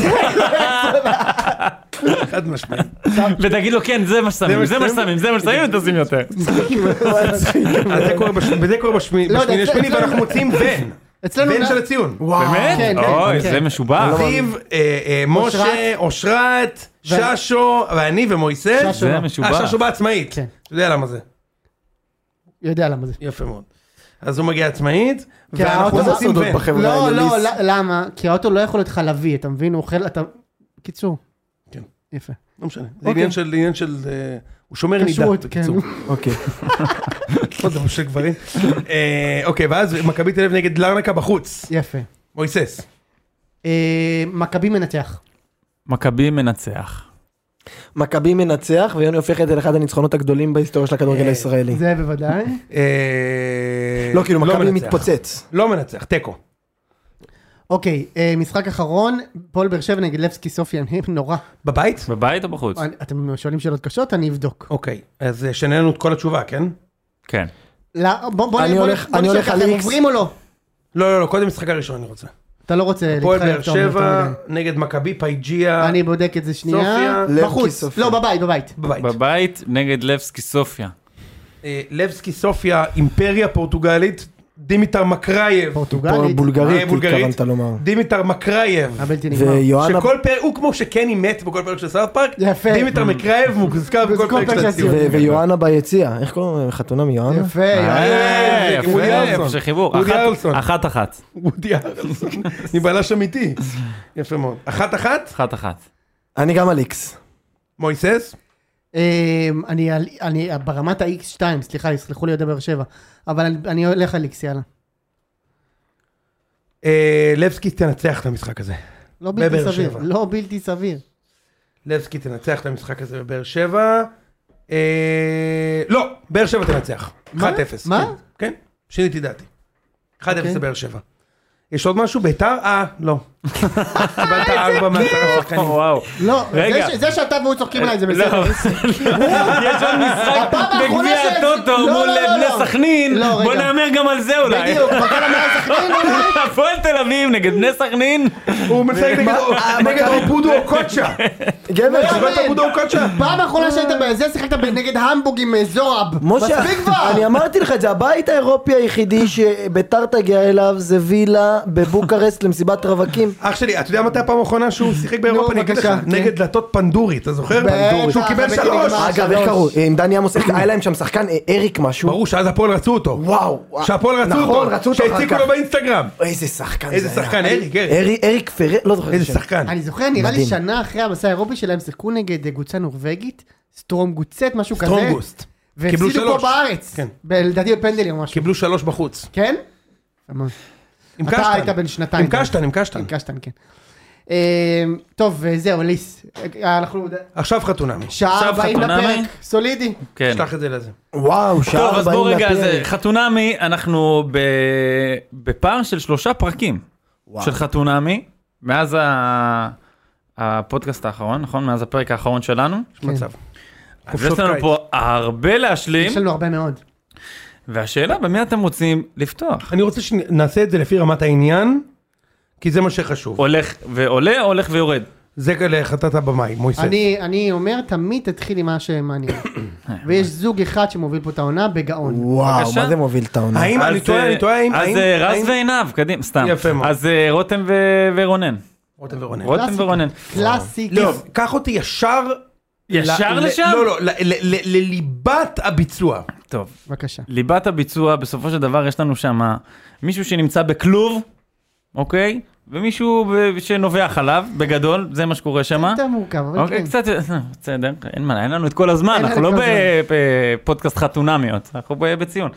Speaker 2: חד משמעית.
Speaker 4: ותגיד לו, כן, זה מה ששמים, זה מה ששמים, זה מה ששמים, תשים יותר.
Speaker 2: אז זה קורה בש- וזה קורה בשמי-
Speaker 5: לא יודע,
Speaker 2: בשמיני לשמיני
Speaker 5: אצלנו-
Speaker 2: ואנחנו מוצאים ון.
Speaker 5: אצלנו לא-
Speaker 2: ון
Speaker 5: נע-
Speaker 2: של הציון.
Speaker 5: כן,
Speaker 4: באמת?
Speaker 5: כן,
Speaker 4: אוי,
Speaker 5: כן.
Speaker 4: זה משובח.
Speaker 2: זיו, אה, אה, משה,
Speaker 5: אושרת.
Speaker 2: אושרת, ששו, ואני ומויסס.
Speaker 5: ששו.
Speaker 4: זה
Speaker 2: אה,
Speaker 4: משובח.
Speaker 2: ששו בעצמאית.
Speaker 5: כן.
Speaker 2: אתה יודע למה זה.
Speaker 5: יודע למה זה.
Speaker 2: יפה מאוד. אז הוא מגיע עצמאית,
Speaker 5: כי
Speaker 2: ואנחנו
Speaker 5: האוטו-
Speaker 2: מוצאים
Speaker 3: סודות
Speaker 2: ון.
Speaker 3: בחברה
Speaker 5: לא,
Speaker 3: האלה,
Speaker 5: לא,
Speaker 3: ליס.
Speaker 5: ל- למה? כי האוטו לא יכול להיות חלבי, אתה מבין? הוא אוכל, אתה... קיצור.
Speaker 2: כן.
Speaker 5: יפה.
Speaker 2: לא משנה. זה
Speaker 5: אוקיי.
Speaker 2: עניין של, עניין של, אה, הוא שומר נידה.
Speaker 5: כשרות, כן.
Speaker 2: בקיצור.
Speaker 3: אוקיי.
Speaker 2: עוד דבר של גברים. אה, אוקיי, ואז מכבי תל אביב נגד לרנקה בחוץ.
Speaker 5: יפה.
Speaker 2: מויסס.
Speaker 5: אה, מכבי מנצח.
Speaker 4: מכבי מנצח.
Speaker 3: מכבי מנצח, ויוני הופך את זה לאחד הניצחונות הגדולים בהיסטוריה של הכדורגל הישראלי.
Speaker 5: זה בוודאי.
Speaker 2: אה,
Speaker 3: לא, כאילו, מכבי
Speaker 2: מנצח.
Speaker 3: מתפוצץ.
Speaker 2: לא מנצח, תיקו.
Speaker 5: אוקיי, אה, משחק אחרון, פועל באר שבע נגד לבסקי סופיה, הם נורא.
Speaker 2: בבית?
Speaker 4: בבית או בחוץ?
Speaker 5: אני- אתם שואלים שאלות קשות, אני אבדוק.
Speaker 2: אוקיי, אז אה, שננו את כל התשובה, כן?
Speaker 4: כן.
Speaker 5: לא, בוא- בוא
Speaker 3: אני
Speaker 5: בוא-
Speaker 3: הולך-
Speaker 5: בוא
Speaker 3: אני
Speaker 5: נשאל
Speaker 3: הולך
Speaker 5: ככה,
Speaker 3: על
Speaker 5: הם
Speaker 3: איקס.
Speaker 5: עוברים או לא?
Speaker 2: לא, לא, לא, קודם משחק הראשון אני רוצה.
Speaker 5: אתה לא רוצה
Speaker 2: הפועל
Speaker 5: להתחייב,
Speaker 2: באר
Speaker 5: אתה אומר,
Speaker 2: שבע
Speaker 5: יותר מדי.
Speaker 2: נגד מכבי פייג'יה
Speaker 5: אני בודק את זה שנייה.
Speaker 2: סופיה,
Speaker 3: לבקי
Speaker 5: בחוץ.
Speaker 3: סופיה.
Speaker 5: לא, בבית, בבית.
Speaker 2: בבית.
Speaker 4: בבית נגד לבסקי סופיה.
Speaker 2: אה, לבסקי סופיה, אימפריה פורטוגלית, דימיטר מקרייב,
Speaker 3: פה
Speaker 5: פורטוגלית.
Speaker 3: בולגרית,
Speaker 2: אה, בולגרית.
Speaker 3: התכוונת לומר. לא,
Speaker 2: דימיטר מקרייב.
Speaker 5: הבלתי נגמר.
Speaker 3: ויואנה...
Speaker 2: שכל פרק, הוא כמו שקני מת בכל פרק של סארט פארק,
Speaker 5: יפה.
Speaker 2: דימיטר מקרייב מוזכר בכל פרק של הציון.
Speaker 3: ו- ויואנה ביציע, איך קוראים להם? חתונה מיואנה?
Speaker 5: יפה,
Speaker 2: אה,
Speaker 4: יפה,
Speaker 2: וודי ארלסון.
Speaker 4: יפה של חיבור.
Speaker 2: וודי
Speaker 4: אחת-
Speaker 2: ארלסון.
Speaker 4: אחת אחת.
Speaker 2: וודי ארלסון, אני בלש אמיתי. יפה מאוד. אחת אחת,
Speaker 4: אחת אחת.
Speaker 3: אני גם על איקס.
Speaker 2: מויסס,
Speaker 5: אמ, אני על- אני ברמת ה-X2, סליחה, יסלחו לי עוד באר שבע. אבל אני- אני הולך על X, יאללה.
Speaker 2: אה, לבסקי תנצח את המשחק הזה.
Speaker 5: לא בלתי
Speaker 2: בבאר
Speaker 5: סביר.
Speaker 2: שבע.
Speaker 5: לא בלתי סביר.
Speaker 2: לבסקי תנצח את המשחק הזה בבאר שבע. אה, לא, באר שבע תנצח. 1-0.
Speaker 5: מה?
Speaker 2: כן, כן, שיניתי דעתי. 1-0 לבאר שבע. יש עוד משהו? ביתר? אה, לא. קיבלת ארבע מעשרה שחקנים.
Speaker 4: וואו.
Speaker 5: לא, זה
Speaker 4: רגע. לא.
Speaker 5: ש- זה שאתה והוא צוחקים עליי לא, זה בסדר.
Speaker 4: (laughs) יש עוד משחק
Speaker 5: הפעם האחרונה
Speaker 4: בגביע
Speaker 5: של-
Speaker 4: הטוטו
Speaker 5: לא,
Speaker 4: מול
Speaker 5: לא, לא,
Speaker 4: בני
Speaker 5: לא.
Speaker 4: סכנין,
Speaker 5: לא,
Speaker 4: בוא
Speaker 5: רגע.
Speaker 4: נאמר גם על זה אולי.
Speaker 5: בדיוק, מכבי המאה
Speaker 4: אה,
Speaker 5: כאילו, אה, סכנין אולי?
Speaker 4: הפועל תל אביב נגד בני סכנין.
Speaker 2: הוא משחק נגד- אה,
Speaker 3: מה-
Speaker 2: נגד
Speaker 3: מכבי-
Speaker 2: (laughs) אובודו אוקוצ'ה.
Speaker 3: גבר,
Speaker 5: לא
Speaker 2: קיבלת
Speaker 5: יאמן.
Speaker 2: אובודו אוקוצ'ה?
Speaker 5: פעם האחרונה שהיית בזה שיחקת ב- נגד המבורג עם אה, זורב.
Speaker 3: משה,
Speaker 5: מספיק כבר!
Speaker 3: אני אמרתי לך את זה, הבית האירופי היחידי שביתר תגיע אליו זה וילה בבוקרסט למסיבת רווקים.
Speaker 2: אח שלי, אתה יודע מתי הפעם האחרונה שהוא שיחק באירופה? אני אגיד לך,
Speaker 5: בבקשה, כן.
Speaker 2: נגד דלתות פנדורי, אתה זוכר?
Speaker 5: בטח,
Speaker 2: שהוא קיבל
Speaker 5: הבאתי
Speaker 2: שלוש.
Speaker 5: נגמר.
Speaker 3: אגב, איך
Speaker 5: שלוש.
Speaker 3: קראו? אה, עם דני עמוס, היה להם שם שחקן אה, אריק משהו.
Speaker 2: ברור שאז הפועל רצו אותו.
Speaker 3: וואו.
Speaker 2: שהפועל רצו אותו.
Speaker 3: נכון, רצו אותו אחר
Speaker 2: שהציקו
Speaker 3: כך.
Speaker 2: לו באינסטגרם.
Speaker 3: איזה שחקן זה
Speaker 2: איזה
Speaker 3: היה.
Speaker 2: שחקן, אריק, אריק.
Speaker 3: ארי- אריק פרר, לא זוכר את
Speaker 2: איזה
Speaker 3: השם.
Speaker 2: שחקן.
Speaker 5: אני זוכר, נראה לי
Speaker 3: מדהים.
Speaker 5: שנה אחרי המסע האירופי שלהם שיחקו נגד אה, קבוצה נורבגית, סטרומגוצט, משהו כזה.
Speaker 2: סטרונגוסט. קיבלו
Speaker 5: והפסידו פה
Speaker 2: שלוש.
Speaker 5: בארץ.
Speaker 2: כן.
Speaker 5: ב- לדעתי בפנדלים או משהו.
Speaker 2: קיבלו שלוש בחוץ.
Speaker 5: כן?
Speaker 2: עם
Speaker 5: אתה
Speaker 2: קשטן.
Speaker 5: היית בן שנתיים.
Speaker 2: עם קשטן, עם קשטן.
Speaker 5: עם קשטן, כן. אה, טוב, אה, זהו, ליס. אה, אנחנו
Speaker 2: עכשיו חתונמי.
Speaker 5: שעה
Speaker 4: עכשיו
Speaker 5: 40
Speaker 4: חתונמי?
Speaker 5: לפרק, סולידי.
Speaker 4: כן.
Speaker 2: שלח את זה לזה.
Speaker 3: וואו, שעה
Speaker 4: טוב, אז בואו
Speaker 3: 40
Speaker 4: רגע,
Speaker 3: לפרק.
Speaker 4: אז אה, חתונמי, אנחנו ב- בפער של שלושה פרקים של חתונמי, מאז ה- הפודקאסט האחרון, נכון? מאז הפרק האחרון שלנו.
Speaker 2: יש מצב.
Speaker 4: אז יש לנו פה הרבה להשלים,
Speaker 5: כן. יש לנו הרבה מאוד.
Speaker 4: והשאלה במי אתם רוצים לפתוח.
Speaker 2: אני רוצה שנעשה את זה לפי רמת העניין, כי זה מה שחשוב.
Speaker 4: הולך ועולה, הולך ויורד.
Speaker 2: זה להחלטת הבמאי, מויסס.
Speaker 5: אני, אני אומר, תמיד תתחיל עם
Speaker 4: (coughs)
Speaker 5: מה שמעניין.
Speaker 4: אה,
Speaker 5: ויש זוג אחד שמוביל פה את העונה בגאון.
Speaker 3: וואו,
Speaker 4: בבקשה.
Speaker 3: מה זה מוביל את העונה?
Speaker 2: האם אני
Speaker 4: אז,
Speaker 2: טועה, אני טועה, האם...
Speaker 4: אז
Speaker 2: האם-
Speaker 4: אה, רז
Speaker 2: האם-
Speaker 4: ועינב, קדימה, סתם.
Speaker 2: יפה מאוד.
Speaker 4: אז אה, רותם ו- ורונן.
Speaker 2: רותם ורונן.
Speaker 4: רותם
Speaker 5: קלאסיקה.
Speaker 4: ורונן.
Speaker 5: קלאסי.
Speaker 2: לא, קח אותי ישר...
Speaker 4: ישר
Speaker 2: ל- ל-
Speaker 4: לשם?
Speaker 2: לא, לא, ל- ל- ל- לליבת הביצוע.
Speaker 4: טוב.
Speaker 5: בבקשה.
Speaker 4: ליבת הביצוע, בסופו של דבר יש לנו שם מישהו שנמצא בכלוב, אוקיי? ומישהו ב- שנובח עליו, בגדול, זה מה שקורה שם.
Speaker 5: יותר מורכב, אבל
Speaker 4: אוקיי,
Speaker 5: כן.
Speaker 4: קצת, בסדר, אין מה, אין לנו את כל הזמן,
Speaker 5: אין
Speaker 4: אנחנו לא
Speaker 5: לנו את כל
Speaker 4: בפודקאסט חתונמיות, אנחנו ב- בציון.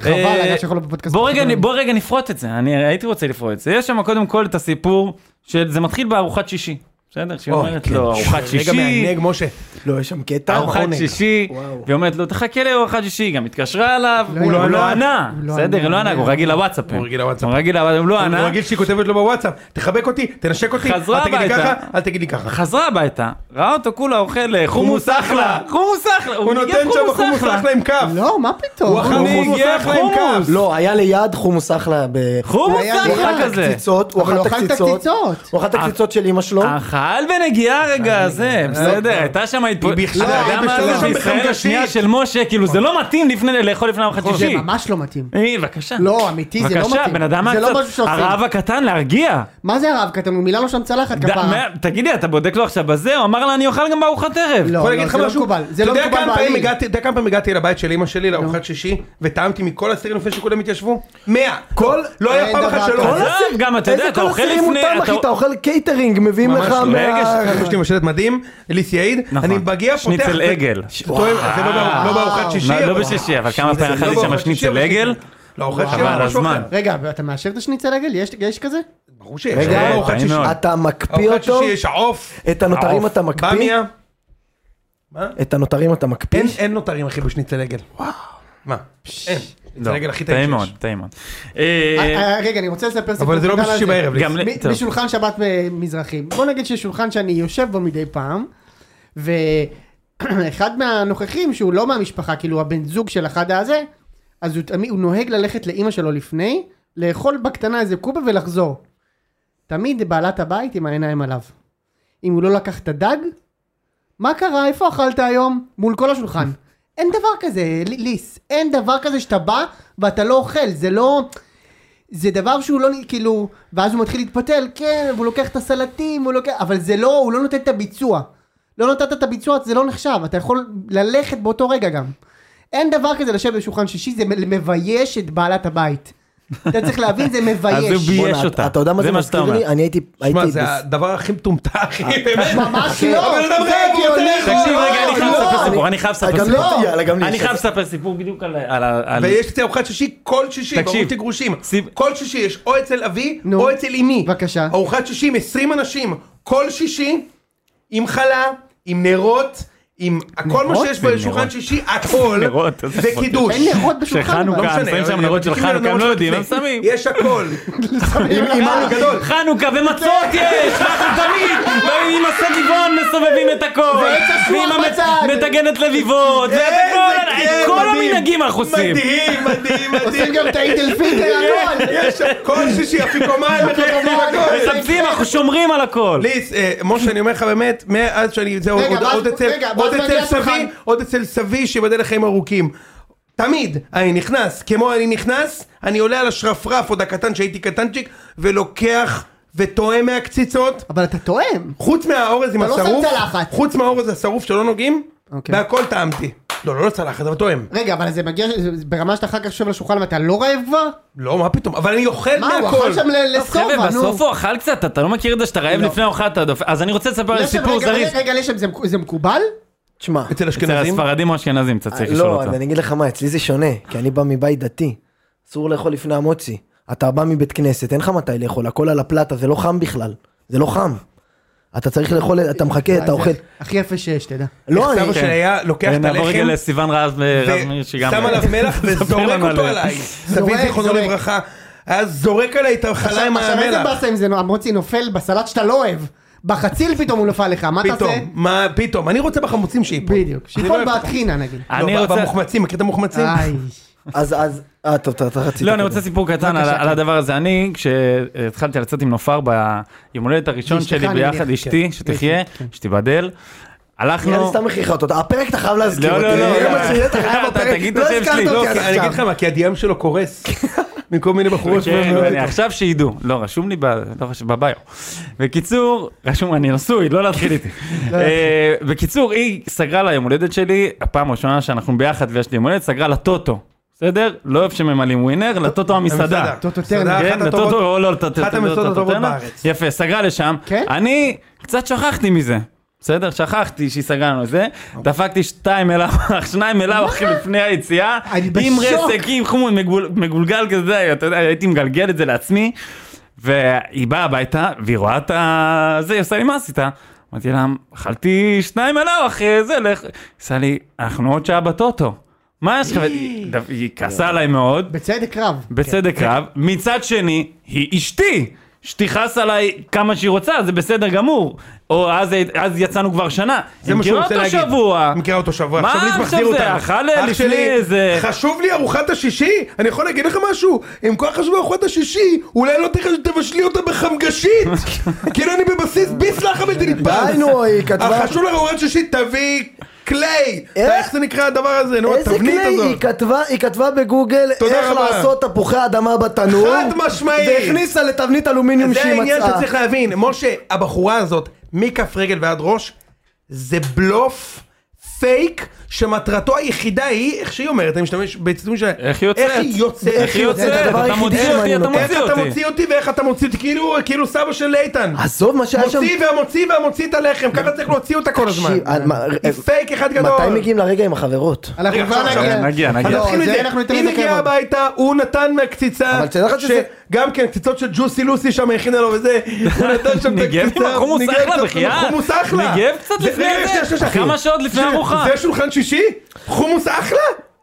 Speaker 5: חבל,
Speaker 4: אה,
Speaker 5: אגב, שאנחנו לא בפודקאסט.
Speaker 4: בוא רגע, בוא רגע נפרוט את זה, אני הייתי רוצה לפרוט את זה. יש שם קודם כל את הסיפור, שזה מתחיל בארוחת שישי. בסדר? שהיא
Speaker 2: או,
Speaker 4: אומרת
Speaker 2: כן.
Speaker 4: לו ארוחת
Speaker 2: רגע
Speaker 4: שישי,
Speaker 2: מענג, משה.
Speaker 3: לא, יש שם קטע.
Speaker 4: ארוחת
Speaker 2: עונג.
Speaker 4: שישי,
Speaker 3: וואו.
Speaker 4: והיא אומרת לו תחכה לארוחת שישי, היא גם התקשרה אליו,
Speaker 5: לא
Speaker 4: הוא
Speaker 5: ענה.
Speaker 4: לא לא ענה,
Speaker 5: הוא לא
Speaker 4: בסדר,
Speaker 5: ענה.
Speaker 4: הוא לא ענה, הוא רגיל לוואטסאפים,
Speaker 2: הוא רגיל לוואטסאפ.
Speaker 4: הוא רגיל לוואטסאפ, הוא לא
Speaker 2: הוא
Speaker 4: ענה,
Speaker 2: רגיל שהיא כותבת לו בוואטסאפ, תחבק אותי, תנשק אותי,
Speaker 4: חזרה
Speaker 2: אל תגיד לי
Speaker 4: הביתה.
Speaker 2: ככה, אל תגיד לי ככה.
Speaker 4: חזרה הביתה, ראה אותו כולה אוכל אה, חומוס אחלה, חומוס אחלה,
Speaker 2: הוא נותן
Speaker 4: ניגב
Speaker 2: שם חומוס אחלה עם כף.
Speaker 5: לא, מה פתאום?
Speaker 2: הוא אכל חומוס
Speaker 4: ניגב
Speaker 2: אחלה עם
Speaker 4: חומוס.
Speaker 2: כף.
Speaker 3: לא, היה ליד חומוס אחלה ב...
Speaker 4: חומוס
Speaker 5: היה
Speaker 3: הוא
Speaker 4: אחלה
Speaker 3: אכל את
Speaker 4: כזה,
Speaker 3: הקציצות, הוא
Speaker 5: אבל
Speaker 3: אכל
Speaker 5: הוא
Speaker 3: את
Speaker 5: אכל את
Speaker 3: הקציצות.
Speaker 5: הקציצות.
Speaker 3: הוא אכל את הקציצות של אמא
Speaker 4: אה,
Speaker 3: שלו.
Speaker 4: אכל ונגיעה רגע זה, בסדר, הייתה שם התפ-
Speaker 2: היא בכלל-
Speaker 4: אתה יודע
Speaker 2: היא
Speaker 4: מה
Speaker 2: בכלל
Speaker 4: זה?
Speaker 2: שם
Speaker 4: בישראל
Speaker 2: בחמגשית.
Speaker 4: השנייה של משה, כאילו זה לא מתאים לפני- לאכול לפני ארוחת
Speaker 5: זה
Speaker 4: שישי.
Speaker 5: ממש לא מתאים.
Speaker 4: אה, בבקשה.
Speaker 5: לא, אמיתי, זה לא
Speaker 4: בבקשה,
Speaker 5: מתאים.
Speaker 4: בן אדם
Speaker 5: זה לא
Speaker 4: מהקצת-
Speaker 5: משהו שעושים.
Speaker 4: הרעב הקטן להרגיע.
Speaker 5: מה זה הרב קטן? הוא מילה לו שם צלחת
Speaker 4: ד-
Speaker 5: כפרה.
Speaker 4: מה- תגידי, אתה בודק לו עכשיו בזה? הוא אמר לה, אני אוכל גם בארוחת ערב.
Speaker 5: לא,
Speaker 2: יכול להגיד לך
Speaker 5: זה לא
Speaker 2: משהו?
Speaker 5: מקובל. זה לא
Speaker 2: אתה יודע
Speaker 5: מקובל
Speaker 2: כמה פעמים
Speaker 5: בעליל. לא.
Speaker 2: הגעתי- אתה יודע כמה פעמים הגעתי לבית של אמא שלי לארוחת שישי, וטעמתי מכל הסטירים לפני שכולם התיישבו? מאה. כל? לא היה
Speaker 5: אין
Speaker 2: פעם
Speaker 5: דבר
Speaker 2: אחת שלא.
Speaker 5: כזה.
Speaker 4: עזוב, גם אתה יודע,
Speaker 3: איזה
Speaker 4: אתה
Speaker 3: כל
Speaker 4: אוכל
Speaker 3: אסירים
Speaker 4: לפני...
Speaker 3: מותר,
Speaker 4: אתה-
Speaker 3: אחי, אתה אוכל קייטרינג, מביאים לך
Speaker 4: ממש לא. רגע,
Speaker 3: מה...
Speaker 2: רגע, יש לי משלט מדהים, ליס יעיד,
Speaker 4: נכון.
Speaker 2: אני מגיע, פותח...
Speaker 4: שניצל עגל.
Speaker 2: ש- טועם, זה לא בא- לא בארוחת שישי,
Speaker 4: לא
Speaker 2: אבל-
Speaker 4: בשישי, אבל כמה פעמים
Speaker 2: לא
Speaker 4: אכלתי שם
Speaker 2: בארוחת שישי,
Speaker 4: שניצל
Speaker 2: אבל-
Speaker 4: עגל?
Speaker 2: לא, ארוחת שישי,
Speaker 4: חבל,
Speaker 2: אבל משהו
Speaker 4: הזמן.
Speaker 2: אחר.
Speaker 5: רגע, ואתה מאשר את השניצל עגל? יש- יש כזה?
Speaker 2: ברור שיש.
Speaker 3: רגע,
Speaker 2: אבל
Speaker 3: רגע,
Speaker 2: אה, ארוחת
Speaker 4: אה, טעים
Speaker 2: שישי-
Speaker 4: מאוד.
Speaker 3: אתה מקפיא
Speaker 2: ארוחת
Speaker 3: אותו,
Speaker 2: שישי יש עוף,
Speaker 3: את הנותרים
Speaker 4: העוף.
Speaker 3: אתה מקפיא,
Speaker 2: במיה.
Speaker 3: את הנותרים אתה מקפיא.
Speaker 2: אין- אין נותרים אחי בשניצל עגל. וואו. מה? אין. שניצל עגל הכי
Speaker 4: לא, טעים
Speaker 2: טעים
Speaker 4: מאוד,
Speaker 2: שיש.
Speaker 4: טעים מאוד. אה,
Speaker 5: אה, אה, רגע, אני רוצה לספר סיפור.
Speaker 2: אבל זה לא
Speaker 5: קטן על
Speaker 2: בשישי בערב. ליס.
Speaker 4: גם ל-
Speaker 5: מ-
Speaker 4: טוב.
Speaker 5: בשולחן שבת אה, מזרחי. בוא נגיד שיש שולחן שאני יושב בו מדי פעם, (clears throat) ואחד מהנוכחים שהוא לא מהמשפחה, כאילו הבן זוג של אחד הזה, אז הוא, תמיד- הוא נוהג ללכת לאימא שלו לפני, לאכול בקטנה איזה קובה ולחזור. תמיד בעלת הבית עם העיניים עליו. אם הוא לא לקח את הדג, מה קרה? איפה אכלת היום? מול
Speaker 4: (laughs)
Speaker 5: כל השולחן. אין דבר כזה, ל- ליס. אין דבר כזה שאתה בא ואתה לא אוכל. זה לא... זה דבר שהוא לא נ- כאילו... ואז הוא מתחיל להתפתל, כן, והוא לוקח את הסלטים, הוא לוקח... אבל זה לא, הוא לא נותן את הביצוע. לא נתת את הביצוע, זה לא נחשב. אתה יכול ללכת באותו רגע גם. אין דבר כזה לשבת בשולחן שישי, זה מ- מבייש את בעלת הבית. אתה צריך להבין,
Speaker 4: (laughs)
Speaker 5: זה
Speaker 4: אז הוא
Speaker 5: מבייש.
Speaker 4: בייש
Speaker 3: בואנה,
Speaker 4: אותה.
Speaker 3: אתה יודע מה זה
Speaker 4: מה שאתה
Speaker 3: מזכיר לי?
Speaker 4: אומר.
Speaker 3: אני הייתי...
Speaker 2: שמע,
Speaker 3: הייתי אה,
Speaker 2: זה
Speaker 3: בס-
Speaker 2: הדבר הכי מטומטם, אחי, באמת.
Speaker 5: ממש
Speaker 4: אוקיי,
Speaker 5: לא,
Speaker 2: הבן אדם
Speaker 5: זה
Speaker 2: רעב, הוא רוצה
Speaker 5: הגיוני.
Speaker 2: לאכול.
Speaker 4: תקשיב רגע, אני חייב
Speaker 3: לא,
Speaker 4: לספר
Speaker 3: אני-
Speaker 4: סיפור, אני חייב לספר
Speaker 3: גם
Speaker 4: סיפור.
Speaker 3: לא, יאללה, גם לי
Speaker 4: אני
Speaker 3: יש
Speaker 4: חייב
Speaker 3: לספר.
Speaker 4: לספר סיפור בדיוק על- על ה... על-
Speaker 2: ויש לי ארוחת שישי כל שישי,
Speaker 4: תקשיב.
Speaker 2: בערותי גרושים.
Speaker 4: סיב-
Speaker 2: כל שישי יש או אצל אבי,
Speaker 5: נו.
Speaker 2: או אצל אמי.
Speaker 5: בבקשה.
Speaker 2: ארוחת שישי עם 20 אנשים, כל שישי, עם חלה, עם נרות. עם הכל מה
Speaker 4: נרות
Speaker 2: שיש בשולחן
Speaker 4: ונרות. (laughs)
Speaker 2: שישי, הכל, לא
Speaker 4: נרות, אז
Speaker 2: זה
Speaker 4: איפה-
Speaker 2: קידוש.
Speaker 5: אין נרות בשולחן. לא אבל.
Speaker 4: שחנוכה, שמים שם נרות של
Speaker 2: מדליקים
Speaker 4: חנוכה, הם לא
Speaker 2: נרות
Speaker 4: יודעים, הם
Speaker 2: לפני.
Speaker 4: שמים.
Speaker 2: יש
Speaker 5: (laughs)
Speaker 2: הכל. אה, עם עם גדול.
Speaker 4: חנוכה ומצות יש, ואנחנו תמיד, ועם הסביבון מסובבים את הכל,
Speaker 5: ועץ אשוח
Speaker 4: המת-
Speaker 5: בצד.
Speaker 4: מטגנת לביבות, ואת כל- את כל המנהגים אנחנו
Speaker 2: כן,
Speaker 4: עושים.
Speaker 2: מדהים, מדהים,
Speaker 5: עושים
Speaker 2: מדהים.
Speaker 5: גם את האידל פיטר,
Speaker 2: (laughs)
Speaker 5: הכל.
Speaker 2: יש כל שישי
Speaker 5: (laughs)
Speaker 2: אפיקומן, מחפשים הכל.
Speaker 4: מסבסים, אנחנו שומרים על הכל.
Speaker 2: ליס, אה, משה, אני אומר לך באמת, מאז שאני, זהו,
Speaker 5: רגע,
Speaker 2: עוד-
Speaker 5: ואז-
Speaker 2: עוד אצל-
Speaker 5: רגע,
Speaker 2: עוד
Speaker 5: ואז
Speaker 2: אצל
Speaker 5: מגיע
Speaker 2: סבי,
Speaker 5: השולחן.
Speaker 2: עוד אצל סבי, שיבדל לחיים ארוכים. תמיד אני נכנס, כמו אני נכנס, אני עולה על השרפרף עוד הקטן שהייתי קטנצ'יק, ולוקח וטועה מהקציצות,
Speaker 5: אבל אתה טועם.
Speaker 2: חוץ מהאורז עם
Speaker 5: אתה לא שם
Speaker 2: השרוף,
Speaker 5: צלחת.
Speaker 2: חוץ מהאורז השרוף שלא נוגעים,
Speaker 5: אוקיי.
Speaker 2: בהכל טעמתי. לא, לא, לא צלחת, אבל טועם.
Speaker 5: רגע, אבל זה מגיע זה- זה ברמה שאתה אחר כך יושב לשולחן ואתה לא רעב כבר?
Speaker 2: לא, מה פתאום, אבל אני אוכל
Speaker 5: מה, הוא
Speaker 2: מהכל.
Speaker 5: אכל שם ל-
Speaker 4: טוב, חבר'ה,
Speaker 5: לסובה, נו.
Speaker 4: בסוף הוא אכל קצת, אתה לא מכיר את זה שאתה רעב לפני אוכל, אתה דופק. אז אני רוצה לספר על
Speaker 5: לשם,
Speaker 4: סיפור
Speaker 5: לא, רגע,
Speaker 4: זריז.
Speaker 5: רגע, לשם, זה מק- זה מקובל?
Speaker 3: תשמע,
Speaker 2: אצל
Speaker 4: אצל
Speaker 2: אשכנזים?
Speaker 4: הספרדים או אשכנזים, אתה צריך לשאול
Speaker 3: לא,
Speaker 4: אותם.
Speaker 3: אז אני אגיד לך מה, אצלי זה שונה, כי אני בא מבית דתי, אסור לאכול לפני המוצי. אתה בא מבית כנסת, אין לך מתי לאכול, הכל על הפלטה, זה לא חם בכלל, זה לא חם. אתה צריך לאכול, אתה מחכה, אתה
Speaker 5: אה, זה
Speaker 3: אוכל.
Speaker 5: הכי יפה שיש, תדע.
Speaker 3: לא,
Speaker 2: איך
Speaker 3: אני...
Speaker 2: סבא שלי היה לוקח את
Speaker 4: כן. נעבור רגע
Speaker 2: הלחם,
Speaker 4: לא לסיוון רז רז מאיר שגם...
Speaker 2: ושם עליו
Speaker 4: (laughs)
Speaker 2: מלח וזורק
Speaker 4: לנו
Speaker 2: אותו
Speaker 4: עליה.
Speaker 2: עליי. סבי
Speaker 5: זורק,
Speaker 2: זיכרונו
Speaker 5: זורק.
Speaker 2: לברכה, היה זורק עליי את החלה עם
Speaker 5: עכשיו איזה
Speaker 2: המלח.
Speaker 5: באסה אם זה נו- המוצי נופל בסלט שאתה לא אוהב? בחציל פתאום הוא נופל לך, מה תעשה?
Speaker 2: פתאום, מה פתאום, אני רוצה בחמוצים שייפול.
Speaker 5: בדיוק, אה,
Speaker 2: אני לא
Speaker 5: שיפול
Speaker 2: אוהב את
Speaker 5: בהטחינה נגיד.
Speaker 2: לא,
Speaker 4: אני
Speaker 2: ב-
Speaker 4: רוצה...
Speaker 2: במוחמצים, מכיר את המוחמצים? כן,
Speaker 5: איי.
Speaker 3: אז, אז, אה, טוב, אתה אתה רצית.
Speaker 4: לא, אני
Speaker 3: קודם.
Speaker 4: רוצה סיפור קטן על- על הדבר הזה. אני, כשהתחלתי לצאת עם נופר ביום הולדת הראשון
Speaker 5: ואשתך,
Speaker 4: שלי
Speaker 5: אני
Speaker 4: ביחד,
Speaker 5: מניח,
Speaker 4: אשתי, שתחיה, שתיבדל,
Speaker 3: נראה לי
Speaker 4: הלכנו...
Speaker 3: סתם הכריחת אותו, הפרק אתה חייב להזכיר
Speaker 4: לא,
Speaker 3: אותי.
Speaker 4: לא, לא,
Speaker 3: זה
Speaker 4: לא.
Speaker 3: מה שזה, אתה חייב
Speaker 4: אתה
Speaker 3: בפרק.
Speaker 4: תגיד את
Speaker 3: לא
Speaker 4: השם
Speaker 3: הזכרת
Speaker 4: שלי,
Speaker 3: אותי
Speaker 4: לא,
Speaker 3: עד
Speaker 2: כי- אני אגיד לך
Speaker 3: עכשיו.
Speaker 2: מה, כי הדיאם שלו
Speaker 5: (laughs)
Speaker 2: קורס. מכל מיני בחורות.
Speaker 4: כן,
Speaker 2: שמאוד-
Speaker 4: ואני- עכשיו שידעו, לא, רשום לי ב- לא חשוב, בביו. בקיצור, רשום, אני נשוי, לא להתחיל (laughs) איתי. אה, בקיצור, היא סגרה ליום הולדת שלי, הפעם הראשונה שאנחנו ביחד ויש לי יום הולדת, סגרה לטוטו, בסדר? לא אוהב שממלאים ווינר, לטוטו המסעדה.
Speaker 2: המסעדה.
Speaker 5: טוטו
Speaker 2: מסעדה,
Speaker 5: טרנר.
Speaker 2: אחת
Speaker 4: כן,
Speaker 2: הטובות.
Speaker 4: לטוטו, לא, לטוטו,
Speaker 2: אחת המסעדות הטובות בארץ.
Speaker 4: יפה, סגרה לשם.
Speaker 5: כן?
Speaker 4: אני קצת שכחתי מזה. בסדר, שכחתי שהיא סגרה לנו את זה,
Speaker 2: אוקיי.
Speaker 4: דפקתי שתיים אליו, (laughs) שניים אליו אחי לפני היציאה,
Speaker 5: אני
Speaker 4: עם
Speaker 5: בשוק.
Speaker 4: רסק, עם חומון מגבול- מגולגל כזה, אתה יודע, הייתי מגלגל את זה לעצמי, והיא באה הביתה, והיא רואה את ה... זה, היא עושה לי, מה עשית? אמרתי לה, אכלתי שניים אליו אחרי זה, לך... היא עושה לי, אנחנו עוד שעה בטוטו. מה יש לך? והיא- היא כעסה עליי מאוד,
Speaker 5: בצדק רב.
Speaker 4: בצדק רב. מצד שני, היא אשתי. שתכעס עליי כמה שהיא רוצה, זה בסדר גמור. או אז, אז יצאנו כבר שנה.
Speaker 2: זה מה שהוא רוצה להגיד.
Speaker 4: מכירה אותו שבוע.
Speaker 2: מכירה אותו שבוע. עכשיו
Speaker 4: מה
Speaker 2: ליס
Speaker 4: עכשיו
Speaker 2: מחזיר
Speaker 4: זה?
Speaker 2: אותנו.
Speaker 4: אכל
Speaker 2: אח
Speaker 4: לפני
Speaker 2: שלי,
Speaker 4: איזה-
Speaker 2: חשוב לי ארוחת השישי? אני יכול להגיד לך משהו? אם כל כך חשוב ארוחת השישי, אולי לא תכף תבשלי אותה
Speaker 4: (laughs)
Speaker 2: בחמגשית. כאילו אני בבסיס ביסלח הבלתי נתפס.
Speaker 3: די נו, היא כתבה...
Speaker 2: החשוב לך ארוחת שישי, תביא קליי.
Speaker 3: אה?
Speaker 2: אתה- איך זה נקרא הדבר הזה? נו,
Speaker 3: איזה
Speaker 2: התבנית
Speaker 3: כלי, היא
Speaker 2: הזאת.
Speaker 3: כתבה, היא כתבה בגוגל
Speaker 2: תודה
Speaker 3: איך
Speaker 2: רבה.
Speaker 3: לעשות תפוחי אדמה בתנור.
Speaker 2: חד משמעית.
Speaker 3: והכניסה לתבנית אלומיניום
Speaker 2: זה
Speaker 3: שהיא מצאה.
Speaker 2: העניין שצריך להבין, משה, הבחורה הזאת, מכף רגל ועד ראש, זה בלוף, פייק, שמטרתו היחידה היא, איך שהיא אומרת, אני משתמש בציטוטים שלה,
Speaker 4: איך היא יוצאת?
Speaker 2: איך היא יוצאת,
Speaker 4: איך היא
Speaker 3: זה
Speaker 4: יוצאת?
Speaker 3: הדבר
Speaker 4: אתה
Speaker 3: היחידי
Speaker 4: מוציא
Speaker 3: שמעניין
Speaker 4: אותי, אתה
Speaker 3: אותי.
Speaker 2: איך
Speaker 4: מוציא
Speaker 2: אתה
Speaker 4: אותי.
Speaker 2: מוציא אותי ואיך אתה מוציא אותי, כאילו, כאילו סבא של איתן.
Speaker 3: עזוב מה שהיה שם.
Speaker 2: מוציא והמוציא והמוציא את הלחם, ככה צריך להוציא אותה כל הזמן.
Speaker 3: תקשיב, על מה- אה,
Speaker 2: היא פייק אחד גדול.
Speaker 3: מתי מגיעים לרגע עם החברות?
Speaker 5: אנחנו
Speaker 2: רגע,
Speaker 5: כבר
Speaker 2: עכשיו,
Speaker 5: נגיע.
Speaker 4: נגיע, נגיע.
Speaker 2: אז
Speaker 5: לא,
Speaker 2: נתחיל
Speaker 5: זה
Speaker 2: מזה,
Speaker 5: אנחנו ניתן
Speaker 2: היא
Speaker 5: לזה
Speaker 2: מגיעה
Speaker 5: כבוד.
Speaker 2: הביתה, הוא נתן מהקציצה,
Speaker 3: אבל
Speaker 5: לא
Speaker 3: תדע לך שזה-
Speaker 2: שגם כן, קציצות של ג'וסי לוסי שם הכינה לו וזה,
Speaker 5: (laughs)
Speaker 2: הוא נתן שם את
Speaker 4: ניגב עם
Speaker 2: הקציצה,
Speaker 4: החומוס
Speaker 2: ניגב
Speaker 4: אחלה,
Speaker 2: קצת-
Speaker 4: בחייאת.
Speaker 2: חומוס אחלה,
Speaker 4: ניגב קצת לפני
Speaker 2: רגע,
Speaker 4: זה.
Speaker 2: שנייה, שנייה, אחי.
Speaker 4: כמה שעות לפני
Speaker 2: זה-
Speaker 4: הארוחה.
Speaker 2: זה שולחן שישי? חומוס אחלה?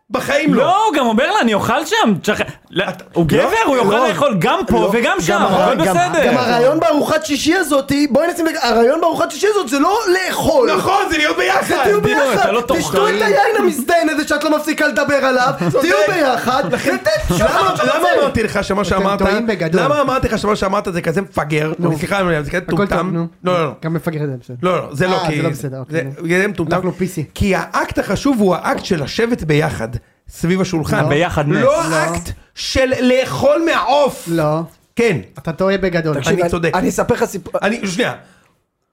Speaker 2: בחיים לא.
Speaker 4: לא, הוא גם אומר לה, אני אוכל שם. תשח- לא, הוא גבר, הוא יוכל
Speaker 3: לא.
Speaker 4: לאכול גם פה
Speaker 3: לא,
Speaker 4: וגם שם,
Speaker 3: הרעי- גם-
Speaker 4: הכל
Speaker 3: גם
Speaker 4: בסדר.
Speaker 3: הרעיון בארוחת שישי הזאת, בואי נשים, לג- הרעיון בארוחת שישי הזאת זה לא לאכול.
Speaker 2: נכון, זה להיות ביחד.
Speaker 3: תהיו
Speaker 4: בדיוק, אתה
Speaker 3: ביחד,
Speaker 4: לא תאכל.
Speaker 3: תשתו את היין המזדיין הזה שאת לא מפסיקה לדבר עליו, תהיו ביחד, ותן שם.
Speaker 2: למה למה אמרתי לך שמה שאמרת,
Speaker 5: טועים בגדול.
Speaker 2: למה אמרתי לך שמה שאמרת זה כזה מפגר, סליחה, אני אומר, זה כזה
Speaker 5: הכל טוב,
Speaker 2: טומטם,
Speaker 5: נו.
Speaker 2: לא, לא, לא,
Speaker 5: גם מפגר את זה, בסדר.
Speaker 2: לא, לא, זה לא
Speaker 5: אה,
Speaker 2: כי...
Speaker 5: זה לא בסדר, אוקיי.
Speaker 2: זה- זה מטומטם.
Speaker 5: אנחנו PC.
Speaker 2: כי האקט החשוב הוא האקט של לשבת ביחד, סביב השולחן.
Speaker 4: ביחד נס.
Speaker 2: לא
Speaker 4: לא.
Speaker 2: האקט של לאכול מהעוף.
Speaker 5: לא.
Speaker 2: כן.
Speaker 5: אתה טועה בגדול.
Speaker 2: תקשיב, אני צודק.
Speaker 3: אני אספר לך סיפור.
Speaker 2: אני, שנייה.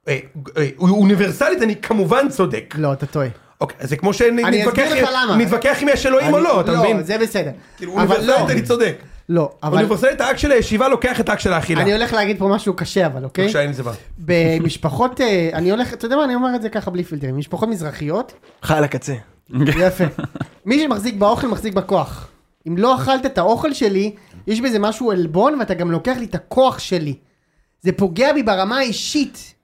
Speaker 2: אה, אה, אוניברסלית אני כמובן צודק.
Speaker 5: לא, אתה טועה.
Speaker 2: אוקיי, אז זה כמו
Speaker 5: אני
Speaker 2: שנתווכח
Speaker 5: אסביר לך למה.
Speaker 2: נתווכח אם יש אלוהים או לא, אתה
Speaker 5: לא,
Speaker 2: מבין?
Speaker 5: זה בסדר.
Speaker 2: כאילו
Speaker 5: אבל לא.
Speaker 2: אוניברסלית אני צודק.
Speaker 5: לא, אבל
Speaker 2: אוניברסלית האקט של הישיבה לוקח את האקט של האכילה.
Speaker 5: אני הולך להגיד פה משהו קשה, אבל אוקיי?
Speaker 2: בבקשה, הנה זה בא.
Speaker 5: במשפחות, אה, אני הולך, אתה יודע מה, אני אומר את זה ככה בלי פילטרים, משפחות מזרחיות,
Speaker 3: חי על הקצה.
Speaker 5: יפה. מי שמחזיק באוכל מחזיק בכוח. אם לא אכלת את האוכל שלי, יש בזה משהו עלבון ואתה גם לוקח לי את הכוח שלי. זה פוגע בי ברמה האישית.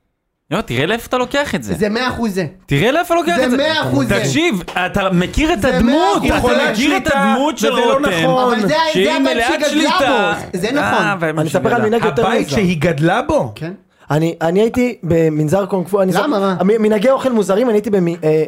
Speaker 4: יואו, לא, תראה לאיפה אתה לוקח את זה.
Speaker 5: זה מאה אחוז זה.
Speaker 4: תראה לאיפה לוקח
Speaker 5: זה
Speaker 4: את זה.
Speaker 5: מאה אחוז זה.
Speaker 4: תקשיב, אתה מכיר את
Speaker 5: זה מאה
Speaker 4: הדמות,
Speaker 5: אחוז.
Speaker 4: אתה
Speaker 5: יכולת
Speaker 4: מכיר את
Speaker 2: שליטה,
Speaker 4: הדמות של
Speaker 2: וזה לא נכון.
Speaker 4: רותם.
Speaker 5: אבל זה ה- זה
Speaker 4: שהיא
Speaker 5: הבן
Speaker 4: מלאת
Speaker 5: שגדלה
Speaker 4: שליטה.
Speaker 5: בו. זה נכון.
Speaker 4: אה,
Speaker 3: אני אספר על
Speaker 4: שגדלה.
Speaker 3: מנהג יותר
Speaker 2: הבית
Speaker 3: מוזר.
Speaker 2: שהיא גדלה בו.
Speaker 5: כן.
Speaker 3: אני, אני הייתי במנזר קונג פו, אני
Speaker 5: למה?
Speaker 3: זוכר-
Speaker 5: מה?
Speaker 3: המ- מנהגי אוכל מוזרים, אני הייתי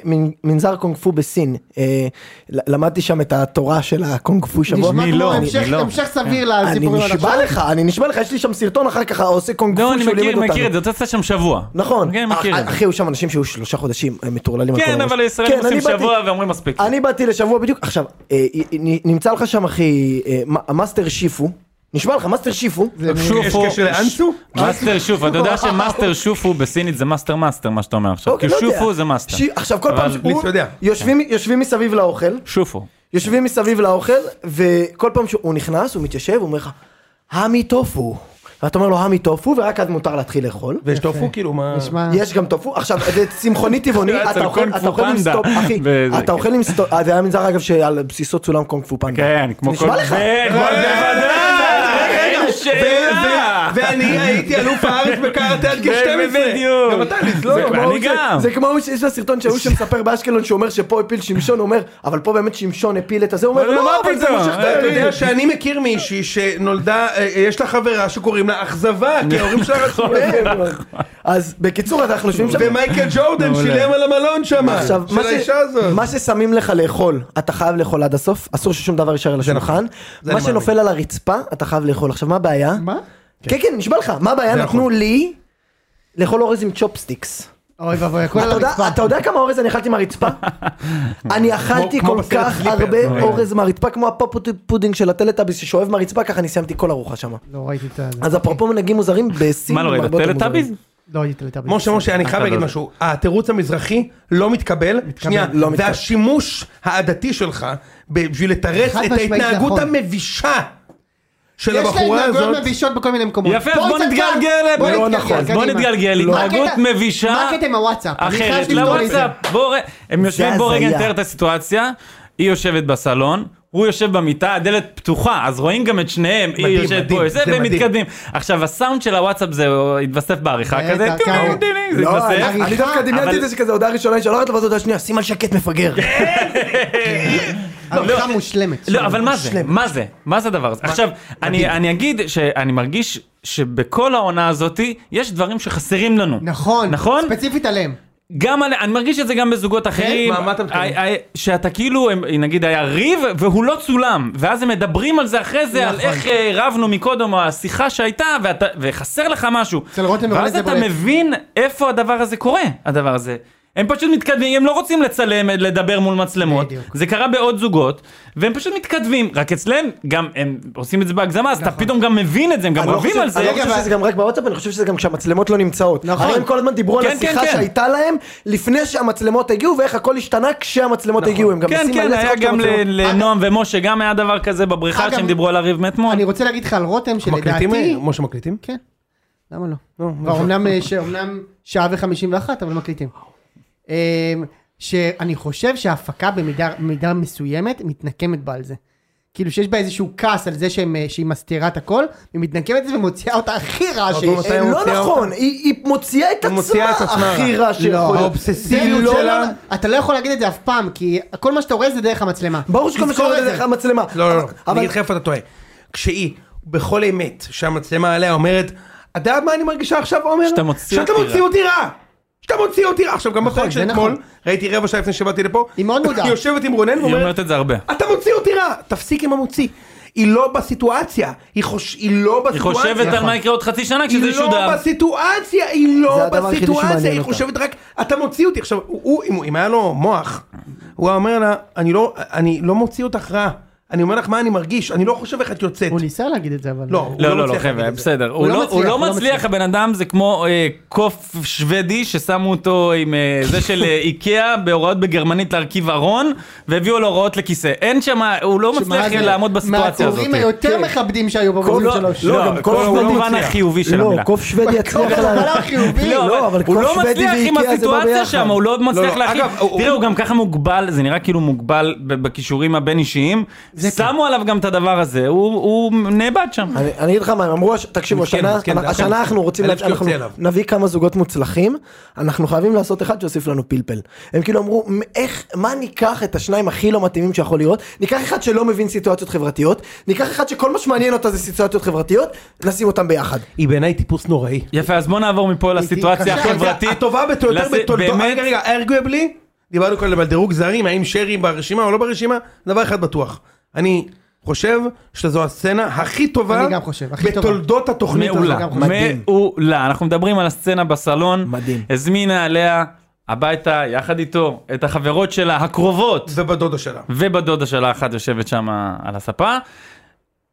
Speaker 3: במנזר קונג פו בסין. אה, ל- למדתי שם את התורה של הקונג פו שבוע. לא?
Speaker 5: נשמע
Speaker 4: מילון,
Speaker 5: כמו המשך-
Speaker 4: מילון.
Speaker 5: המשך סביר
Speaker 3: אה, אני
Speaker 5: לסיפורים עד
Speaker 3: נשבע
Speaker 5: עכשיו.
Speaker 3: לך, אני נשבע לך, יש לי שם סרטון אחר כך העושה קונג פו
Speaker 4: לא, אני
Speaker 3: שהוא לימד
Speaker 4: מכיר,
Speaker 3: אותנו.
Speaker 4: מכיר את זה, אתה עושה שם שבוע.
Speaker 3: נכון.
Speaker 4: כן, מכיר את זה.
Speaker 3: אחי, היו שם אנשים שהיו שלושה חודשים אה, מטורללים. על כל
Speaker 4: כן,
Speaker 3: הראש.
Speaker 4: אבל הישראלים
Speaker 3: כן, אני
Speaker 4: עושים
Speaker 3: באתי-
Speaker 4: שבוע ואומרים מספיק.
Speaker 3: אני באתי לשבוע בדיוק, עכשיו, אה, נ- נמצא לך שם אחי, אה, מ- המאסטר שיפו, נשמע לך מאסטר שיפו,
Speaker 2: יש
Speaker 4: שופו,
Speaker 5: כן.
Speaker 2: קשר לאנסו?
Speaker 4: מאסטר שופו, אתה יודע שמאסטר שופו בסינית זה מאסטר מאסטר מה שאתה אומר עכשיו, כי
Speaker 3: אוקיי, לא יודע.
Speaker 4: שופו זה מאסטר,
Speaker 3: שי- עכשיו כל פעם,
Speaker 4: אבל כן.
Speaker 3: שהוא-
Speaker 2: ניסו יודע.
Speaker 3: יושבים- יושבים מסביב לאוכל,
Speaker 4: שופו.
Speaker 3: יושבים מסביב לאוכל, וכל פעם שהוא נכנס, הוא מתיישב, הוא אומר לך, המי טופו. ואתה אומר לו המי טופו, ורק אז מותר להתחיל לאכול.
Speaker 4: אה.
Speaker 2: ויש טופו כאילו מה...
Speaker 5: נשמע.
Speaker 3: יש גם טופו, עכשיו זה
Speaker 4: (laughs)
Speaker 3: צמחוני טבעוני,
Speaker 4: אצל
Speaker 3: אתה אוכל
Speaker 4: קונג
Speaker 3: אתה
Speaker 4: פו
Speaker 3: אוכל עם
Speaker 4: פנדה.
Speaker 3: סטופ, אחי,
Speaker 4: (laughs) וזה,
Speaker 3: אתה אוכל עם סטופ, אה, זה היה מנזר אגב שעל בסיסו צולם קונג פו פנדה.
Speaker 4: כן, כמו כל...
Speaker 3: נשמע לך?
Speaker 4: כן, כמו- בוודאי, אין שאלה.
Speaker 2: ואני הייתי אלוף הארץ בקראטה עד גיל
Speaker 4: כן,
Speaker 2: 12.
Speaker 4: בדיוק.
Speaker 2: גם אתה עלית, לא?
Speaker 4: זה-
Speaker 3: כמו
Speaker 4: אני
Speaker 3: זה-
Speaker 4: גם.
Speaker 3: זה כמו ההוא שיש בסרטון
Speaker 4: (laughs)
Speaker 3: שההוא שמספר באשקלון שהוא אומר שפה הפיל שמשון, הוא אומר, אבל פה באמת שמשון הפיל את הזה, הוא אומר,
Speaker 4: אבל מה
Speaker 3: לא, אבל זה
Speaker 4: פתאום?
Speaker 3: מושך את
Speaker 2: אתה
Speaker 3: היריב."
Speaker 2: יודע שאני מכיר מישהי שנולדה, אה, יש לה חברה שקוראים לה אכזבה, כי ההורים שלה רצו...
Speaker 3: אז בקיצור, אז אנחנו יושבים שם,
Speaker 2: ומייקל ג'ורדן שילם על המלון שם,
Speaker 3: עכשיו, מה
Speaker 2: של
Speaker 3: ש-
Speaker 2: האישה הזאת.
Speaker 3: מה ששמים לך לאכול, אתה חייב לאכול עד הסוף, אסור ששום דבר יישאר על השולחן,
Speaker 2: נכון. אני
Speaker 3: מה
Speaker 2: מאמין.
Speaker 3: שנופל על הרצפה, אתה חייב לאכול. עכשיו, מה הבעיה?
Speaker 5: מה?
Speaker 3: כן, כן, נשבע לך, מה הבעיה?
Speaker 2: זה
Speaker 3: נתנו
Speaker 2: נכון.
Speaker 3: לי לאכול אורז עם צ'ופסטיקס.
Speaker 5: אוי ואבוי, הכל על
Speaker 3: אתה יודע-
Speaker 5: הרצפה.
Speaker 3: אתה יודע כמה אורז אני
Speaker 2: (laughs)
Speaker 3: אכלתי מהרצפה? אני אכלתי
Speaker 2: כמו
Speaker 3: כל
Speaker 2: בסרט
Speaker 3: כך
Speaker 2: סליפר.
Speaker 3: הרבה
Speaker 2: אה.
Speaker 3: אורז מהרצפה, כמו הפופודינג של הטלטאביס ששואב מהרצפה, ככה אני סיימתי כל ארוחה שם.
Speaker 2: אוקיי.
Speaker 5: לא ראיתי את ה...
Speaker 3: אז אפרופו מנהגים מוזרים, בסין...
Speaker 4: מה לא
Speaker 3: הם
Speaker 4: ראית?
Speaker 3: הרבה יותר
Speaker 4: טלטאביז?
Speaker 3: מוזרים.
Speaker 5: לא ראיתי את הטלטאביס.
Speaker 2: משה משה אני חייב
Speaker 4: אתה
Speaker 2: להגיד
Speaker 4: לא-
Speaker 2: משהו התירוץ המזרחי לא מתקבל שנייה
Speaker 3: לא מתקבל.
Speaker 2: והשימוש העדתי שלך בשביל לתרץ
Speaker 5: חד
Speaker 2: את
Speaker 5: משמעית
Speaker 2: ההתנהגות
Speaker 5: נכון.
Speaker 2: המבישה של
Speaker 5: יש לה
Speaker 2: הבחורה
Speaker 5: התנהגויות
Speaker 2: הזאת
Speaker 5: מבישות בכל מיני מקומות.
Speaker 4: יפה, אז בוא
Speaker 5: נצא
Speaker 4: נתגלגל,
Speaker 5: כאן, בוא
Speaker 3: לא
Speaker 5: נתגלגל,
Speaker 3: נכון.
Speaker 5: קדימה.
Speaker 4: בוא נתגלגל,
Speaker 5: לא.
Speaker 4: התנהגות
Speaker 5: מה הקטע-
Speaker 4: מבישה.
Speaker 5: מה הקטע עם הוואטסאפ? אני חייב
Speaker 4: אחרת
Speaker 5: לבדוק את זה.
Speaker 4: לוואטסאפ. בוא, ר- הם יושבים, בוא רגע
Speaker 3: הזיה.
Speaker 4: נתאר את הסיטואציה. היא יושבת בסלון, הוא יושב במיטה, הדלת פתוחה, אז רואים גם את שניהם, היא
Speaker 2: מדהים,
Speaker 4: יושבת
Speaker 2: מדהים,
Speaker 4: פה, זה,
Speaker 2: זה
Speaker 4: והם
Speaker 2: מדהים.
Speaker 4: מתקדמים. עכשיו, הסאונד של הוואטסאפ זה או, התווסף בעריכה
Speaker 5: בטח,
Speaker 4: כזה,
Speaker 5: כן.
Speaker 4: טיונים, טיונים, זה
Speaker 3: לא,
Speaker 4: התווסף.
Speaker 3: אני- אני דווקא דמיינתי
Speaker 4: אבל-
Speaker 3: את זה שכזה הודעה ראשונה לא היא שולחת לו, ואז הודעה שנייה, שים על שקט מפגר.
Speaker 5: עריכה מושלמת.
Speaker 4: לא, אבל מה זה? מה זה? מה זה הדבר הזה? עכשיו, אני אני אגיד שאני מרגיש שבכל העונה הזאתי, יש דברים שחסרים לנו.
Speaker 5: נכון.
Speaker 4: נכון?
Speaker 5: ספציפית עליהם.
Speaker 4: גם על... אני מרגיש את זה גם בזוגות אחרים.
Speaker 2: מה- מה אתה מתכוון?
Speaker 4: ה- ה- שאתה כאילו, הם- נגיד היה ריב והוא לא צולם, ואז הם מדברים על זה אחרי זה, על איך אה, רבנו מקודם, או השיחה שהייתה, ואתה- וחסר לך משהו.
Speaker 5: אצל רותם ורולט
Speaker 4: ואז
Speaker 5: זה
Speaker 4: אתה
Speaker 5: בולט.
Speaker 4: מבין איפה הדבר הזה קורה, הדבר הזה. הם פשוט מתכתבים, הם לא רוצים לצלם, לדבר מול מצלמות.
Speaker 5: בדיוק.
Speaker 4: זה קרה בעוד זוגות, והם פשוט מתכתבים. רק אצלם, גם הם עושים את זה בהגזמה, אז אתה פתאום גם מבין את זה, הם גם
Speaker 3: אני לא
Speaker 4: רבים
Speaker 3: חושב-
Speaker 4: על זה.
Speaker 3: אני לא חושב שזה גם רק בוואטסאפ, אני חושב שזה גם כשהמצלמות לא נמצאות.
Speaker 5: נכון.
Speaker 3: הרי הם כל הזמן דיברו על
Speaker 4: כן, כן,
Speaker 3: השיחה
Speaker 4: כן.
Speaker 3: שהייתה להם, לפני שהמצלמות הגיעו, ואיך הכל השתנה כשהמצלמות הגיעו. הם גם
Speaker 4: כן,
Speaker 3: עושים
Speaker 4: כן,
Speaker 3: מלא
Speaker 4: היה
Speaker 3: שיחות
Speaker 4: גם
Speaker 3: כשהמצלמות-
Speaker 4: ל- לנועם ומשה, גם היה דבר כזה בבריכה
Speaker 5: אגב,
Speaker 4: שהם דיברו על הריב מאתמול.
Speaker 5: אני רוצה להגיד לך על רותם
Speaker 2: מקליטים
Speaker 5: שלדעתי...
Speaker 2: אה? משה מקליטים
Speaker 5: כן. למה לא? כבר אמנם, אה, ש- אמנם שעה וחמישים ואחת, אבל מקליטים. אמ, שאני חושב שההפקה במידה מידה מסוימת מתנקמת בה על זה. כאילו שיש בה איזשהו כעס על זה שהם, אה, שהיא מסתירה את הכל, היא מתנקמת את זה ומוציאה אותה הכי רע שיש.
Speaker 2: מתי
Speaker 3: אה, לא
Speaker 2: מוציאה
Speaker 3: נכון, היא היא מוציאה את
Speaker 2: היא מוציאה
Speaker 3: עצמה
Speaker 2: את עצמה
Speaker 3: הכי
Speaker 2: רע.
Speaker 3: רע שיכול להיות.
Speaker 2: האובססיביות
Speaker 5: לא, זה לא-
Speaker 2: שלה.
Speaker 5: לא- אתה לא יכול להגיד את זה אף פעם, כי כל מה שאתה רואה זה דרך המצלמה.
Speaker 3: ברור שכל מה
Speaker 5: תזכור
Speaker 3: שקורה
Speaker 5: את
Speaker 3: זה
Speaker 5: זה.
Speaker 3: דרך המצלמה.
Speaker 2: לא לא לא
Speaker 3: אבל-
Speaker 2: אני אגיד לך איפה אתה טועה כשהיא בכל אמת שהמצלמה עליה אומרת אתה יודע מה אני מרגישה עכשיו עומר
Speaker 4: שאתה מוציא
Speaker 2: שאתה
Speaker 4: אותי
Speaker 2: מוציא
Speaker 4: רע."
Speaker 2: אותי רע שאתה מוציא אותי רע עכשיו גם בפרק
Speaker 5: זה
Speaker 2: של אתמול
Speaker 5: נכון.
Speaker 2: ראיתי רבע שעה לפני שבאתי לפה
Speaker 5: היא מאוד מודעת.
Speaker 2: (laughs) היא יושבת עם רונן
Speaker 4: היא
Speaker 2: ואומרת
Speaker 4: אומרת את זה הרבה.
Speaker 2: אתה מוציא אותי רע, תפסיק עם המוציא. היא לא בסיטואציה, היא, חוש... היא לא
Speaker 4: היא
Speaker 2: בסיטואציה.
Speaker 4: חושבת על מה יקרה עוד חצי שנה
Speaker 2: היא
Speaker 4: כשזה ישודר.
Speaker 2: לא בסיטואציה, היא לא
Speaker 3: זה הדבר היחידי
Speaker 2: בסיטואציה,
Speaker 3: שמעניין
Speaker 2: היא
Speaker 3: אותה.
Speaker 2: חושבת רק, אתה מוציא אותי. עכשיו, הוא, הוא, אם, הוא- אם היה לו מוח, הוא היה אומר לה, אני לא, אני לא מוציא אותך רע, אני אומר לך מה אני מרגיש, אני לא חושב איך את יוצאת.
Speaker 5: הוא ניסה להגיד את זה, אבל...
Speaker 2: לא, הוא
Speaker 4: לא, לא, לא,
Speaker 2: מצליח
Speaker 4: חבר'ה,
Speaker 2: להגיד את זה.
Speaker 4: בסדר. הוא
Speaker 5: לא
Speaker 4: לא-
Speaker 5: מצליח,
Speaker 4: הוא לא
Speaker 5: הוא לא
Speaker 4: מצליח,
Speaker 5: מצליח.
Speaker 4: הבן אדם זה כמו אה, קוף שוודי ששמו אותו עם אה, זה של אה, איקאה בהוראות בגרמנית להרכיב ארון, והביאו לו הוראות לכיסא. אין שם, הוא לא מצליח לעמוד בסיטואציה הזאת.
Speaker 5: מהקוראים היותר
Speaker 2: כן.
Speaker 5: מכבדים שהיו
Speaker 3: קוף-
Speaker 5: בבוזים
Speaker 3: לא,
Speaker 5: שלו.
Speaker 3: לא, גם קוף
Speaker 4: כל
Speaker 3: שוודי
Speaker 4: המובן
Speaker 3: הצליח.
Speaker 4: החיובי של
Speaker 3: לא,
Speaker 4: המילה.
Speaker 3: קוף שוודי יצליח
Speaker 5: אבל
Speaker 3: לה-
Speaker 5: החיובי.
Speaker 3: לא, אבל
Speaker 4: הוא
Speaker 3: קוף
Speaker 4: לא
Speaker 3: שוודי
Speaker 4: מצליח עם
Speaker 3: ואיקאה זה בא
Speaker 4: הסיטואציה
Speaker 3: ביחד.
Speaker 4: שם, הוא לא
Speaker 2: לא,
Speaker 4: מצליח
Speaker 2: לא,
Speaker 4: להכין.
Speaker 2: אגב, הוא-
Speaker 4: תראה,
Speaker 2: הוא-
Speaker 4: הוא גם ככה מוגבל, זה נראה כאילו מוגבל ב- בכישורים הבין אישיים.
Speaker 3: כן.
Speaker 4: שמו עליו גם את הדבר הזה, הוא- הוא נאבד שם.
Speaker 3: אני אני אגיד לך מה הם אמרו, הש- תקשיבו,
Speaker 2: מסכן,
Speaker 3: השנה
Speaker 2: מסכן,
Speaker 3: אנחנו-
Speaker 2: דעתם.
Speaker 3: השנה אנחנו רוצים,
Speaker 2: הלב שלי
Speaker 3: אנחנו
Speaker 2: יוצא אליו.
Speaker 3: נביא כמה זוגות מוצלחים, אנחנו חייבים לעשות אחד שיוסיף לנו פלפל. הם כאילו אמרו, "מ- איך, מה ניקח את השניים הכי לא מתאימים שיכול להיות? ניקח אחד שלא מבין סיטואציות חברתיות, ניקח אחד שכל מה שמעניין אותה זה סיטואציות חברתיות, נשים אותם ביחד.
Speaker 2: היא בעיניי טיפוס נוראי.
Speaker 4: יפה, אז בוא נעבור מפה לסיטואציה
Speaker 2: עכשיו,
Speaker 4: החברתית.
Speaker 2: הטובה ביותר
Speaker 4: לס-
Speaker 2: בתולדות,
Speaker 4: באמת,
Speaker 2: רגע רגע, ארגויבלי, דיברנו קודם על דירוג זרים, האם שרי ברשימה או לא ברשימה, דבר אחד בטוח, אני חושב שזו הסצנה הכי טובה,
Speaker 5: אני גם חושב, הכי טובה.
Speaker 2: בתולדות התוכנית הזאת,
Speaker 4: מעולה,
Speaker 3: מדהים.
Speaker 4: מעולה. אנחנו מדברים על הסצנה בסלון.
Speaker 3: מדהים.
Speaker 4: הזמינה עליה הביתה, יחד איתו, את החברות שלה הקרובות,
Speaker 2: ובדודה שלה,
Speaker 4: ובדודה שלה אחת יושבת שם על הספה.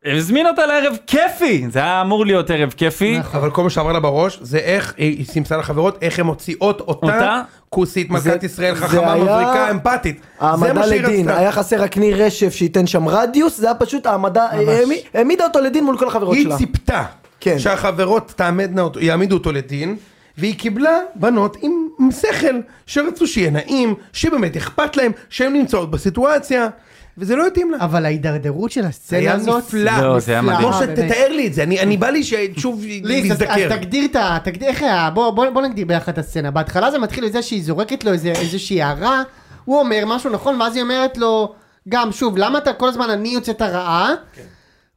Speaker 4: הזמין אותה לערב כיפי, זה היה אמור להיות ערב כיפי.
Speaker 3: נכון.
Speaker 2: אבל כל מה שעבר לה בראש זה איך היא היא סימסה לחברות, איך הן מוציאות אותה,
Speaker 4: אותה?
Speaker 2: כוסית מלכת
Speaker 3: זה-
Speaker 2: ישראל
Speaker 3: זה
Speaker 2: חכמה
Speaker 3: היה-
Speaker 2: מבריקה אמפתית, זה מה
Speaker 3: העמדה
Speaker 2: שהיא
Speaker 3: לדין,
Speaker 2: רצתה,
Speaker 3: היה חסר רק ניר רשף שייתן שם רדיוס, זה היה פשוט העמדה, העמי- העמידה אותו לדין מול כל החברות
Speaker 2: היא
Speaker 3: שלה.
Speaker 2: ציפתה
Speaker 3: כן.
Speaker 2: שהחברות תעמדנה אותו, יעמידו אותו לדין, והיא קיבלה בנות עם עם שכל, שרצו שיהיה נעים, שבאמת אכפת להם, שהן נמצאות בסיטואציה, וזה לא התאים לה.
Speaker 5: אבל ההידרדרות של
Speaker 2: זה היה
Speaker 5: הסצנה הזאת...
Speaker 2: נפלא.
Speaker 4: לא, זה היה
Speaker 5: נפלא.
Speaker 4: מדהים.
Speaker 5: אה,
Speaker 2: משה,
Speaker 5: באמת.
Speaker 2: תתאר לי את זה, אני אני בא לי ששוב
Speaker 5: ליס, אז אז
Speaker 2: נזדקר.
Speaker 5: תגדיר את ה... תגדיר- איך היה... בוא- בוא בוא נגדיר ביחד את הסצנה. בהתחלה זה מתחיל מזה שהיא זורקת לו איזה- איזושהי הערה, הוא אומר משהו נכון, ואז היא אומרת לו, גם שוב, למה אתה כל הזמן אני יוצאת הרעה?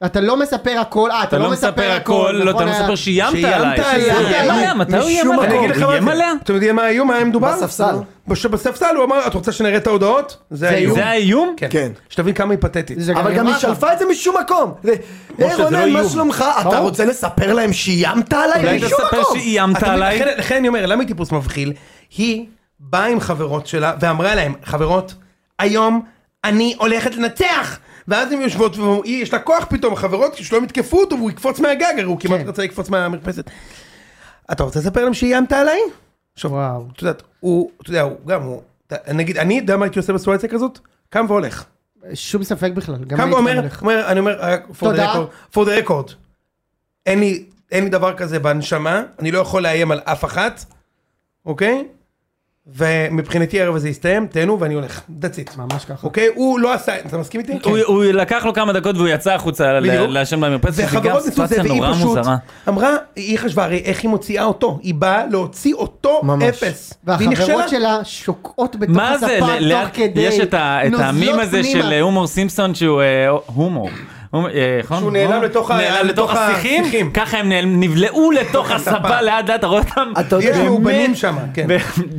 Speaker 5: אתה לא מספר הכל, אה,
Speaker 4: כן. אתה לא מספר הכל, לא, אתה
Speaker 5: נכון,
Speaker 4: לא
Speaker 5: היה-
Speaker 4: מספר שאיימת
Speaker 2: שאיימת
Speaker 4: עליי.
Speaker 2: עליי.
Speaker 4: הוא איים עליה, מתי הוא איים
Speaker 3: משום
Speaker 4: עליה?
Speaker 2: אני אגיד לך
Speaker 4: הוא איים
Speaker 2: מה זה,
Speaker 4: עליה?
Speaker 2: אתם יודעים מה האיום, מה היה מדובר?
Speaker 3: בספסל.
Speaker 2: בש- בספסל הוא אמר, את רוצה שנראה את ההודעות? זה האיום.
Speaker 4: זה האיום?
Speaker 2: כן.
Speaker 3: כן.
Speaker 2: שתבין כמה היא פתטית.
Speaker 5: זה
Speaker 3: אבל גם
Speaker 5: נאמר
Speaker 3: היא
Speaker 5: שם.
Speaker 3: שלפה את זה משום מקום. זה,
Speaker 2: משה,
Speaker 3: "היי,
Speaker 2: זה לא
Speaker 3: רונן,
Speaker 2: איום."
Speaker 3: מה שלומך? אתה
Speaker 5: ברור.
Speaker 3: רוצה לספר להם שאיימת עליי?
Speaker 4: אולי
Speaker 3: משום
Speaker 4: תספר
Speaker 3: מקום.
Speaker 4: שאיימת
Speaker 2: אתה מבין?
Speaker 4: עליי?
Speaker 2: לכן- לכן אני אומר, למה היא טיפוס מבחיל? היא באה עם חברות שלה ואמרה להם, חברות, היום אני הולכת לנצח! ואז הן יושבות, והיא, יש לה כוח פתאום, החברות שלא יתקפו אותו והוא יקפוץ מהגג, הרי הוא כמעט רצה לקפוץ מהמרפסת. אתה רוצה לספר להם שאיימת עליי? עכשיו,
Speaker 5: וואו.
Speaker 2: את יודעת, הוא, אתה יודע, הוא גם, הוא, אתה- נגיד, אני יודע מה הייתי עושה בסיטואציה כזאת? קם והולך.
Speaker 5: שום ספק בכלל. גם
Speaker 2: קם
Speaker 5: אני
Speaker 2: ואומר,
Speaker 5: התכוונתי.
Speaker 2: אומר, אני אומר, רק for the
Speaker 5: תודה.
Speaker 2: record, for the record, אין לי, אין לי דבר כזה בנשמה, אני לא יכול לאיים על אף אחת, אוקיי? ומבחינתי הערב הזה יסתיים, תהנו ואני הולך, that's it.
Speaker 5: ממש ככה.
Speaker 2: אוקיי? הוא לא עשה, אתה מסכים איתי?
Speaker 4: הוא- הוא לקח לו כמה דקות והוא יצא החוצה ל-
Speaker 2: כן. בדיוק.
Speaker 4: לעשן במרפסת, זה גם
Speaker 2: והחברות ניסו את זה,
Speaker 4: סיטואציה
Speaker 2: והיא
Speaker 4: נורא
Speaker 2: פשוט
Speaker 4: מוזרה.
Speaker 2: אמרה, היא חשבה הרי איך היא מוציאה אותו, היא באה להוציא אותו
Speaker 3: ממש.
Speaker 2: אפס. והיא נכשלה.
Speaker 5: והחברות שלה שוקעות בתוך
Speaker 4: מה זה,
Speaker 5: הספה
Speaker 4: ל-
Speaker 5: תוך
Speaker 4: ל-
Speaker 5: כדי,
Speaker 4: יש את ה- את
Speaker 5: נוזלות
Speaker 4: המים הזה
Speaker 5: פנימה.
Speaker 4: של אה, הומור סימפסון שהוא אה, הומור. הומור, אה, נכון?
Speaker 2: שהוא נעלם
Speaker 4: הומור?
Speaker 2: לתוך ה-
Speaker 4: נעלם לתוך
Speaker 2: לתוך השיחים.
Speaker 4: השיחים, ככה הם נעלם- נבלעו לתוך הספה לאט לאט, אתה רואה אותם? (laughs)
Speaker 3: אתה
Speaker 2: יש
Speaker 3: יודע,
Speaker 2: מאובנים שם, כן.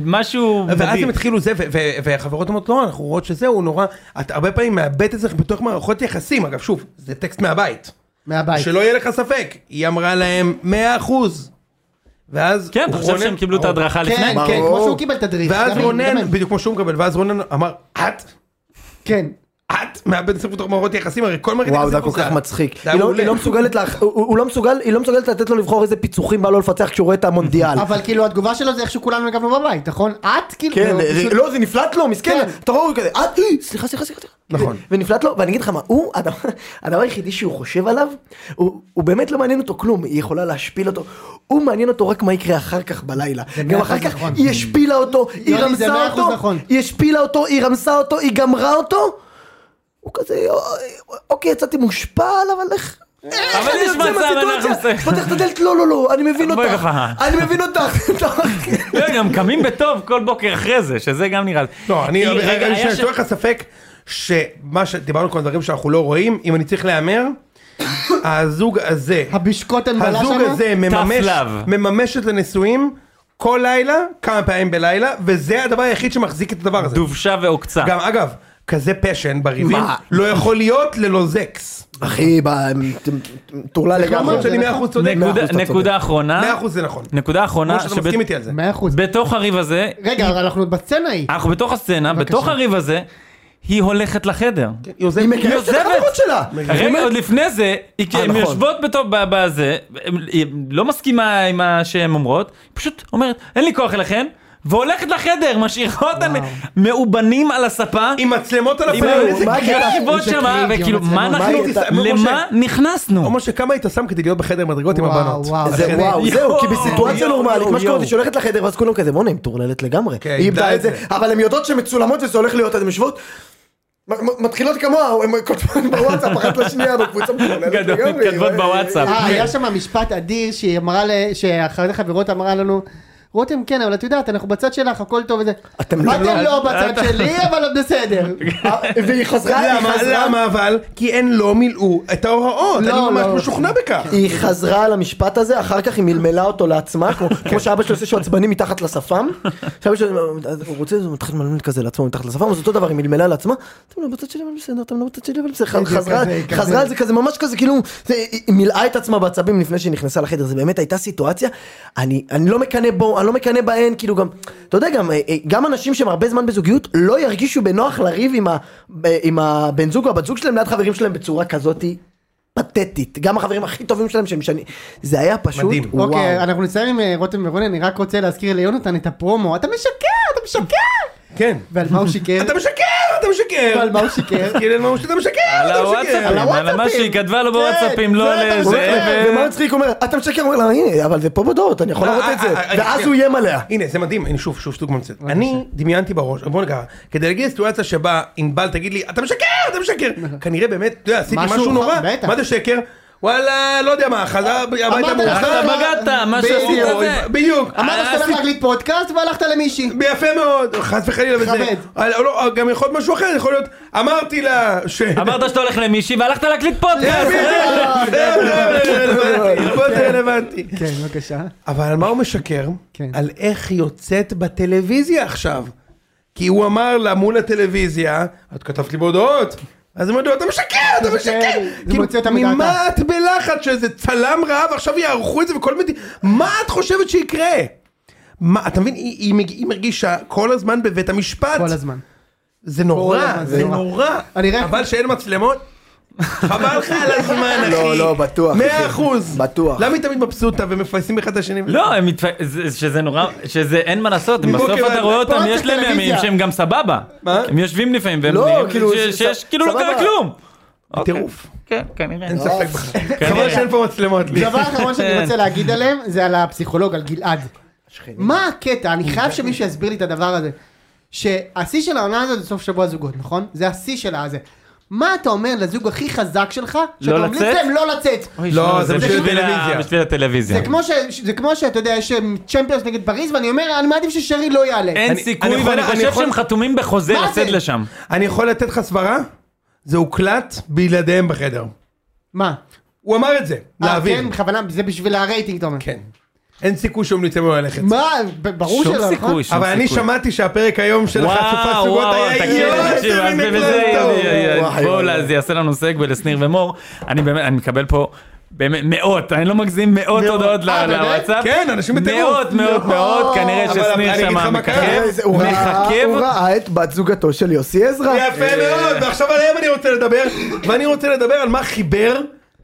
Speaker 4: משהו
Speaker 2: ואז
Speaker 4: מדהים.
Speaker 2: הם התחילו זה, ו- ו- והחברות אומרות לא, אנחנו רואות שזה, הוא נורא, את הרבה פעמים מאבד את זה בתוך מערכות יחסים, אגב שוב, זה טקסט מהבית,
Speaker 5: מהבית.
Speaker 2: שלא יהיה לך ספק, היא אמרה להם 100%, ואז
Speaker 4: כן, אתה חושב
Speaker 2: רונן-
Speaker 4: שהם קיבלו את ההדרכה לפני?
Speaker 5: כן, כן, כמו
Speaker 3: ברור.
Speaker 5: שהוא קיבל את הדריף.
Speaker 2: ואז
Speaker 5: גם היא, גם
Speaker 2: רונן,
Speaker 5: הם.
Speaker 2: בדיוק כמו שהוא מקבל, ואז רונן אמר, את,
Speaker 5: כן.
Speaker 2: את מאבדת את זה בתוך מערכות יחסים, הרי כל מערכת יחסים,
Speaker 3: וואו, זה היה כל
Speaker 2: עושה.
Speaker 3: כך מצחיק.
Speaker 2: זה
Speaker 3: היא
Speaker 2: היה
Speaker 3: לא-
Speaker 2: מעולה.
Speaker 3: היא לא מסוגלת לה- הוא- הוא- הוא לא מסוגל- היא לא מסוגלת לתת לו לבחור איזה פיצוחים בא לו לפצח כשהוא רואה את המונדיאל.
Speaker 5: אבל כאילו התגובה שלו זה איכשהו כולנו הגבנו בבית, נכון? את כאילו...
Speaker 3: כן,
Speaker 5: והוא
Speaker 3: זה-
Speaker 5: פשוט-
Speaker 3: לא, זה נפלט לו, מסכן,
Speaker 5: כן.
Speaker 3: אתה רואה, הוא כזה, אה, אי, סליחה, סליחה, סליחה.
Speaker 2: נכון.
Speaker 3: ו- ונפלט לו, ואני אגיד לך מה, הוא, הדבר- הדבר היחידי שהוא חושב עליו, הוא הוא באמת לא מעניין אותו כלום, היא יכולה להשפיל אותו, הוא מעניין אותו רק מה יקרה אחר כך בלילה. גם
Speaker 5: מאה
Speaker 3: אחר
Speaker 5: אחוז
Speaker 3: כך
Speaker 5: נכון.
Speaker 3: היא השפילה אותו, היא
Speaker 5: יוני, זה מאה
Speaker 3: רמסה
Speaker 5: אחוז
Speaker 3: אותו,
Speaker 5: נכון.
Speaker 3: היא השפילה אותו, היא רמסה אותו, היא גמרה אותו, הוא כזה, אוקיי, יצאתי מושפל, אבל איך... איך
Speaker 4: אבל
Speaker 3: אני
Speaker 4: יש
Speaker 3: יוצא
Speaker 4: מצב, אנחנו
Speaker 3: מהסיטואציה?
Speaker 4: עושים-
Speaker 3: פותח את הדלת, לא, לא, לא, אני מבין
Speaker 4: בואי
Speaker 3: אותך.
Speaker 4: ככה.
Speaker 3: אני מבין אותך. (laughs)
Speaker 4: לא, גם קמים בטוב כל בוקר אחרי זה, שזה גם נראה...
Speaker 2: לא, אני,
Speaker 4: היא-
Speaker 2: רגע, אני
Speaker 4: היה
Speaker 2: שואל
Speaker 4: ש-
Speaker 2: לך ספק, שמה שדיברנו כל הדברים שאנחנו לא רואים, אם אני צריך
Speaker 3: (coughs)
Speaker 2: להמר, הזוג הזה,
Speaker 5: הבישקוט הנבלה
Speaker 2: הזוג
Speaker 5: שמה?
Speaker 2: הזה מממש,
Speaker 4: love.
Speaker 2: מממשת לנישואים כל לילה, כמה פעמים בלילה, וזה הדבר היחיד שמחזיק את הדבר הזה.
Speaker 4: דובשה ועוקצה.
Speaker 2: גם אגב, כזה פשן בריבים,
Speaker 3: מה?
Speaker 2: לא יכול להיות ללא זקס.
Speaker 3: אחי, טורלה לגמרי.
Speaker 2: למרות לא שאני 100% צודק.
Speaker 4: נקודה-
Speaker 3: מאה אחוז, אתה
Speaker 4: נקודה אחרונה,
Speaker 2: 100% זה נכון.
Speaker 4: נקודה אחרונה,
Speaker 2: כמו שאתה מסכים איתי על זה.
Speaker 5: מאה אחוז.
Speaker 4: שבתוך הריב הזה,
Speaker 5: רגע, אבל אנחנו עוד בסצנה היא.
Speaker 4: אנחנו בתוך הסצנה, בתוך הריב הזה, היא הולכת לחדר.
Speaker 2: היא עוזבת.
Speaker 3: היא מגייסת את
Speaker 4: יוזמת.
Speaker 3: החברות שלה!
Speaker 4: רגע, עוד לפני זה, היא-
Speaker 3: אה,
Speaker 4: הן
Speaker 3: נכון.
Speaker 4: יושבות בתוך ב- בזה, הן- היא לא מסכימה עם מה שהן אומרות, היא פשוט אומרת, אין לי כוח אליכן, והולכת לחדר, משאירה אותן מאובנים על הספה.
Speaker 2: עם מצלמות על
Speaker 4: עם
Speaker 2: הפנים.
Speaker 4: ה-
Speaker 2: איזה
Speaker 3: מה הקטע?
Speaker 2: גאה.
Speaker 4: יושבות
Speaker 5: איזה
Speaker 4: שמה,
Speaker 5: קריק,
Speaker 4: וכאילו,
Speaker 5: יום
Speaker 4: מה
Speaker 5: מצלמות.
Speaker 4: אנחנו,
Speaker 2: מה היית-
Speaker 4: למה
Speaker 2: או
Speaker 4: נכנסנו?
Speaker 2: משה, כמה היית שם כדי להיות בחדר מדרגות עם
Speaker 5: וואו,
Speaker 2: הבנות?
Speaker 5: וואו,
Speaker 2: אחי,
Speaker 3: זה
Speaker 2: אני- (laughs)
Speaker 3: וואו,
Speaker 4: יואו,
Speaker 3: זהו, כי בסיטואציה
Speaker 4: יואו,
Speaker 3: נורמלית,
Speaker 4: יואו,
Speaker 3: מה שקורה,
Speaker 4: יואו.
Speaker 3: היא שולחת לחדר, ואז כולם כזה, בואנה, היא מטורללת לגמרי.
Speaker 2: כן,
Speaker 3: היא איבדה את זה,
Speaker 2: זה.
Speaker 3: אבל הן יודעות שהן מצולמות וזה הולך להיות, אז הן יושבות, מ- מ- מתחילות כמוהו, הן כותבות בוואטסאפ אחת לשנייה
Speaker 4: (laughs)
Speaker 3: בקבוצה משוללת
Speaker 4: גדול,
Speaker 3: לגמרי,
Speaker 4: מתכתבות
Speaker 3: ו-
Speaker 4: בוואטסאפ.
Speaker 5: אה, היה שם משפט אדיר שהיא אמרה, ל- שאחת החברות אמרה לנו, רותם כן, אבל את יודעת, אנחנו בצד שלך, הכל טוב וזה.
Speaker 3: אתם לא-
Speaker 5: אתם לא בצד שלי, אבל עוד בסדר.
Speaker 3: אה, והיא חזרה, היא
Speaker 2: למה?
Speaker 3: חזרה-
Speaker 2: למה אבל? כי הן לא מילאו את ההוראות, אני
Speaker 5: לא,
Speaker 2: ממש
Speaker 5: לא.
Speaker 2: משוכנע בכך.
Speaker 3: היא חזרה על המשפט הזה, אחר כך היא מלמלה אותו לעצמה, כמו- כמו שאבא שלי עושה שהוא עצבני מתחת לשפם. שאבא שלי, אז הוא רוצה, הוא מתחיל למלמל כזה לעצמו מתחת לשפם, אז אותו דבר, היא מלמלה לעצמה, אתם לא בצד שלי, אבל בסדר, אתם לא בצד שלי, אבל בסדר.
Speaker 5: בדיוק,
Speaker 3: חזרה-
Speaker 5: כזה, כזה.
Speaker 3: חזרה על זה כזה, ממש כזה, כאילו, זה- היא היא מילאה את עצמה בעצבים לפני שהיא נכנסה לחדר, זה באמת הייתה סיטואציה, אני אני לא מקנא בו, אני לא מקנא בהן, כאילו גם, אתה יודע, גם, אה, אה, גם אנשים שהם הרבה זמן בזוגיות, לא ירגישו בנוח לריב עם ה- אה, עם הבן זוג או הבת זוג שלהם ליד חברים שלהם בצורה כזאתי. פתטית, גם החברים הכי טובים שלהם שהם משנים, זה היה פשוט,
Speaker 2: מדהים.
Speaker 3: וואו.
Speaker 5: אוקיי, אנחנו נסיים עם אה, רותם ורוני, אני רק רוצה להזכיר ליונתן את הפרומו, אתה משקר, אתה משקר!
Speaker 2: כן.
Speaker 5: ועל מה הוא שיקר?
Speaker 2: אתה משקר, אתה משקר.
Speaker 5: ועל מה הוא שיקר?
Speaker 2: כאילו, מה הוא שאתה משקר,
Speaker 4: על
Speaker 2: אתה
Speaker 4: הוואטסאפים,
Speaker 2: משקר.
Speaker 4: על מה שהיא כתבה לו בוואטסאפים, לא על
Speaker 3: הוא אומר,
Speaker 4: זה. ו-
Speaker 3: ומה מצחיק, הוא אומר, אתה משקר, הוא אומר לה, הנה, אבל זה פה בדורות, אני יכול
Speaker 2: לא,
Speaker 3: להראות את
Speaker 2: אה,
Speaker 3: זה,
Speaker 2: אה, אה,
Speaker 3: ואז
Speaker 2: כן.
Speaker 3: הוא איים עליה.
Speaker 2: הנה זה מדהים, הנה שוב, שוב שטות ממצאת. אני דמיינתי בראש, בוא נגע, כדי להגיד סיטואציה שבה ענבל תגיד לי, אתה משקר, אתה משקר. כנראה באמת, אתה יודע, עשיתי
Speaker 5: משהו,
Speaker 2: משהו נורא,
Speaker 5: בטח.
Speaker 2: מה זה שקר? וואלה, לא יודע מה, חזר הביתה
Speaker 5: אמרת
Speaker 2: מאוחר.
Speaker 5: לה,
Speaker 4: אתה בגדת, מה
Speaker 5: בדיוק.
Speaker 4: שעשית אה, זה.
Speaker 2: בדיוק.
Speaker 5: אמרת שאתה הולך להקליט פודקאסט והלכת למישהי.
Speaker 2: יפה מאוד, חס וחלילה וזה.
Speaker 5: מכבד.
Speaker 2: אה, לא, גם יכול להיות משהו אחר, יכול להיות, אמרתי לה ש...
Speaker 4: (laughs) אמרת שאתה הולך למישהי והלכת להקליט
Speaker 2: כן.
Speaker 4: פודקאסט.
Speaker 2: בדיוק, זה רלוונטי, הרבה יותר רלוונטי.
Speaker 5: כן, בבקשה.
Speaker 2: אבל על מה הוא משקר?
Speaker 5: כן.
Speaker 2: על איך היא יוצאת בטלוויזיה עכשיו. כי הוא אמר לה מול הטלוויזיה, את כתבת לי בהודעות. אז היא אומרת לו, אתה משקר, אתה
Speaker 5: זה
Speaker 2: משקר!
Speaker 5: כן, זה
Speaker 2: כאילו,
Speaker 5: מוציא אותה מדעתה.
Speaker 2: ממה את בלחץ שאיזה צלם רעב עכשיו יערכו את זה וכל מיני... מה את חושבת שיקרה? מה, אתה מבין, היא- היא מג- היא מרגישה כל הזמן בבית המשפט.
Speaker 5: כל הזמן.
Speaker 2: זה
Speaker 5: כל
Speaker 2: נורא,
Speaker 5: הזמן,
Speaker 2: זה
Speaker 5: זה נורא.
Speaker 2: נורא.
Speaker 5: אני רק-
Speaker 2: אבל שאין מצלמות? חבל לך על הזמן, אחי.
Speaker 3: לא, לא, בטוח, אחי.
Speaker 2: מאה אחוז.
Speaker 3: בטוח.
Speaker 2: למה היא תמיד מבסוטה ומפייסים אחד את השני?
Speaker 4: לא, הם מתפ- זה- שזה נורא, שזה אין מה לעשות, הם
Speaker 2: מבוקר
Speaker 4: בסוף
Speaker 2: עד-
Speaker 4: אתה רואה אותם,
Speaker 5: פרוץ
Speaker 4: יש להם ימים
Speaker 5: לטלוויזיה.
Speaker 4: שהם גם סבבה.
Speaker 2: מה?
Speaker 4: הם יושבים לפעמים, והם
Speaker 3: לא,
Speaker 4: נראים
Speaker 3: כאילו,
Speaker 4: ש-
Speaker 3: ס-
Speaker 4: שיש, כאילו לא קרה
Speaker 3: סבבה.
Speaker 4: כלום.
Speaker 2: טירוף.
Speaker 4: כן, כנראה.
Speaker 5: לא,
Speaker 2: אין ספק בכלל.
Speaker 5: כן,
Speaker 2: חבל שאין פה מצלמות. לי.
Speaker 5: דבר אחרון שאני רוצה להגיד עליהם זה על הפסיכולוג, על גלעד. מה הקטע? אני חייב שמישהו יסביר לי את הדבר הזה. שהשיא של העונה הזאת זה סוף שבוע זוגות, נכון? זה השיא של הזה. מה אתה אומר לזוג הכי חזק שלך, שאתה
Speaker 4: לא
Speaker 5: ממליץ
Speaker 4: לצאת?
Speaker 5: להם לא לצאת?
Speaker 4: אוי,
Speaker 2: לא,
Speaker 4: שמע,
Speaker 2: זה בשביל הטלוויזיה.
Speaker 4: בשביל הטלוויזיה.
Speaker 5: זה כמו ש- זה כמו שאתה יודע, יש צ'מפיונס נגד פריז, ואני אומר, אני מעדיף ששרי לא יעלה.
Speaker 4: אין
Speaker 2: אני-
Speaker 4: סיכוי,
Speaker 2: אני יכול-
Speaker 4: ואני
Speaker 2: אני
Speaker 4: חושב
Speaker 2: יכול-
Speaker 4: שהם חתומים בחוזה
Speaker 5: מה זה?
Speaker 4: לצאת לשם.
Speaker 2: אני יכול לתת לך סברה? זה הוקלט בלעדיהם בחדר.
Speaker 5: מה?
Speaker 2: הוא אמר את זה,
Speaker 5: אה,
Speaker 2: להעביר.
Speaker 5: כן, בכוונה, זה בשביל הרייטינג, אתה אומר.
Speaker 2: כן. אין סיכוי שהם יצאו ללכת.
Speaker 5: מה? ב- ברור
Speaker 4: שום
Speaker 5: שלא, נכון?
Speaker 4: סיכוי, שום
Speaker 2: אבל אני
Speaker 4: סיכוי.
Speaker 2: שמעתי שהפרק היום של
Speaker 4: וואו,
Speaker 2: החשופת זוגות
Speaker 4: וואו,
Speaker 2: היה
Speaker 4: תקשיב,
Speaker 2: יואו,
Speaker 4: תקשיב,
Speaker 2: איזה
Speaker 4: אז
Speaker 2: מין
Speaker 4: בזה
Speaker 2: הקלט טוב.
Speaker 4: יהיה-
Speaker 3: וואי,
Speaker 4: בואו,
Speaker 3: וואי,
Speaker 4: אז זה יעשה לנו סגווי לשניר ומור. אני באמת, אני מקבל פה באמת מאות, אני לא מגזים מאות הודעות ל-
Speaker 5: אה, באמת?
Speaker 4: לוואטסאפ.
Speaker 2: כן, אנשים בטירוף. לא.
Speaker 4: מאות, מאות, מאות, כנראה
Speaker 2: אבל
Speaker 4: ששניר
Speaker 2: אני אגיד לך
Speaker 4: שם
Speaker 2: מה קרה.
Speaker 4: מככב.
Speaker 3: אה, זה- הוא ראה-
Speaker 4: כן. מחכה
Speaker 3: הוא
Speaker 4: ו-
Speaker 3: ראה את בת זוגתו של יוסי עזרא.
Speaker 2: יפה מאוד, ועכשיו עליהם אני רוצה לדבר, ואני רוצה לדבר על מה חיבר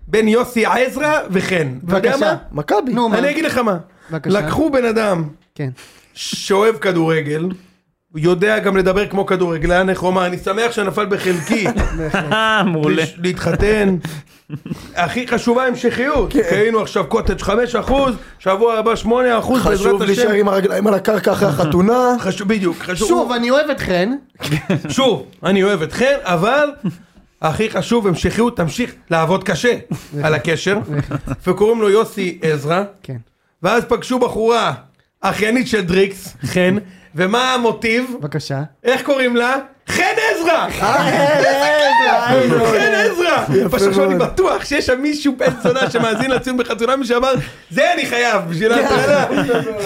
Speaker 2: בין יוסי עזרא וחן. אתה יודע
Speaker 5: בבקשה.
Speaker 2: מה?
Speaker 3: מכבי.
Speaker 5: נו, מה?
Speaker 2: אני אגיד לך מה.
Speaker 5: בבקשה.
Speaker 2: לקחו בן אדם
Speaker 5: כן.
Speaker 2: שאוהב כדורגל, יודע גם לדבר כמו כדורגלן, איך הוא אמר, אני שמח שנפל
Speaker 5: (laughs)
Speaker 2: בחלקי
Speaker 4: אה, מעולה.
Speaker 2: לש- להתחתן. הכי חשובה המשכיות,
Speaker 5: כן.
Speaker 2: כי היינו עכשיו קוטג' 5%, שבוע הבא 8%
Speaker 3: חשוב
Speaker 2: בעזרת
Speaker 3: להישאר
Speaker 2: השם.
Speaker 3: עם הרגליים על הקרקע
Speaker 4: (laughs)
Speaker 3: אחרי החתונה.
Speaker 2: חשוב, בדיוק, חשוב.
Speaker 5: שוב, אני אוהב את חן.
Speaker 2: שוב, אני אוהב אתכם, אבל הכי חשוב, המשכיות, תמשיך לעבוד
Speaker 5: (laughs)
Speaker 2: קשה על הקשר. וקוראים לו יוסי עזרא,
Speaker 5: כן.
Speaker 2: ואז פגשו בחורה, אחיינית של דריקס, חן, ומה המוטיב?
Speaker 5: בבקשה.
Speaker 2: איך קוראים לה? חן עזרא! חן עזרא! פשוט עכשיו אני בטוח שיש שם מישהו בן זונה שמאזין לציון בחתונה משאמר זה אני חייב בשביל ההתחלה.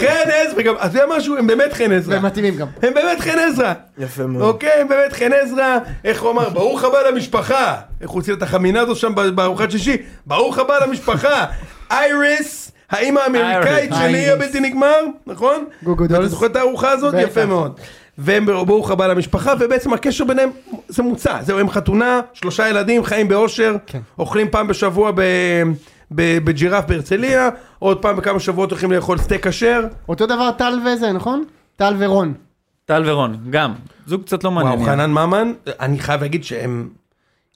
Speaker 2: חן עזרא גם, אתה יודע משהו? הם באמת חן עזרא.
Speaker 5: והם מתאימים גם.
Speaker 2: הם באמת חן עזרא.
Speaker 3: יפה מאוד.
Speaker 2: אוקיי, הם באמת חן עזרא. איך הוא אמר? ברוך הבא למשפחה. איך הוא הוציא את החמינה הזו שם בארוחת שישי? ברוך הבא
Speaker 3: (laughs)
Speaker 2: למשפחה. אייריס, האימא האמריקאית
Speaker 5: אייריס.
Speaker 2: שלי הבלתי נגמר, נכון?
Speaker 5: גוגו
Speaker 2: ואתה
Speaker 5: דולס.
Speaker 2: זוכר את הארוחה הזאת?
Speaker 5: בטח.
Speaker 2: יפה מאוד. והם בר- ברוך הבא למשפחה, ובעצם הקשר ביניהם זה מוצע. זהו, הם חתונה, שלושה ילדים, חיים באושר,
Speaker 3: כן.
Speaker 2: אוכלים פעם בשבוע ב... ב- בג'ירף בהרצליה, עוד פעם בכמה שבועות הולכים לאכול סטייק כשר.
Speaker 5: אותו דבר טל וזה, נכון? טל ורון.
Speaker 4: טל ורון, גם. זוג קצת לא
Speaker 2: וואו,
Speaker 4: מעניין.
Speaker 2: חנן ממן, אני חייב להגיד שהם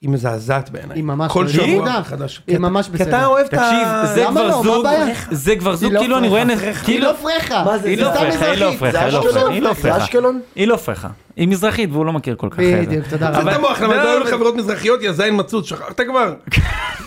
Speaker 2: היא מזעזעת בעיניי.
Speaker 5: היא ממש
Speaker 2: כל
Speaker 5: לא
Speaker 2: שבוע
Speaker 5: יודעת.
Speaker 2: מחדש.
Speaker 5: היא
Speaker 2: כי אתה-
Speaker 5: ממש
Speaker 2: כי אתה
Speaker 5: בסדר.
Speaker 2: אוהב את ה...
Speaker 4: תקשיב, זה
Speaker 5: למה
Speaker 4: כבר
Speaker 5: לא? מה
Speaker 4: זוג,
Speaker 5: הבעיה?
Speaker 4: זה כבר זוג,
Speaker 5: לא
Speaker 4: כאילו אני רואה,
Speaker 5: פרחה.
Speaker 4: נס-
Speaker 5: היא
Speaker 4: כאילו,
Speaker 5: לא פרחה.
Speaker 3: מה זה,
Speaker 4: היא
Speaker 3: זה
Speaker 4: לא
Speaker 3: סתם
Speaker 4: פרחה, היא לא
Speaker 3: מזרחית?
Speaker 4: פרחה,
Speaker 3: זה
Speaker 4: היא לא
Speaker 3: אשקלון? זה
Speaker 4: פרחה, היא לא פרחה.
Speaker 3: אשקלון?
Speaker 4: היא לא פרחה. היא מזרחית והוא לא מכיר כל כך. איזה.
Speaker 5: בדיוק, תודה
Speaker 2: אל
Speaker 5: רבה.
Speaker 2: תמוח, למה
Speaker 4: לא,
Speaker 2: אתה אוהב
Speaker 4: אבל-
Speaker 2: חברות מזרחיות, יא זין מצוץ, שכחת כבר?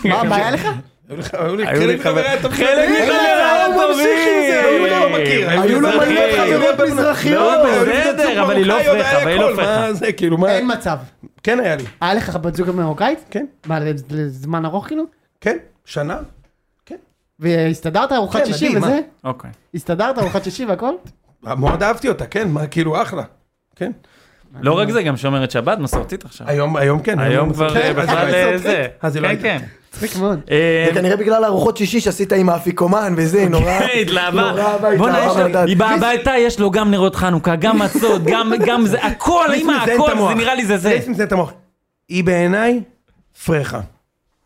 Speaker 4: לא
Speaker 5: מה הבעיה לך?
Speaker 2: היו לך- היו לי
Speaker 4: היו לי
Speaker 2: חלק
Speaker 4: חבר-
Speaker 2: מחבריה הטובים.
Speaker 4: חלק
Speaker 2: אין
Speaker 4: מחבריה
Speaker 2: לה, הוא
Speaker 4: הטובים.
Speaker 2: ממשיך עם זה, הוא לא מכיר.
Speaker 4: היו
Speaker 5: לו
Speaker 2: מזרחיות,
Speaker 5: מלא חברות
Speaker 2: היו לו-
Speaker 5: מזרחיות.
Speaker 2: לא, היו לי
Speaker 4: בסדר,
Speaker 2: בת זוג
Speaker 4: אבל היא לא
Speaker 2: מרוקאיות,
Speaker 4: פרחה,
Speaker 2: היה
Speaker 4: אבל היא לא
Speaker 2: הכל,
Speaker 4: פרחה.
Speaker 2: מה זה, כאילו, מה...
Speaker 5: אין מצב.
Speaker 2: כן היה לי,
Speaker 5: היה לך בת זוג מרוקאית?
Speaker 2: כן,
Speaker 5: מה, לזמן ארוך כאילו?
Speaker 2: כן, שנה.
Speaker 5: והסתדרת ארוחת
Speaker 2: כן,
Speaker 5: שישי
Speaker 2: מדהים,
Speaker 5: וזה?
Speaker 2: מה?
Speaker 4: אוקיי.
Speaker 5: הסתדרת ארוחת שישי והכל?
Speaker 2: מאוד אהבתי אותה, כן, מה, כאילו, אחלה. כן.
Speaker 4: לא רק זה, גם שומרת שבת מסורתית עכשיו.
Speaker 2: היום, היום כן.
Speaker 4: היום כבר אה,
Speaker 2: כן, אז
Speaker 4: בכלל
Speaker 2: היא לא
Speaker 4: אה,
Speaker 2: הייתה.
Speaker 4: זה.
Speaker 2: אז היא לא
Speaker 4: כן,
Speaker 2: הייתה.
Speaker 4: כן.
Speaker 5: מצחיק מאוד.
Speaker 4: אה,
Speaker 3: זה כנראה בגלל הארוחות שישי שעשית עם האפיקומן וזה, נורא...
Speaker 4: כן,
Speaker 2: לא
Speaker 4: התלהבה.
Speaker 3: נורא הביתה,
Speaker 4: בואנה, יש
Speaker 3: הרב
Speaker 4: לה-
Speaker 3: הדת.
Speaker 4: היא באה הביתה, יש לו גם נרות חנוכה, גם מצות, גם- גם זה, הכל,
Speaker 2: ליס
Speaker 4: לא, אמא,
Speaker 2: מזיין את
Speaker 4: הכל,
Speaker 2: המוח.
Speaker 4: זה נראה לי זה זה.
Speaker 2: ליס מזיין את המוח. היא בעיניי פרחה.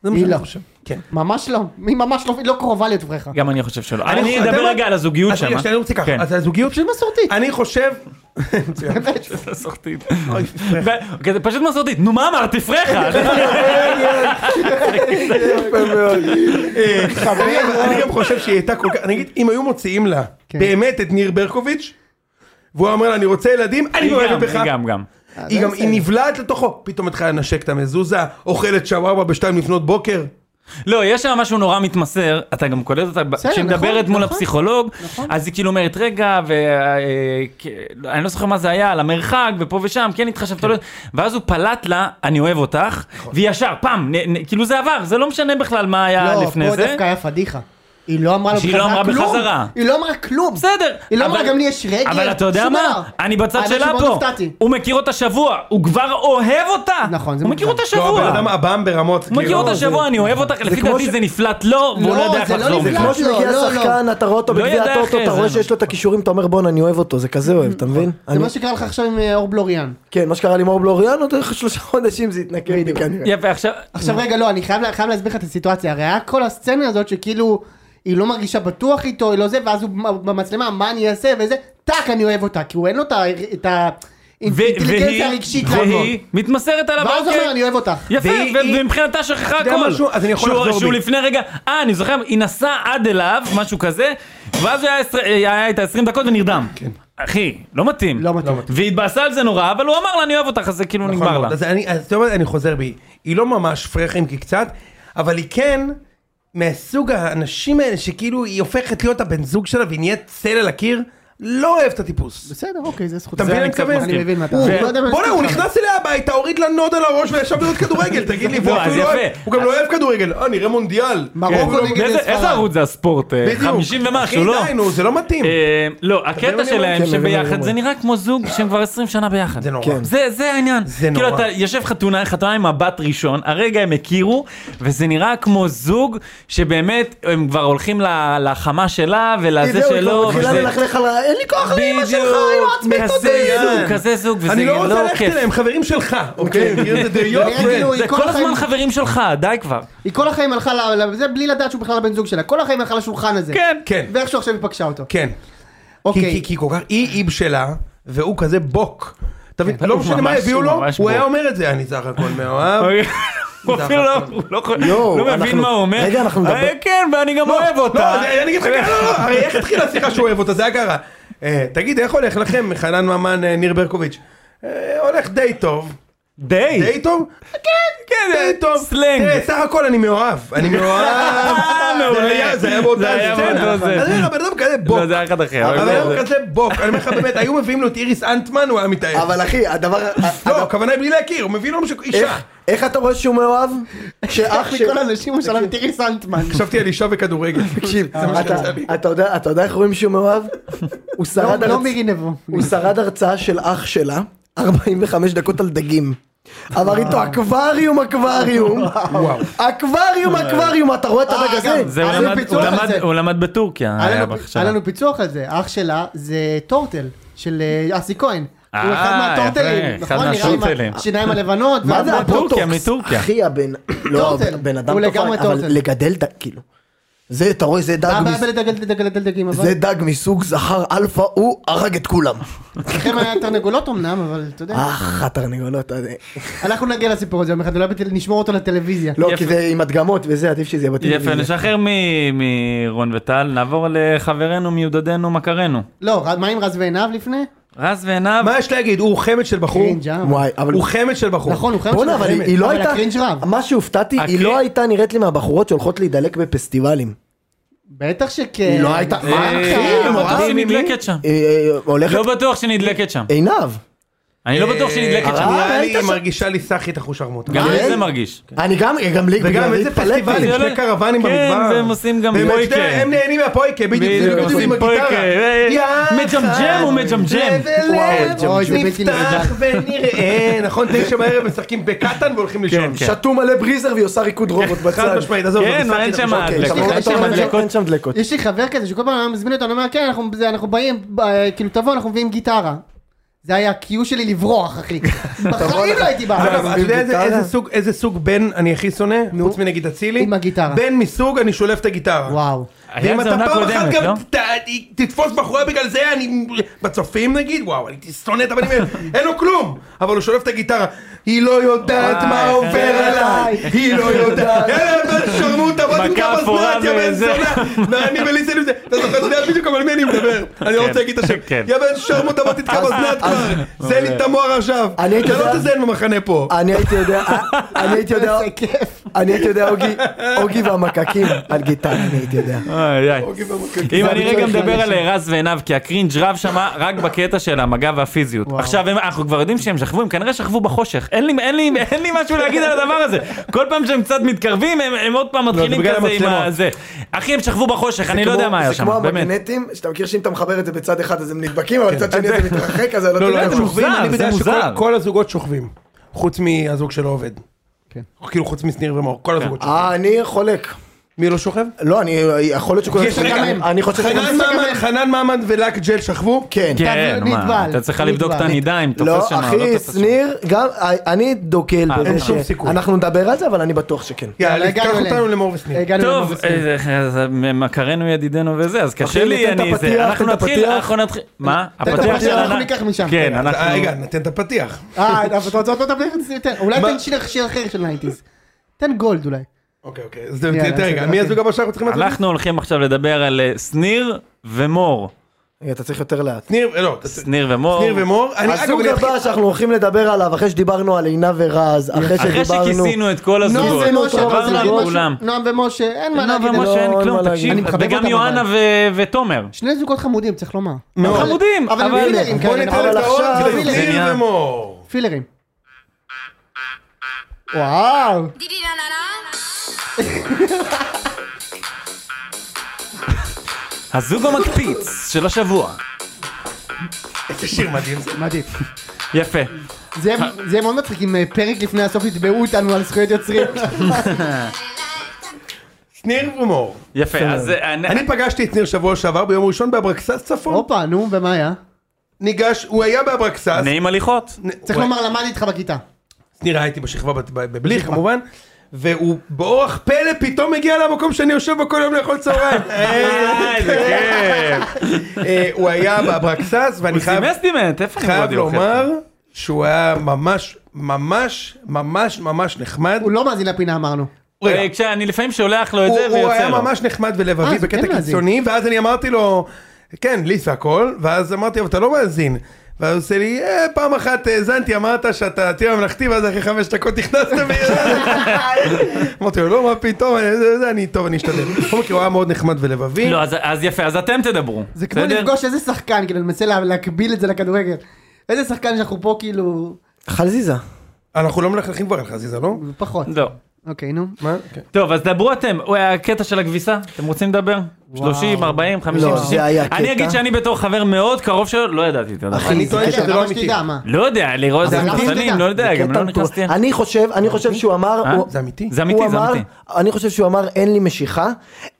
Speaker 2: זה מה
Speaker 5: היא
Speaker 2: שאני
Speaker 5: לא.
Speaker 2: חושב. כן.
Speaker 5: ממש לא. היא ממש לא- היא לא קרובה להיות בריכה.
Speaker 4: גם אני חושב שלא.
Speaker 2: אני
Speaker 4: אני
Speaker 2: חושב- אתה
Speaker 4: אדבר
Speaker 2: יודע
Speaker 4: רגע
Speaker 2: מה?
Speaker 4: על הזוגיות
Speaker 2: אז
Speaker 4: שם.
Speaker 2: רגע, שנייה, אני רוצה ככה.
Speaker 4: כן.
Speaker 2: אז הזוגיות
Speaker 5: זה
Speaker 2: של...
Speaker 5: מסורתית.
Speaker 2: אני חושב... מצוין.
Speaker 4: (laughs) מסורתית. אוקיי,
Speaker 2: אוי, פרחה.
Speaker 4: זה פשוט מסורתית. נו מה
Speaker 2: (laughs)
Speaker 4: אמרתי פרחה?
Speaker 2: אה, אני- אני גם חושב שהיא הייתה כל כך... אני אגיד, אם היו מוציאים לה
Speaker 5: כן.
Speaker 2: באמת את ניר ברקוביץ', והוא אומר לה, אני רוצה ילדים, אני
Speaker 4: היא גם,
Speaker 2: מאוהבת בך.
Speaker 4: היא גם, גם.
Speaker 2: היא
Speaker 5: אה, זה
Speaker 2: גם, היא
Speaker 5: בסדר.
Speaker 2: נבלעת לתוכו. פתאום התחילה לנשק את המזוזה, אוכלת שווארמה בשתיים לפנות בוקר.
Speaker 4: לא, יש שם משהו נורא מתמסר, אתה גם קולט אותה, ב-
Speaker 5: בסדר,
Speaker 4: כשהיא
Speaker 5: נכון,
Speaker 4: מדברת מול
Speaker 5: נכון.
Speaker 4: הפסיכולוג, אז היא כאילו אומרת, רגע, ו- אה, כ- אני לא זוכר מה זה היה, על המרחק, ופה ושם, כן התחשבת, לא יודעת." ואז הוא פלט לה, אני אוהב אותך,
Speaker 5: נכון.
Speaker 4: והיא ישר, פעם, נ- נ- כאילו זה עבר, זה לא משנה בכלל מה היה
Speaker 5: לא,
Speaker 4: לפני
Speaker 5: פה
Speaker 4: זה.
Speaker 5: דווקא היה פדיחה. היא לא אמרה לו
Speaker 4: שהיא לא
Speaker 5: בחזרה
Speaker 4: אמרה
Speaker 5: כלום.
Speaker 4: בחזרה.
Speaker 5: היא לא אמרה כלום.
Speaker 4: בסדר.
Speaker 5: היא לא
Speaker 4: אבל-
Speaker 5: אמרה גם לי יש רגל.
Speaker 4: אבל אתה יודע
Speaker 5: שום
Speaker 4: מה?
Speaker 5: דבר.
Speaker 4: אני בצד
Speaker 5: האמת
Speaker 4: שלה
Speaker 5: שמאוד
Speaker 4: פה.
Speaker 5: הופתעתי.
Speaker 4: הוא מכיר אותה שבוע, הוא כבר אוהב אותה.
Speaker 5: נכון, זה
Speaker 4: הוא מכיר
Speaker 5: מוגזם.
Speaker 4: אותה
Speaker 2: לא, הבן
Speaker 4: שבוע.
Speaker 2: אדם עב"ם ברמות.
Speaker 4: הוא מכיר
Speaker 2: כאילו,
Speaker 4: אותה
Speaker 2: זה-
Speaker 4: שבוע, אני אוהב אותך, לפי
Speaker 2: כמו
Speaker 4: דעתי
Speaker 2: ש-
Speaker 4: זה נפלט לו, והוא
Speaker 5: לא,
Speaker 4: לא יודע איך
Speaker 5: זה לא
Speaker 4: לחזור
Speaker 5: נפלט.
Speaker 4: מזה.
Speaker 3: כמו שמגיע
Speaker 5: לא, לא.
Speaker 3: שחקן, אתה רואה אותו
Speaker 4: לא
Speaker 3: בגביע
Speaker 4: ידע
Speaker 3: הטוטו,
Speaker 4: אחרי
Speaker 3: אתה
Speaker 4: זה,
Speaker 3: רואה
Speaker 4: מה.
Speaker 3: שיש לו את הכישורים, אתה אומר בואנה, אני אוהב אותו, זה כזה אוהב, אתה מבין?
Speaker 5: זה
Speaker 3: אני-
Speaker 5: מה שקרה לך עכשיו עם אה, אור בלוריאן.
Speaker 3: כן, מה שקרה לי עם אור בלוריאן, עוד איך שלושה חודשים זה התנקם לי כנראה.
Speaker 4: יפה, עכשיו...
Speaker 5: עכשיו רגע, לא, אני חייב לה- חייב להסביר לך את הסיטואציה. הרי היה כל הסצנה הזאת שכאילו, היא לא מרגישה בטוח איתו, היא לא זה, ואז הוא במצלמה, מה אני אעשה וזה, טאק, אני אוהב אותה, כי הוא אין לו את ה- את
Speaker 4: ו- והיא-
Speaker 5: האינטליגנציה הרגשית לעבוד.
Speaker 4: והיא מתמסרת עליו,
Speaker 5: ואז הוא אומר,
Speaker 4: אוקיי.
Speaker 5: אני אוהב אותך.
Speaker 4: יפה,
Speaker 2: והיא-
Speaker 4: ו-
Speaker 2: היא-
Speaker 4: ומבחינתה שכחה
Speaker 2: יודע
Speaker 4: הכל.
Speaker 2: משהו? אז אני יכול
Speaker 4: שהוא-
Speaker 2: לחזור
Speaker 4: שהוא
Speaker 2: בי.
Speaker 4: לפני רגע, אה, אני זוכר, היא נסעה עד אליו, משהו כזה, ואז הוא היה עשר- היה איתה 20 דקות ונרדם.
Speaker 2: כן.
Speaker 4: אחי, לא מתאים.
Speaker 5: לא מתאים.
Speaker 4: והיא התבאסה על זה נורא, אבל הוא אמר לה, אני אוהב אותך, אז זה כאילו
Speaker 2: נכון
Speaker 4: נגמר
Speaker 2: מאוד.
Speaker 4: לה.
Speaker 2: אז אני- אז אתה אומר, אני חוזר בי. היא לא ממש פרחים כי קצת, אבל היא כן מהסוג האנשים האלה שכאילו היא הופכת להיות הבן זוג שלה והיא נהיית צל על הקיר, לא אוהב את הטיפוס.
Speaker 5: בסדר, אוקיי, זה זכות.
Speaker 2: אתה מבין
Speaker 5: זה
Speaker 2: מה אני
Speaker 5: קצת
Speaker 2: מתכוון?
Speaker 5: אני מבין מה אתה...
Speaker 2: הוא-
Speaker 5: אני לא יודע מה
Speaker 2: בוא'נה,
Speaker 5: להסביר
Speaker 2: הוא
Speaker 5: לך.
Speaker 2: נכנס אליה הביתה, הוריד לה נוד על הראש וישב לראות כדורגל, תגיד
Speaker 4: (laughs)
Speaker 2: לי,
Speaker 4: לא,
Speaker 2: והוא
Speaker 4: אז
Speaker 2: אפילו לא
Speaker 4: יפה.
Speaker 2: אוהב- הוא גם לא אוהב כדורגל, אה, נראה מונדיאל.
Speaker 5: מרוקו
Speaker 2: כן.
Speaker 5: נגד
Speaker 4: איזה- איזה
Speaker 5: ספרד.
Speaker 4: ערוץ זה הספורט? אה,
Speaker 2: בדיוק.
Speaker 4: 50 ומשהו, לא?
Speaker 2: אחי, די, נו, זה לא מתאים.
Speaker 4: אה, לא,
Speaker 2: מבין מה
Speaker 4: הקטע
Speaker 2: אני אומר?
Speaker 4: שלהם
Speaker 3: כן, מבין מה אני
Speaker 4: שביחד,
Speaker 3: אומר.
Speaker 4: זה נראה כמו זוג שהם כבר 20 שנה ביחד.
Speaker 2: זה נורא.
Speaker 3: כן.
Speaker 4: זה, זה העניין.
Speaker 2: זה
Speaker 4: כאילו
Speaker 2: נורא.
Speaker 4: אתה יושב חתונה, חתונה עם מבט ראשון, הרגע הם הכירו, וזה נראה כמו זוג שבאמת הם כבר הולכים ל- לחמה שלה ולזה
Speaker 3: זהו, היא כבר
Speaker 4: שלו.
Speaker 3: מתחילה
Speaker 4: וזה-
Speaker 3: ללכלך על ה... אין לי כוח לאמא שלך,
Speaker 4: בדיוק,
Speaker 3: היא מעצבנת אותי.
Speaker 4: כזה זוג, כזה זוג, וזה
Speaker 2: אני לא רוצה ללכת
Speaker 4: כיף.
Speaker 2: אליהם, חברים שלך, אוקיי? מכיר את זה? They're your
Speaker 5: אני אגיד לו,
Speaker 2: friends.
Speaker 4: זה
Speaker 5: היא כל
Speaker 4: כל הזמן
Speaker 5: החיים-
Speaker 4: חברים שלך, די כבר.
Speaker 5: היא כל החיים הלכה ל... ל- זה בלי לדעת שהוא בכלל הבן זוג שלה. כל החיים הלכה לשולחן הזה.
Speaker 4: כן.
Speaker 2: כן.
Speaker 5: ואיכשהו עכשיו היא פגשה אותו.
Speaker 2: כן. כי- כי-
Speaker 5: אוקיי.
Speaker 2: כי כל כך, היא איב שלה, והוא כזה בוק. אתה מבין? לא
Speaker 4: כן, הוא
Speaker 2: משנה מה
Speaker 4: ממש-
Speaker 2: הביאו
Speaker 4: הוא
Speaker 2: לו,
Speaker 4: ממש
Speaker 2: הוא היה
Speaker 4: בוק. אוקיי.
Speaker 2: אומר את זה, אני סך הכל
Speaker 4: (laughs)
Speaker 2: מאוהב.
Speaker 4: הוא אפילו לא- הוא לא
Speaker 3: יואו,
Speaker 4: לא מבין
Speaker 3: אנחנו-
Speaker 4: מה הוא אומר.
Speaker 3: רגע, אנחנו
Speaker 4: אה,
Speaker 3: נדבר-
Speaker 4: כן, ואני גם אוהב אותה.
Speaker 2: לא, זה- אני אגיד לך, לא, לא, לא, הרי איך התחילה השיחה שהוא אוהב אותה, זה הגרה. אה, תגיד, איך הולך לכם, חנן ממן, אה, ניר ברקוביץ'? אה, הולך די טוב.
Speaker 4: די.
Speaker 2: די טוב? כן, כן, די טוב.
Speaker 4: סלנג.
Speaker 2: תראה, סך הכל אני מאוהב.
Speaker 4: (laughs)
Speaker 2: אני מאוהב.
Speaker 4: מעולה.
Speaker 2: זה היה- זה היה באותה
Speaker 4: זה היה
Speaker 2: סצנה.
Speaker 4: באותו זה.
Speaker 2: אז אני אומר, הבן אדם כזה בוק.
Speaker 4: לא, זה היה אחד אחר. אבל
Speaker 2: הבן
Speaker 4: זה-
Speaker 2: אדם כזה בוק. אני אומר לך, באמת, היו מביאים לו את איריס אנטמן, הוא היה מתאהב.
Speaker 3: אבל אחי, הדבר...
Speaker 2: לא, הכוונה היא בלי להכיר, הוא מביא לו משהו, אישה.
Speaker 3: איך- איך אתה רואה שהוא מאוהב? שאח
Speaker 5: אח
Speaker 3: של...
Speaker 5: מכל הנשים הוא שלם תראי סנטמן.
Speaker 2: חשבתי על אישה (laughs) וכדורגל. אה,
Speaker 3: תקשיב,
Speaker 2: זה מה שיצא לי.
Speaker 3: אתה- אתה יודע- אתה יודע איך רואים שהוא מאוהב? הוא שרד
Speaker 5: לא-
Speaker 3: הרצ-
Speaker 5: לא מירי נבו.
Speaker 3: הוא שרד הרצאה של אח שלה, 45 דקות על דגים. אמר איתו אקווריום אקווריום, אקווריום אקווריום, אתה רואה את הרגע הזה?
Speaker 5: אה. גם
Speaker 4: זה הוא
Speaker 5: היה לו
Speaker 4: למד-
Speaker 5: פיצוח
Speaker 4: הוא
Speaker 5: על
Speaker 4: למד-
Speaker 5: אה, זה.
Speaker 4: הוא למד בטורקיה,
Speaker 5: היה
Speaker 4: היה
Speaker 5: לנו-
Speaker 4: בהכשרה.
Speaker 5: היה לנו פיצוח על זה. אח שלה זה טורטל של אה, אסי כהן. הוא
Speaker 4: אה,
Speaker 5: אחד מהטורטלים.
Speaker 4: יפה, אחד
Speaker 5: נכון? נראה לי מה-
Speaker 4: מהטורטלים.
Speaker 5: השיניים הלבנות.
Speaker 3: מה זה
Speaker 5: והבוטוקס.
Speaker 4: טורקיה,
Speaker 3: הבוטוקס?
Speaker 4: מטורקיה.
Speaker 3: אחי הבן, לא,
Speaker 5: טורטל. אה,
Speaker 3: הבן אדם
Speaker 5: הוא
Speaker 3: תופעה,
Speaker 5: לגמרי
Speaker 3: אבל
Speaker 5: טורטל.
Speaker 3: לגדל, ד- כאילו, זה, אתה רואה, זה דג,
Speaker 5: מה הבעיה
Speaker 3: מס...
Speaker 5: בלדגל דגל דגים אבל?
Speaker 3: זה דג מסוג זכר אלפא, הוא הרג את כולם.
Speaker 5: כן. אצלכם היה תרנגולות אמנם אבל אתה יודע.
Speaker 3: אך, התרנגולות. אה,
Speaker 5: אנחנו נגיע לסיפור הזה יום אחד אולי בטל- נשמור אותו לטלוויזיה.
Speaker 3: לא,
Speaker 4: יפה.
Speaker 3: כי זה עם הדגמות וזה, עדיף שזה יהיה
Speaker 4: יפה,
Speaker 3: בטלוויזיה.
Speaker 4: נשחרר מ- מרון וטל, נעבור לחברנו, מיודדנו, מכרנו.
Speaker 5: לא ר- מה עם רז ועיניו לפני?
Speaker 4: רז ועיניו,
Speaker 2: אה, מה יש להגיד? הוא חמד של בחור.
Speaker 5: קרינג', אה?
Speaker 3: וואי, אבל...
Speaker 2: כן, הוא חמד של בחור.
Speaker 5: נכון הוא חייב
Speaker 3: בואנה, אבל היא- היא לא
Speaker 5: אבל
Speaker 3: הייתה...
Speaker 5: הקרינג' רב.
Speaker 3: מה שהופתעתי, היא
Speaker 4: הקרינג'-
Speaker 3: לא הייתה נראית לי מהבחורות שהולכות להידלק בפסטיבלים.
Speaker 5: בטח שכן.
Speaker 3: היא לא הייתה...
Speaker 4: אה, לא בטוח שהיא נדלקת שם.
Speaker 3: אה, אה, הולכת...
Speaker 4: לא בטוח שנדלקת שם.
Speaker 5: אה,
Speaker 3: עינב.
Speaker 4: אני לא בטוח שנדלקת שם.
Speaker 3: הרב-
Speaker 2: נראה לי
Speaker 3: היית
Speaker 2: היא
Speaker 3: שם.
Speaker 2: מרגישה לי סאחית אחושרמוטה.
Speaker 4: גם לי
Speaker 3: אה,
Speaker 4: זה מרגיש.
Speaker 3: אני גם, גם לי,
Speaker 2: וגם
Speaker 3: בגלל
Speaker 2: איזה
Speaker 3: זה התפלאתי.
Speaker 2: פסטיבלים,
Speaker 4: זה לא-
Speaker 2: שני קרוונים
Speaker 4: כן,
Speaker 2: במדבר.
Speaker 4: והם עושים גם
Speaker 2: והם-
Speaker 4: פויקה.
Speaker 2: אתה יודע, הם נהנים מהפויקה, בדיוק, זה
Speaker 4: בדיוק,
Speaker 2: בדיוק
Speaker 4: עושים
Speaker 2: עם הגיטרה.
Speaker 4: פויקה, אה,
Speaker 2: יחד
Speaker 4: מג'מג'ם הוא מג'מג'ם.
Speaker 2: ולב
Speaker 5: וואו, אוי, זה בלתי
Speaker 2: נפתח ונראה, נכון, תשע בערב משחקים בקטן והולכים לישון.
Speaker 4: כן.
Speaker 3: שתו מלא בריזר והיא עושה ריקוד רובוט
Speaker 2: חד
Speaker 3: בצד.
Speaker 2: משמעית, עזוב,
Speaker 4: כן,
Speaker 2: זה
Speaker 4: מה, אין
Speaker 2: סאחית
Speaker 4: שם
Speaker 2: אחושרמוטה.
Speaker 3: אוקיי,
Speaker 4: הדלקות,
Speaker 3: אתה
Speaker 4: אין
Speaker 3: רואה,
Speaker 4: שם
Speaker 3: אין שם-
Speaker 4: הדלקות.
Speaker 3: אין שם דלקות.
Speaker 5: יש לי חבר כזה שכל פעם היה מזמין אותו, אני אומר כן אנחנו זה- אנחנו באים, אה, כאילו תבוא אנחנו מביאים גיטרה. זה היה קיו שלי לברוח
Speaker 3: (laughs)
Speaker 5: אחי. בחיים לא הייתי
Speaker 2: אגב,
Speaker 5: בא.
Speaker 2: אתה יודע איזה-
Speaker 3: גיטרה?
Speaker 2: איזה סוג- איזה סוג בן אני הכי שונא? חוץ מנגיד אצילי?
Speaker 5: עם הגיטרה.
Speaker 2: בן מסוג אני שולף את הגיטרה.
Speaker 5: וואו.
Speaker 4: היה
Speaker 2: ואם
Speaker 4: את זה
Speaker 2: אתה
Speaker 4: עונה
Speaker 2: פעם אחת
Speaker 4: קודמת,
Speaker 2: גם
Speaker 4: לא?
Speaker 2: ת- ת- תתפוס בחורה בגלל זה, אני... בצופים נגיד, וואו, אני שונא את הבנים האלה, אין לו כלום! אבל הוא שולף את הגיטרה, היא לא יודעת
Speaker 4: וואי, כן.
Speaker 2: מה עובר
Speaker 4: איך-
Speaker 2: עליי, היא לא יודעת, יאללה, בן שרמוטה, בוא
Speaker 4: מכה
Speaker 2: תמכה
Speaker 4: אפורה
Speaker 2: באסנט, יא בן
Speaker 4: וזה.
Speaker 2: זונה, ואני וליסל עם זה, אתה זוכר, אתה יודע בדיוק על מי אני מדבר, אני לא רוצה להגיד את השם,
Speaker 4: כן.
Speaker 2: יא בן שרמוטה, בוא תתקע באסנט כבר, זה לי את המוח עכשיו,
Speaker 3: אני הייתי
Speaker 2: אתה לא
Speaker 3: יודע-
Speaker 2: תזיין במחנה פה.
Speaker 3: אני הייתי יודע, אני הייתי יודע,
Speaker 5: איזה כיף.
Speaker 3: אני הייתי יודע, אוגי, אוגי והמקקים על גיטרה, אני הייתי יודע.
Speaker 4: אוי,
Speaker 5: לא
Speaker 4: אוי. אם
Speaker 3: זה לא
Speaker 4: אני
Speaker 3: הביצוע
Speaker 4: רגע
Speaker 3: הכי
Speaker 4: מדבר על
Speaker 3: אנשים.
Speaker 4: רז ועיניו, כי הקרינג' רב שמה רק בקטע של המגע והפיזיות. עכשיו הם- אנחנו כבר יודעים שהם שכבו, הם כנראה שכבו בחושך. אין לי- אין לי- אין לי משהו להגיד על הדבר הזה. כל פעם שהם קצת מתקרבים, הם- הם עוד
Speaker 3: לא,
Speaker 4: פעם מתחילים
Speaker 2: בגלל
Speaker 4: כזה עם
Speaker 2: המצלמות.
Speaker 4: הזה. אחי, הם שכבו בחושך, אני לא יודע מה היה
Speaker 3: זה כמו
Speaker 4: שם, באמת.
Speaker 3: המגנטים, שאתה מכיר שאם אתה מחבר את זה בצד אחד אז הם נדבקים, אבל בצד שני זה מתרחק, אז אני
Speaker 2: לא, לא,
Speaker 3: לא יודע.
Speaker 2: הם
Speaker 4: זה
Speaker 3: איפה.
Speaker 2: שוכבים,
Speaker 4: מוזר,
Speaker 2: אני
Speaker 4: זה
Speaker 2: יודע
Speaker 4: מוזר.
Speaker 2: שכל כל הזוגות שוכבים, חוץ מהזוג שלא עובד.
Speaker 5: כן.
Speaker 2: כאילו חוץ משניר ומאור, כל הזוגות שוכבים.
Speaker 3: אה, אני חולק.
Speaker 2: מי לא שוכב?
Speaker 3: לא, אני, יכול להיות שכולם...
Speaker 2: יש רגע,
Speaker 3: אני- אני חושב שגם...
Speaker 2: חנן ממן- חנן ממן ולק ג'ל שכבו?
Speaker 3: כן.
Speaker 4: כן,
Speaker 5: נתבל,
Speaker 4: מה, אתה צריכה
Speaker 5: נתבל.
Speaker 4: לבדוק את הנידה אם
Speaker 3: לא,
Speaker 4: תופס שם.
Speaker 3: אחי, שניר, גם... אה, אני דוגל
Speaker 4: אה, אין
Speaker 3: בזה
Speaker 2: שום סיכוי.
Speaker 3: שאנחנו נדבר על זה, אבל אני בטוח שכן.
Speaker 2: יאללה,
Speaker 5: לא, הגענו
Speaker 2: תיקח
Speaker 5: אליהם.
Speaker 2: אה, אותנו למאור ושניר.
Speaker 5: הגענו
Speaker 4: טוב,
Speaker 5: למבוסים.
Speaker 4: אה, אז מכרנו ידידנו וזה, אז
Speaker 3: לא אחי,
Speaker 4: קשה לי,
Speaker 3: נותן את
Speaker 4: אני זה,
Speaker 3: הפתיח,
Speaker 4: אנחנו
Speaker 3: נותן את
Speaker 4: נתחיל,
Speaker 3: הפתיח.
Speaker 4: אנחנו נתחיל, מה?
Speaker 5: את הפתיח, אנחנו ניקח משם.
Speaker 4: כן,
Speaker 5: רגע,
Speaker 4: אנחנו,
Speaker 2: אה, רגע, ניתן את הפתיח.
Speaker 5: אה, אבל אתה רוצה אותו דבר? זה יותר. אולי
Speaker 2: מה-
Speaker 5: תן שיר שיר אחר של ניינטיז. תן גולד אולי.
Speaker 2: אוקיי, אוקיי. אז תן-
Speaker 5: יאללה,
Speaker 2: תן- תן רגע,
Speaker 5: בסדר,
Speaker 2: מי
Speaker 5: אוקיי.
Speaker 2: הזוג הבא שאנחנו צריכים לעשות?
Speaker 4: אנחנו הולכים עכשיו לדבר על אה, שניר ומור,
Speaker 3: רגע, אתה צריך יותר לאט.
Speaker 2: שניר, לא, ת-
Speaker 4: שניר ומור,
Speaker 2: שניר ומאור. אני- אגב,
Speaker 3: הזוג
Speaker 2: אני אתחיל-
Speaker 3: הבא שאנחנו הולכים לדבר עליו, אחרי שדיברנו על עינב ורז, אחרי
Speaker 4: אחרי
Speaker 3: שדיברנו...
Speaker 4: שכיסינו את כל
Speaker 5: נועם
Speaker 4: הזוגות,
Speaker 5: ומשה, אתה רוצה
Speaker 4: עברנו על
Speaker 5: להגיד משהו?
Speaker 4: כולם,
Speaker 5: נועם ומשה, אין מה
Speaker 4: נועה
Speaker 5: להגיד.
Speaker 4: ומשה אין
Speaker 3: אין
Speaker 4: כלום,
Speaker 3: מה להגיד.
Speaker 4: תקשיב,
Speaker 5: אני מחבב
Speaker 4: וגם
Speaker 5: אותם,
Speaker 4: יואנה
Speaker 5: אבל.
Speaker 4: ו- ותומר,
Speaker 5: שני זוגות חמודים, צריך לומר.
Speaker 4: הם חמודים,
Speaker 5: אבל הם
Speaker 4: אבל-
Speaker 5: פילרים
Speaker 2: בוא
Speaker 5: כאלה,
Speaker 2: ניתן
Speaker 5: נכון?
Speaker 2: את האות
Speaker 3: עכשיו-
Speaker 4: זה
Speaker 2: לשניר
Speaker 4: נהיה-
Speaker 2: ומאור.
Speaker 5: פילרים. וואו.
Speaker 4: הזוג המקפיץ של השבוע,
Speaker 2: איזה שיר מדהים זה.
Speaker 5: מדהים.
Speaker 4: יפה, (laughs)
Speaker 5: זה יהיה- זה יהיה מאוד מצחיק אם אה, פרק לפני הסוף יתבעו אותנו על
Speaker 4: (laughs)
Speaker 5: זכויות יוצרים.
Speaker 2: שניר ומאור.
Speaker 4: יפה, אז אה,
Speaker 2: אני פגשתי את שניר שבוע שעבר ביום ראשון באברקסס צפון.
Speaker 5: הופה, נו, ומה היה?
Speaker 2: ניגש, הוא היה באברקסס.
Speaker 4: נעים הליכות,
Speaker 5: צריך לומר, למדתי איתך בכיתה.
Speaker 2: שניר היה איתי בשכבה בת- ב- בבליך כמובן, והוא באורח פלא פתאום מגיע למקום שאני יושב בו כל יום לאכול צהריים.
Speaker 4: אה, איזה כיף,
Speaker 2: אה, הוא היה באברקסס ואני
Speaker 4: הוא
Speaker 2: חייב
Speaker 4: סימס דימנט, איפה אני
Speaker 2: חייב
Speaker 4: רואה דיוק?
Speaker 2: לומר שהוא היה ממש ממש ממש ממש נחמד.
Speaker 5: הוא לא מאזין לפינה אמרנו.
Speaker 2: רגע.
Speaker 4: אה, כשאני לפעמים שולח לו את
Speaker 2: הוא
Speaker 4: זה
Speaker 2: הוא
Speaker 4: ויוצא
Speaker 2: היה
Speaker 4: לו.
Speaker 2: ממש נחמד
Speaker 5: אה,
Speaker 2: ולבבי
Speaker 5: זה כן
Speaker 2: בקטע
Speaker 5: מאזין.
Speaker 2: קיצוני, ואז אני אמרתי לו, כן, ליס והכל, ואז אמרתי, אבל אתה לא מאזין. ואז הוא עושה לי, "אה, פעם אחת האזנתי, אמרת שאתה תהיה ממלכתי, ואז אחרי חמש דקות נכנסת ו... (laughs) אמרתי לו, לא, מה פתאום, אני- זה- זה- אני, טוב, אני אשתדל. בכל מקרה, הוא היה מאוד נחמד ולבבי.
Speaker 4: לא, אז- אז יפה, אז אתם תדברו.
Speaker 5: זה כמו
Speaker 4: בסדר?
Speaker 5: לפגוש איזה שחקן, כאילו, אני מנסה לה- להקביל את זה לכדורגל. איזה שחקן שאנחנו פה, כאילו,
Speaker 3: חזיזה.
Speaker 2: אנחנו לא מלכלכים כבר על חזיזה, לא?
Speaker 5: פחות.
Speaker 4: לא.
Speaker 5: אוקיי, נו.
Speaker 2: מה? כן.
Speaker 4: טוב, אז דברו אתם. הוא, הקטע של הכביסה, אתם רוצים לדבר? 30, 40, 50,
Speaker 3: לא,
Speaker 4: 60.
Speaker 3: זה היה
Speaker 4: אני
Speaker 3: קטע.
Speaker 4: אגיד שאני בתור חבר מאוד קרוב שלו, לא ידעתי את הדבר.
Speaker 3: אחי,
Speaker 2: אני
Speaker 3: זה
Speaker 2: טוען
Speaker 3: קטע.
Speaker 2: שזה לא
Speaker 5: למה
Speaker 2: אמיתי.
Speaker 5: שתדע, מה?
Speaker 4: לא יודע, לראות את
Speaker 5: זה אמיתי?
Speaker 4: המחסנים, לא יודע,
Speaker 3: זה
Speaker 4: גם
Speaker 3: קטע
Speaker 4: לא נכנסתי.
Speaker 3: מטורף. אני חושב, אני חושב שהוא אמר,
Speaker 4: אה?
Speaker 3: הוא-
Speaker 2: זה אמיתי?
Speaker 4: זה
Speaker 3: הוא
Speaker 4: אמיתי, זה
Speaker 3: אמר,
Speaker 4: אמיתי.
Speaker 3: אני חושב שהוא אמר אין לי משיכה,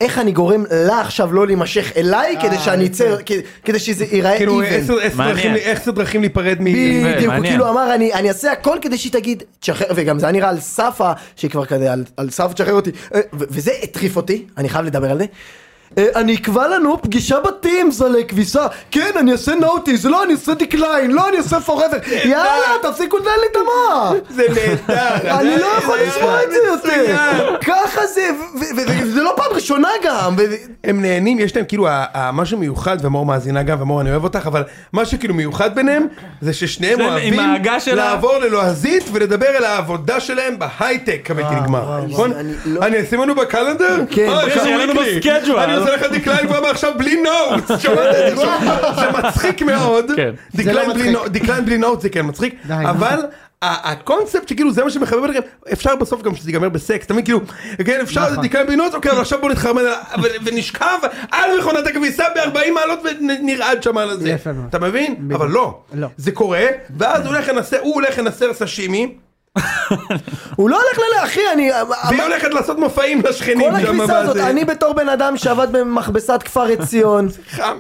Speaker 3: איך אני גורם לה עכשיו לא להימשך אליי כדי שאני אצא, כ- כדי שזה ייראה
Speaker 2: אה, אוקיי. כאילו
Speaker 3: איבן.
Speaker 2: עשר עשר
Speaker 4: מעניין.
Speaker 2: דרכים- עשר דרכים להיפרד מ...
Speaker 3: בדיוק, הוא
Speaker 4: מעניין.
Speaker 3: כאילו אמר אני אני אעשה הכל כדי שהיא תגיד תשחרר, וגם זה היה נראה על סף ה... שהיא כבר כזה על- על סף תשחרר אותי, אה, ו- וזה הטריף אותי, אני חייב לדבר על זה. אה, אני אקבע לנו פגישה בטימס על כביסה, כן אני אעשה נוטיס, לא אני אעשה דקליין, לא אני אעשה פוראבר, יאללה תפסיקו לנהל לי את המוח.
Speaker 2: זה נהדר.
Speaker 3: (laughs) אני לא יכול לשמוע את זה יותר, ככה זה, ו- ו- ו- וזה לא פעם ראשונה גם, ו-
Speaker 2: הם נהנים, יש להם כאילו ה- ה- משהו מיוחד, ומור מאזינה גם, ומור אני אוהב אותך, אבל משהו כאילו מיוחד ביניהם, זה ששניהם
Speaker 4: שניהם עם
Speaker 2: אוהבים
Speaker 4: ההגה שלה.
Speaker 2: לעבור ללועזית ולדבר על העבודה שלהם בהייטק הבלתי
Speaker 5: אה,
Speaker 2: נגמר. נכון?
Speaker 3: אני לא-
Speaker 2: אני אשים לנו בקלנדר?
Speaker 3: כן,
Speaker 2: אה,
Speaker 4: בבקשה,
Speaker 2: יש לנו
Speaker 4: שיהיה לנו
Speaker 2: weekly.
Speaker 4: בסקייג'ואל.
Speaker 2: אני עושה לך דקליין כבר מעכשיו בלי נוט. שמעת את זה? נכון?
Speaker 5: (laughs)
Speaker 2: זה מצחיק מאוד.
Speaker 4: כן.
Speaker 2: דקליין
Speaker 5: זה
Speaker 2: בלי
Speaker 5: לא מצחיק.
Speaker 2: נוט- דקליין בלי נוט זה כן מצחיק,
Speaker 5: די, נו.
Speaker 2: אבל... ה- הקונספט שכאילו זה מה שמחבב אתכם אפשר בסוף גם שזה ייגמר בסקס תמיד כאילו כן אפשר זה נקרא בינות אוקיי אבל עכשיו בוא נתחרמן על- ו- ונשכב על מכונת הכביסה ב-40 מעלות ונרעד שם על זה
Speaker 5: יפה מאוד.
Speaker 2: אתה מבין אבל לא
Speaker 5: לא.
Speaker 2: זה קורה ואז הוא הולך לנסר הוא הולך לנסר סשימי
Speaker 3: הוא לא הולך ללאה, אחי, אני...
Speaker 2: והיא הולכת לעשות מופעים לשכנים
Speaker 3: כל
Speaker 2: שם
Speaker 3: הכביסה הזאת,
Speaker 2: וזה
Speaker 3: אני בתור בן אדם שעבד במכבסת כפר עציון,
Speaker 2: חם.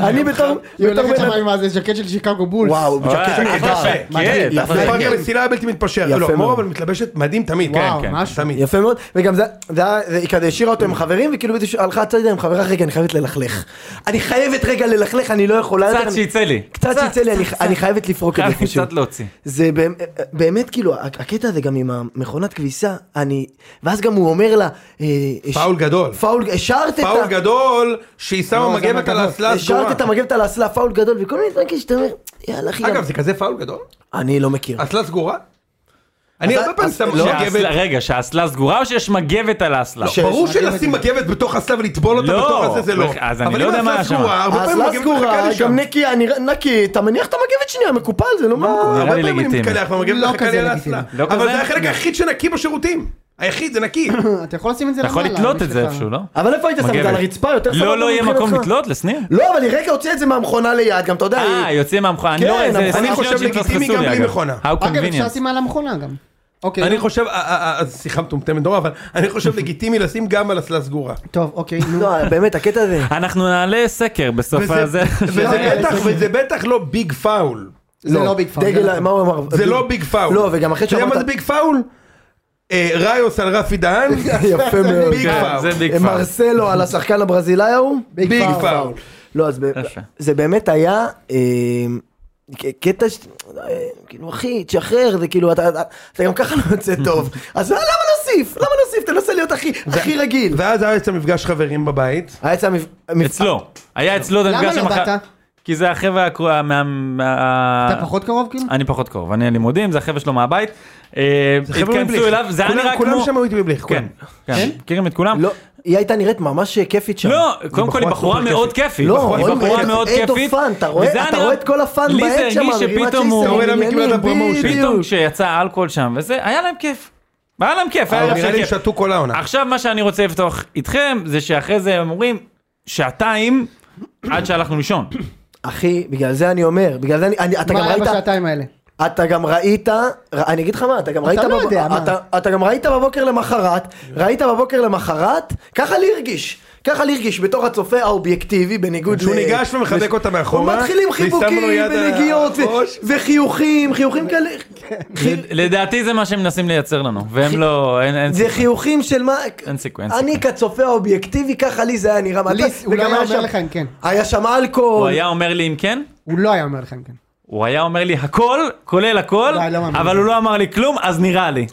Speaker 3: אני בתור...
Speaker 5: היא
Speaker 3: בתור
Speaker 5: הולכת
Speaker 3: בן
Speaker 5: שם
Speaker 3: אדם-
Speaker 5: עם הזה ז'קט של שיקגו בולס.
Speaker 3: וואו,
Speaker 4: אה,
Speaker 3: ז'קט נהדר.
Speaker 4: יפה,
Speaker 5: מדהים,
Speaker 4: כן,
Speaker 2: זה
Speaker 4: אבל-
Speaker 2: פאנק המסילה הבלתי מתפשר
Speaker 3: יפה
Speaker 2: לא מור
Speaker 3: מאוד.
Speaker 2: אבל מתלבשת מדהים תמיד
Speaker 5: וואו,
Speaker 2: כן, כן,
Speaker 5: משהו.
Speaker 2: תמיד.
Speaker 3: יפה מאוד, וגם זה, זה היה, זה- היא כזה השאירה אותו עם חברים, וכאילו בדיוק הלכה הצדה עם חברה, רגע, אני חייבת ללכלך. אני חייבת רגע ללכלך, אני לא יכולה... יותר,
Speaker 4: קצת
Speaker 3: אני-
Speaker 4: שיצא לי.
Speaker 3: קצת שיצא לי, אני- אני חייבת לפרוק את זה
Speaker 4: חייב
Speaker 3: פשוט.
Speaker 4: קצת להוציא.
Speaker 3: זה באמת, באמת כאילו, הקטע הזה גם עם המכונת כביסה, אני... ואז גם הוא אומר לה... אה, ש-
Speaker 2: פאול גדול
Speaker 3: פאול, השארת את
Speaker 2: פאול
Speaker 3: ה...
Speaker 2: גדול שהיא שמה מגבת על האסלה
Speaker 3: השארת
Speaker 2: הסגורה
Speaker 3: את המגבת על האסלה, פאול גדול, וכל מיני דברים כאלה שאתה אומר, יאללה אחי, גם-
Speaker 2: אגב זה כזה פאול גדול
Speaker 3: אני לא מכיר.
Speaker 2: אסלה סגורה? אני הרבה פעמים שם
Speaker 4: לא, שהאסלה-
Speaker 2: מגבת,
Speaker 4: רגע, שהאסלה סגורה או שיש מגבת על האסלה?
Speaker 3: ש-
Speaker 2: ברור
Speaker 3: מגבת.
Speaker 2: שלשים מגבת בתוך אסלה ולטבול אותה
Speaker 4: לא,
Speaker 2: בתוך הזה זה לא,
Speaker 4: אז אני
Speaker 2: אבל
Speaker 4: לא
Speaker 2: אם
Speaker 4: יודע מה
Speaker 2: האסלה
Speaker 4: היה שם.
Speaker 2: סגורה, הרבה פעמים
Speaker 3: האסלה
Speaker 2: מגבת מחכה
Speaker 3: סגורה,
Speaker 2: לי שם,
Speaker 3: גם נקייה, נראה- נקי, אתה מניח את המגבת שנייה, מקופל, זה לא מה...
Speaker 4: נראה
Speaker 2: הרבה
Speaker 4: לי
Speaker 2: פעמים אני
Speaker 4: לגיטימי.
Speaker 2: מתקלח והמגבת
Speaker 5: לא
Speaker 2: מחכה לי
Speaker 5: כזה
Speaker 2: על
Speaker 5: לגיטימי.
Speaker 2: האסלה,
Speaker 4: לא
Speaker 2: אבל
Speaker 4: כזה?
Speaker 2: זה החלק
Speaker 4: רגע.
Speaker 2: היחיד שנקי בשירותים, היחיד זה
Speaker 4: (laughs)
Speaker 2: נקי,
Speaker 5: אתה יכול לשים את זה
Speaker 4: אתה יכול
Speaker 5: למעלה,
Speaker 4: לתלות
Speaker 5: יש
Speaker 4: את זה
Speaker 5: לך-
Speaker 4: איפשהו, לא?
Speaker 3: אבל איפה היית שם את זה? על
Speaker 4: מגבת.
Speaker 3: הרצפה? יותר סבבה
Speaker 4: לא, לא יהיה מקום
Speaker 3: מבחינתך?
Speaker 4: לתלות, לשניר.
Speaker 3: לא, אבל היא רגע הוציאה את זה מהמכונה ליד, גם אתה יודע, היא-
Speaker 4: אה, יוצאים מהמכונה, אני
Speaker 3: כן,
Speaker 4: לא רואה את זה.
Speaker 3: אני
Speaker 4: 20 שניות
Speaker 2: חושב
Speaker 4: שהתפספסו
Speaker 2: לגיטימי
Speaker 4: לי,
Speaker 2: גם בלי
Speaker 4: אגב.
Speaker 2: מכונה.
Speaker 4: How
Speaker 5: אגב, אפשר
Speaker 4: convenient.
Speaker 5: לשים על המכונה גם. אוקיי,
Speaker 2: אני חושב, אה, אה, אה, שיחה מטומטמת נורא, אבל אני חושב לגיטימי לשים גם על אסלה סגורה,
Speaker 5: טוב, אוקיי, נו.
Speaker 3: לא, באמת,
Speaker 2: (laughs)
Speaker 3: הקטע הזה...
Speaker 4: אנחנו נעלה סקר בסוף
Speaker 2: וזה-
Speaker 4: הזה.
Speaker 3: (laughs)
Speaker 2: וזה
Speaker 5: לא,
Speaker 2: בטח-
Speaker 5: לגיטימי.
Speaker 2: וזה בטח לא ביג פאול,
Speaker 5: זה לא ביג פארם.
Speaker 3: דגל, מה הוא אמר?
Speaker 2: זה לא ביג פאול,
Speaker 3: לא, וגם אחרי
Speaker 2: אתה יודע מה זה
Speaker 3: שאמרת...
Speaker 2: ביג פאול? אה, ראיוס על רפי דהן,
Speaker 3: (laughs) יפה מאוד. אה,
Speaker 2: ביג
Speaker 4: כן,
Speaker 2: פאול.
Speaker 4: זה ביג פארם.
Speaker 3: מרסלו על השחקן הברזילאי ההוא?
Speaker 2: ביג פאול.
Speaker 3: לא, אז ב-
Speaker 4: יפה.
Speaker 3: זה באמת היה אה, ק- קטע ש... אה, כאילו, אחי, תשחרר, זה כאילו, אתה- אתה אתה גם ככה לא יוצא טוב.
Speaker 4: (laughs)
Speaker 3: אז אה, למה להוסיף? למה להוסיף? תנסה להיות הכי הכי רגיל.
Speaker 2: ואז היה אצל מפגש חברים בבית.
Speaker 3: היה אצל המפ- המפ-
Speaker 4: אצלו. היה אצלו את
Speaker 5: למה
Speaker 4: המפגש
Speaker 5: לא
Speaker 4: עם הח-
Speaker 5: באת?
Speaker 4: כי זה החבר'ה הקרו- מה... מה-
Speaker 5: אתה פחות קרוב כאילו?
Speaker 4: אני פחות קרוב, אני לימודים, זה החבר'ה שלו מהבית. אה,
Speaker 2: חבר'ה מבליך.
Speaker 4: התכנסו אליו, זה היה
Speaker 2: כולם-
Speaker 4: נראה כמו...
Speaker 2: כולם שם היו איתי מבליך.
Speaker 4: כן,
Speaker 2: כולם.
Speaker 4: כן, מכירים את כולם?
Speaker 3: לא, היא הייתה נראית ממש כיפית שם.
Speaker 4: לא, קודם כל היא
Speaker 2: בחורה
Speaker 4: בחורה
Speaker 2: סופר
Speaker 4: מאוד כיפית.
Speaker 3: לא,
Speaker 4: בחורה- היא
Speaker 3: רואים
Speaker 4: בחורה
Speaker 3: את-
Speaker 4: מאוד
Speaker 3: את
Speaker 4: כיפית.
Speaker 3: הפאן, אתה רואה-
Speaker 4: וזה היה
Speaker 3: אתה
Speaker 4: נראה-
Speaker 3: רואה את כל הפאן
Speaker 4: לי
Speaker 3: בעת
Speaker 4: זה
Speaker 3: שם,
Speaker 4: הרגיש
Speaker 3: מרימת
Speaker 4: שפתאום הוא...
Speaker 3: שייסר,
Speaker 2: אתה רואה למה היא קיבלה את הפרומושן.
Speaker 4: פתאום כשיצא האלכוהול שם וזה, היה להם כיף. היה להם כיף, היה
Speaker 2: אבל נראה
Speaker 4: להם
Speaker 2: לי
Speaker 4: כיף.
Speaker 2: שתו כל העונה.
Speaker 4: עכשיו מה שאני רוצה לפתוח איתכם, זה שאחרי זה הם אומרים, שעתיים עד שהלכנו לישון.
Speaker 3: אחי, בגלל זה אני אומר, בגלל זה אני, אני אתה גם
Speaker 5: מה היה
Speaker 3: ראית,
Speaker 5: בשעתיים האלה?
Speaker 3: אתה גם ראית, ר- אני אגיד לך מה, אתה גם ראית,
Speaker 5: לא יודע, מה?
Speaker 3: אתה, אתה גם ראית בבוקר למחרת, ראית בבוקר למחרת, ככה לי הרגיש, ככה לי הרגיש בתור הצופה האובייקטיבי בניגוד,
Speaker 2: שהוא
Speaker 3: ל-
Speaker 2: ניגש ומחבק אותה
Speaker 3: הוא
Speaker 2: מאחורה.
Speaker 3: מתחיל עם
Speaker 2: והיא שמה לו
Speaker 3: חיבוקים
Speaker 2: יד על
Speaker 3: ונגיעות ו-
Speaker 2: הראש.
Speaker 3: וחיוכים, חיוכים כאלה,
Speaker 5: כן.
Speaker 3: חי-
Speaker 4: לדעתי זה מה שהם מנסים לייצר לנו, והם לא, אין אין
Speaker 3: זה
Speaker 4: סיכוי.
Speaker 3: חיוכים של מה,
Speaker 4: אין סיכוי, אין
Speaker 3: אני כצופה האובייקטיבי ככה לי זה היה נראה,
Speaker 5: לי-
Speaker 3: מתי-
Speaker 5: הוא לא
Speaker 3: וגם
Speaker 5: היה
Speaker 3: שם-
Speaker 5: אומר לך אם כן.
Speaker 3: היה שם אלכוהול,
Speaker 4: הוא היה אומר לי אם כן,
Speaker 5: הוא לא היה אומר לך אם כן.
Speaker 4: הוא היה אומר לי הכל, כולל הכל,
Speaker 5: די, לא מאמין.
Speaker 4: אבל הוא לא אמר לי כלום, אז נראה לי.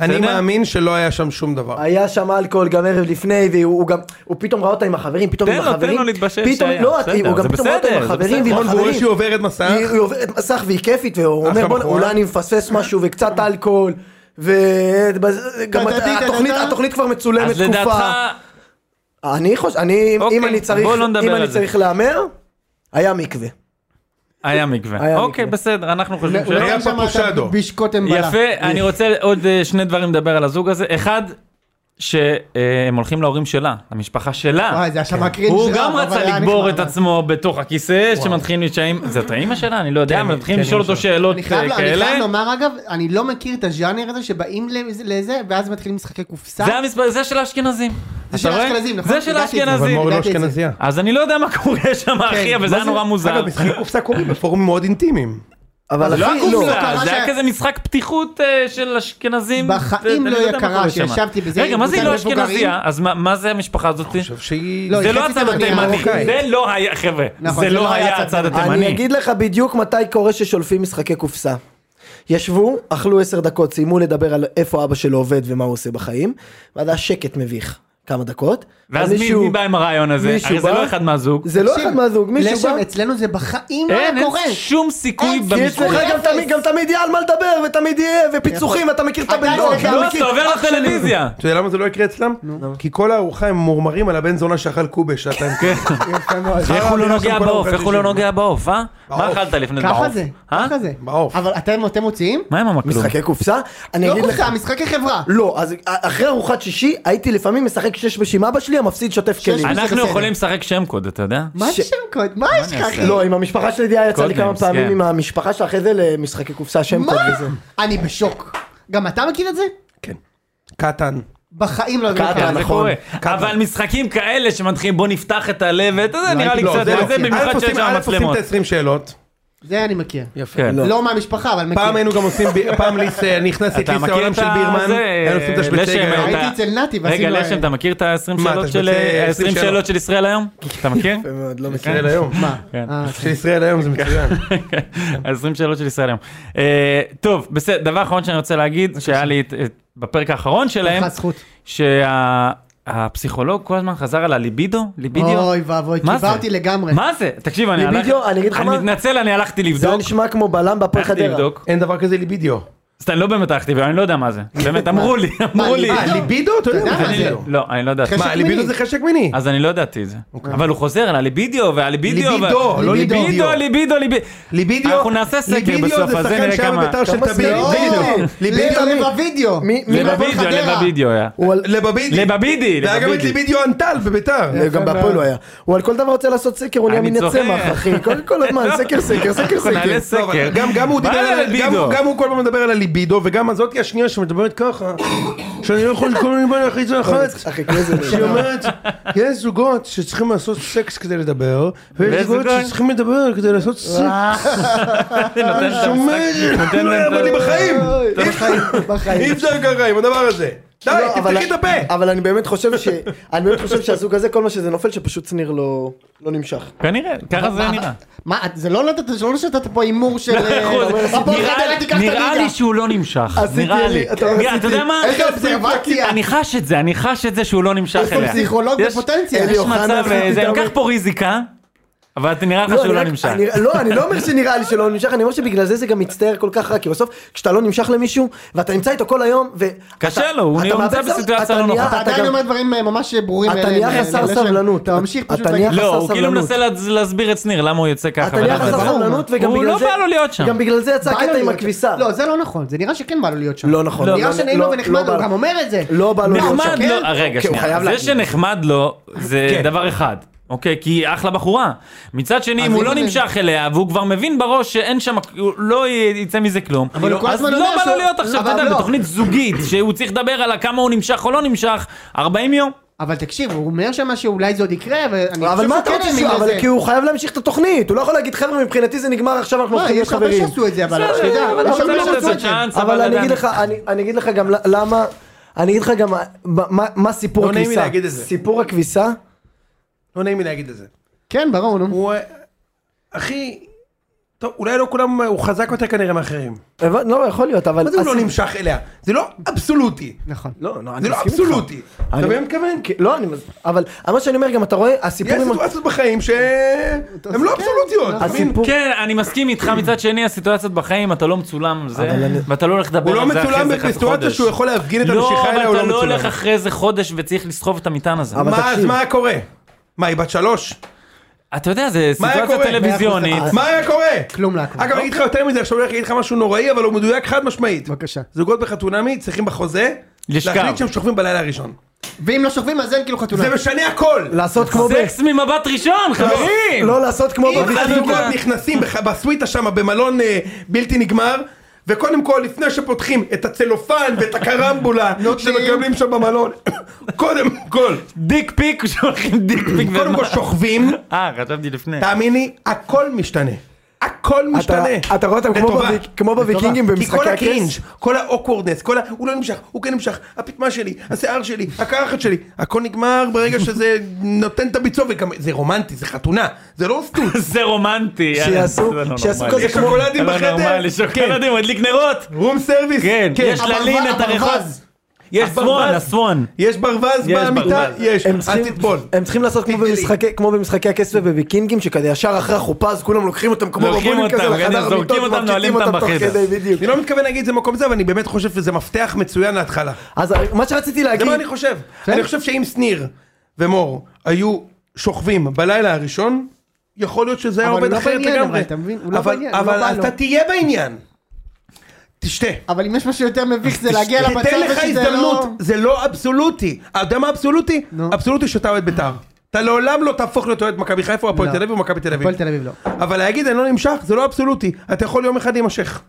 Speaker 2: אני
Speaker 4: בסדר?
Speaker 2: מאמין שלא היה שם שום דבר.
Speaker 5: אה,
Speaker 3: היה שם אלכוהול גם ערב לפני, והוא הוא גם, הוא פתאום ראה אותה עם החברים, פתאום
Speaker 4: תן
Speaker 3: עם
Speaker 4: לו, תן
Speaker 3: החברים.
Speaker 4: לו להתבשל
Speaker 3: פתאום,
Speaker 4: שהיה,
Speaker 3: לא,
Speaker 4: בסדר,
Speaker 3: הוא גם
Speaker 4: זה
Speaker 3: פתאום ראה אותה עם
Speaker 4: בסדר, זה
Speaker 3: החברים ועם
Speaker 4: בסדר.
Speaker 2: נכון, והוא רואה
Speaker 3: החברים.
Speaker 2: שהיא עוברת מסך.
Speaker 3: היא היא עוברת מסך והיא כיפית, והוא
Speaker 2: אחלה
Speaker 3: אומר בוא'נה,
Speaker 2: בחורה."
Speaker 3: אולי אני מפספס משהו וקצת אלכוהול. וגם
Speaker 5: טה-טה-טה-טה-טה.
Speaker 3: התוכנית כבר מצולמת
Speaker 4: אז
Speaker 3: תקופה.
Speaker 4: לדעתך,
Speaker 3: אני חושב, אני,
Speaker 4: אוקיי,
Speaker 3: אם אני צריך,
Speaker 4: בוא לא נדבר
Speaker 3: אם
Speaker 4: על
Speaker 3: אני
Speaker 4: זה.
Speaker 3: צריך להמר, היה מקווה.
Speaker 4: היה מקווה.
Speaker 3: היה
Speaker 4: אוקיי,
Speaker 3: מקווה.
Speaker 4: בסדר, אנחנו חושבים ש...
Speaker 5: הוא לא
Speaker 2: היה
Speaker 5: שם
Speaker 2: פפושדו.
Speaker 5: את בישקוט אמבלה.
Speaker 4: יפה, אני רוצה עוד אה, שני דברים לדבר על הזוג הזה. אחד, שהם הולכים להורים שלה, למשפחה שלה.
Speaker 5: וואי, זה היה שם הקרינג'
Speaker 4: הוא
Speaker 5: שלך,
Speaker 4: גם
Speaker 5: אבל
Speaker 4: רצה
Speaker 5: היה
Speaker 4: לקבור
Speaker 5: נחמד.
Speaker 4: את עצמו בתוך הכיסא, שמתחילים להתשעים, זה את האימא שלה? אני לא יודע, אבל מתחילים
Speaker 2: כן,
Speaker 4: לשאול
Speaker 2: אימא
Speaker 4: אותו שאלות
Speaker 5: אני
Speaker 4: אה,
Speaker 5: חייב, אני
Speaker 4: כאלה.
Speaker 5: חייב לומר אגב, אני לא מכיר את הז'אנר הזה שבאים לזה- לזה ואז מתחילים משחקי קופסה.
Speaker 4: זה המספר, זה של האשכנזים. אתה
Speaker 5: של
Speaker 4: רואה?
Speaker 5: האשכנזים, נכון?
Speaker 4: זה של
Speaker 5: ידעתי את
Speaker 2: אבל
Speaker 5: זה.
Speaker 4: האשכנזים.
Speaker 2: מור לא
Speaker 5: ידעתי את זה.
Speaker 2: אשכנזייה.
Speaker 4: אז אני לא יודע מה קורה שם, אחי, אבל זה היה נורא מוזר.
Speaker 2: אגב,
Speaker 4: (laughs)
Speaker 2: משחקי קופסה קורים בפורומים מאוד אינטימיים.
Speaker 3: אבל
Speaker 4: זה לא
Speaker 3: אחי, לא.
Speaker 5: לא
Speaker 4: הקופסה,
Speaker 5: קרה
Speaker 4: זה היה
Speaker 5: ש-
Speaker 4: כזה משחק פתיחות אה, של אשכנזים.
Speaker 5: בחיים
Speaker 4: אה,
Speaker 5: לא
Speaker 4: אני יודע מה
Speaker 5: יקרה
Speaker 4: קורה שם.
Speaker 5: שישבתי בזה
Speaker 4: רגע,
Speaker 5: עם
Speaker 4: מה זה היא
Speaker 5: קבוצת
Speaker 4: לא
Speaker 5: מבוגרים?
Speaker 4: אשכנזייה? אז מה- מה זה המשפחה הזאת?
Speaker 2: אני חושב שהיא...
Speaker 5: לא,
Speaker 4: זה
Speaker 5: היא
Speaker 4: לא
Speaker 5: חצי
Speaker 4: הצד
Speaker 5: תימניה,
Speaker 4: התימני,
Speaker 2: מרוקאית.
Speaker 4: זה לא היה, חבר'ה,
Speaker 5: נכון,
Speaker 4: זה לא היה הצד
Speaker 3: אני
Speaker 4: התימני.
Speaker 3: אגיד לך בדיוק מתי קורה ששולפים משחקי קופסה. ישבו, אכלו עשר דקות, סיימו לדבר על איפה אבא שלו עובד ומה הוא עושה בחיים, ואז היה שקט מביך כמה דקות.
Speaker 4: ואז מי-
Speaker 3: מישהו-
Speaker 4: מי בא עם הרעיון הזה?
Speaker 3: מישהו
Speaker 4: הרי זה
Speaker 3: בא?
Speaker 4: לא אחד מהזוג. כן,
Speaker 3: זה לא
Speaker 5: תקשיב,
Speaker 3: אחד מהזוג, מישהו
Speaker 5: לשם,
Speaker 3: בא...
Speaker 5: אצלנו זה בחיים לא
Speaker 4: אין,
Speaker 5: היה
Speaker 4: אין
Speaker 5: קורה.
Speaker 4: שום סיכוי
Speaker 5: אין, כי
Speaker 3: כי
Speaker 4: במשחק. לא,
Speaker 3: אצלך גם
Speaker 5: אפס.
Speaker 3: תמיד, גם תמיד יהיה על מה לדבר, ותמיד יהיה, ופיצוחים, אתה מכיר את הבן
Speaker 5: אתה
Speaker 3: דוד,
Speaker 5: יודע,
Speaker 4: לא,
Speaker 3: אתה
Speaker 4: אז
Speaker 3: מכיר...
Speaker 4: אתה עובר לטלוויזיה.
Speaker 2: אתה יודע למה זה לא יקרה אצלם? כי כל הארוחה הם מורמרים על הבן זונה שאכל קובה שעתיים.
Speaker 4: איך הוא לא נוגע בעוף? איך הוא לא נוגע בעוף, אה? מה
Speaker 2: בעוף.
Speaker 4: אכלת לפני זה
Speaker 5: ככה
Speaker 4: בעוף?
Speaker 5: זה,
Speaker 4: אה?
Speaker 5: ככה זה.
Speaker 2: בעוף.
Speaker 5: אבל אתם אתם מוציאים?
Speaker 4: מה עם המקלום?
Speaker 3: משחקי קופסה? אני
Speaker 5: לא
Speaker 3: אגיד לך...
Speaker 5: קופסה, משחקי חברה.
Speaker 3: לא, אז אחרי ארוחת שישי, הייתי לפעמים משחק שש בשביל אבא שלי, המפסיד שוטף כלים.
Speaker 5: אני-
Speaker 4: אנחנו
Speaker 5: בסדר.
Speaker 4: יכולים לשחק שם קוד, אתה יודע?
Speaker 5: מה
Speaker 3: ש-
Speaker 5: זה שם קוד? מה יש לך
Speaker 4: אני
Speaker 5: אחי?
Speaker 4: אעשה?
Speaker 3: לא, עם המשפחה שלי דייה יצא לי
Speaker 4: קוד
Speaker 3: כמה
Speaker 4: ניימס,
Speaker 3: פעמים
Speaker 4: כן.
Speaker 3: עם המשפחה שלה, אחרי זה למשחקי קופסה, שם
Speaker 5: מה?
Speaker 3: קוד וזה.
Speaker 5: אני בשוק. גם אתה מכיר את זה?
Speaker 2: כן. קטן.
Speaker 5: בחיים לא
Speaker 3: קטן,
Speaker 5: קרה.
Speaker 4: כן, זה
Speaker 3: נכון.
Speaker 4: קורה.
Speaker 2: כמה?
Speaker 4: אבל משחקים כאלה שמתחילים בוא נפתח את הלב, אתה יודע, נראה לי
Speaker 2: לא,
Speaker 4: קצת,
Speaker 2: זה לא.
Speaker 4: זה
Speaker 2: א',
Speaker 4: במיוחד שיש
Speaker 2: עושים-
Speaker 4: שם
Speaker 2: א', עושים
Speaker 4: מצלמות.
Speaker 2: את ה-20 שאלות.
Speaker 5: זה אני מכיר.
Speaker 2: יפה.
Speaker 4: כן.
Speaker 5: לא מהמשפחה, אבל מכיר.
Speaker 2: פעם היינו גם עושים, ב- פעם ליס, אה, נכנס את
Speaker 4: אתה
Speaker 2: ליס
Speaker 4: מכיר
Speaker 2: העולם
Speaker 4: את
Speaker 2: של
Speaker 4: ה-
Speaker 2: בירמן,
Speaker 4: זה, אה,
Speaker 2: היינו עושים את השבצי
Speaker 4: לשם,
Speaker 2: גרעין.
Speaker 4: אתה-
Speaker 5: הייתי אצל נתי
Speaker 4: רגע,
Speaker 5: ועשינו...
Speaker 4: לשם, אתה מכיר את ה-20
Speaker 2: מה,
Speaker 4: שאלות
Speaker 2: אתה
Speaker 4: של...
Speaker 2: רוצה
Speaker 4: 20
Speaker 2: 20
Speaker 4: שאלות של ישראל היום? אתה מכיר? (laughs)
Speaker 3: מאוד, לא מכיר.
Speaker 2: ישראל היום.
Speaker 5: מה?
Speaker 4: כן.
Speaker 5: אה,
Speaker 2: של ישראל אוקיי. היום זה (laughs) מצוין.
Speaker 4: ה-20 שאלות של ישראל היום. אה, טוב, בסדר, דבר אחרון שאני רוצה להגיד, שהיה לי את- את- בפרק האחרון שלהם,
Speaker 5: לך זכות.
Speaker 4: שהפסיכולוג כל הזמן חזר על הליבידו, ליבידיו.
Speaker 5: אוי ואבוי,
Speaker 4: מה
Speaker 5: קיבלתי
Speaker 4: זה?
Speaker 5: לגמרי.
Speaker 4: מה זה? תקשיב, אני הלכתי...
Speaker 3: ליבידיו, אני אגיד לך מה?
Speaker 4: אני מתנצל, אני הלכתי
Speaker 3: זה היה
Speaker 4: לבדוק.
Speaker 3: נשמע כמו בלם בהפועל
Speaker 4: הלכתי
Speaker 3: חדרה.
Speaker 4: לבדוק.
Speaker 2: אין דבר כזה ליבידיו.
Speaker 4: אז אני לא באמת הלכתי, ואני לא יודע
Speaker 3: (laughs)
Speaker 4: מה זה. באמת, אמרו לי, אמרו לי.
Speaker 5: ליבידו?
Speaker 2: אה, ליבידו? אתה יודע
Speaker 5: אתה
Speaker 2: מה
Speaker 5: יודע
Speaker 2: זה
Speaker 5: מה
Speaker 4: אני-
Speaker 2: ליבידו.
Speaker 4: לא, אני לא ידעתי.
Speaker 5: חשק
Speaker 2: מה, ליבידו
Speaker 5: מיני.
Speaker 2: זה חשק מיני.
Speaker 4: אז אני לא ידעתי את זה. אבל הוא חוזר על הליבידיו והליבידיו.
Speaker 2: ליבידו,
Speaker 4: וה-
Speaker 2: לא ליבידיו.
Speaker 4: ליבידו, ליבידו, ליבידו.
Speaker 2: ליבידיו,
Speaker 4: אנחנו נעשה סקר
Speaker 2: ליבידיו
Speaker 4: בסוף,
Speaker 2: זה
Speaker 4: אז זה
Speaker 2: שחקן
Speaker 4: נראה
Speaker 2: שהיה
Speaker 4: כמה-
Speaker 2: בבית"ר של
Speaker 3: כמה
Speaker 2: תמיד.
Speaker 3: סקרים?
Speaker 2: ליבידיו.
Speaker 5: ליבידו לבבידיו.
Speaker 3: מי- מי-
Speaker 5: בהפועל
Speaker 4: לביבידיו,
Speaker 5: חדרה.
Speaker 4: לביבידיו היה.
Speaker 3: הוא על-
Speaker 2: לבבידי. והיה
Speaker 4: לבבידי,
Speaker 2: גם את
Speaker 4: לבבידי.
Speaker 2: ליבידיו אנטל בביתר.
Speaker 3: גם בהפועל הוא היה. הוא על כל דבר רוצה לעשות סקר, הוא נהיה
Speaker 4: אני
Speaker 3: מין
Speaker 4: צוחק.
Speaker 3: הצמח, אחי. כל-
Speaker 4: (laughs)
Speaker 3: כל הזמן, סקר, סקר, סקר,
Speaker 4: אנחנו
Speaker 3: סקר.
Speaker 4: נעלה
Speaker 2: לא, אבל
Speaker 4: סקר.
Speaker 2: גם- גם הוא
Speaker 4: מה
Speaker 2: דיבר על
Speaker 4: לליבידו?
Speaker 2: הליבידו, גם הוא כל פעם מדבר על הליבידו, וגם הזאתי השנייה שמדברת ככה, שאני לא יכול לקרוא לליבידו אחרי זה אחת.
Speaker 3: אחי, כאילו זה-
Speaker 2: שהיא אומרת, יש זוגות שצריכים לעשות סקס כדי לדבר, ויש
Speaker 4: ויש
Speaker 2: זוגות
Speaker 4: זוגות-
Speaker 2: שצריכים לדבר כדי לעשות סקס.
Speaker 4: נותן את המשחק,
Speaker 2: שומע,
Speaker 4: נותן
Speaker 2: לא
Speaker 4: להם את
Speaker 2: יעבוד לי
Speaker 4: ה-
Speaker 2: בחיים.
Speaker 3: לא, בחיים, בחיים.
Speaker 2: אי אפשר ככה עם הדבר הזה. די,
Speaker 3: לא, אבל-
Speaker 2: תפתחי את הפה.
Speaker 3: אבל אני באמת חושב ש... אני באמת חושב שהזוג הזה, כל מה שזה נופל, שפשוט שניר לא לא נמשך.
Speaker 4: כנראה, ככה זה
Speaker 5: מה-
Speaker 4: נראה.
Speaker 5: מה, את- זה לא נתת, שלא נתת פה
Speaker 4: (laughs)
Speaker 5: הימור של... אה, הפועל
Speaker 4: נכון. נראה-
Speaker 5: חדרה תיקח את
Speaker 4: נראה לי
Speaker 5: הליגה.
Speaker 4: שהוא לא נמשך,
Speaker 3: עשיתי
Speaker 4: נראה לי.
Speaker 3: לי- אתה לא
Speaker 4: נראה- אתה יודע מה?
Speaker 5: איזה אובזרבציה.
Speaker 4: אני חש את זה, אני חש את זה שהוא לא נמשך
Speaker 5: איפה
Speaker 4: אליה.
Speaker 5: פסיכולוג
Speaker 4: יש-
Speaker 5: בפוטנציה?
Speaker 4: יש
Speaker 3: אלי אוחנה,
Speaker 4: מצב,
Speaker 3: עשיתי
Speaker 4: אה, זה-
Speaker 3: גם-
Speaker 4: קח פה ריזיקה, אבל אתה- נראה לך
Speaker 3: לא,
Speaker 4: שהוא
Speaker 3: אני
Speaker 4: לא
Speaker 3: רק-
Speaker 4: נמשך.
Speaker 3: אני- לא, אני לא אומר שנראה לי שלא נמשך, אני אומר שבגלל זה זה גם מצטער כל כך רע, כי בסוף כשאתה לא נמשך למישהו, ואתה נמצא איתו כל היום, ו...
Speaker 4: קשה
Speaker 3: אתה-
Speaker 4: לו, הוא
Speaker 3: אתה
Speaker 4: נמצא
Speaker 3: מאבד סב-
Speaker 4: בסיטואציה
Speaker 3: אתה
Speaker 4: לא
Speaker 3: נהיה-
Speaker 4: נוחה.
Speaker 3: אתה
Speaker 5: אתה עדיין
Speaker 3: גם-
Speaker 5: אומר דברים אה, ממש ברורים.
Speaker 3: אתה
Speaker 5: אה,
Speaker 3: נהיה
Speaker 5: אה,
Speaker 3: חסר
Speaker 5: לשם.
Speaker 3: סבלנות.
Speaker 5: אתה ממשיך
Speaker 3: אתה
Speaker 5: פשוט...
Speaker 3: נהיה
Speaker 5: להגיד-
Speaker 3: חסר
Speaker 4: לא, הוא כאילו
Speaker 3: סבלנות.
Speaker 4: מנסה להז- להסביר את שניר למה הוא יוצא ככה.
Speaker 3: אתה נהיה
Speaker 4: ולמה
Speaker 5: אבל
Speaker 3: חסר
Speaker 4: זה.
Speaker 5: ברור,
Speaker 3: סבלנות, וגם
Speaker 4: הוא
Speaker 3: בגלל
Speaker 4: לא
Speaker 3: זה...
Speaker 4: בא לו להיות שם.
Speaker 3: גם בגלל זה יצא
Speaker 5: בא לו
Speaker 3: הקטע עם
Speaker 5: להיות
Speaker 3: הכביסה.
Speaker 5: שם. לא, זה לא נכון, זה נראה שכן בא לו להיות שם.
Speaker 3: לא נכון.
Speaker 5: נראה
Speaker 3: לא,
Speaker 5: שנעים
Speaker 3: לא,
Speaker 5: לו ונחמד,
Speaker 3: לא
Speaker 5: הוא
Speaker 3: בא
Speaker 5: גם
Speaker 3: לו.
Speaker 5: אומר את זה. כן.
Speaker 3: לא בא לו להיות
Speaker 4: נחמד
Speaker 3: שם.
Speaker 4: לו, אה, רגע
Speaker 3: כי הוא
Speaker 4: שנייה,
Speaker 3: חייב
Speaker 4: זה
Speaker 3: להגיד.
Speaker 4: שנחמד לו זה
Speaker 2: כן.
Speaker 4: דבר אחד, אוקיי? כי היא אחלה בחורה. מצד שני, אם הוא
Speaker 5: אם
Speaker 4: לא
Speaker 5: זה-
Speaker 4: נמשך אליה, והוא כבר מבין בראש שאין שם, הוא לא י- יצא מזה כלום,
Speaker 5: אבל הוא כל
Speaker 4: אז
Speaker 5: הזמן
Speaker 4: לא
Speaker 5: אומר
Speaker 4: בא לו
Speaker 5: שהוא-
Speaker 4: להיות עכשיו, אתה
Speaker 5: אבל
Speaker 4: יודע,
Speaker 5: לא.
Speaker 4: בתוכנית זוגית, שהוא צריך לדבר על כמה הוא נמשך או לא נמשך, 40 יום.
Speaker 5: אבל תקשיב, הוא אומר שם שאולי זה עוד יקרה, ואני
Speaker 3: אבל
Speaker 5: חושב
Speaker 3: מה אתה
Speaker 5: שהוא
Speaker 3: רוצה
Speaker 5: כן
Speaker 3: שהוא...
Speaker 5: האמין
Speaker 3: אבל
Speaker 5: לזה.
Speaker 3: כי הוא חייב להמשיך את התוכנית, הוא לא יכול להגיד חבר'ה מבחינתי זה נגמר עכשיו
Speaker 2: לא,
Speaker 3: אנחנו
Speaker 5: מה,
Speaker 3: הולכים להיות
Speaker 5: יש הרבה
Speaker 3: חברים.
Speaker 5: לא, שעשו את זה, אבל
Speaker 4: בסדר,
Speaker 5: אתה יודע,
Speaker 4: אבל
Speaker 5: יש
Speaker 4: אתה נותן
Speaker 5: הרבה
Speaker 4: לו את אה?
Speaker 5: שעשו את זה.
Speaker 4: הצ'אנס,
Speaker 3: אבל אני
Speaker 4: עדיין.
Speaker 3: אגיד לך, אני- אני אגיד לך גם ל- למה, אני אגיד לך גם מה- מה- מה סיפור
Speaker 2: לא נעים לי
Speaker 3: הכביסה.
Speaker 2: להגיד את זה.
Speaker 3: סיפור הכביסה,
Speaker 2: לא נעים לי להגיד את זה.
Speaker 5: כן, ברור, נו.
Speaker 2: הוא... אה, אחי... טוב, אולי לא כולם, הוא חזק יותר כנראה מאחרים.
Speaker 3: הבנ- לא יכול להיות, אבל...
Speaker 2: מה זה הוא לא
Speaker 3: הסיפור-
Speaker 2: נמשך אליה? זה לא אבסולוטי.
Speaker 5: נכון.
Speaker 3: לא, לא,
Speaker 2: זה
Speaker 3: אני
Speaker 2: לא
Speaker 3: מסכים איתך.
Speaker 2: אבסולוטי. אתה
Speaker 3: אני-
Speaker 2: מבין מה אני מתכוון?
Speaker 3: כן, לא, אני... מס- אבל מה שאני אומר גם, אתה רואה,
Speaker 2: יש
Speaker 3: הסיפורים...
Speaker 2: סיטואציות בחיים שהן לא
Speaker 5: כן,
Speaker 2: אבסולוטיות. אתה מבין?
Speaker 3: הסיפור...
Speaker 4: כן, אני מסכים איתך, מצד שני, הסיטואציות בחיים, אתה לא מצולם, זה,
Speaker 3: אני-
Speaker 4: ואתה לא הולך
Speaker 2: הוא
Speaker 4: לדבר
Speaker 2: לא
Speaker 4: על זה אחרי זה
Speaker 2: מצולם
Speaker 4: חצי חודש.
Speaker 2: בסיטואציה שהוא יכול להפגין את
Speaker 4: לא,
Speaker 2: המשיכה
Speaker 4: אבל
Speaker 2: אליה, הוא
Speaker 4: אתה
Speaker 2: לא
Speaker 4: לא הולך
Speaker 2: מצולם.
Speaker 4: אחרי זה חודש וצריך לסחוב את המטען הזה.
Speaker 3: אבל
Speaker 2: מה, אז
Speaker 3: תקשיב.
Speaker 2: מה קורה? מה, היא בת שלוש?
Speaker 4: אתה יודע, זה
Speaker 2: מה היה
Speaker 4: סיטואציה
Speaker 2: קורה?
Speaker 4: טלוויזיונית.
Speaker 2: מה היה קורה?
Speaker 5: כלום לא היה קורה.
Speaker 2: אגב, אני אגיד לך יותר מזה, עכשיו אני הולך להגיד לך משהו נוראי, אבל הוא מדויק חד משמעית.
Speaker 5: בבקשה.
Speaker 2: זוגות בחתונמי צריכים בחוזה
Speaker 4: לשכב.
Speaker 2: להחליט שהם שוכבים בלילה הראשון.
Speaker 5: ואם לא שוכבים אז אין כאילו חתונה.
Speaker 2: זה משנה הכל!
Speaker 3: לעשות כמו ב...
Speaker 4: סקס ממבט ראשון, חברים!
Speaker 3: לא לעשות כמו
Speaker 2: אם
Speaker 3: בוויסקי.
Speaker 5: לא,
Speaker 2: הזוגות נכנסים בח- בסוויטה שם במלון אה, בלתי נגמר וקודם כל לפני שפותחים את הצלופן ואת הקרמבולה שמקבלים שם במלון (coughs) קודם כל
Speaker 4: דיק פיק, (laughs) שולחים דיק פיק.
Speaker 2: קודם כל
Speaker 4: ומה?
Speaker 2: שוכבים
Speaker 4: אה, חשבתי לפני.
Speaker 2: תאמין לי הכל משתנה הכל משתנה
Speaker 3: אתה- אתה רואה אותם כמו
Speaker 2: לטובה.
Speaker 3: בוויק- כמו בוויקינגים
Speaker 2: כי כל
Speaker 3: במשחקי
Speaker 2: הקרינג'
Speaker 3: הכס.
Speaker 2: כל האוקוורדנס כל ה... הוא לא נמשך הוא כן נמשך הפטמה שלי השיער שלי הקרחת שלי הכל נגמר ברגע שזה נותן את הביצוע וגם זה רומנטי זה חתונה זה לא סטוט
Speaker 4: זה רומנטי. יאללה,
Speaker 3: שיעשו-
Speaker 4: זה לא
Speaker 3: שיעשו
Speaker 4: נורמלי.
Speaker 3: כזה
Speaker 2: יש
Speaker 3: כמו-
Speaker 2: שוקולדים
Speaker 4: לא
Speaker 2: בחדר כן.
Speaker 4: נורמלי, שוקולדים, מדליק נרות.
Speaker 2: רום סרוויס
Speaker 4: כן, יש ללין את הרחוב.
Speaker 2: יש
Speaker 4: הסוואן,
Speaker 2: ברווז,
Speaker 4: הסוואן.
Speaker 2: יש ברווז
Speaker 4: יש
Speaker 2: במיטה,
Speaker 4: ברווז.
Speaker 2: יש,
Speaker 3: הם
Speaker 2: אל
Speaker 3: צריכים-
Speaker 2: תטבול.
Speaker 3: הם צריכים לעשות כמו
Speaker 2: תטבלי.
Speaker 3: במשחקי- כמו במשחקי הכס ובוויקינגים שכזה ישר אחרי החופה אז כולם לוקחים אותם כמו
Speaker 4: לוקחים
Speaker 3: בבונים כזה
Speaker 4: אותם, כן,
Speaker 3: לחדר
Speaker 4: זורקים
Speaker 3: המיטות
Speaker 4: אותם,
Speaker 3: ומפציצים
Speaker 4: נועלים
Speaker 3: אותם
Speaker 4: אותם
Speaker 3: תוך
Speaker 4: בחדר.
Speaker 3: כדי, בדיוק.
Speaker 2: אני לא מתכוון להגיד זה מקום זה, אבל אני באמת חושב שזה מפתח מצוין להתחלה.
Speaker 3: אז אה, מה שרציתי
Speaker 2: זה
Speaker 3: להגיד,
Speaker 2: מה אני חושב.
Speaker 5: כן.
Speaker 2: אני חושב שאם שניר ומור היו שוכבים בלילה הראשון, יכול להיות שזה היה
Speaker 5: אבל
Speaker 2: עובד
Speaker 5: הוא לא
Speaker 2: אחרת
Speaker 5: בעניין,
Speaker 2: לגמרי.
Speaker 5: אבל אתה מבין? הוא לא
Speaker 2: אבל-
Speaker 5: בעניין, הוא לא בא
Speaker 2: אבל
Speaker 5: לו.
Speaker 2: אתה תהיה בעניין. תשתה.
Speaker 5: אבל אם יש משהו יותר מביך זה להגיע
Speaker 2: (laughs)
Speaker 5: למצב
Speaker 2: תיתן לך
Speaker 5: ושזה
Speaker 2: הזדמנות,
Speaker 5: לא...
Speaker 2: זה לא אבסולוטי. אתה יודע מה אבסולוטי?
Speaker 5: נו.
Speaker 2: אבסולוטי שאתה אוהד בית"ר. אתה לעולם לא תהפוך להיות אוהד מכבי חיפה או הפועל
Speaker 5: לא.
Speaker 2: תל אביב או מכבי תל אביב.
Speaker 5: הפועל תל אביב לא.
Speaker 2: אבל להגיד אני לא נמשך זה לא אבסולוטי, אתה יכול יום אחד להימשך.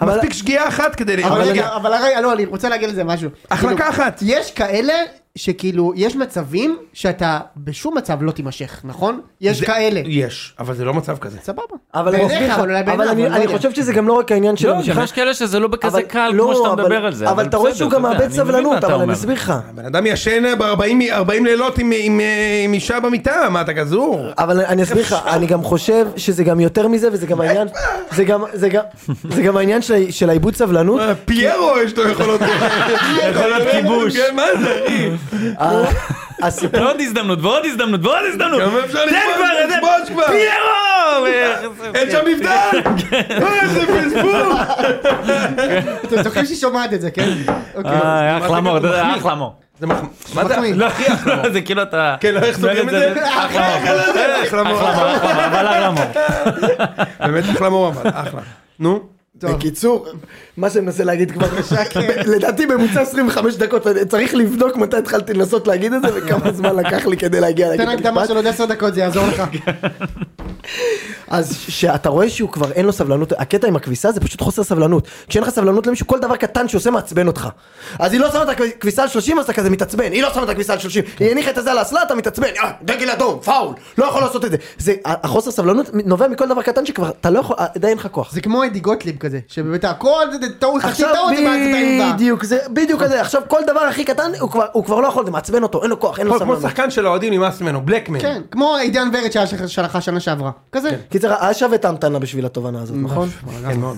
Speaker 3: אבל-
Speaker 2: מספיק שגיאה אחת כדי ל...
Speaker 5: אבל
Speaker 2: רגע,
Speaker 5: רגע, אבל רגע, לא, אני רוצה להגיד לזה משהו.
Speaker 2: החלקה
Speaker 5: כאילו,
Speaker 2: אחת.
Speaker 5: יש כאלה שכאילו, יש מצבים שאתה בשום מצב לא תימשך, נכון? יש
Speaker 2: זה-
Speaker 5: כאלה.
Speaker 2: יש, אבל זה לא מצב כזה.
Speaker 5: סבבה.
Speaker 3: אבל
Speaker 5: בעיניך,
Speaker 3: אני-
Speaker 5: אבל אולי
Speaker 3: אבל
Speaker 5: בעיניו,
Speaker 3: אני-
Speaker 5: לא
Speaker 3: אני
Speaker 5: יודע.
Speaker 3: חושב שזה גם לא רק העניין של
Speaker 4: לא, גם
Speaker 3: המשיכה,
Speaker 4: יש כאלה שזה לא בכזה
Speaker 3: אבל-
Speaker 4: קל
Speaker 3: לא,
Speaker 4: כמו שאתה
Speaker 3: אבל-
Speaker 4: מדבר על זה.
Speaker 3: אבל אתה רואה שהוא
Speaker 4: בסדר,
Speaker 3: גם
Speaker 4: אתה יודע,
Speaker 3: מאבד
Speaker 4: אני מבין מה
Speaker 3: סבלנות
Speaker 4: אתה
Speaker 3: אבל אני
Speaker 4: אומר.
Speaker 3: אסביר לך,
Speaker 2: הבן אדם ישן ב-40 לילות עם- עם אה, עם אישה במיטה, מה אתה גזור?
Speaker 3: אבל אני אסביר
Speaker 4: (laughs)
Speaker 3: לך, אני גם חושב שזה גם יותר מזה וזה גם העניין, זה גם- זה גם- זה גם העניין של ה- של העיבוד סבלנות,
Speaker 2: אה, פיירו יש לו יכולות (laughs) יכולות
Speaker 4: כיבוש.
Speaker 2: מה זה אחי?
Speaker 3: ה- הסיפור
Speaker 4: (laughs) ועוד הזדמנות, ועוד הזדמנות, ועוד הזדמנות.
Speaker 2: כמה אפשר
Speaker 4: תן
Speaker 2: לכבוש?
Speaker 4: כבר, תן-
Speaker 2: לכבוש כבר.
Speaker 4: פיירו!
Speaker 2: (laughs)
Speaker 4: ו-
Speaker 2: אין שם מבדל! לא, איזה פספוס!
Speaker 5: אתם זוכרים שהיא שומעת את זה, כן? אוקיי.
Speaker 4: אה, אחלה מור,
Speaker 2: מה זה
Speaker 4: אתה יודע,
Speaker 2: מחמיא?
Speaker 4: אחלה מור.
Speaker 2: זה מח- מה זה?
Speaker 5: מחמיא.
Speaker 4: לא, לא, (laughs) זה כאילו אתה...
Speaker 2: כן, לא, איך סוגרים את זה?
Speaker 4: אחלה מור.
Speaker 2: אחלה מור.
Speaker 4: אחלה מור, אחלה מור, אבל
Speaker 2: (laughs)
Speaker 4: אחלה מור.
Speaker 2: באמת אחלה מור אבל, אחלה. נו.
Speaker 6: בקיצור,
Speaker 3: מה שאני מנסה להגיד כבר,
Speaker 6: לדעתי בממוצע 25 דקות, אני צריך לבדוק מתי התחלתי לנסות להגיד את זה וכמה זמן לקח לי כדי להגיע להגיד
Speaker 5: תן
Speaker 6: את
Speaker 5: הקדמה
Speaker 6: המשפט.
Speaker 5: של עוד עשר דקות, זה יעזור
Speaker 3: (laughs)
Speaker 5: לך.
Speaker 3: כן. אז שאתה רואה שהוא כבר אין לו סבלנות, הקטע עם הכביסה זה פשוט חוסר סבלנות. כשאין לך סבלנות למישהו, כל דבר קטן שעושה מעצבן אותך. אז היא לא שמה את הכביסה על 30, אז אתה כזה מתעצבן. היא לא שמה את הכביסה על 30, היא הניחה את הזה על האסלה, אתה מתעצבן. אה, דגל אדום, פאול, לא יכול לעשות את זה. זה, החוסר סבלנות נובע מכל דבר קטן שכבר, אתה לא יכול, די אין לך כוח.
Speaker 5: זה כמו אדי גוטליב כזה, שבאמת הכל זה זה טעות, חצי טעות זה מעצבן בה.
Speaker 3: בדיוק, זה בדיוק כזה, עכשיו כל דבר הכי קטן, הוא כבר- הוא כבר לא יכול, זה מעצבן אותו, אין לו כוח, אין לו
Speaker 2: כמו
Speaker 3: סבלנות.
Speaker 2: שחקן של האוהדים נמאס ממנו, בלקמן.
Speaker 5: כן, כמו עידן ורד שהיה שלך- שלחה שנה שעברה. כזה.
Speaker 3: קיצר, היה שווה את ההמתנה בשביל התובנה הזאת, נכון?
Speaker 2: כן, מאוד.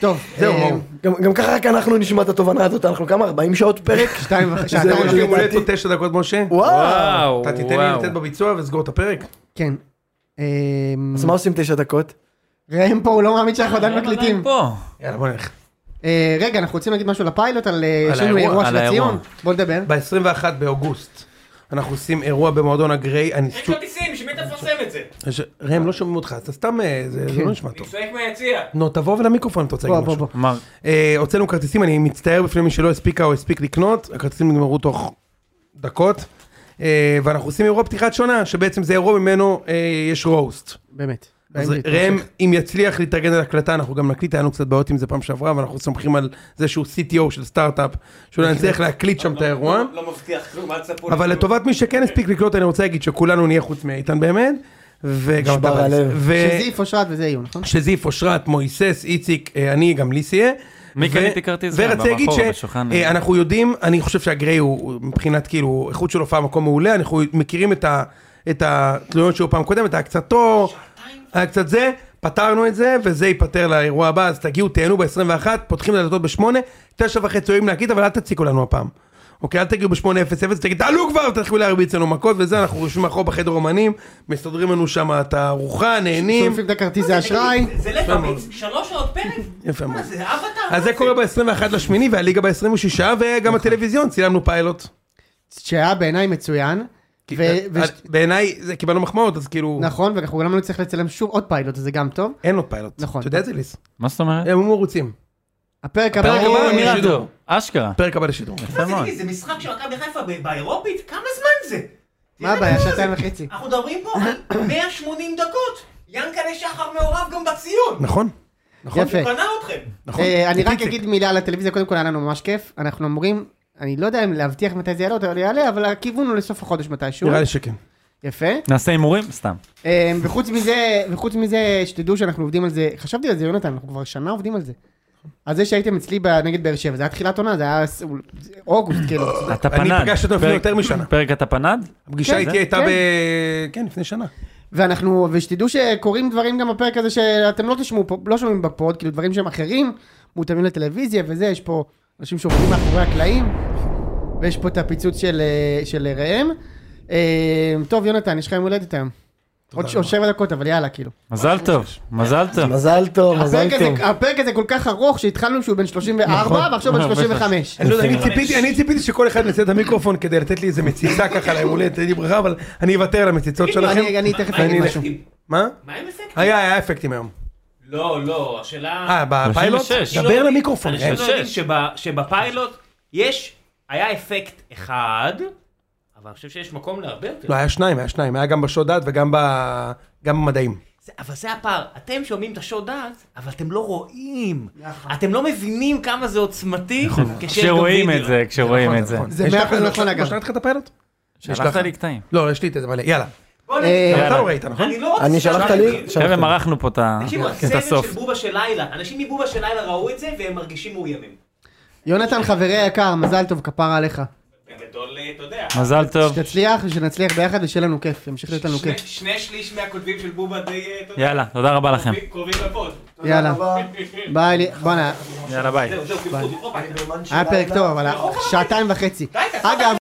Speaker 5: טוב,
Speaker 2: זהו,
Speaker 5: אה,
Speaker 2: מור.
Speaker 3: גם גם ככה רק אנחנו נשמע את התובנה הזאת, אנחנו כמה 40 שעות
Speaker 5: (laughs)
Speaker 3: פרק?
Speaker 5: שתיים וחצי, שעתיים
Speaker 2: יש לי
Speaker 5: וחצי.
Speaker 2: יום הולדת עוד תשע דקות, משה?
Speaker 3: וואו.
Speaker 4: וואו,
Speaker 2: אתה תיתן לי
Speaker 4: וואו.
Speaker 2: לתת בביצוע וסגור את הפרק?
Speaker 5: כן. אה,
Speaker 3: אז מה עושים תשע דקות?
Speaker 5: ראם פה, הוא לא מאמין שאנחנו עדיין מקליטים.
Speaker 4: פה.
Speaker 2: יאללה בוא נלך.
Speaker 5: אה, רגע, אנחנו רוצים להגיד משהו לפיילוט, על אה,
Speaker 2: על
Speaker 5: יש לנו
Speaker 2: האירוע,
Speaker 5: אירוע
Speaker 4: על
Speaker 5: של
Speaker 4: האירוע.
Speaker 5: הציון. בוא נדבר.
Speaker 2: ב-21 באוגוסט אנחנו עושים אירוע במועדון הגריי. אני
Speaker 1: יש
Speaker 2: שוב-
Speaker 1: כרטיסים, שמי תפרסם את זה?
Speaker 2: יש- ראם לא שומעים אותך, אתה סתם, אה, זה זה לא נשמע
Speaker 1: אני
Speaker 2: טוב.
Speaker 1: צועק מהיציע.
Speaker 2: נו תבוא ולמיקרופון אם אתה רוצה
Speaker 5: כן. בוא,
Speaker 2: להגיד
Speaker 5: בוא,
Speaker 2: משהו.
Speaker 5: בוא.
Speaker 4: מר,
Speaker 2: אה, הוצאנו כרטיסים, אני מצטער בפני מי שלא הספיקה או הספיק לקנות, הכרטיסים נגמרו תוך דקות. אה, ואנחנו עושים אירוע פתיחת שונה, שבעצם זה אירוע ממנו אה, יש רוסט.
Speaker 5: באמת.
Speaker 2: אז
Speaker 5: באנגלית,
Speaker 2: ראם,
Speaker 5: תמשיך.
Speaker 2: אם יצליח להתארגן על הקלטה, אנחנו גם נקליט, היה לנו קצת בעיות עם זה פעם שעברה, ואנחנו סומכים על זה שהוא CTO של סטארט-אפ, שאולי נצליח להקליט שם את האירוע.
Speaker 1: לא מבטיח כלום, אל תספרו.
Speaker 2: אבל לטובת מי שכן הספיק לקלוט, אני רוצה להגיד שכולנו נהיה חוץ מאיתן באמת, וגם
Speaker 3: נשבר
Speaker 2: אתה,
Speaker 3: הלב.
Speaker 2: ו-
Speaker 5: שזיף, אושרת וזה יהיו, נכון?
Speaker 2: שזיף, אושרת, מויסס, איציק, אה, אני, גם לי סייע.
Speaker 4: מי
Speaker 2: ו-
Speaker 4: קניתי כרטיס גם?
Speaker 2: ורציתי להגיד
Speaker 4: במקור, בשולחן, אה.
Speaker 2: שאנחנו יודעים, אני חושב שהגריי הוא הוא מבחינת כאילו איכות של הופעה מקום מעולה, אנחנו מכירים את ה- את התלונות שהיו פעם קודמת, היה קצת תור, היה קצת זה, פתרנו את זה, וזה ייפתר לאירוע הבא, אז תגיעו, תהנו ב-21, פותחים את הדלתות ב-8, תשע וחצי עולים להקליט, אבל אל תציקו לנו הפעם. אוקיי, אל תגיעו ב-8:00, תגידו, תעלו כבר, תתחילו להרביץ לנו מכות וזה, אנחנו יושבים מאחור בחדר אומנים, מסדרים לנו שם את הארוחה, נהנים.
Speaker 5: שורפים את הכרטיס האשראי.
Speaker 1: זה לפעמים שלוש שעות פרק?
Speaker 2: יפה מאוד.
Speaker 1: מה זה, אבטאר?
Speaker 2: אז זה קורה ב-21 לשמיני והליגה ב-26 וגם
Speaker 5: נכון.
Speaker 2: הטלוויזיון צילמנו פיילוט.
Speaker 5: שהיה בעיניי מצוין. ו- ו-
Speaker 2: אז בעיניי זה- קיבלנו מחמאות אז כאילו
Speaker 5: נכון, ואנחנו גם לא נצטרך לצלם שוב עוד פיילוט, אז זה גם טוב.
Speaker 2: אין עוד פיילוט.
Speaker 5: נכון.
Speaker 2: אתה יודע את זה ליס?
Speaker 4: מה זאת אומרת?
Speaker 2: הם היו מרוצים.
Speaker 5: הפרק הבא,
Speaker 4: פרק
Speaker 2: ברור,
Speaker 4: הבא
Speaker 2: לשידור.
Speaker 4: במירטו, אשכרה.
Speaker 2: פרק הבא לשידור.
Speaker 4: יפה
Speaker 5: נכון.
Speaker 4: מאוד.
Speaker 1: זה משחק של מכבי חיפה ב- באירופית? כמה זמן זה?
Speaker 5: מה הבעיה? שעתיים וחצי.
Speaker 1: אנחנו מדברים פה על 180 דקות. ינקלה שחר מעורב גם בציון.
Speaker 2: נכון,
Speaker 5: יפה.
Speaker 1: הוא קנה אתכם.
Speaker 2: נכון.
Speaker 5: אה, אני רק
Speaker 2: איציק.
Speaker 5: אגיד מילה על הטלוויזיה, קודם כל היה לנו ממש כיף, אנחנו אמורים, אני לא יודע אם להבטיח מתי זה יעלה או יעלה, אבל הכיוון הוא לסוף החודש מתישהו.
Speaker 2: נראה לי שכן.
Speaker 5: יפה.
Speaker 4: נעשה הימורים? סתם.
Speaker 5: אה, וחוץ מזה, וחוץ מזה, שתדעו שאנחנו עובדים על זה, חשבתי על זה יונתן, אנחנו כבר שנה עובדים על זה. על זה שהייתם אצלי ב- נגד באר שבע, זה היה תחילת עונה, זה היה ס- אוגוסט,
Speaker 2: (coughs)
Speaker 5: כאילו.
Speaker 4: אתה
Speaker 2: אני פגשתי אותו לפני
Speaker 4: פרק-
Speaker 2: יותר משנה.
Speaker 4: פרק אתה פנד?
Speaker 2: הפגישה
Speaker 5: כן,
Speaker 2: איתי
Speaker 5: זה-
Speaker 2: הייתה
Speaker 5: כן.
Speaker 2: ב... כן, לפני שנה.
Speaker 5: ואנחנו, ושתדעו שקורים דברים גם בפרק הזה שאתם לא תשמעו פה, לא שומעים בפוד, כאילו דברים שהם אחרים, מותאמים לטלוויזיה וזה, יש פה אנשים שעובדים מאחורי הקלעים, ויש פה את הפיצוץ של, אה, של ראם. אה, טוב, יונתן, יש לך יום הולדת היום. עוד ש- עוד שבע דקות, אבל יאללה, כאילו.
Speaker 4: מזל טוב, מזל
Speaker 2: לא
Speaker 4: טוב.
Speaker 6: מזל טוב, מזל
Speaker 5: הפרק
Speaker 6: טוב.
Speaker 5: הזה, הפרק הזה כל כך ארוך שהתחלנו שהוא בן 34 ועכשיו בן 35.
Speaker 2: אני לא יודע, אני ציפיתי- אני ציפיתי שכל אחד ינסה את המיקרופון כדי לתת לי איזה מציצה ככה ליום הולדת, תהיה לי ברכה, אבל אני אוותר על המציצות שלכם.
Speaker 5: אני- אני תכף
Speaker 1: מה עם
Speaker 5: אגיד משהו. אה,
Speaker 1: אפקטים?
Speaker 2: מה?
Speaker 1: מה עם אפקטים?
Speaker 2: היה, היה אפקטים היום.
Speaker 1: לא, לא, השאלה...
Speaker 2: אה, בפיילוט?
Speaker 4: 36.
Speaker 2: דבר למיקרופון.
Speaker 1: אנשים
Speaker 4: כן.
Speaker 1: לא יודעים
Speaker 4: שש.
Speaker 1: שב- שבפיילוט יש, היה אפקט אחד, אבל אני חושב שיש מקום להרבה יותר.
Speaker 2: לא, היה שניים, היה שניים, היה גם בשוד דעת וגם ב- גם במדעים.
Speaker 1: זה- אבל זה הפער, אתם שומעים את השוד דעת, אבל אתם לא רואים. אתם לא מבינים כמה זה עוצמתי כשיש גם
Speaker 4: נכון. כשרואים
Speaker 1: וידאו.
Speaker 4: את זה, כשרואים את זה.
Speaker 5: זה
Speaker 2: יש
Speaker 5: מאה
Speaker 2: לך-
Speaker 5: אחוז נכון, אגב.
Speaker 2: שלחתי לך את הפיילוט?
Speaker 4: שלחת לי קטעים.
Speaker 2: לא, יש לי את זה, אבל יאללה.
Speaker 1: בוא נגיד,
Speaker 2: אתה
Speaker 4: יאללה.
Speaker 2: לא ראית, נכון?
Speaker 1: אני לא רוצה...
Speaker 6: אני שלחת לי,
Speaker 4: חבר'ה,
Speaker 6: שלחת לי.
Speaker 4: מרחנו פה את ה-
Speaker 1: תקשיבו,
Speaker 4: כן, את
Speaker 1: הסרט
Speaker 4: הסוף.
Speaker 1: של בובה של לילה, אנשים מבובה של לילה ראו את זה והם מרגישים מאוימים.
Speaker 5: יונתן חברי היקר, מזל טוב, כפרה עליך.
Speaker 1: בגדול, אה, אתה יודע.
Speaker 4: מזל טוב.
Speaker 5: שתצליח ושנצליח ביחד ושיהיה לנו כיף, ימשיך להיות לנו
Speaker 1: שני-
Speaker 5: כיף.
Speaker 1: שני שליש מהכותבים של בובה די... אה, אתה יודע,
Speaker 4: יאללה, תודה רבה לכם.
Speaker 1: קרובים- קרובים לפוד.
Speaker 5: יאללה. ביי, לי- בואנה,
Speaker 4: יאללה, ביי.
Speaker 1: זהו, זהו, פלפול. הופה.
Speaker 5: היה פרק טוב, אבל שעתיים וחצי. אגב,